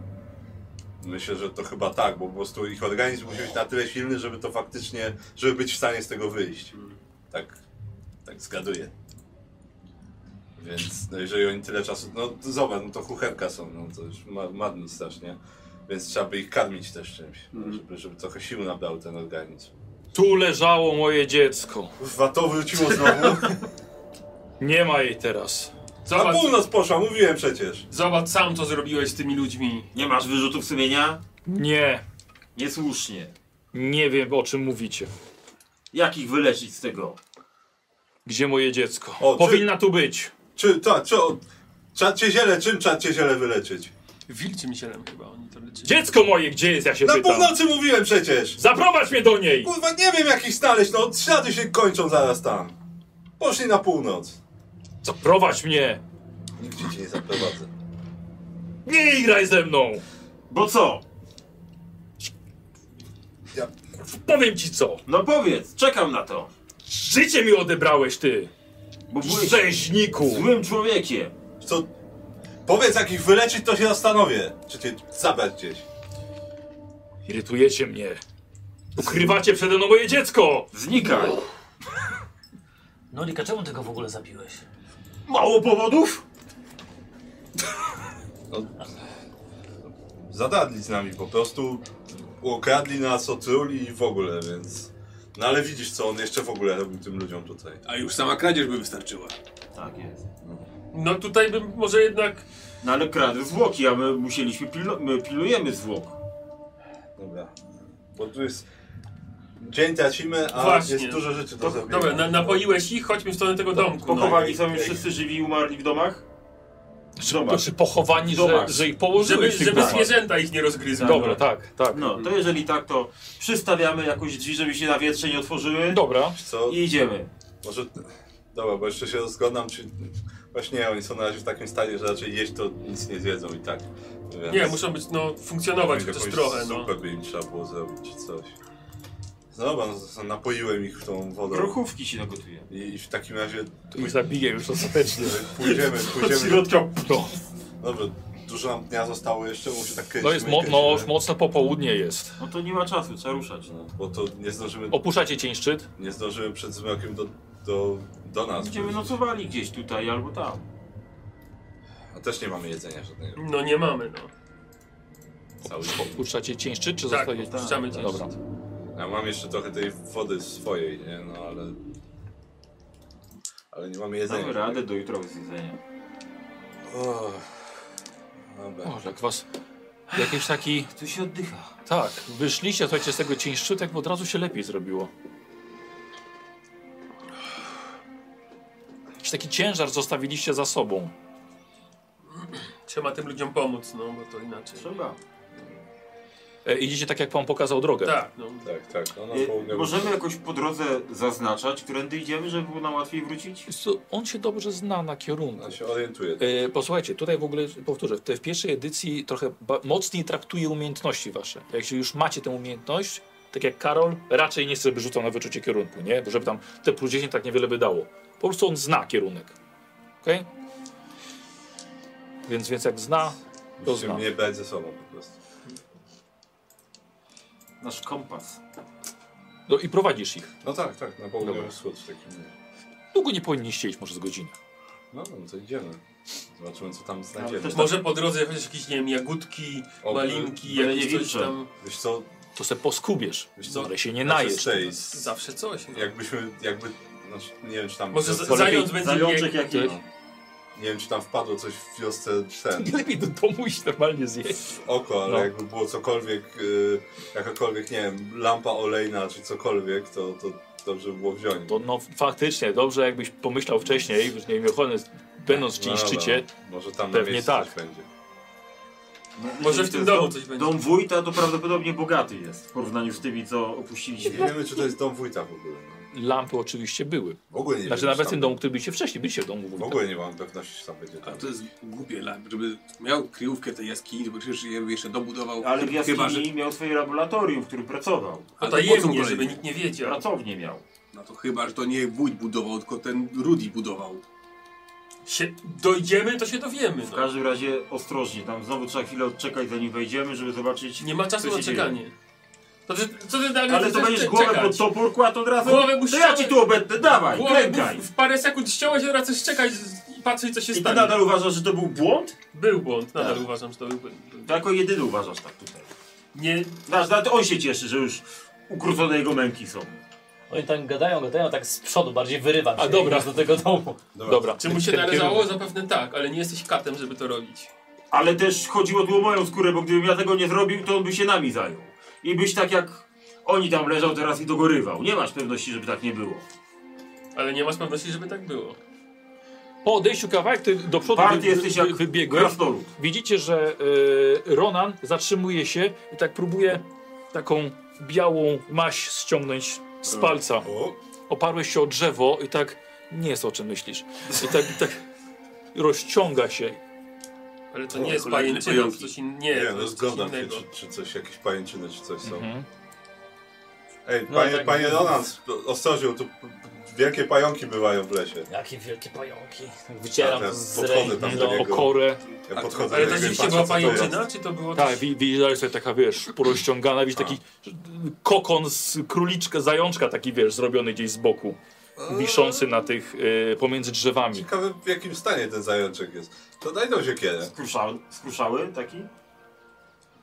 B: Myślę, że to chyba tak, bo po prostu ich organizm musi być na tyle silny, żeby to faktycznie, żeby być w stanie z tego wyjść. Tak, tak zgaduję. Więc no jeżeli oni tyle czasu, no to zobacz, no to kuchenka są, no to już ma- madni strasznie. Więc trzeba by ich karmić też czymś, żeby, żeby trochę sił nabrał ten organizm.
A: Tu leżało moje dziecko.
B: Kurwa, to wróciło znowu.
A: Nie ma jej teraz.
B: Na
G: Zobacz,
B: północ poszła, mówiłem przecież.
G: zobacz sam, co zrobiłeś z tymi ludźmi.
E: Nie masz wyrzutów sumienia?
A: Nie,
E: Niesłusznie.
A: nie wiem o czym mówicie.
E: Jak ich wyleczyć z tego?
A: Gdzie moje dziecko?
B: O, czy-
A: Powinna tu być.
B: Czy, ta, czy, o, czarcie ziele, czym czarcie ziele wyleczyć?
G: Wilczym zielem chyba oni to leczyli.
A: Dziecko moje, gdzie jest, ja się
B: Na
A: pytam.
B: północy mówiłem przecież!
A: Zaprowadź mnie do niej!
B: Kurwa, nie wiem jak ich znaleźć, no ślady się kończą zaraz tam. Poszli na północ.
A: Zaprowadź mnie!
B: Nigdzie cię nie zaprowadzę.
A: Nie igraj ze mną!
E: Bo co?
A: Powiem ci co!
E: No powiedz, czekam na to.
A: Życie mi odebrałeś ty!
E: Bo byłeś
A: Rzeźniku!
E: złym człowiekiem.
B: Co? Powiedz jak ich wyleczyć, to się zastanowię. Czy cię zabrać gdzieś.
A: Irytujecie mnie. Ukrywacie przede mną moje dziecko!
E: Znikaj.
J: Norika, czemu ty go w ogóle zabiłeś?
E: Mało powodów?
B: Zadadli z nami po prostu. Ukradli nas, otruli i w ogóle, więc... No ale widzisz co on jeszcze w ogóle robił tym ludziom tutaj. Tak,
D: A już sama kradzież by wystarczyła.
E: Tak jest.
G: No tutaj bym może jednak...
E: No ale kradę zwłoki, a my musieliśmy pilno... my pilnujemy zwłok.
B: Dobra. Bo tu jest... Dzień tracimy, a
G: Właśnie.
B: jest dużo rzeczy do zrobienia.
G: Dobra, na, napoiłeś ich, chodźmy w stronę tego domku. No.
E: Pochowani są już wszyscy żywi i umarli w domach? W domach.
A: Proszę, pochowani, że,
E: Zobacz.
A: że ich
G: Żeby,
A: położyłeś w tych
G: żeby
A: domach.
G: zwierzęta ich nie rozgryzły.
A: Dobra, tak, tak.
E: No, to jeżeli tak, to przystawiamy jakoś drzwi, żeby się na wietrze nie otworzyły
A: Dobra.
B: Wiesz Co?
E: i idziemy.
B: Może... Dobra, bo jeszcze się zgadzam, czy... Właśnie oni są na razie w takim stanie, że raczej jeść to nic nie zjedzą i tak. Więc...
G: Nie, muszą być, no, funkcjonować chociaż
B: Jakąś
G: trochę, no.
B: Zupę by im trzeba było zrobić, coś. Zobacz, napoiłem ich tą wodą.
E: Kruchówki się nagotuje.
B: I, I w takim razie
A: To ich zabiję już ostatecznie.
B: pójdziemy, pójdziemy.
E: środka.
A: No,
B: Dobrze, dużo nam dnia zostało jeszcze, bo się tak kręcimy.
A: no jest mo-
B: kręcimy,
A: no, już mocno popołudnie jest.
E: No to nie ma czasu, trzeba ruszać. No.
B: Bo to nie zdążymy,
A: Opuszczacie cień szczyt?
B: nie zdążymy przed zmrokiem do, do, do nas.
E: Będziemy nocowali gdzieś tutaj albo tam.
B: A też nie mamy jedzenia żadnego.
G: No nie mamy, no.
B: Cały dzień.
A: Opuszczacie cień szczyt, czy
G: Tak,
A: zostajecie?
G: opuszczamy cień
A: Dobra.
G: szczyt.
B: Ja mam jeszcze trochę tej wody swojej, nie? No ale... Ale nie mamy jedzenia.
E: Damy radę do jutra bez jedzenia.
B: O, Dobra.
A: Boże, jak was... Jakiś taki...
E: Tu się oddycha.
A: Tak, wyszliście słuchajcie, z tego cień szczyt, jakby od razu się lepiej zrobiło. Jakiś taki ciężar zostawiliście za sobą.
G: Trzeba tym ludziom pomóc, no, bo to inaczej.
E: Trzeba.
A: E, idziecie tak, jak pan pokazał drogę.
G: Tak, no.
B: Tak, tak. No, na
E: Y,
B: południu-
E: możemy jakoś po drodze zaznaczać, którędy idziemy, żeby było nam łatwiej wrócić?
A: Wiesz co, On się dobrze zna na kierunku.
B: Ja się orientuję.
A: E, posłuchajcie, tutaj w ogóle powtórzę, te w pierwszej edycji trochę ba- mocniej traktuje umiejętności wasze. Jak się już macie tę umiejętność, tak jak Karol, raczej nie sobie rzucał na wyczucie kierunku, nie? Bo żeby tam te plus 10 tak niewiele by dało. Po prostu on zna kierunek. Okej? Więc, więc jak zna, to
B: Musimy
A: zna.
B: mnie brać ze sobą po prostu.
E: Nasz kompas.
A: No i prowadzisz ich.
B: No tak, tak, na południowy wschód w takim razie.
A: Długo nie powinniście iść, może z godziny.
B: No, no to idziemy. Zobaczymy, co tam
E: Ale
B: znajdziemy. Tak,
E: też-
G: Może po drodze chociaż jakieś, nie wiem, jagódki,
B: O,
G: malinki,
E: byle
G: jakieś
E: nie
G: coś
E: wilcze.
G: tam.
B: Wiesz co,
A: To se poskubiesz,
B: Wiesz co,
A: ale się nie
B: znaczy
A: najesz.
B: z
A: <laughs>
B: tej, z,
G: Zawsze coś. No.
B: jakbyśmy, jakby, znaczy, nie wiem czy tam,
G: Może
B: w
G: z-
B: wiosce,
G: zając będzie
E: Zajączek
G: biegł.
E: jakiś.
B: nie wiem czy tam wpadło coś w wiosce ten,
A: Lepiej do domu iść normalnie zjeść.
B: w oko, ale
A: No.
B: jakby było cokolwiek, y, jakakolwiek, nie wiem, lampa olejna czy cokolwiek, to, to dobrze by było wziąć.
A: To no faktycznie, dobrze jakbyś pomyślał wcześniej, że nie wiem, ochrony, będąc w
B: No, dobra,
A: cińszczycie,
B: Może tam na
A: pewnie
B: miejscu
A: tak.
B: coś będzie.
E: No,
G: Może
E: jeżeli to
G: w tym
E: jest
G: domu
E: dom-
G: coś będzie.
E: Dom wójta to prawdopodobnie bogaty jest w porównaniu z tymi, co opuściliśmy.
B: Nie wiemy czy to jest dom wójta w ogóle. No.
A: lampy oczywiście były.
B: W ogóle nie
A: Znaczy
B: wiem, czy
A: nawet w
B: tam-
A: tym domu, który byliście wcześniej, byliście w domu
B: W
A: wójta.
B: ogóle nie mam pewności, czy tam będzie
D: A
B: tam.
D: to jest głupie, la- żeby miał kryjówkę tej jaskini, żeby przecież je jeszcze dobudował.
E: Ale w jaskini
D: Chyba, że...
E: miał swoje laboratorium, w którym pracował.
D: A to po co mu
G: Potajemnie,
D: kolejny?
G: żeby nikt nie wiedział.
E: Pracownię miał.
D: No to chyba, że to nie wójt budował, tylko ten Rudy budował.
G: Się, dojdziemy, to się dowiemy.
E: W
G: No.
E: każdym razie ostrożnie, tam znowu trzeba chwilę odczekać zanim wejdziemy, żeby zobaczyć.
G: Nie ma czasu
E: co
G: na
E: się
G: czekanie. To ty, co ty nagle
E: Ale to
G: chcesz
E: będziesz
G: czekać?
E: głowę pod topór kładł od razu?
G: Głowę musisz
E: to ja ci
G: ściągnąć-
E: tu obetnę, dawaj,
G: Głowę
E: klękaj!
G: w, w parę sekund ściąłeś, a teraz chcesz czekać z- i patrzeć co się
E: I ty
G: stanie.
E: nadal uważasz, że to był błąd?
G: Był błąd, nadal
E: Tak.
G: uważam, że to był błąd.
E: To jako jedyny uważasz tak tutaj.
G: Nie,
Q: Znaczy,
E: Nasz, nawet on się cieszy, że już ukrócone jego męki są.
J: Oni tam gadają, gadają, tak z przodu bardziej wyrywam się.
G: A, dobra.
J: i idę do tego domu.
B: no.
A: Dobra.
G: Czy mu się należało? Zapewne tak, ale nie jesteś katem, żeby to robić.
Q: Ale też chodziło tu o moją skórę, bo gdybym ja tego nie zrobił, to on by się nami zajął. I byś tak jak oni tam leżał teraz i dogorywał. Nie masz pewności, żeby tak nie było.
G: Ale nie masz pewności, żeby tak było.
A: Po odejściu kawałek ty do przodu
Q: Party
A: wy-
Q: jesteś
A: wy-
Q: jak
A: wybiegłeś.
Q: Krasnolud.
A: Widzicie, że y, Ronan zatrzymuje się i tak próbuje taką białą maść ściągnąć
B: Mm.
A: z palca. Oparłeś się o drzewo i tak nie jest o czym myślisz. I tak, i tak rozciąga się.
G: Ale to
B: O,
G: nie jest
B: kolejne
G: pajęczyna, to
B: pająki.
G: coś innego. Nie,
B: nie,
G: to
B: no
G: jest coś
B: zgadzam się,
G: innego.
B: czy, czy coś, jakieś pajęczyny, czy coś są.
A: Mhm.
B: Ej,
J: No
B: panie,
J: tak.
B: panie Donald, ostrożnie, tu p- p- wielkie pająki bywają w lesie.
J: Jakie wielkie pająki. Tak
B: A
J: Wycieram
B: teraz
J: z
B: podchodzę
J: ręki no.
B: tam do
J: do
B: niego.
A: Okorę.
B: Ja podchodzę
G: Ale
B: do niego
G: to
B: i
G: rzeczywiście
B: patrzę,
G: była
B: co to jest.
G: pajęczyna, czy to było
A: Tak,
G: coś...
A: wi- widziałeś sobie taka, wiesz, porozciągana, widzisz taki kokon z króliczka, zajączka taki, wiesz, zrobiony gdzieś z boku. Wiszący na tych, y, pomiędzy drzewami.
B: Ciekawe w jakim stanie ten zajączek jest. To daj tą siekierę.
P: Skruszały, skruszały taki?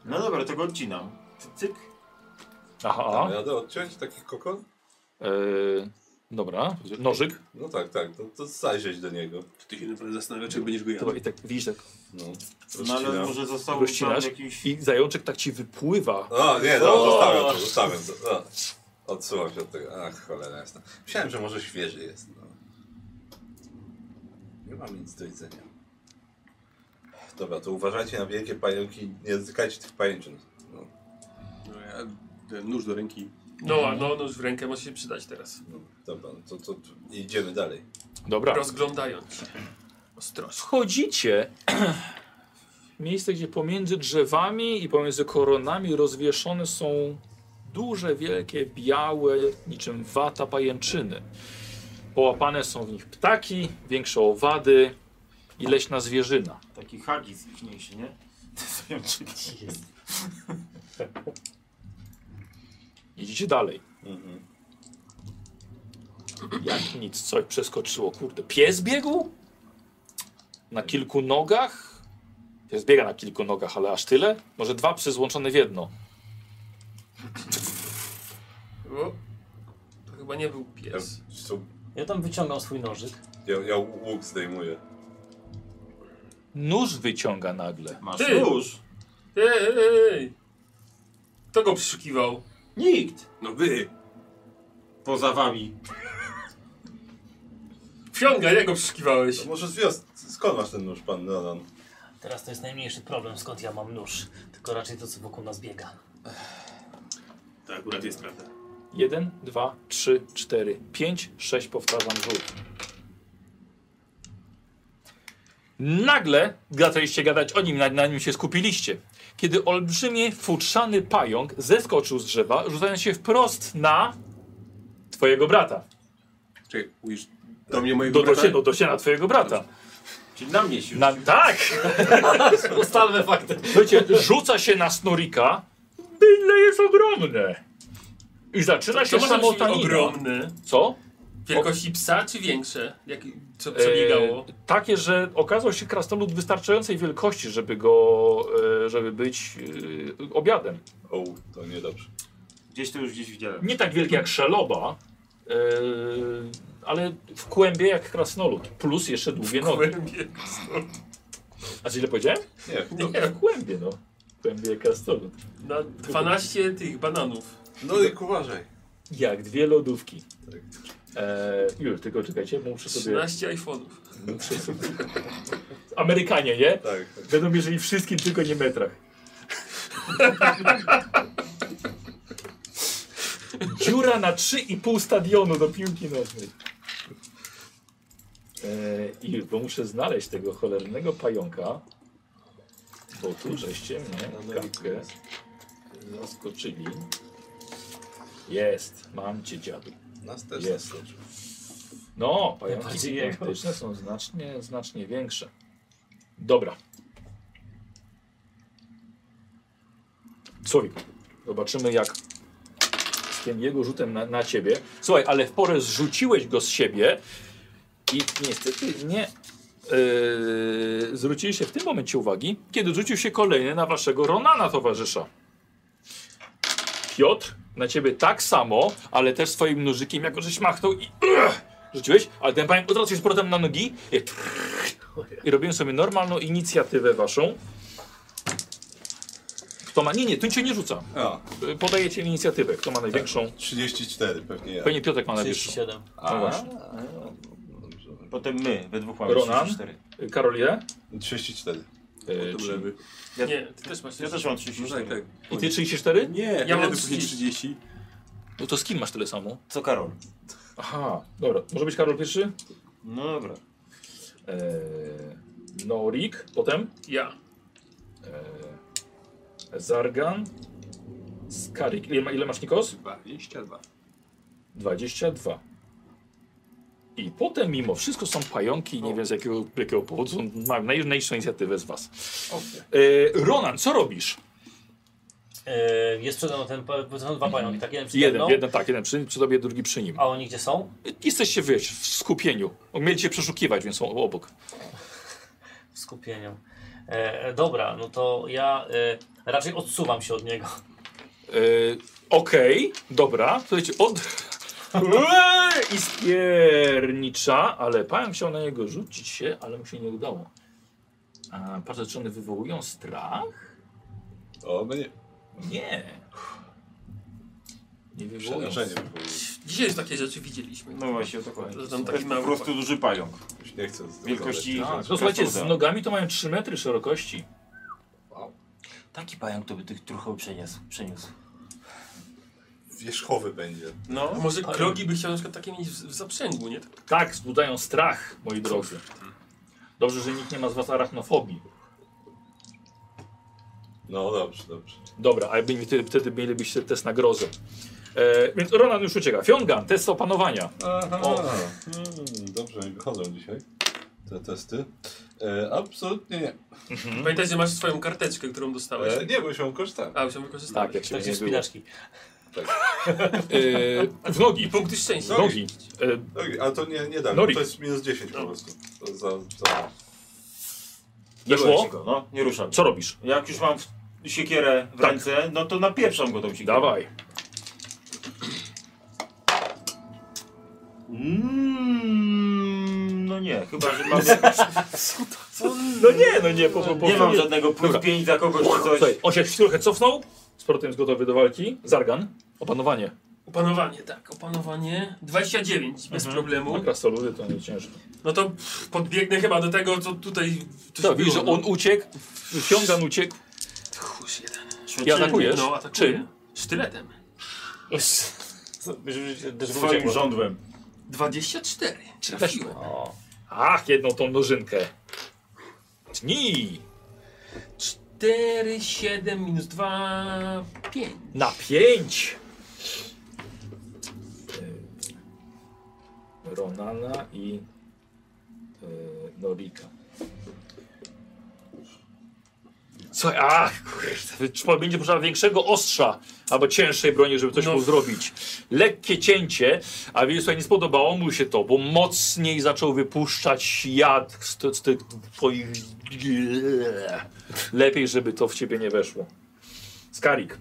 P: No dobra, tego odcinam. Cyk, Cyk.
A: Aha.
B: Tam radę odciąć taki kokon?
A: Yy, dobra, nożyk.
B: No tak, tak, to, to zajrzeć do niego.
D: Ty się naprawdę zastanawiasz, czy będziesz go jadł.
A: Dobra, i tak widzisz tak.
B: No,
P: No ale
B: Rozcinam.
P: może zostało tam
A: Rozcinasz
P: jakiś...
A: I zajączek tak ci wypływa.
B: O, nie, no, zostawiam to, zostawiam to. O, odsuwam się od tego. Ach, cholera jasna. Myślałem, że może świeży jest. No. Nie mam nic do jedzenia. Dobra, to uważajcie na wielkie pająki, nie dotykajcie tych pajęczyn. No.
D: No, ja ten nóż do ręki.
G: No,
E: Mhm.
G: a no, no, w rękę może się przydać teraz.
B: No, dobra, no to, to, to idziemy dalej.
A: Dobra.
G: Rozglądając się. Ostrożnie.
A: Wchodzicie <clears throat> w miejsce, gdzie pomiędzy drzewami i pomiędzy koronami rozwieszone są duże, wielkie, białe, niczym wata pajęczyny. Połapane są w nich ptaki, większe owady i leśna zwierzyna.
P: Taki hagis ichniejszy,
Q: <laughs>
P: nie? Zajączyki jest.
A: Idziecie dalej. Jak nic, coś przeskoczyło, kurde. Pies biegł? Na kilku nogach? Pies biega na kilku nogach, ale aż tyle? Może dwa psy złączone w jedno.
G: O, to chyba nie był
B: Ja,
G: pies.
B: to,
J: Ja tam wyciągam swój nożyk.
B: ja, ja łuk zdejmuję.
A: Nóż wyciąga nagle.
P: Masz
G: Ty!
P: nóż?
G: Ej, ej, ej. Kto go przeszukiwał?
P: Nikt!
D: No wy!
P: Poza wami.
G: Wsiąga, jego przeszukiwałeś.
B: To No może z wios... Skąd masz ten nóż, pan Nolan?
J: Teraz to jest najmniejszy problem, skąd ja mam nóż. Tylko raczej to, co wokół nas biega.
D: To akurat jest prawda.
A: Jeden, dwa, trzy, cztery, pięć, sześć, powtarzam rzut. Nagle zaczęliście gadać o nim, na, na nim się skupiliście. Kiedy olbrzymie, futrzany pająk zeskoczył z drzewa, rzucając się wprost na twojego brata.
D: Czekaj, mówisz do mnie mojego
A: Do, do,
D: brata?
A: się, do, do się na twojego brata.
P: Czyli na mnie się
A: Na, tak!
J: Ustalmy fakty.
A: Słuchajcie, rzuca się na snorika. Bydle jest ogromne. I zaczyna
G: To
A: się
G: może być
A: samotanina.
G: ogromny.
A: Co?
G: Wielkości psa, czy większe? Jak, co
E: Eee,
G: przebiegało?
A: E, takie, że okazał się krasnolud wystarczającej wielkości, żeby go, e, żeby być e, obiadem.
B: O, to niedobrze.
P: Gdzieś to już gdzieś widziałem.
A: Nie tak wielki jak szeloba, e, ale w kłębie jak krasnolud. Plus jeszcze długie nogi.
G: Głębie.
A: A co źle powiedziałem?
B: <laughs> Nie,
A: Nie, w kłębie no. W kłębie jak krasnolud.
G: Na 12 tych bananów.
B: no i uważaj.
A: Jak dwie lodówki. E, już, tylko czekajcie, muszę sobie...
G: 13 iPhone'ów.
A: Muszę sobie... Amerykanie, nie?
B: Tak, tak.
A: Będą mierzyli wszystkim, tylko nie metrach. Dziura na 3,5 stadionu do piłki nożnej. Eee, I bo muszę znaleźć tego cholernego pająka, bo tu żeście mnie kapkę zaskoczyli. Jest, mam cię dziadu.
B: Nas też
A: Jest.
B: zaskoczył.
A: No, pająki
J: Bardziej jego.
A: gigantyczne są znacznie, znacznie większe. Dobra. Słowik, zobaczymy jak z tym jego rzutem na, na ciebie. Słuchaj, ale w porę zrzuciłeś go z siebie i niestety nie yy, zwróciliście w tym momencie uwagi, kiedy rzucił się kolejny na waszego Ronana towarzysza. Piotr na ciebie tak samo, ale też swoim nożykiem, jako żeś machnął i rzuciłeś, ale ten pamięt od razu się z powrotem na nogi i, i robiłem sobie normalną inicjatywę waszą. Kto ma... Nie, nie, tu cię nie rzuca.
F: A,
A: Y, Podaję ci inicjatywę. Kto ma największą...
B: 34 pewnie ja.
A: Pewnie Piotrek ma najwyższą.
J: 37.
A: No właśnie.
E: Potem my, we dwóch mamy
A: Ronan?
E: 34.
A: Y, Karol ile?
B: 34.
A: Y,
D: No To
A: czyli-
D: lewy.
G: Nie, ty też masz
E: Ja też mam 34.
D: No tak, tak.
A: I ty 34?
D: Nie,
G: Ja mam
D: lewy później 30.
A: No to z kim masz tyle samo?
E: Co Karol?
A: Aha, dobra. Może być Karol pierwszy?
E: No dobra.
A: Eee, Norik, potem
G: Ja.
A: eee, Zargan, Skarik. Ile, ma- ile masz Nikos?
D: 22.
A: 22. I potem mimo wszystko są pająki, nie wiem z jakiego, jakiego powodu, są- mają naj, najniższą inicjatywę z was. Eee, Ronan, co robisz?
J: E, jest przede mną ten, pa- są dwa pająki, tak? Jeden przede
A: Mhm. Jeden,
J: mną.
A: jeden tak, jeden przy, przy tobie, drugi przy nim.
J: A oni gdzie są?
A: Jesteście wiesz, w skupieniu. Mieli cię przeszukiwać, więc są obok.
J: W skupieniu. E, e, dobra, no to ja e, raczej odsuwam się od niego.
A: Yy, Okej, dobra. Słuchajcie, od... Eee, I spiernicza, ale pająk chciał na niego rzucić się, ale mu się nie udało. A, patrzę, czy one wywołują strach?
B: O, no nie.
A: Nie. Nie wywołują
B: Przerażenie
A: strach.
B: by było.
G: Dzisiaj już takie rzeczy widzieliśmy.
E: No właśnie, o to chodzi.
G: To tam
E: To
G: taki
E: jest po
G: mały
E: prostu duży pająk.
B: Już Nie chcę. z tego
E: Wielkości...
A: Tak, no słuchajcie, z nogami to mają 3 metry szerokości.
P: Taki pająk to by tych truchoł przeniósł. przeniósł.
B: gadać. Wierzchowy będzie.
G: A
E: No.
G: może krogi by chciał na przykład takie mieć w, w zaprzęgu, nie?
E: Mhm.
G: Tak.
A: Tak, wzbudzają strach, moi drodzy. Dobrze, że nikt nie ma z was arachnofobii.
B: No dobrze, dobrze.
A: Dobra, a jakby- wtedy- wtedy mielibyście test na grozę. E, więc Ronan już ucieka. Fiongan, test opanowania.
B: Aha. Hmm, dobrze mi wychodzą dzisiaj te testy. E, absolutnie nie.
G: Pamiętaj, że masz swoją karteczkę, którą dostałeś.
B: E, nie, bo już ją korzystałem.
G: A, już ją wykorzystałeś.
A: Tak, jak się
J: <laughs> Tak się
A: nie było.
J: wspinaczki.
A: E, w nogi, punkt
G: Punkty szczęścia.
A: w nogi. E,
B: Okej, ale to nie, nie da.
A: Norik.
B: To jest minus 10 po prostu. To za, za...
A: weszło?
E: Go, no, nie ruszam.
A: Co robisz?
E: Jak już mam w- siekierę w ręce, no to napieprzam go tą siekierę.
A: Tak. Dawaj.
E: Mm, no nie, chyba,
A: <laughs>
E: że mam...
A: No nie, no nie, po, po, po,
E: Nie mam
A: nie.
E: żadnego plus
A: Dobra.
E: 5 za kogoś czy coś.
A: Słuchaj, on się trochę cofnął, sporo jest gotowy do walki. Zargan, opanowanie.
G: Opanowanie, tak, opanowanie. 29, bez
A: Na
G: problemu.
A: krasoludy to nie ciężko.
G: No to pff, podbiegnę chyba do tego, co tutaj... coś
A: Tak, widzisz, że
G: było,
A: on uciekł, Fiongan uciekł.
G: No. Chus, jeden.
A: I atakujesz?
G: No, atakuję.
A: Czym?
G: Sztyletem.
E: Swoim żądłem.
G: 24. Trafiłem.
A: Ach, jedną tą nożynkę. Tnij!
G: 4, 7, minus 2, 5.
A: Na pięć! Y, Ronana i y, Norika. Słuchaj, ach, kurde, trzeba- będzie potrzeba większego ostrza albo cięższej broni, żeby coś
G: No.
A: mu zrobić. Lekkie cięcie, a więc słuchaj, nie spodobało mu się to, bo mocniej zaczął wypuszczać jad z, ty- z tych twoich... Lepiej, żeby to w ciebie nie weszło. Skarik.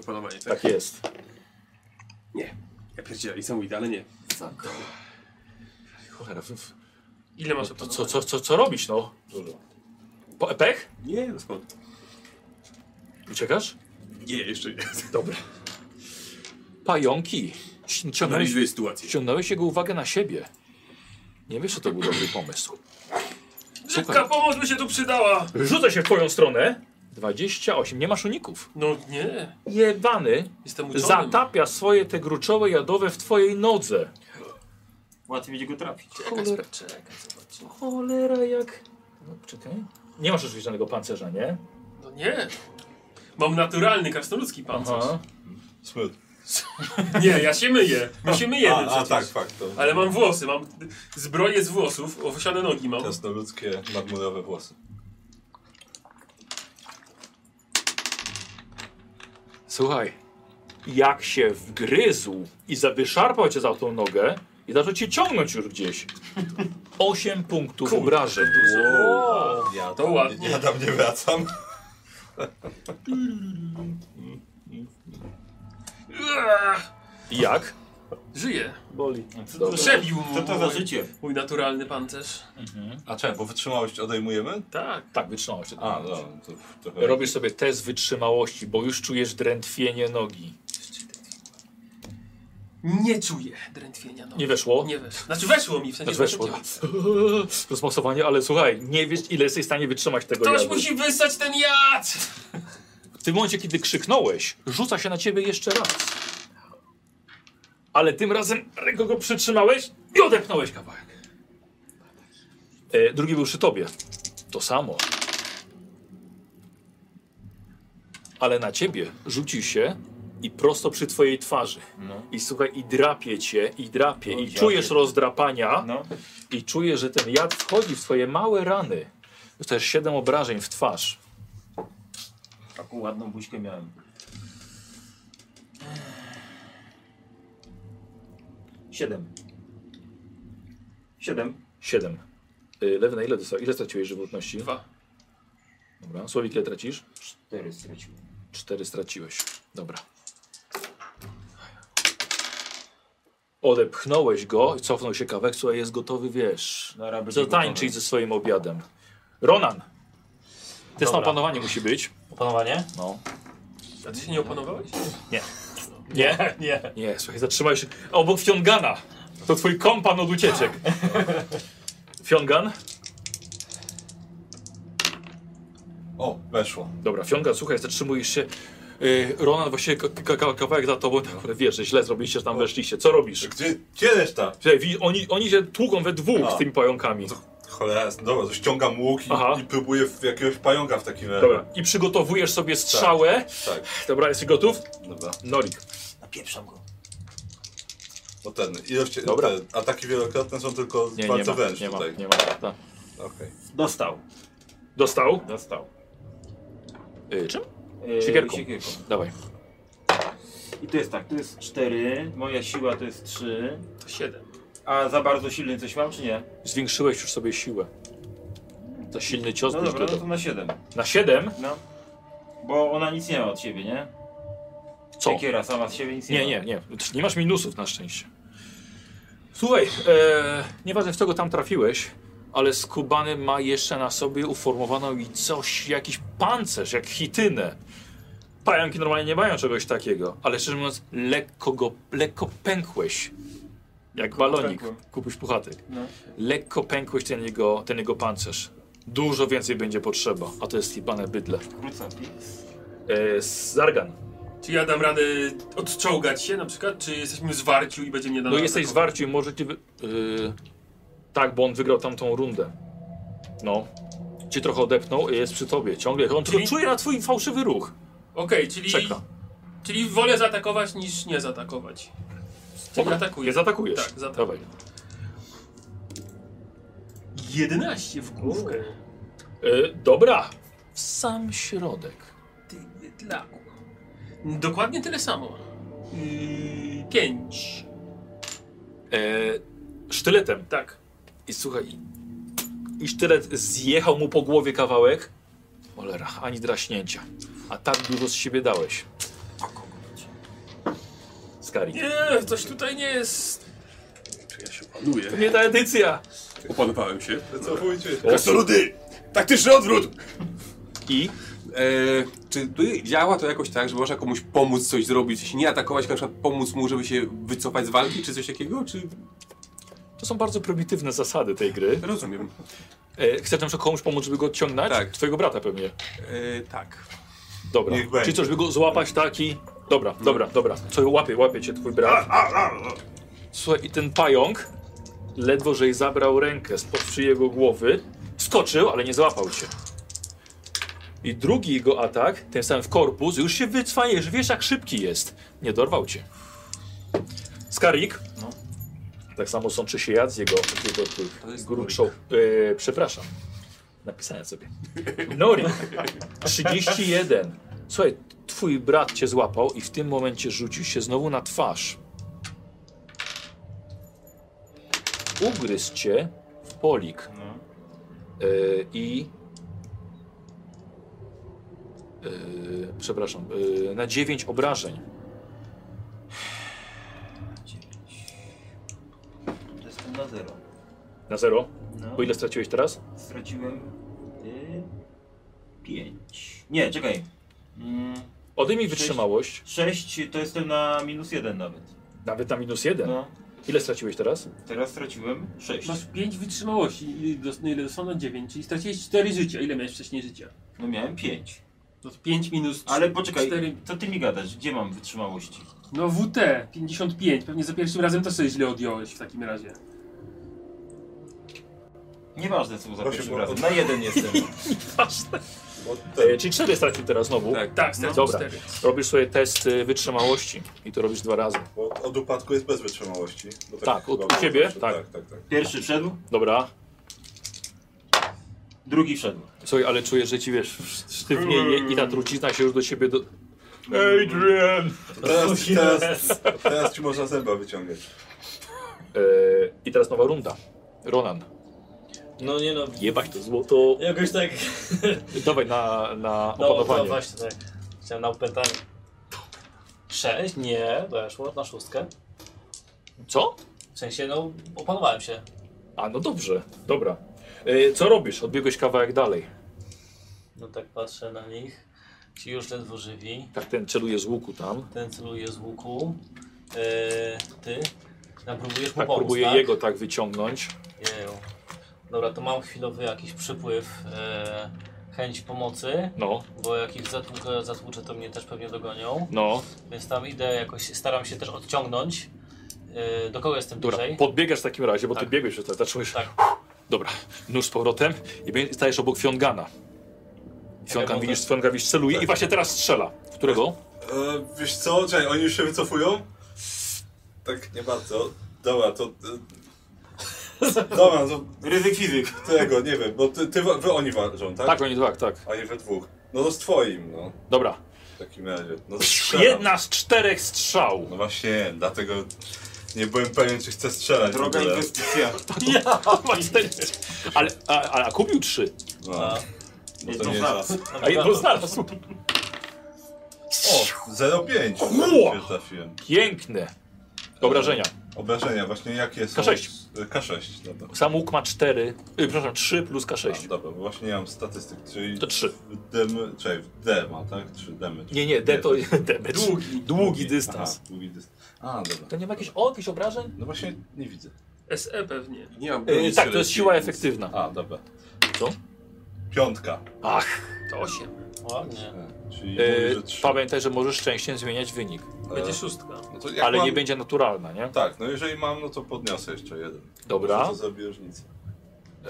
D: Opanowanie, tak?
A: Tak jest.
D: Ja pierdzielę, niesamowite, ale nie.
A: Cholera, w- w-
G: Ile masz
A: to
G: opanowania?
A: co, co, co, co robisz, no? Po, pech?
D: Nie, no skąd?
A: Uciekasz?
D: Nie, jeszcze nie.
A: Dobra. Pająki. Ci- Ciągnąłeś,
D: Analizuję sytuację.
A: ciągnąłeś jego uwagę na siebie. Nie wiesz, że to był dobry pomysł.
G: Szybka pomoc by się tu przydała.
A: Rzucę się w twoją stronę. 28. Nie masz uników.
G: No nie,
A: Jebany
G: jestem uczony.
A: zatapia swoje te gruczołe jadowe w twojej nodze.
E: Łatwiej będzie go trafić.
A: Cholera,
G: Czekaj, zobacz.
A: cholera jak... No, czekaj. Nie masz oczywiście żadnego pancerza, nie?
G: No nie. Mam naturalny krasnoludzki pancerz.
A: Aha.
B: Smut.
G: Nie, ja się myję. My się myjemy
B: A, a
G: no przecież.
B: tak, fakt. To
G: Ale mam włosy, mam zbroję z włosów, owsiane nogi mam.
B: krasnoludzkie, marmurowe włosy.
A: Słuchaj, jak się wgryzł i za- wyszarpał cię za tą nogę i zaczął cię ciągnąć już <laughs> gdzieś. 8 punktów obrażeń.
B: Ja
G: to ładnie.
B: Ja tam nie wracam.
A: Jak?
G: Żyje.
A: Boli.
G: Przebił
Q: Co to za życie?
G: mój naturalny pancerz.
F: A czemu, bo wytrzymałość odejmujemy?
G: Tak.
A: Tak, wytrzymałość.
F: A, no, to trochę...
A: Robisz sobie test wytrzymałości, bo już czujesz drętwienie nogi.
G: Nie czuję drętwienia. No.
A: Nie weszło?
G: Nie weszło. Znaczy weszło mi w sensie.
A: Znaczy weszło.
G: weszło.
A: <laughs> Rozmasowanie, ale słuchaj, nie wiesz ile jesteś w stanie wytrzymać tego
G: Ktoś
A: jadu.
G: musi wysać ten jad!
A: W tym momencie, kiedy krzyknąłeś, rzuca się na ciebie jeszcze raz. Ale tym razem ręką go przytrzymałeś i odepchnąłeś kawałek. E, drugi był przy tobie. To samo. Ale na ciebie rzuci się i prosto przy twojej twarzy. I słuchaj, i drapie cię, i drapie, i czujesz rozdrapania,
E: No.
A: i czujesz, że ten jad wchodzi w twoje małe rany. Dostajesz 7 obrażeń w twarz.
E: Taką ładną buźkę miałem. 7. 7.
A: 7. Lewy na Y, ile dostał? Ile straciłeś żywotności?
G: Dwa.
A: Dobra. Słowik, ile tracisz?
E: 4 straciłem.
A: 4 straciłeś. Dobra. Odepchnąłeś go, cofnął się kawek, słuchaj, jest gotowy, wiesz.
E: Nara będzie
A: Zatańczyć ze swoim obiadem. Ronan! Test na
J: Dobra.
A: opanowanie musi być.
J: Opanowanie? <laughs>
A: No.
G: A ty się nie opanowałeś?
A: Nie?
J: Nie.
A: Nie, słuchaj, zatrzymałeś się obok Fiongana. To twój kompan od ucieczek. Fiongan?
F: O, weszło.
A: Dobra, Fionga, słuchaj, zatrzymujesz się. Yy, Ronan właściwie ka- ka- ka- kawałek za tobą, Tak, ale wiesz, że źle zrobiliście, że tam weszliście. Co robisz?
F: Gdzie, gdzie reszta?
A: Słuchaj, widzisz, oni, oni się tłuką we dwóch
F: A.
A: z tymi pająkami.
F: Cholera, jasna, dobra, to ściągam łuk i,
A: Aha.
F: i próbuję w jakiegoś pająka w takim razie.
A: Dobra, i przygotowujesz sobie strzałę.
F: Tak,
A: Dobra, jesteś gotów?
F: dobra.
A: Norik.
J: Napieprzam go.
B: No
F: Bo ten, ilość,
A: Dobra.
F: Te ataki wielokrotne są tylko
A: Nie, nie
F: bardzo
A: ma,
F: wręcz
A: nie ma,
F: tutaj.
A: nie ma. Ta.
F: Okej.
E: Dostał.
A: Dostał?
E: Dostał.
A: Yy, czym?
E: Yy,
A: Siekierką. Dawaj.
E: I to jest tak, to jest 4, moja siła to jest 3.
G: To siedem.
E: A za bardzo silny coś mam, czy nie? No
A: Zwiększyłeś już sobie siłę. Za silny cios
E: No
A: byś
E: dobra, no
A: dodał.
E: to na 7.
A: Na 7?
E: No. Bo ona nic nie ma od siebie, nie?
A: Co?
E: Siekiera sama z siebie nic nie,
A: Nie,
E: ma.
A: nie, nie. Nie masz minusów na szczęście. Słuchaj, e, nieważne w kogo tam trafiłeś, ale skubany ma jeszcze na sobie uformowaną i coś, jakiś pancerz, jak chitynę. Pająki normalnie nie mają czegoś takiego, ale szczerze mówiąc, lekko go, lekko pękłeś. Jak balonik,
E: pękłem.
A: kupuś puchatek.
E: No.
A: Lekko pękłeś ten jego, ten jego pancerz. Dużo więcej będzie potrzeba, a to jest chibane bydle.
E: Wrócę.
A: E, Zargan.
G: Czy ja dam radę odczołgać się na przykład? Czy jesteśmy zwarciu i będzie mnie dano
A: No jesteś
G: atakować?
A: zwarciu i możecie. Wy... Yy, tak, bo on wygrał tamtą rundę. No. Cię trochę odepnął i jest przy tobie. Ciągle. On tylko
G: Czyli-
A: czuje na twój fałszywy ruch.
G: Okej, czyli,
A: Czeka.
G: czyli wolę zaatakować niż nie zaatakować. Czyli
A: Nie
G: atakuję.
A: zaatakujesz.
G: Tak, zaatakuję.
A: Dawaj.
G: 11 w główkę.
A: Yy, dobra. W sam środek.
G: Ty bydlaku. Dokładnie tyle samo. Yy, 5.
A: Yy, sztyletem.
G: Tak.
A: I słuchaj. i- I sztylet zjechał mu po głowie kawałek. Cholera, ani draśnięcia. A tak dużo z siebie dałeś. Skari.
G: Nie, coś tutaj nie jest.
D: Czy ja się opanuję?
A: To nie ta edycja.
D: Opanowałem się.
F: Wycofujcie się.
D: Krasnoludy! Taktyczny odwrót!
A: I
D: Eee, czy tu działa to jakoś tak, że można komuś pomóc coś zrobić, jeśli nie atakować, na przykład pomóc mu, żeby się wycofać z walki, czy coś takiego? Czy...
A: to są bardzo prymitywne zasady tej gry.
D: Rozumiem.
A: E, chcesz nam komuś pomóc, żeby go odciągnąć?
D: Tak.
A: Twojego brata pewnie.
D: Eee, tak.
A: Dobra.
F: Niech będzie. No.
A: Czyli coś, żeby go złapać taki. Dobra, dobra, dobra. Co łapie, łapie cię twój brat. Słuchaj, i ten pająk ledwo żeś zabrał rękę spod szyi jego głowy. Skoczył, ale nie złapał cię. I drugi jego atak, ten sam w korpus, już się wycwajesz, wiesz jak szybki jest. Nie dorwał cię. Skarik. Tak samo sączy się jad z jego, z jego tych
D: No. To jest
A: gruczo... E, przepraszam. Napisałem sobie. <laughs> Nori. 31. Słuchaj, twój brat cię złapał i w tym momencie rzucił się znowu na twarz. Ugryzł cię w polik.
D: No.
A: E, I... Y, E, przepraszam, e, na 9 obrażeń. Na zero?
P: No.
A: Bo ile straciłeś teraz?
P: Straciłem... Y, pięć.
E: Nie, czekaj. Mm,
A: Odejmij
E: Sześć.
A: wytrzymałość,
E: 6 to jestem na minus 1 nawet.
A: nawet na minus jeden.
E: No,
A: Ile straciłeś teraz?
E: teraz straciłem 6.
G: Masz 5 wytrzymałości, i dos- no ile dostaną 9, czyli straciłeś 4 życia. Ile miałeś wcześniej życia?
E: No miałem 5.
G: No to 5 minus 4.
E: Ale poczekaj, co ty mi gadasz? Gdzie mam wytrzymałości?
G: No WT 55, pewnie za pierwszym razem to sobie źle odjąłeś w takim razie.
E: Nieważne co było za
B: Proszę,
E: pierwszym
B: bo-
E: razem. Na jeden <laughs> jestem.
B: Tak.
A: E, czyli cztery stracił teraz znowu.
D: Tak.
G: Tak, no,
A: Dobra.
G: 4.
A: Robisz sobie test y, wytrzymałości i to robisz dwa razy.
B: Bo od upadku jest bez wytrzymałości. Bo
A: Tak,
B: chyba
A: od- u
B: było
A: ciebie?
B: zawsze.
A: Tak.
B: tak, tak. tak.
E: Pierwszy wszedł,
A: Dobra.
E: drugi wszedł.
A: Słuchaj, ale czujesz, że ci wiesz, sztywnieje i ta trucizna się już do ciebie do... Adrian!
B: To Teraz,
A: <laughs>
B: teraz, teraz ci można zęba wyciągać.
A: E, I teraz nowa runda. Ronan.
M: No nie no,
A: Jebać to złoto.
M: jakoś tak...
A: Dawaj na, na
M: No, no
A: opanowanie.
M: właśnie, tak. Chciałem na opętanie. Sześć? Nie, weszło na szóstkę.
A: Co?
M: W sensie, no, opanowałem się.
A: A, no dobrze. Dobra. E, co robisz? Odbiegłeś kawałek dalej.
M: No tak patrzę na nich. Ci już ledwo żywi.
A: Tak, ten celuje z łuku
J: Tak
A: tam.
M: Ten celuje z łuku. Eee, ty? Tam próbujesz mu
A: Tak,
M: pomóc,
A: próbuje
M: tak?
A: jego tak wyciągnąć.
M: Jeju. Dobra, to mam chwilowy jakiś przypływ, eee, chęć pomocy,
A: No,
M: bo jak ich zatłukę, zatłuczę, to mnie też pewnie dogonią.
A: no.
M: Więc tam idę jakoś, staram się też odciągnąć. Eee, do kogo jestem
A: Dobra,
M: bliżej?
A: podbiegasz w takim razie, bo
M: Tak.
A: ty biegłeś, że zacząłeś...
M: Tak.
A: Dobra, nóż z powrotem i bie- stajesz obok Fiongana. Fiongan
M: bo
A: widzisz,
M: to-
A: Fiongan widzisz, celuje i właśnie teraz strzela. W którego?
B: E, wiesz co, czekaj, oni już się wycofują? Tak, nie bardzo. Dobra, to... e, <laughs> Dobra, to
E: Ryzyk fizyk.
B: tego, nie wiem, bo ty, ty, wa- wy oni ważą, tak?
A: Tak, oni tak, tak.
B: A nie we dwóch. No to z twoim, no.
A: Dobra.
B: W takim razie. No to
A: Psz,
B: strzelam.
A: Jedna z czterech strzał.
B: No właśnie, dlatego nie byłem pewien, czy chcę strzelać
E: Droga
B: w ogóle.
E: inwestycja.
A: Ja, <laughs> właśnie. Ale, a, a, a kupił trzy.
B: No. No
E: Nie,
B: to
E: to
B: nie.
E: znalazł.
A: A jedno znalazł.
B: O, 0,5.
A: Chło!
B: Się trafiłem.
A: Piękne. Obrażenia.
B: Obrażenia, właśnie jakie są?
A: K6.
B: K6, dobra.
A: Sam łuk ma cztery, y, przepraszam, trzy plus
B: A,
A: K6.
B: dobra, bo właśnie nie mam statystyk, czyli
A: To trzy.
B: w dem, czekaj, w D ma, tak? Czy demy?
A: Nie, nie, D to <laughs> damage. Długi. Długi
B: Aha,
A: dystans.
B: długi dystans. A, dobra.
A: To nie ma jakichś, o, jakichś obrażeń?
B: No właśnie nie widzę.
G: SE E pewnie.
D: Nie mam
A: Y,
D: broni
A: tak, to jest
D: strzeleckiej,
A: siła
D: więc-
A: efektywna.
B: A, dobra.
A: Co?
B: Piątka.
A: Ach,
G: To 8.
M: Ładnie.
B: E, Czyli
A: y,
B: mówię, że trzy.
A: pamiętaj, że możesz szczęściem zmieniać wynik,
B: E,
G: Będzie szóstka.
B: no to jak
A: ale
B: mam,
A: nie będzie naturalna, nie?
B: Tak, no jeżeli mam, no to podniosę jeszcze jeden.
A: Dobra.
B: Może To zrobi różnicę.
A: Y,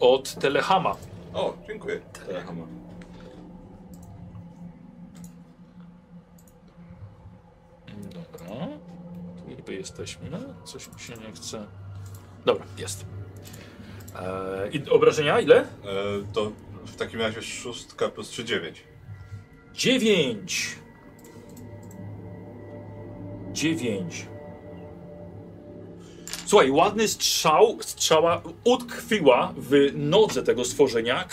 A: od Telehama.
B: O, dziękuję. Tak. Telehama.
A: Dobra. Tu niby jesteśmy. Coś mi się nie chce. Dobra, jest. Eee, I obrażenia ile?
B: E, to w takim razie szóstka plus trzy dziewięć.
A: Dziewięć. Dziewięć. Słuchaj, ładny strzał, strzała utkwiła w nodze tego stworzenia.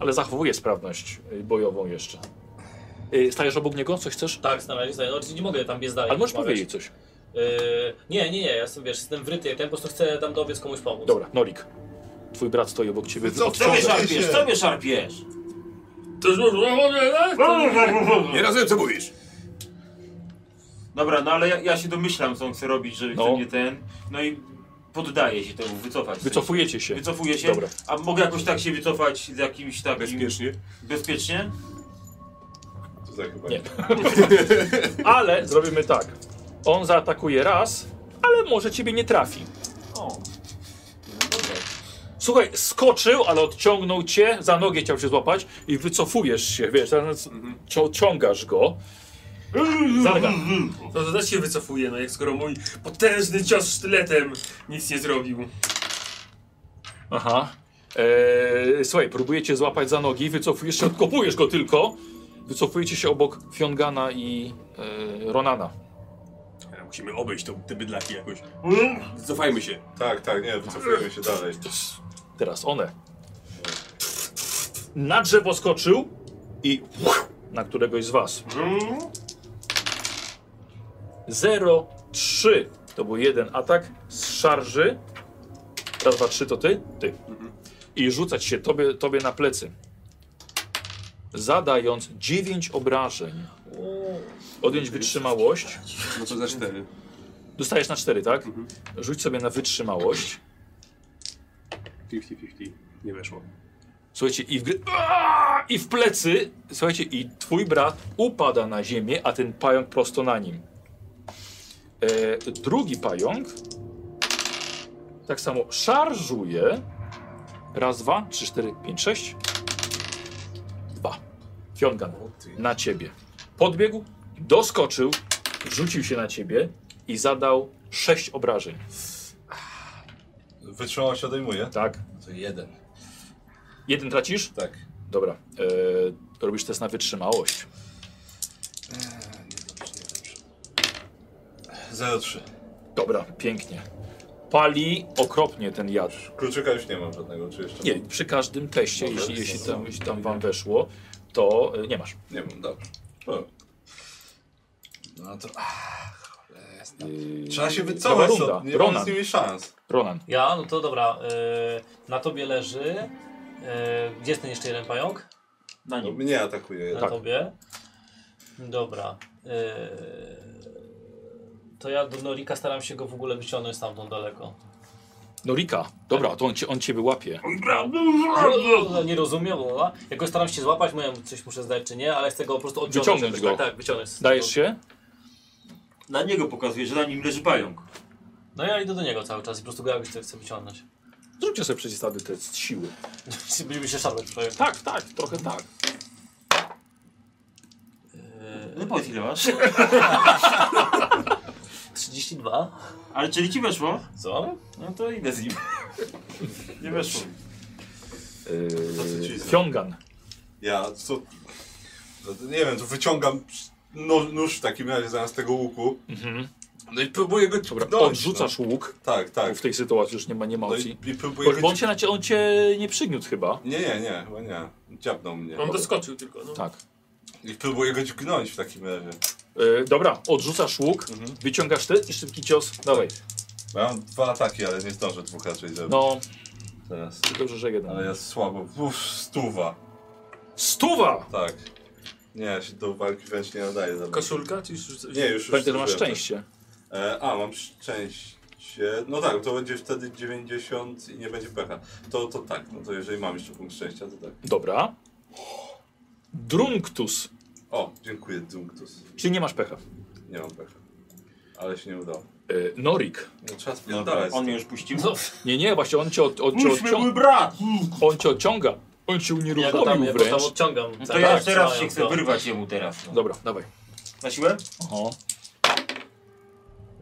A: Ale zachowuje sprawność y, bojową jeszcze. Y, Stajesz obok niego? Coś chcesz?
M: Tak, znaleźć, znaleźć. Oczywiście nie mogę tam biec dalej.
A: Ale możesz
M: rozmawiać.
A: powiedzieć coś.
M: Eee, nie, nie, nie, ja jestem, wiesz, jestem wryty, ja po prostu chcę tam dowiec komuś pomóc.
A: Dobra, Norik. Twój brat stoi obok ciebie.
B: Co
A: Od-
E: Co mnie szarpiesz? Co mnie szarpiesz? No,
G: To już
D: Nie rozumiem, co mówisz.
Q: Dobra, no ale ja, ja się domyślam, co on chce robić, że
A: No.
Q: chce mnie ten. No i poddaję się temu, wycofać. się.
A: Wycofujecie się.
Q: Wycofuję się.
A: Dobra.
Q: A mogę jakoś tak się wycofać z jakimś takim.
D: Bezpiecznie.
Q: Bezpiecznie?
B: Tutaj tak chyba
A: Nie. Ale zrobimy tak. On zaatakuje raz, ale może ciebie nie trafi.
Q: O.
A: Słuchaj, skoczył, ale odciągnął cię, za nogę chciał się złapać i wycofujesz się, wiesz, teraz cio- ciągasz go. Zalega.
G: To też się wycofuje, no jak skoro mój potężny cios sztyletem nic nie zrobił.
A: Aha. Eee, słuchaj, próbujecie złapać za nogi, wycofujesz się, odkopujesz go tylko. Wycofujecie się obok Fiongana i eee, Ronana.
D: Ale Musimy obejść tą, te bydlaki jakoś. Cofajmy się.
B: Tak, tak, nie, wycofujemy się dalej.
A: Teraz one. Na drzewo skoczył i na któregoś z was. 0,3. To był jeden atak z szarży. Raz, dwa, trzy to ty? Ty. I rzucać się tobie, tobie na plecy. Zadając dziewięć obrażeń. Odjąć wytrzymałość.
R: No to za cztery.
A: Dostajesz na cztery, tak? Rzuć sobie na wytrzymałość.
R: 50-50. Nie weszło.
A: Słuchajcie, i w, gry... Aaaa! i w plecy, słuchajcie, i twój brat upada na ziemię, a ten pająk prosto na nim. E, drugi pająk tak samo szarżuje. Raz, dwa, trzy, cztery, pięć, sześć. Dwa. Fiongan, na ciebie. Podbiegł, doskoczył, rzucił się na ciebie i zadał sześć obrażeń.
B: Wytrzymałość odejmuje.
A: Tak?
B: To jeden.
A: Jeden tracisz?
B: Tak.
A: Dobra. E, robisz test na wytrzymałość.
B: 0,3.
A: Dobra, pięknie. Pali okropnie ten jad.
B: Kluczyka już nie mam żadnego, czy jeszcze?
A: Nie, przy każdym teście,
B: Dobra,
A: jeśli, jeśli,
B: to
A: tam,
B: są-
A: jeśli tam wam weszło, to y, nie masz.
B: Nie mam, dobra. O. No to... ach, cholera.
A: Y,
B: Trzeba się wycofać,
A: Nowa
B: to
A: runda.
B: nie mam
A: Ronan.
B: z nimi szans.
A: Ronan.
J: Ja? No to dobra. y, na tobie leży. y, gdzie jest ten jeszcze jeden pająk?
E: Na
B: No,
E: nim.
B: mnie atakuje.
J: Na
A: Tak.
J: tobie. Dobra. y, to ja do Norika staram się go w ogóle wyciągnąć stamtąd daleko.
A: No Rika, dobra, to on, cię, on ciebie łapie.
J: Nie rozumiem, bo jak go staram się złapać, mówię, coś muszę zdać czy nie, ale chcę go po prostu odciągnąć.
A: Wyciągnąć
J: jakoś,
A: go.
J: Tak, tak, wyciągnąć. z-
A: Dajesz się?
E: Na niego pokazuje, że na nim leży pająk.
J: No ja idę do niego cały czas i po prostu go jakoś chcę, chcę wyciągnąć. <laughs>
A: Zróbcie sobie przeciwstawny test siły.
J: Będziemy się szarpać twoje.
A: Tak, tak, trochę tak.
Q: E,
E: No powiedz
Q: <laughs>
E: ile masz.
J: 32.
E: Ale czyli ci weszło?
J: Co?
E: No to idę z nim. Nie weszło. E,
A: Yy, Fiongan.
B: Ja, co... No, to nie wiem, to wyciągam no, nóż w takim razie zamiast tego łuku. No i próbuję go
A: Mhm. Dobra,
B: dojść,
A: odrzucasz łuk,
B: No. Tak,
A: bo
B: tak.
A: w tej sytuacji już nie ma, nie ma
B: No
A: opcji.
B: i, i próbuję
A: Bo- Bo
B: go...
A: on cię, na cie, on cię nie przygniótł chyba.
B: Nie, nie, nie, chyba nie. Dziabnął mnie.
A: No
D: On doskoczył tylko, no.
A: Tak.
B: I próbuję go dźgnąć w takim razie.
A: Yy, dobra, odrzucasz łuk,
B: Mhm.
A: wyciągasz ty i szybki cios. Dawaj.
B: Bo ja mam dwa ataki, ale nie zdążę dwóch raczej zrobić
A: No,
B: teraz.
A: dobrze, że jeden.
B: Ale jest słabo. Uff, stuwa.
A: Stuwa!
B: Tak. Nie, ja się do walki wręcz nie nadaje. Za bardzo.
D: Koszulka czy już coś?
B: Nie, już, już
A: Pamiętaj, że masz
B: zużyłem.
A: szczęście.
B: E, a, mam szczęście. No tak, to będzie wtedy 90 i nie będzie pecha. To, to tak, no to jeżeli mam jeszcze punkt szczęścia, to tak.
A: Dobra. Drunktus,
B: O, dziękuję, Dunktus.
A: czyli nie masz pecha.
B: Nie mam pecha. Ale się nie udało.
A: Yy, Norik.
B: No trzeba spierdalać.
E: On mnie już puścił.
A: Nie, nie, właśnie on cię, od, od, cię
E: Puśćmy
A: odciąga.
E: mój brat!
A: On cię odciąga. On cię
J: Ja go tam,
A: unieruchomił
J: ja go tam
A: wręcz.
J: odciągam. Tak,
E: No to
J: Cały
E: ja
J: czas
E: jeszcze raz
J: trzymając
E: się chcę
J: go.
E: wyrwać jemu teraz. No.
A: Dobra, dawaj.
E: Na siłę?
A: Oho.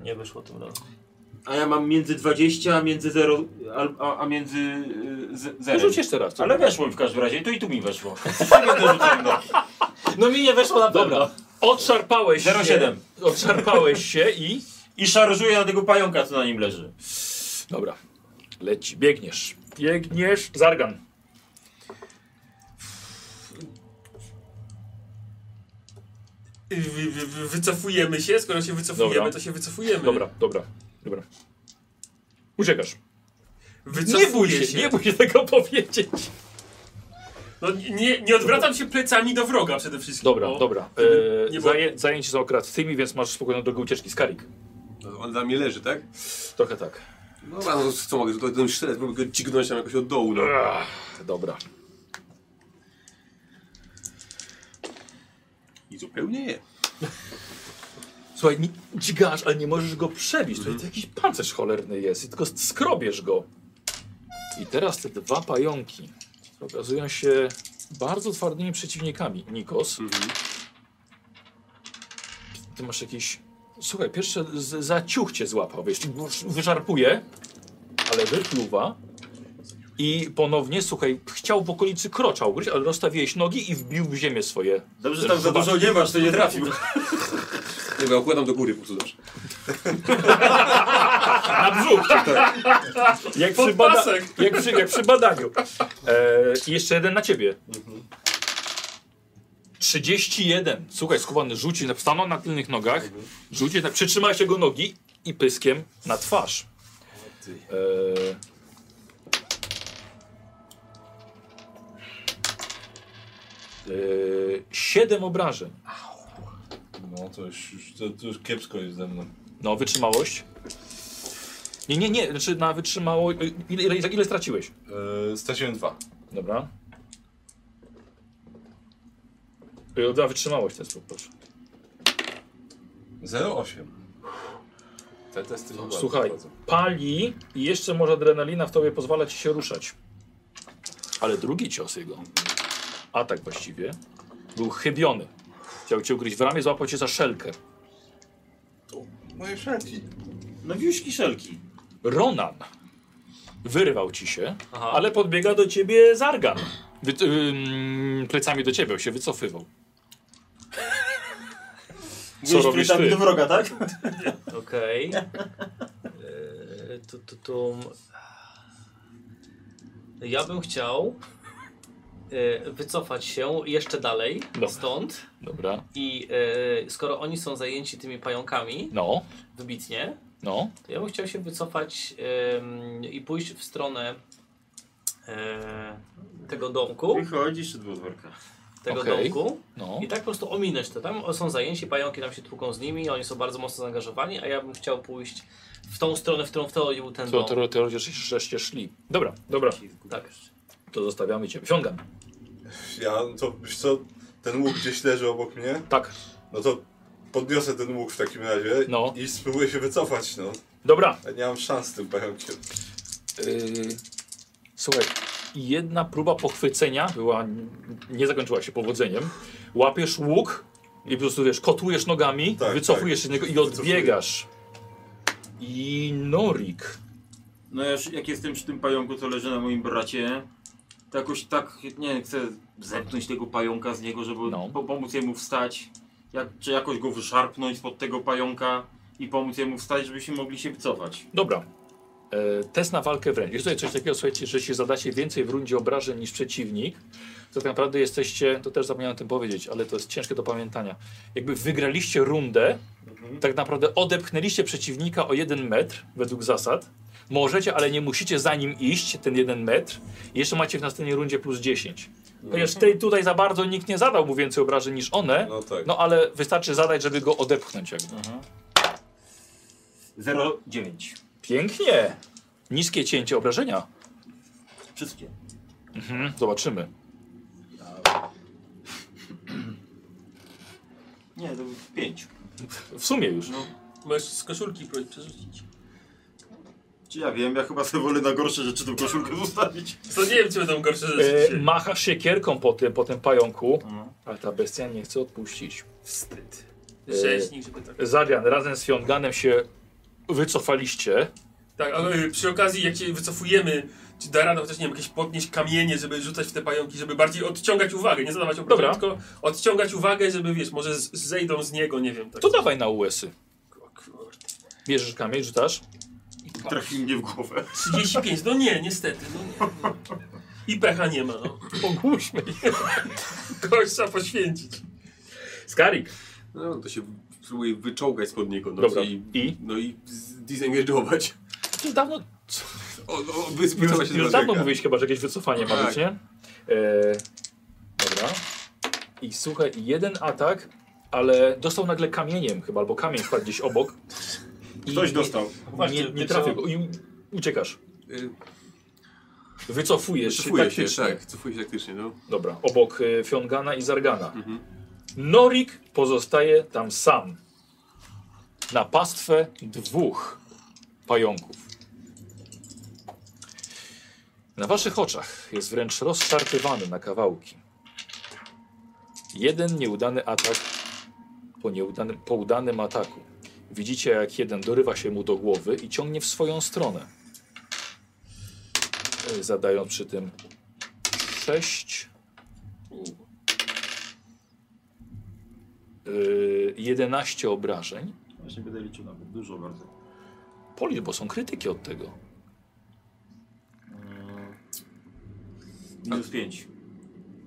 J: Nie wyszło tym razem.
E: A ja mam między 20, a między 0, a, a, a między y, z-
A: No
E: 0.
A: Rzuć jeszcze raz.
E: Ale weszło mi w każdym razie, to i tu mi <laughs> weszło. Sobie to rzucam, no.
J: No mi nie weszło na pewno.
A: Dobra. Odszarpałeś się.
E: 0,7.
A: Odszarpałeś się i...
E: <laughs> I szarżuję na tego pająka, co na nim leży.
A: Dobra. Leci. Biegniesz. Biegniesz. Zargan.
D: Wy, wy, wy, wycofujemy się, skoro się wycofujemy,
A: Dobra.
D: to się wycofujemy.
A: Dobra, dobra, dobra. Uciekasz.
D: Wycofuję
A: nie bój się, nie bój się tego <laughs> powiedzieć.
D: No, nie, nie odwracam się plecami do wroga przede wszystkim.
A: Dobra,
D: bo...
A: dobra.
D: żeby
A: E,
D: nie było-
A: zaję, zajęci są akurat tymi, więc masz spokojną drogę ucieczki. Skarik.
R: No, on dla mnie leży, tak?
A: Trochę tak.
R: No a no, co mogę, to ten sztylet, mogę go dźgnąć tam jakoś od dołu, no.
A: Ach, dobra.
R: I zupełnie nie.
A: Słuchaj, nie- dźgasz, ale nie możesz go przebić. Tutaj to jakiś pancerz cholerny jest i tylko skrobiesz go. I teraz te dwa pająki okazują się bardzo twardymi przeciwnikami. Nikos. Ty masz jakiś... Słuchaj, pierwszy z- za ciuch cię złapał, wiesz, wysz- wyszarpuje, ale wypluwa. I ponownie, słuchaj, chciał w okolicy krocza ugryźć, ale rozstawiłeś nogi i wbił w ziemię swoje.
E: Dobrze, że tam za dużo nie masz, to nie trafił.
R: Nie, bo ja układam do góry po prostu zawsze.
A: Na brzuch! Jak przy, bada- jak, przy, jak przy badaniu. E, i jeszcze jeden na ciebie. 31. Słuchaj, schowany rzuci, na- stanął na tylnych nogach, rzuci, na- przytrzymałeś jego nogi i pyskiem na twarz. E, e, siedem obrażeń.
S: No to już, już, to, to już kiepsko jest ze mną.
A: No, wytrzymałość. Nie, nie, nie, znaczy na wytrzymałość. Ile, ile, ile straciłeś?
S: Yy, straciłem dwa.
A: Dobra. Yy, Na wytrzymałość też poproszę.
S: 0,8. Te testy nie bardzo
A: Słuchaj,
S: wchodzą.
A: pali i jeszcze może adrenalina w tobie pozwala ci się ruszać. Ale drugi cios jego, atak właściwie, był chybiony. Chciał cię ugryźć w ramię, złapał cię za szelkę.
B: Moje szaki.
E: No wiuśki szelki.
A: Ronan wyrwał ci się, ale podbiega do ciebie Zargan. Wy, ym, plecami do ciebie się wycofywał. Co
E: Byłeś
A: robisz
E: plecami
A: ty?
E: do wroga, tak?
A: <laughs>
J: Okej. Eee, Tu, tu, tu. Ja bym chciał eee, wycofać się jeszcze dalej
A: Dobra.
J: stąd
A: Dobra.
J: i eee, skoro oni są zajęci tymi pająkami,
A: No,
J: wybitnie,
A: no.
J: to ja bym chciał się wycofać em, i pójść w stronę e, tego domku,
E: Wychodzisz od podwórka.
J: tego
A: Okej.
J: domku
A: No.
J: i tak po prostu ominąć to. Tam są zajęci, pająki tam się tłuką z nimi, oni są bardzo mocno zaangażowani, a ja bym chciał pójść w tą stronę, w którą w teorii był ten
A: To,
J: dom.
A: to, to żeście szli. no. Dobra, dobra.
J: Tak.
A: To zostawiamy ciebie. Wsiągam.
B: Ja, no to wiesz co, ten łuk gdzieś leży obok mnie,
A: Tak.
B: no to podniosę ten łuk w takim razie
A: No.
B: i spróbuję się wycofać, no.
A: Dobra.
B: Ja nie mam szans z tym pająkiem.
A: Yy, słuchaj, jedna próba pochwycenia była, nie zakończyła się powodzeniem. Łapiesz łuk i po prostu wiesz, kotujesz nogami,
B: Tak,
A: wycofujesz się z niego i odbiegasz. I Norik.
E: No ja już jak jestem przy tym pająku, co leży na moim bracie, to jakoś tak, nie wiem, chcę zepnąć tego pająka z niego, żeby
A: No.
E: po pomóc jemu wstać. Jak, czy jakoś go wyszarpnąć pod tego pająka i pomóc jemu wstać, żebyśmy mogli się wycofać.
A: Dobra. E, test na walkę wręcz. Jest tutaj coś takiego, słuchajcie, że się zadacie więcej w rundzie obrażeń niż przeciwnik, to tak naprawdę jesteście, to też zapomniałem o tym powiedzieć, ale to jest ciężkie do pamiętania. Jakby wygraliście rundę, tak naprawdę odepchnęliście przeciwnika o jeden metr według zasad. Możecie, ale nie musicie za nim iść, ten jeden metr. I jeszcze macie w następnej rundzie plus 10. Ponieważ tej tutaj za bardzo nikt nie zadał mu więcej obrażeń niż one,
B: No tak.
A: no ale wystarczy zadać, żeby go odepchnąć jakby.
E: 0,9.
A: Pięknie! Niskie cięcie obrażenia.
E: Wszystkie.
A: Mhm, zobaczymy.
E: Nie, to 5.
A: W sumie już. E,
G: Możesz z koszulki próbować przerzucić.
E: Czy ja wiem, ja chyba sobie wolę na gorsze rzeczy tą koszulkę zostawić.
G: To nie wiem, czy będą gorsze rzeczy
A: E,
G: dzisiaj.
A: machasz siekierką po tym, po tym pająku, ale ta bestia nie chce odpuścić.
G: Wstyd. Rzeźnik, żeby tak.
A: Zadian, razem z Fionganem się wycofaliście.
G: Tak, ale y, przy okazji, jak się wycofujemy, czy da rano chociaż, nie wiem, jakieś podnieść kamienie, żeby rzucać w te pająki, żeby bardziej odciągać uwagę, nie zadawać obrażeń,
A: Dobra.
G: tylko odciągać uwagę, żeby, wiesz, może z, zejdą z niego, nie wiem, tak.
A: To dawaj na USy.
G: O kurde.
A: Bierzesz kamień, rzucasz.
E: Trafi mnie w głowę.
G: 35, no nie, niestety, no nie. I pecha nie ma, no.
A: Ogłuszmy.
G: Kogoś trzeba poświęcić.
A: Skarik.
D: No to się próbuje wyczołgać spod niego. No,
A: Dobra.
D: I,
A: I?
D: no i disengage'ować.
A: Już dawno,
D: O, o, wycofać
A: już,
D: się
A: już dawno
D: z Bardzieka.
A: mówiłeś chyba, że jakieś wycofanie ma
D: Tak.
A: być, nie? E, dobra. I słuchaj, jeden atak, ale dostał nagle kamieniem chyba, albo kamień wpadł gdzieś obok. I
E: Ktoś dostał.
A: Nie, nie trafię go i u- uciekasz.
D: Y,
A: Wycofujesz
D: Cofuje się,
A: taktycznie.
D: tak. Cofuje się taktycznie, no.
A: Dobra, obok y, Fiongana i Zargana. Norik pozostaje tam sam. Na pastwę dwóch pająków. Na waszych oczach jest wręcz rozszarpywany na kawałki. Jeden nieudany atak po, nieudanym, po udanym ataku. Widzicie, jak jeden dorywa się mu do głowy i ciągnie w swoją stronę. Y, Zadając przy tym sześć Yy, 11 obrażeń.
E: Właśnie będę liczył nawet, dużo bardzo.
A: Policz, bo są krytyki od tego.
E: Minus 5.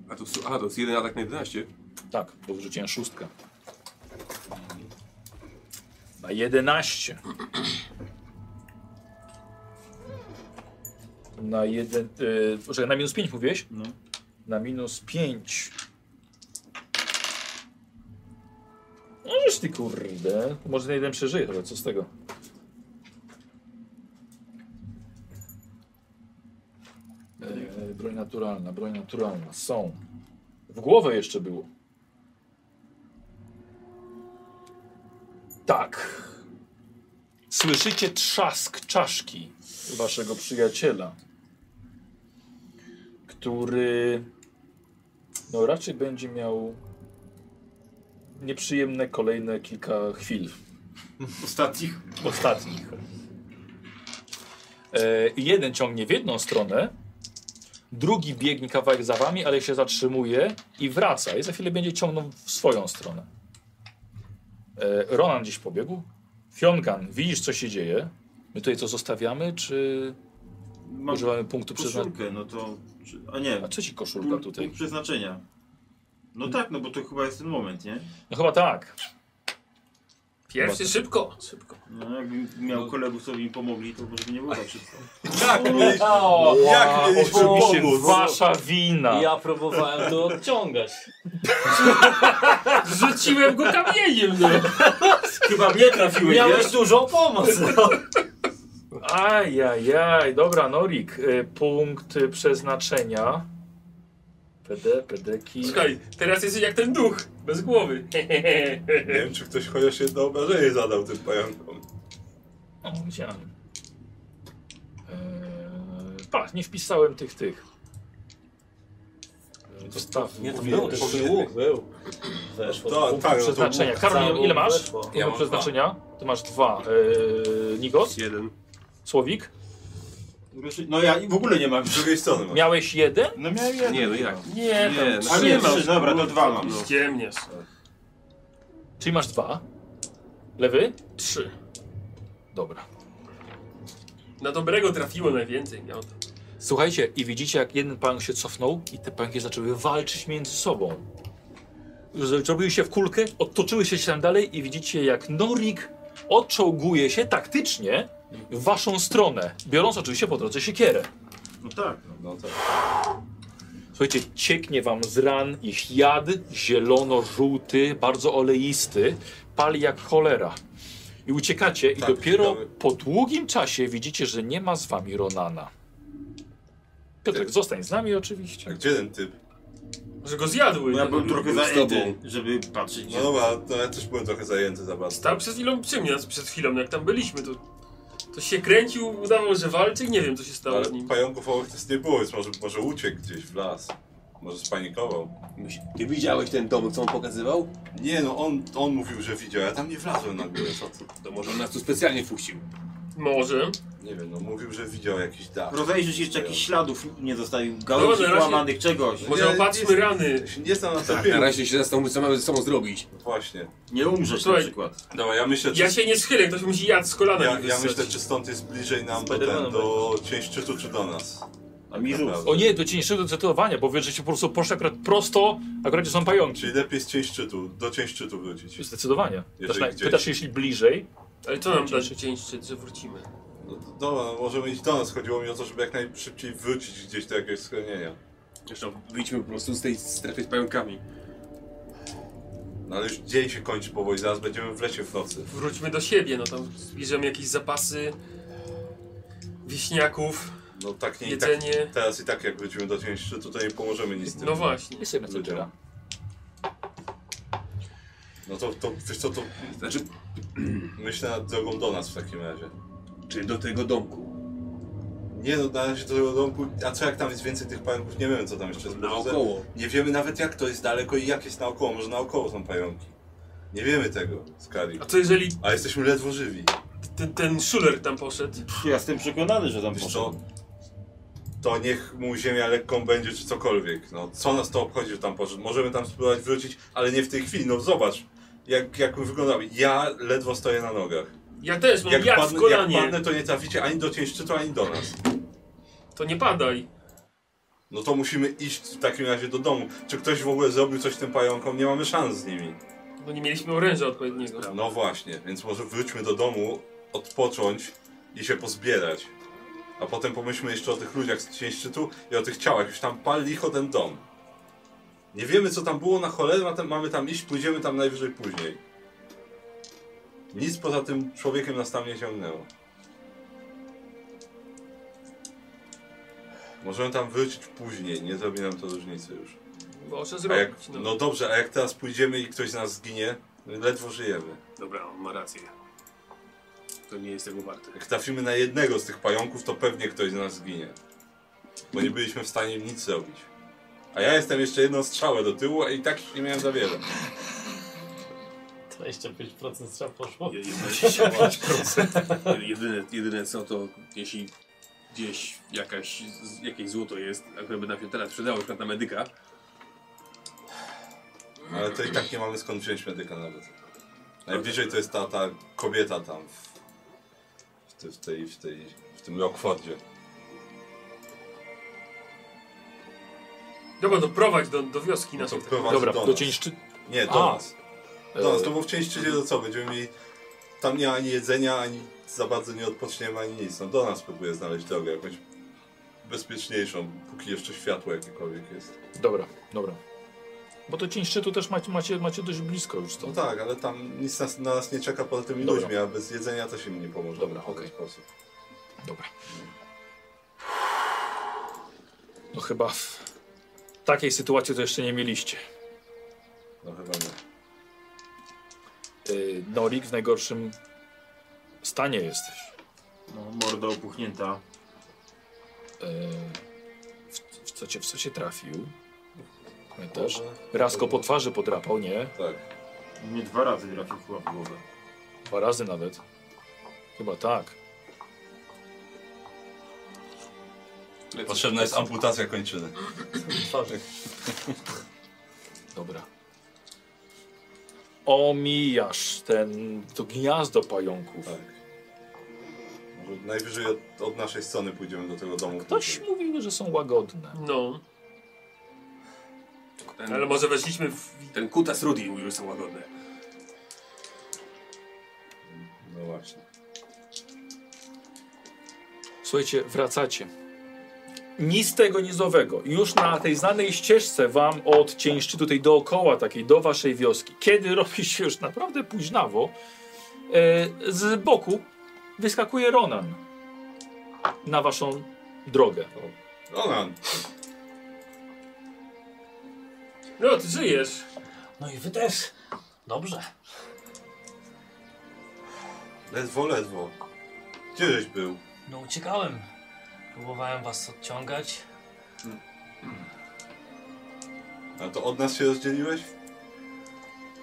D: A to, su- a, to jest jeden atak na 11.
A: Tak, bo wrzuciłem szóstkę. Na 11. Na jeden. Yy, poczekaj, na minus 5 mówiłeś?
Q: No.
A: Na minus 5. Możesz No ty kurde. Może na jeden przeżyje, ale co z tego? Eee, broń naturalna, broń naturalna. Są. W głowę jeszcze było. Tak. Słyszycie trzask czaszki waszego przyjaciela, który no raczej będzie miał nieprzyjemne kolejne kilka chwil.
Q: Ostatnich.
A: Ostatnich. E, jeden ciągnie w jedną stronę, drugi biegnie kawałek za wami, ale się zatrzymuje i wraca. I za chwilę będzie ciągnął w swoją stronę. E, Ronan gdzieś pobiegł. Fiongan, widzisz co się dzieje? My tutaj co zostawiamy, czy
E: Mam
A: używamy punktu przeznaczenia?
E: koszulkę, no to... czy- A nie,
A: A co ci koszulka
E: punkt,
A: tutaj?
E: punkt przeznaczenia. No tak, no bo to chyba jest ten moment, nie?
A: No chyba tak.
B: tak.
J: Pierwszy szybko, szybko.
E: No, jakbym miał kolegów, co by mi pomogli, to może by nie było tak szybko.
F: Jak mieliśmy, jak mieliśmy
A: Oczywiście
F: pomóc?
A: wasza wina.
J: Ja próbowałem to odciągać.
G: Rzuciłem go kamieniem, no.
Q: Chyba mnie trafiłeś,
J: Miałeś
Q: wiesz?
J: dużą pomoc. No.
A: Ajajaj, dobra Norik, y, punkt y, przeznaczenia. PD, pedeki.
G: Słuchaj, teraz jesteś jak ten duch, bez głowy.
B: Nie wiem, czy ktoś chociaż jedno obrażenie zadał tym pająkom.
A: O, widziałem. Eee, pa, nie wpisałem tych, tych. Eee, Dostaw.
M: Nie, to
A: mówiłem
M: było,
A: też.
M: to był, był. Weszło.
B: To,
A: Punktu
B: tak, no to
A: przeznaczenia.
M: było-
A: Karol, ile masz?
M: Weszło.
A: Punktu
D: Ja mam
A: przeznaczenia? Ty masz dwa. Eee, Nigos?
D: Jeden.
A: Słowik?
E: No ja i w ogóle nie mam.
B: z drugiej strony mam.
A: Miałeś jeden?
E: No miałem jeden.
D: Nie, no jak?
A: Nie.
D: Nie,
E: A
D: no,
E: nie, trzy, dobra, to dwa mam.
D: No.
G: Ciemniesz.
A: Czyli masz dwa. Lewy?
G: Trzy.
A: Dobra.
G: Na dobrego trafiło najwięcej, miał to.
A: Słuchajcie, i widzicie, jak jeden pająk się cofnął i te pająki zaczęły walczyć między sobą. Z- Zrobiły się w kulkę, odtoczyły się tam dalej i widzicie, jak Norik odczołguje się taktycznie w waszą stronę, biorąc oczywiście po drodze siekierę.
E: No tak.
A: Słuchajcie, cieknie wam z ran ich jad, zielono-żółty, bardzo oleisty, pali jak cholera. I uciekacie i
B: Tak,
A: dopiero
B: uciekamy.
A: po długim czasie widzicie, że nie ma z wami Ronana. Piotrek, zostań z nami oczywiście.
B: A Tak, gdzie ten typ?
G: Że go zjadły. no.
E: Bo ja byłem trochę
D: Był z
E: zajęty,
D: tobą.
E: żeby patrzeć.
B: No dobra, no ja też byłem trochę zajęty za bardzo.
G: Stał przed chwilą przy mnie, przed chwilą jak tam byliśmy, to, to się kręcił, udawał, że walczy, nie wiem co się stało
B: Ale
G: z nim.
B: pająków owych też nie było, więc może, może uciekł gdzieś w las. Może spanikował.
D: Ty widziałeś ten dom, co on pokazywał?
B: Nie no, on, on mówił, że widział, ja tam nie wlazłem na górę, co ty?
D: To może on nas tu specjalnie wpuścił.
G: Może.
B: Nie wiem, no mówił, że widział jakiś dach.
E: Rozejrzeć jeszcze jakichś śladów nie zostawił,
G: No,
E: gałęzi
G: na razie-
E: połamanych, czegoś.
G: Może
B: Ja-
G: opatrzmy
B: jest-
G: rany.
B: Ja się nie znam na
D: Tak, na
B: tobie.
D: razie się zastanówmy, co mamy ze sobą zrobić.
B: Właśnie.
E: Nie umrzeć na
G: Słuchaj.
E: przykład.
B: Dobra, ja myślę, czy,
G: Ja się nie schylę, ktoś musi jad z kolana
B: ja,
G: mi
B: ja
G: wyssać.
B: myślę, czy stąd jest bliżej nam do,
M: Spidermanem
B: ten, do cień szczytu, czy do nas.
E: A mi rób.
B: Naprawdę.
A: O nie, do cieńszego zdecydowania, bo wiesz, że się po prostu poszli akurat prosto, akurat gdzie są pająki.
B: Czyli lepiej z cień szczytu, do cień szczytu wrócić.
A: Zdecydowanie. Pytasz,
B: Jeżeli
A: na,
B: gdzieś.
A: pytasz jeśli bliżej.
G: Ale co nam dalszy cień szczyt, że wrócimy?
B: No, dobra, no możemy iść do nas. Chodziło mi o to, żeby jak najszybciej wrócić gdzieś do jakiegoś schronienia.
D: Zresztą wyjdźmy po prostu z tej strefy z pająkami.
B: No ale już dzień się kończy powoli, zaraz będziemy w lesie w nocy.
G: Wróćmy do siebie, no tam zbierzemy jakieś zapasy wiśniaków,
B: No tak nie i tak,
G: jedzenie.
B: Teraz i tak jak wrócimy do cień szczytu, to nie pomożemy nic z tym.
G: No właśnie.
A: Jest sobie
B: Ludziom.
A: messengera.
B: No to, to wiesz co, to
D: Znaczy, <clears throat>
B: myślę nad drogą do nas w takim razie.
D: czy do tego domku?
B: Nie no, na razie do tego domku, a co jak tam jest więcej tych pająków, nie wiemy co tam jeszcze jest. Może-
D: Naokoło.
B: Nie wiemy nawet jak to jest daleko i jak jest naokoło, może naokoło są pająki. Nie wiemy tego, Skali.
G: A co jeżeli
B: A jesteśmy ledwo żywi.
G: ten, ten szuler tam poszedł?
E: Ja jestem przekonany, że tam
B: Wiesz
E: poszedł.
B: co? To niech mu ziemia lekką będzie, czy cokolwiek. No, co nas to obchodzi, że tam poszedł? Możemy tam spróbować wrócić, ale nie w tej chwili. No zobacz, jak, jak my wyglądamy. Ja ledwo stoję na nogach.
G: Ja też mam
B: No, Jak,
G: jad w
B: padnę, jak
G: kolanie.
B: padnę, to nie traficie ani do cień szczytu, ani do nas.
G: To nie padaj.
B: No to musimy iść w takim razie do domu. Czy ktoś w ogóle zrobił coś tym pająkom? Nie mamy szans z nimi.
D: No
G: Bo nie mieliśmy oręża odpowiedniego.
B: No właśnie, więc może wróćmy do domu, odpocząć i się pozbierać. A potem pomyślmy jeszcze o tych ludziach z cień szczytu i o tych ciałach. Już tam pal licho ten dom. Nie wiemy co tam było na cholerę, a tam- mamy tam iść, pójdziemy tam najwyżej później. Nic poza tym człowiekiem nas tam nie ciągnęło. Możemy tam wrócić później, nie zrobi nam to różnicy już.
G: Może
B: A jak,
G: zrobić.
B: no dobrze, a jak teraz pójdziemy i ktoś z nas zginie, ledwo żyjemy.
D: Dobra, on ma rację. To nie jest tego warte.
B: Jak trafimy na jednego z tych pająków, to pewnie ktoś z nas zginie. Bo nie byliśmy w stanie nic zrobić. A ja jestem jeszcze jedną strzałę do tyłu, a i tak już nie miałem za wiele.
J: 25% strzał poszło.
D: Je- jedyne- jedyne, jedyne co to, jeśli gdzieś jakaś, z- jakieś złoto jest, a które by nam się teraz przydało, na przykład na medyka,
B: Ale to i tak nie mamy skąd wziąć medyka nawet. Najbliżej to jest ta, ta kobieta tam w, w, te, w, tej, w, tej, w tym Rockfordzie.
G: Dobra, doprowadź do, do wioski
B: No
G: na
B: to
G: to.
B: prowadzi
A: Dobra,
B: do
A: do
B: nas.
A: cień szczytu.
B: Nie,
A: A.
B: do nas. Do nas,
A: E,
B: to bo w części do co? Będziemy mieli... Tam nie ma ani jedzenia, ani za bardzo nie odpoczniemy, ani nic. No do nas próbuję znaleźć drogę jakąś bezpieczniejszą, póki jeszcze światło jakiekolwiek jest.
A: Dobra, dobra. Bo to cień szczytu też macie, macie, macie dość blisko już
B: No
A: stąd.
B: tak, ale tam nic nas, na nas nie czeka poza tymi
A: Dobra.
B: ludźmi, a bez jedzenia też im nie pomoże
A: Dobra,
B: w żaden
A: okej.
B: sposób.
A: Dobra. No chyba w takiej sytuacji to jeszcze nie mieliście.
B: No chyba nie.
A: Ty, Norik, w najgorszym stanie jesteś.
Q: No, morda opuchnięta.
A: E, w, w, co cię, w co się trafił? Pamiętasz? Raz go po twarzy podrapał, nie?
B: Tak.
Q: Mnie dwa razy trafił chyba w głowę.
A: Dwa razy nawet. Chyba tak.
B: Potrzebna jest amputacja kończyny.
A: Dobra. Omijasz ten, to gniazdo pająków.
B: Tak. Może najwyżej od, od naszej strony pójdziemy do tego domu.
A: Ktoś mówił, że są łagodne.
G: No,
D: ten,
G: ale może weszliśmy w...
D: ten kutas Rudy mówił, że są łagodne.
B: No właśnie.
A: Słuchajcie, wracacie. Nic tego nizowego. Już na tej znanej ścieżce wam od cień szczytu tej dookoła takiej, do waszej wioski, kiedy <laughs> robi się już naprawdę późnawo, e, z boku wyskakuje Ronan na waszą drogę.
B: Ronan,
G: No, ty żyjesz.
J: No i wy też. Dobrze.
B: ledwo, ledwo. Gdzieś był.
J: No uciekałem. Próbowałem was odciągać.
B: A to od nas się rozdzieliłeś?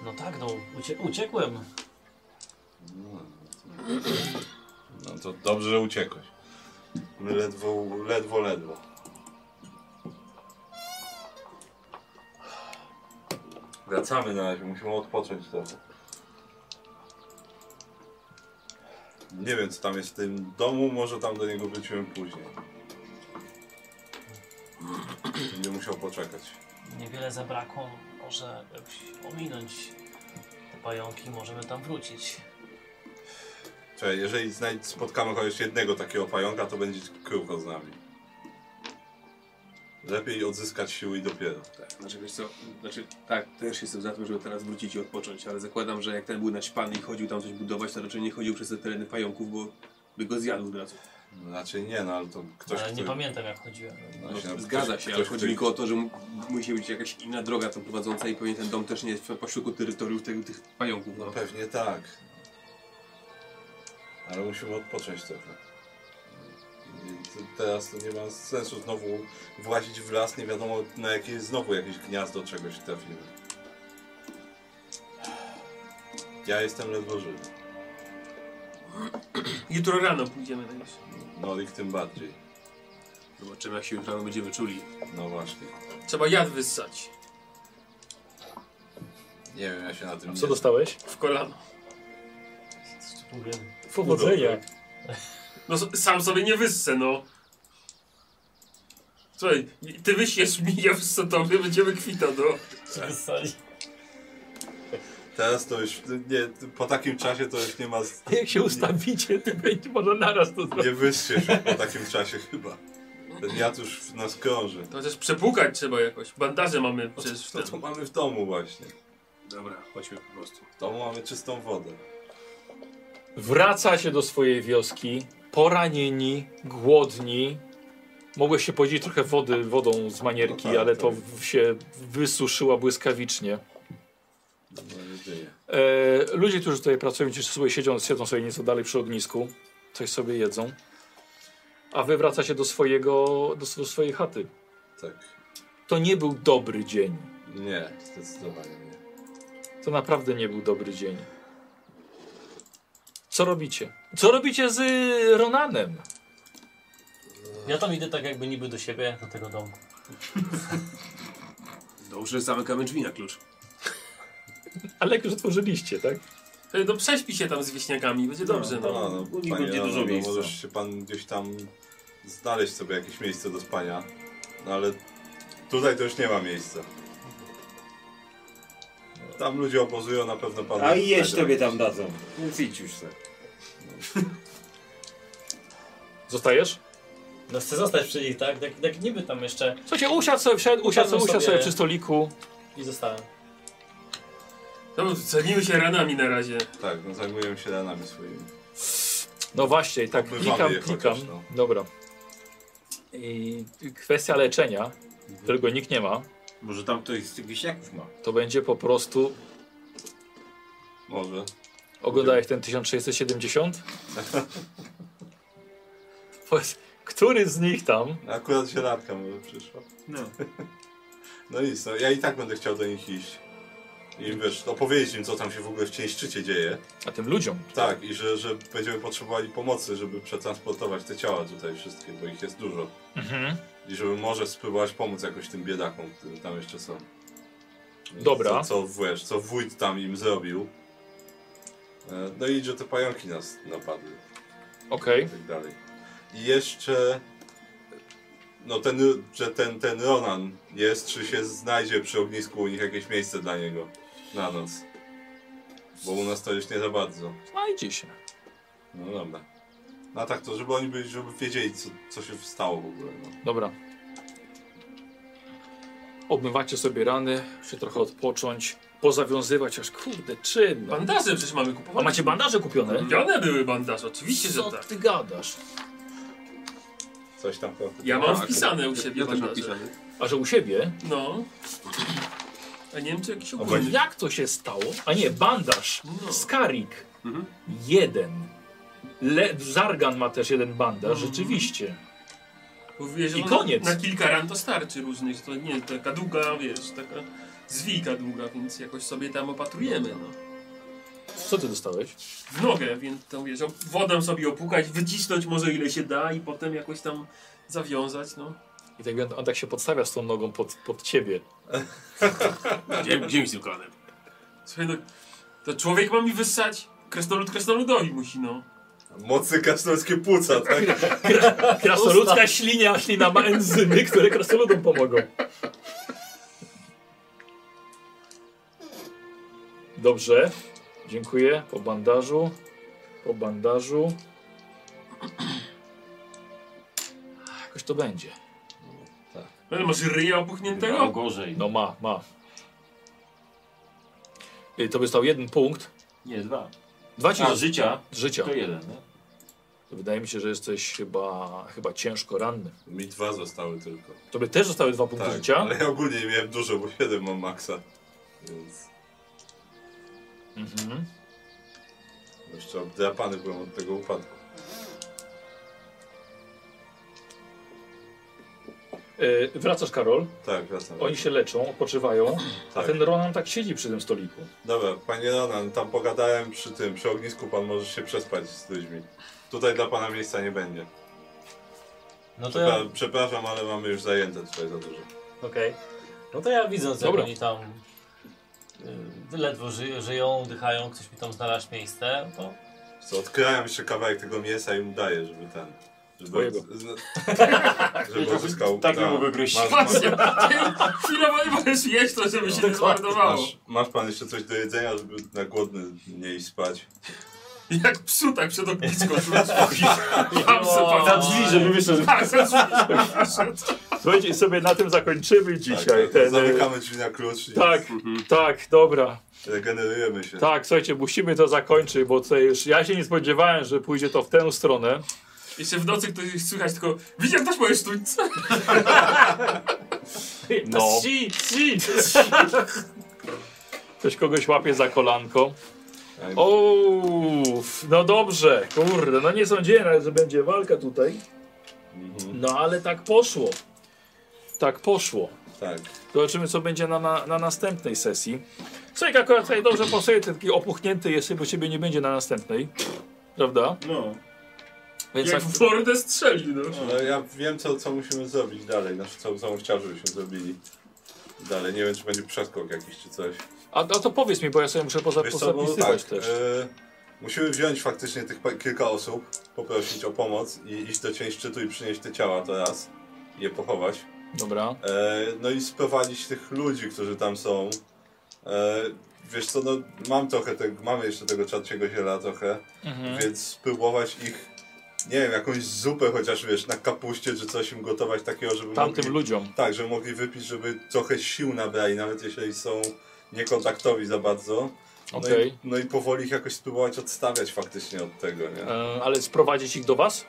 J: No tak, no ucie uciekłem.
B: No to dobrze, że uciekłeś. My ledwo, ledwo, ledwo. Wracamy na razie, musimy odpocząć trochę. Nie wiem, co tam jest w tym domu, może tam do niego wrócimy później. Będę musiał poczekać.
J: Niewiele zabrakło. Może jakoś ominąć te pająki. Możemy tam wrócić.
B: Czekaj, jeżeli znajdź- spotkamy chociaż jednego takiego pająka, to będzie krucho z nami. Lepiej odzyskać siły i dopiero.
D: Tak, znaczy wiesz co, znaczy tak, też jestem za tym, żeby teraz wrócić i odpocząć, ale zakładam, że jak ten był naćpany i chodził tam coś budować, to raczej nie chodził przez te tereny pająków, bo by go zjadł od razu.
B: Raczej nie, no ale to ktoś,
J: Ale nie
B: kto-
J: pamiętam jak chodziłem.
B: No,
D: No,
B: się na-
D: zgadza
B: ktoś-
D: się, ale
B: ktoś,
D: chodzi
B: który-
D: mi tylko o to, że mu- musi być jakaś inna droga tam prowadząca i pewnie ten dom też nie jest pośród terytoriów tych, tych pająków. No.
B: No pewnie tak. Ale musimy odpocząć trochę. I t- Teraz to nie ma sensu znowu włazić w las, nie wiadomo na jakie znowu jakieś gniazdo czegoś trafimy. Ja jestem ledwo żywy.
G: Jutro rano pójdziemy na wieś.
B: No i tym bardziej.
D: Zobaczymy jak się jutro będziemy czuli.
B: No właśnie.
G: Trzeba jad wyssać.
B: Nie wiem, ja się na tym nie
A: Co dostałeś?
G: W kolano.
J: Mówię,
A: Powodzenia.
G: No, s- sam sobie nie wyssę, no. Słuchaj, ty wysiesz mi, ja wyssę tobie, będziemy kwita, no.
J: czy wyssali.
B: Teraz to już, nie, po takim czasie to już nie ma, z-
A: Jak się ustawicie, to będzie może naraz to zrobić.
B: nie wyszczysz po takim czasie chyba. Ten jad już nas krąży.
G: To też przepłukać E, trzeba jakoś. Bandaże mamy
D: <laughs>
G: przecież.
B: To,
G: Ten.
B: to mamy w domu właśnie.
T: Dobra, chodźmy po prostu.
B: W domu mamy czystą wodę.
A: Wraca się do swojej wioski, poranieni, głodni. Mogłeś się podzielić trochę wody, wodą z manierki,
B: No tak,
A: ale
B: tak.
A: to w- się wysuszyła błyskawicznie.
B: Mam nadzieję.
A: E, ludzie, którzy tutaj pracują, ci sobie siedzą, siedzą sobie nieco dalej przy ognisku, coś sobie jedzą. A wy wracacie do, swojego, do, s- do swojej chaty.
B: Tak.
A: To nie był dobry dzień.
B: Nie, zdecydowanie nie.
A: To naprawdę nie był dobry dzień. Co robicie? Co robicie z y, Ronanem?
J: Ja tam idę tak jakby niby do siebie, do tego domu.
T: Dobrze, zamykamy drzwi na klucz.
A: Ale jak już otworzyliście, tak?
G: Ej, No prześpi się tam z wieśniakami, będzie dobrze. No,
B: No, no,
T: Nigdy
B: panie
T: nie dużo
B: Leonardo,
T: miejsca.
B: Możesz się pan gdzieś tam znaleźć sobie jakieś miejsce do spania, no ale tutaj to już nie ma miejsca. Tam ludzie obozują, na pewno pan...
E: A i jeść tobie tam dadzą. Więc idź już se.
A: Zostajesz?
J: No chcę zostać przy nich, tak? Tak, tak niby tam jeszcze
A: Słuchajcie, usiadł sobie, wszedł, usiadł, sobie,
J: Usiadłem
A: usiadł sobie
J: sobie.
A: przy stoliku.
J: i zostałem.
G: no zajmijmy się ranami na razie.
B: Tak, no zajmują się ranami swoimi.
A: No właśnie, tak,
B: Obmywamy
A: klikam,
B: je chociaż,
A: klikam.
B: no.
A: Dobra. I kwestia leczenia, którego nikt nie ma,
U: Może tam ktoś z tych wieśniaków ma.
A: to będzie po prostu...
B: Może.
A: Oglądałeś ten 1670? <laughs> Powiedz, Który z nich tam?
B: No, Akurat się radka może przyszła.
E: <laughs>
U: No.
B: No nic, no ja i tak będę chciał do nich iść. I wiesz, opowiedzieć im, co tam się w ogóle w Cieńszczycie dzieje.
A: A tym ludziom.
B: Tak, i że, że będziemy potrzebowali pomocy, żeby przetransportować te ciała tutaj wszystkie, bo ich jest dużo.
A: Mhm.
B: I żeby może spróbować pomóc jakoś tym biedakom, którzy tam jeszcze są.
A: Dobra.
B: Co, co, wiesz, co wójt tam im zrobił. E, No i że te pająki nas napadły
A: Okej.
B: i tak dalej. I jeszcze... No ten, że ten, ten Ronan jest, czy się znajdzie przy ognisku u nich jakieś miejsce dla niego na noc. Bo u nas to już nie za bardzo.
A: Znajdzie się.
B: No dobra. No a tak to, żeby oni byli, żeby wiedzieli, co, co się stało w ogóle. No.
A: Dobra. Obmywacie sobie rany, się trochę odpocząć, pozawiązywać, aż kurde, czym? No.
G: Bandaże przecież mamy
A: A
G: kupowane.
A: macie bandaże kupione?
G: Kupione były bandaże, oczywiście, że
A: Co
G: tak.
A: ty gadasz?
B: Coś tam trochę.
G: Ja mam
T: Tak.
G: wpisane u siebie
T: Ja też mam
G: bandaże.
T: pisane.
A: A że u siebie?
G: No. <clears throat> A nie wiem, czy jakiś
A: Kurde,
G: ogólny.
A: Jak to się stało? A nie, bandaż.
G: No.
A: Skarik.
T: Mhm.
A: Jeden. Le Zargan ma też jeden bandaż, rzeczywiście.
G: Mówiłeś, że
A: I
G: ona
A: koniec.
G: no, Na kilka ran to starczy różnych, to nie taka długa, wiesz, taka zwika długa, więc jakoś sobie tam opatrujemy, no.
A: Co ty dostałeś?
G: W nogę, więc to wiesz, op- wodą sobie opłukać, wycisnąć może ile się da i potem jakoś tam zawiązać, no.
A: I tak, jakby on tak się podstawia z tą nogą pod, pod ciebie.
T: Gdzie, gdzie mi z tym kolanem?
G: Słuchaj, no, to człowiek ma mi wyssać? Kresnolud kresnoludowi musi, no.
B: Mocy krasnoludzkie płuca, tak? <laughs>
A: Krasnoludzka ślinia, ślina ma enzymy, które krasnoludom pomogą. Dobrze, dziękuję. Po bandażu, po bandażu. Jakoś to będzie.
G: Ale masz ryja
E: Było
G: opuchniętego?
E: gorzej.
A: No ma, ma. Y, To by stał jeden punkt.
E: Nie, dwa.
A: Dwa ci
E: A życia
A: życia.
E: to jeden, nie?
A: Wydaje mi się, że jesteś chyba, chyba ciężko ranny.
B: Mi dwa zostały tylko.
A: Tobie też zostały dwa punkty
B: Tak,
A: życia.
B: ale ja ogólnie nie miałem dużo, bo 7 mam maksa. Więc
A: Mhm.
B: jeszcze obdrapany byłem od tego upadku.
A: Y, wracasz, Karol.
B: Tak, wracam.
A: Oni się leczą, odpoczywają, a
B: Tak.
A: ten Ronan tak siedzi przy tym stoliku.
B: Dobra, panie Ronan, tam pogadałem przy tym, przy ognisku pan może się przespać z ludźmi. Tutaj dla pana miejsca nie będzie.
J: No to ja,
A: Tak.
B: Przepra- Przepraszam, ale mamy już zajęte tutaj za dużo.
J: okej. No to ja widząc, jak
A: Dobra.
J: oni tam y, ledwo ży, żyją, dychają, ktoś mi tam znalazł miejsce, to
B: Co, odkrajam jeszcze kawałek tego mięsa i mu daję, żeby ten...
A: Twojego.
B: Zna-
A: <laughs>
B: Żeby odzyskał. No.
Q: Tak nie mogę gryźć.
B: Masz, masz,
G: Właśnie, chwilowo nie możesz jeść to, żeby się nie zmarnowało.
B: masz, masz pan jeszcze coś do jedzenia, żeby na głodny nie iść spać.
G: Jak psu tak przed <laughs> ognisko rzucić. Tam sobie
Q: Za drzwi, żeby wyszedł.
G: Tak, za drzwi.
A: Słuchajcie, i sobie na tym zakończymy dzisiaj.
B: tak,
A: ten, e,
B: zamykamy Mhm. drzwi na klucz i
A: tak, tak, dobra.
B: regenerujemy się.
A: Tak, słuchajcie, musimy to zakończyć, bo tutaj już ja się nie spodziewałem, że pójdzie to w tę stronę.
G: Jeszcze w nocy ktoś słychać tylko, widział ktoś moje sztućce?
A: No.
M: Si, si.
A: Ktoś kogoś łapie za kolanko. Uff, no dobrze, kurde, no nie sądziłem, że będzie walka tutaj.
B: Mhm.
A: No ale tak poszło. Tak poszło.
B: Tak.
A: Zobaczymy, co będzie na, na, na następnej sesji. Słuchaj, akurat tutaj dobrze pasuje, ten taki opuchnięty jest, bo ciebie nie będzie na następnej. Prawda?
B: No.
A: Więc
G: Jak
A: tak,
G: w bordę strzeli, no.
B: No, ja wiem, co, co musimy zrobić dalej. Znaczy, co, co chciał, żebyśmy zrobili dalej. Nie wiem, czy będzie przeskok jakiś, czy coś.
A: a, a to powiedz mi, bo ja sobie muszę poza,
B: Wiesz co, bo
A: pozapisywać
B: tak,
A: też.
B: e, musimy wziąć faktycznie tych pa- kilka osób, poprosić o pomoc i iść do cień szczytu i przynieść te ciała teraz i je pochować.
A: Dobra.
B: E, no i sprowadzić tych ludzi, którzy tam są. E, wiesz co, no mam trochę tego, mamy jeszcze tego czarciego ziela trochę,
A: Mhm.
B: więc spróbować ich, nie wiem, jakąś zupę chociaż, wiesz, na kapuście czy coś im gotować takiego, żeby
A: Tamtym
B: mogli,
A: ludziom.
B: Tak, żeby mogli wypić, żeby trochę sił nabrali, nawet jeśli są niekontaktowi za bardzo. No,
A: Okej.
B: i, no i powoli ich jakoś spróbować odstawiać faktycznie od tego, nie?
A: E, ale sprowadzić ich do was?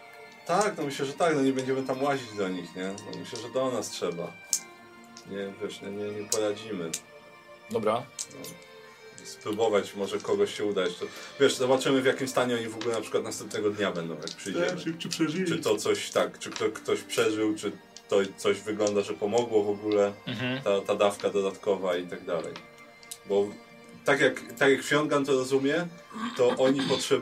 B: Tak, no myślę, że tak, no nie będziemy tam łazić do nich, nie? No myślę, że do nas trzeba. Nie, wiesz, no nie, nie, nie poradzimy.
A: Dobra.
B: Spróbować, może kogoś się uda jeszcze. Wiesz, zobaczymy w jakim stanie oni w ogóle na przykład następnego dnia będą, jak przyjdziemy.
Q: czy przeżyli?
B: Czy to coś tak, czy kto, ktoś przeżył, czy to coś wygląda, że pomogło w ogóle, ta, ta dawka dodatkowa i tak dalej. Bo tak jak, tak jak Fiongan to rozumie, to oni potrzeb...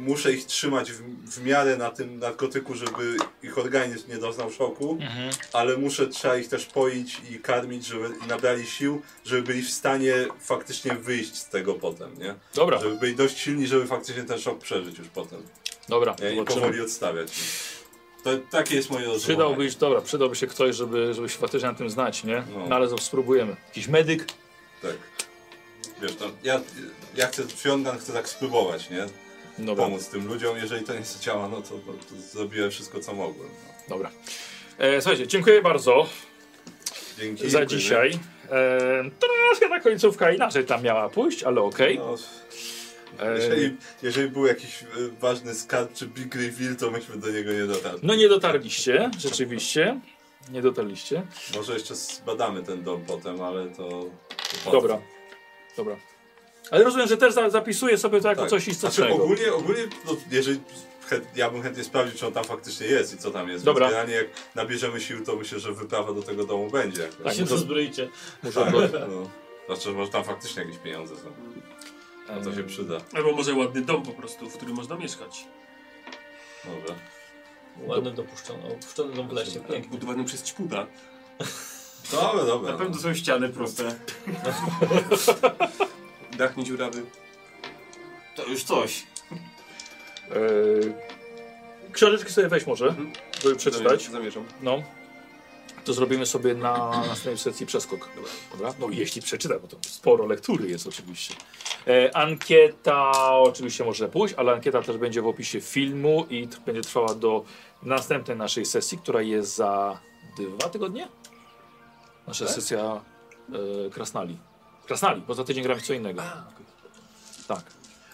B: muszę ich trzymać w, w miarę na tym narkotyku, żeby ich organizm nie doznał szoku,
A: Mhm.
B: ale muszę, trzeba ich też poić i karmić, żeby nabrali sił, żeby byli w stanie faktycznie wyjść z tego potem, nie?
A: Dobra,
B: Żeby byli dość silni, żeby faktycznie ten szok przeżyć już potem.
A: dobra.
B: Nie, i
A: Zobaczymy.
B: powoli odstawiać. To, takie jest moje rozumowanie.
A: Przydałby się, dobra, przydałby się ktoś, żeby, żeby się faktycznie na tym znać, nie?
B: No.
A: No. Ale to spróbujemy. Jakiś medyk.
B: Tak. Wiesz, to ja, ja chcę, Fiongan chce tak spróbować, nie?
A: Dobra,
B: Pomóc tym ludziom, jeżeli to nie chciała, no to, to, to zrobiłem wszystko, co mogłem. No.
A: dobra. E, słuchajcie, dziękuję bardzo
B: Dzięki.
A: za
B: dziękuję.
A: dzisiaj. E, troszkę ta końcówka inaczej tam miała pójść, ale okej.
B: No,
A: E,
B: jeżeli, jeżeli był jakiś e, ważny skarb czy Big Reveal, to myśmy do niego nie dotarli.
A: No nie dotarliście, rzeczywiście. Nie dotarliście.
B: Może jeszcze zbadamy ten dom potem, ale to... to potem.
A: Dobra, dobra. Ale rozumiem, że też za- zapisuję sobie to jako
B: Tak.
A: coś
B: Znaczy,
A: istotnego.
B: ogólnie, ogólnie no, jeżeli chęt, ja bym chętnie sprawdził, czy on tam faktycznie jest i co tam jest.
A: Dobra.
B: Więc generalnie jak nabierzemy sił, to myślę, że wyprawa do tego domu będzie. jakoś.
A: Tak,
M: Się
A: muszę,
M: dozbroicie.
A: muszę
B: Tak,
A: go,
B: no. Znaczy, może tam faktycznie jakieś pieniądze są. A to się przyda.
G: no. Albo może ładny dom po prostu, w którym można mieszkać.
B: Dobra.
M: Ładny dopuszczono. Opuszczony dom w lesie. Pięknie.
D: Budowany przez Ćpuda.
B: Dobra, dobra.
Q: Na pewno są ściany proste.
D: Dach nie dziurawy.
E: To już coś.
A: Eee, Książeczki sobie weź może, żeby przeczytać.
D: Zamierzam.
A: No. To zrobimy sobie na następnej sesji przeskok. Dobra. No jeśli przeczyta, bo to sporo lektury jest oczywiście. E, ankieta oczywiście może pójść, ale ankieta też będzie w opisie filmu i t- będzie trwała do następnej naszej sesji, która jest za dwa tygodnie? Nasza
D: Tak?
A: sesja e, Krasnali. Krasnali, bo za tydzień gramy w co innego. Tak.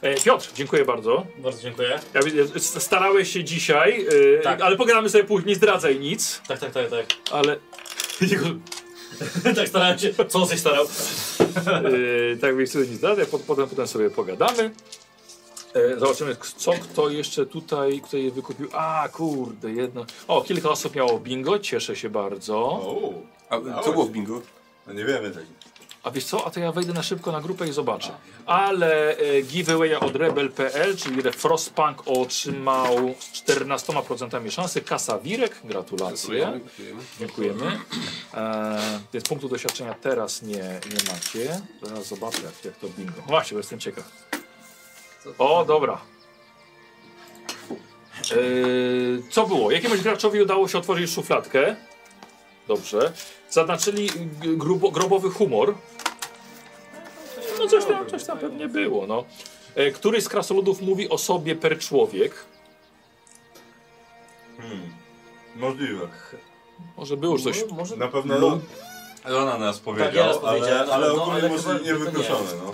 A: E, Piotr, dziękuję bardzo.
M: Bardzo dziękuję.
A: Ja widzę, s- starałeś się dzisiaj, y,
M: Tak.
A: ale pogadamy sobie później, nie zdradzaj nic,
M: Tak, tak, tak, tak.
J: <laughs>
M: <laughs>
A: ale
M: tak starałem się. Co on się starał?
A: y, tak więc nie zdradzaj, po- potem, potem sobie pogadamy. E, zobaczymy, k- co kto jeszcze tutaj, kto je wykupił. A, kurde, jedno. O, kilka osób miało bingo, cieszę się bardzo.
B: O,
D: A co było w bingo?
B: no nie wiemy tego.
A: A wiesz co, a to ja wejdę na szybko na grupę i zobaczę. Ale e, giveawaya od rebel.pl, czyli re- Frostpunk otrzymał z 14% szansy. Kasa Wirek, gratulacje. Dziękujemy. E, więc punktu doświadczenia teraz nie, nie macie. Zaraz zobaczę, jak, jak to bingo. Właśnie, bo jestem ciekaw. O, dobra. Eee, E, co było? Jakiemuś graczowi udało się otworzyć szufladkę. Dobrze. Zaznaczyli g- grubo, grobowy humor. No coś tam, coś tam pewnie było, no. E, Który z krasoludów mówi o sobie per człowiek?
B: Hmm. Możliwe.
A: Może było już coś.
J: Może
B: Na pewno no. Lona nas powiedział,
J: ja nas
B: ale,
J: powiedziałem,
B: ale
J: no,
B: ogólnie
J: ale
B: może
J: chyba- chyba
B: niewykluczone, no.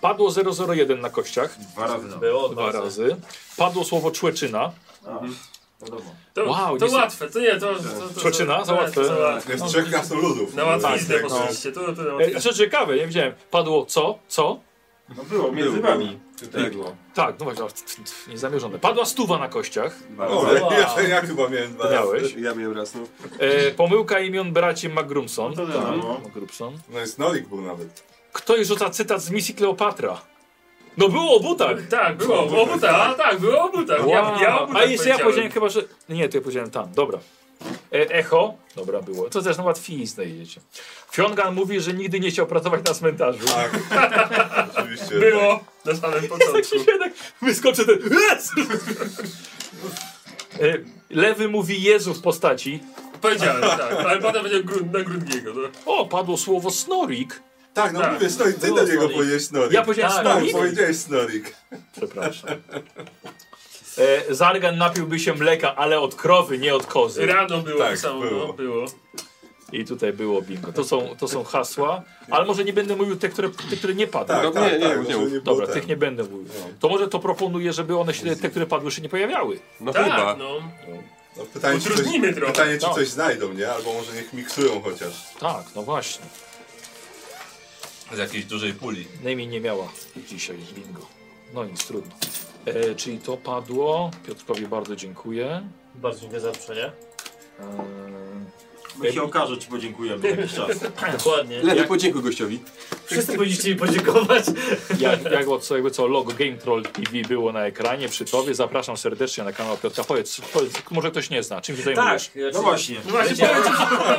A: Padło 001 na kościach.
V: Dwa razy na
J: było
A: Dwa razy. Padło słowo człeczyna.
V: wiadomo.
G: To,
A: Wow,
G: to
A: niestety-
G: łatwe, to nie, to... to, to, to
A: Przeczyna?
G: to-
A: Za łatwe?
G: To łatwe.
B: Jest trzech krasnoludów.
G: Na łatwiznę
B: Tak, no.
G: poszliście, to, to na
A: E,
G: łatwiznę.
A: Co ciekawe, nie wiedziałem. Padło co? Co?
V: No było, między
B: Był,
V: wami.
D: Tak.
A: Tak, no właśnie, tf, tf, niezamierzone. Padła stuwa na kościach.
E: Tak.
D: Dwa razy.
B: O, <laughs>
J: Wow.
B: ja, ja chyba miałem dwa razy.
A: Miałeś.
D: Ja miałem raz, no.
A: E, pomyłka imion braci McGrumson.
G: No To wiadomo.
A: McGrumson.
B: No jest Nolik był nawet.
A: Ktoś rzuca cytat z misji Kleopatra. No było o butach.
G: Tak, było o butach, a tak, było o butach. Ja, ja tak o
A: Wow.
G: butach
A: A jeszcze ja powiedziałem
G: powiedziałem.
A: chyba, że... Nie, to ja powiedziałem tam, dobra. E, echo. Dobra, było. To zresztą łatwiznę idziecie. Fiongan mówi, że nigdy nie chciał pracować na cmentarzu. <laughs>
B: Tak. Oczywiście.
G: Było na
A: <laughs>
G: samym
A: Tak
G: początku.
A: się śmieje, tak wyskoczy ten... E, Lewy mówi Jezu w postaci.
G: Powiedziałem, tak, ale potem będzie grud, na Grudniego. No.
A: O, padło słowo snorik.
B: Tak, no
G: Tak.
B: mówię, Snorik, ty
A: Było
B: do niego
A: Snorik.
B: powiedziałeś Snorik.
A: Ja powiedziałem
B: tak,
A: snorik?
B: powiedziałeś Snorik.
A: Przepraszam. E, Zargan napiłby się mleka, ale od krowy, nie od kozy.
G: Rano było
B: Tak,
G: samo,
B: było.
G: no, było.
A: I tutaj było bingo. To są, to są hasła, ale może nie będę mówił te, które, te, które nie padły.
B: Tak,
D: No,
B: tak,
D: nie, nie,
B: tak.
D: nie
B: żeby
D: mów.
B: było
A: Dobra,
B: ten.
A: tych nie będę mówił. To może to proponuję, żeby one się, te, które padły, się nie pojawiały.
D: No chyba.
G: Tak, no.
B: No, pytanie, czy coś,
G: Utrudnimy trochę.
B: pytanie, czy
A: Tak.
B: coś znajdą, nie? Albo może niech miksują chociaż.
A: Tak, no właśnie.
B: Z jakiejś dużej puli.
A: Najmniej nie miała dzisiaj bingo. No nic, trudno. E, czyli to padło. Piotrkowi bardzo dziękuję. E,
J: Bardzo dziękuję za zaproszenie. <clears throat>
E: Jak się okaże, ci podziękujemy jakiś czas.
J: Dokładnie.
D: Lepiej podziękuj gościowi.
J: Wszyscy powinniście mi podziękować.
A: Jak, jak od co, jakby co logo Game Troll TV było na ekranie przy tobie, zapraszam serdecznie na kanał Piotra. Powiedz, powiedz może ktoś nie zna, czym się zajmujesz?
J: no
E: właśnie.
G: No właśnie,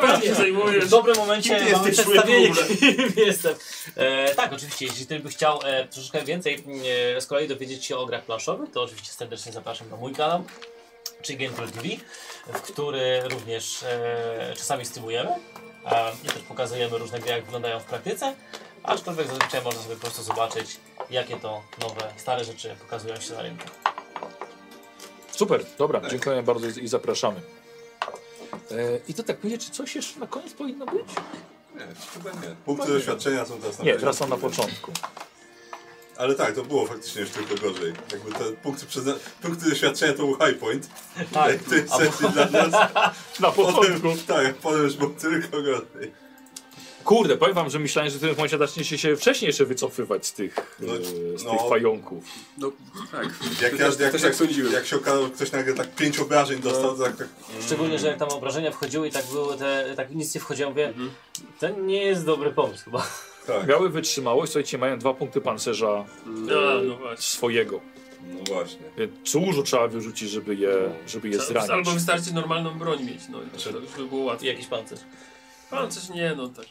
G: powiem ci, się
J: W
G: zajmujesz.
J: dobrym momencie
E: Kim ty
J: mamy
E: jesteś,
J: przedstawienie,
E: człowieku,
J: kim jestem. E, tak, oczywiście, jeśli ktoś by chciał e, troszeczkę więcej e, z kolei dowiedzieć się o grach planszowych, to oczywiście serdecznie zapraszam na mój kanał, czyli Gameplay TV, w który również e, czasami streamujemy e, i też pokazujemy różne gry, jak wyglądają w praktyce, aczkolwiek zazwyczaj można sobie po prostu zobaczyć, jakie to nowe, stare rzeczy pokazują się na rynku.
A: Super, dobra, dziękuję bardzo i i zapraszamy. E, I to tak będzie, czy coś jeszcze na koniec powinno być?
B: Nie, chyba nie. Punkty
D: No
B: doświadczenia są teraz na
A: Nie, teraz są na
B: początku.
A: początku.
B: Ale tak, to było faktycznie już tylko gorzej. Jakby te punkty, przyzna... punkty doświadczenia to był high point. <laughs>
J: Tak,
B: W tej sesji dla
A: <laughs>
B: nas.
A: Na
B: Potem,
A: początku.
B: tak, potem już było tylko gorzej.
A: Kurde, powiem wam, że myślałem, że w tym momencie zaczniecie się wcześniej jeszcze wycofywać z tych,
B: No,
A: e, z
B: no.
A: tych pająków.
D: No tak.
B: Jak, jak,
D: też- też No.
B: jak,
D: tak sądziłem.
B: jak się okazało, ktoś nagle tak pięć obrażeń dostał, to tak, tak
J: Szczególnie, że jak tam obrażenia wchodziły i tak były te, tak nic nie wchodziło, mówię, to nie jest dobry pomysł chyba.
B: Tak,
A: Miały wytrzymałość, słuchajcie, mają dwa punkty pancerza
G: No, no właśnie.
A: swojego.
B: no właśnie.
A: Więc dużo trzeba wyrzucić, żeby je, żeby je zranić.
G: Albo wystarczy normalną broń mieć, no i to już by było
J: I
G: łatwiej.
J: jakiś pancerz.
G: Ale coś nie, no tak.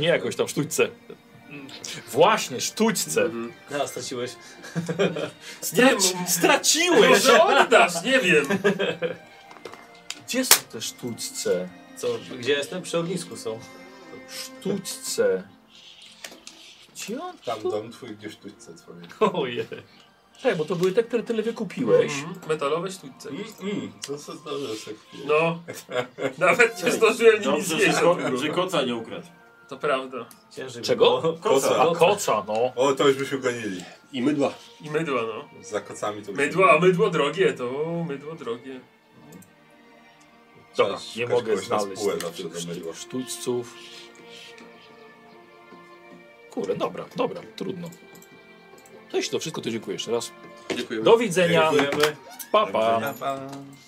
A: Nie jakoś tam sztućce. Właśnie, sztućce.
J: Teraz straciłeś.
A: Straci, straciłeś!
G: Może oddasz, nie wiem.
A: Gdzie są te sztućce?
J: Co, gdzie jestem? Przy ognisku są.
A: Sztućce. Gdzie on?
B: Tam dom twój gdzieś tu chce
A: <laughs>
B: twoje.
J: Oje.
A: Tak, bo to były te, które tyle wykupiłeś.
G: Mhm. Metalowe sztućce.
B: Mm, to co zdarzyło się?
G: No, nawet nie zdążyłem nimi
W: Dobrze, że,
G: zjeść.
W: ko że koca nie ukradł.
G: To prawda.
J: Ciężej
A: Czego?
J: było.
A: A koca, no.
B: O, to już byśmy gonili.
D: I mydła.
G: I mydła, no.
B: Za kocami to
G: Mydło, a mydło drogie, to mydło drogie.
A: Dobra,
B: Szukać
A: nie mogę
B: kogoś na
A: znaleźć
B: spółę
A: tych,
B: zawsze
A: tych,
B: do mydła.
A: tych sztućców. Kurde, dobra, dobra, trudno. To jeśli to wszystko, to dziękuję jeszcze raz.
D: Dziękujemy.
A: Do widzenia.
B: Dziękujemy.
A: Pa, pa.
B: Pa, pa.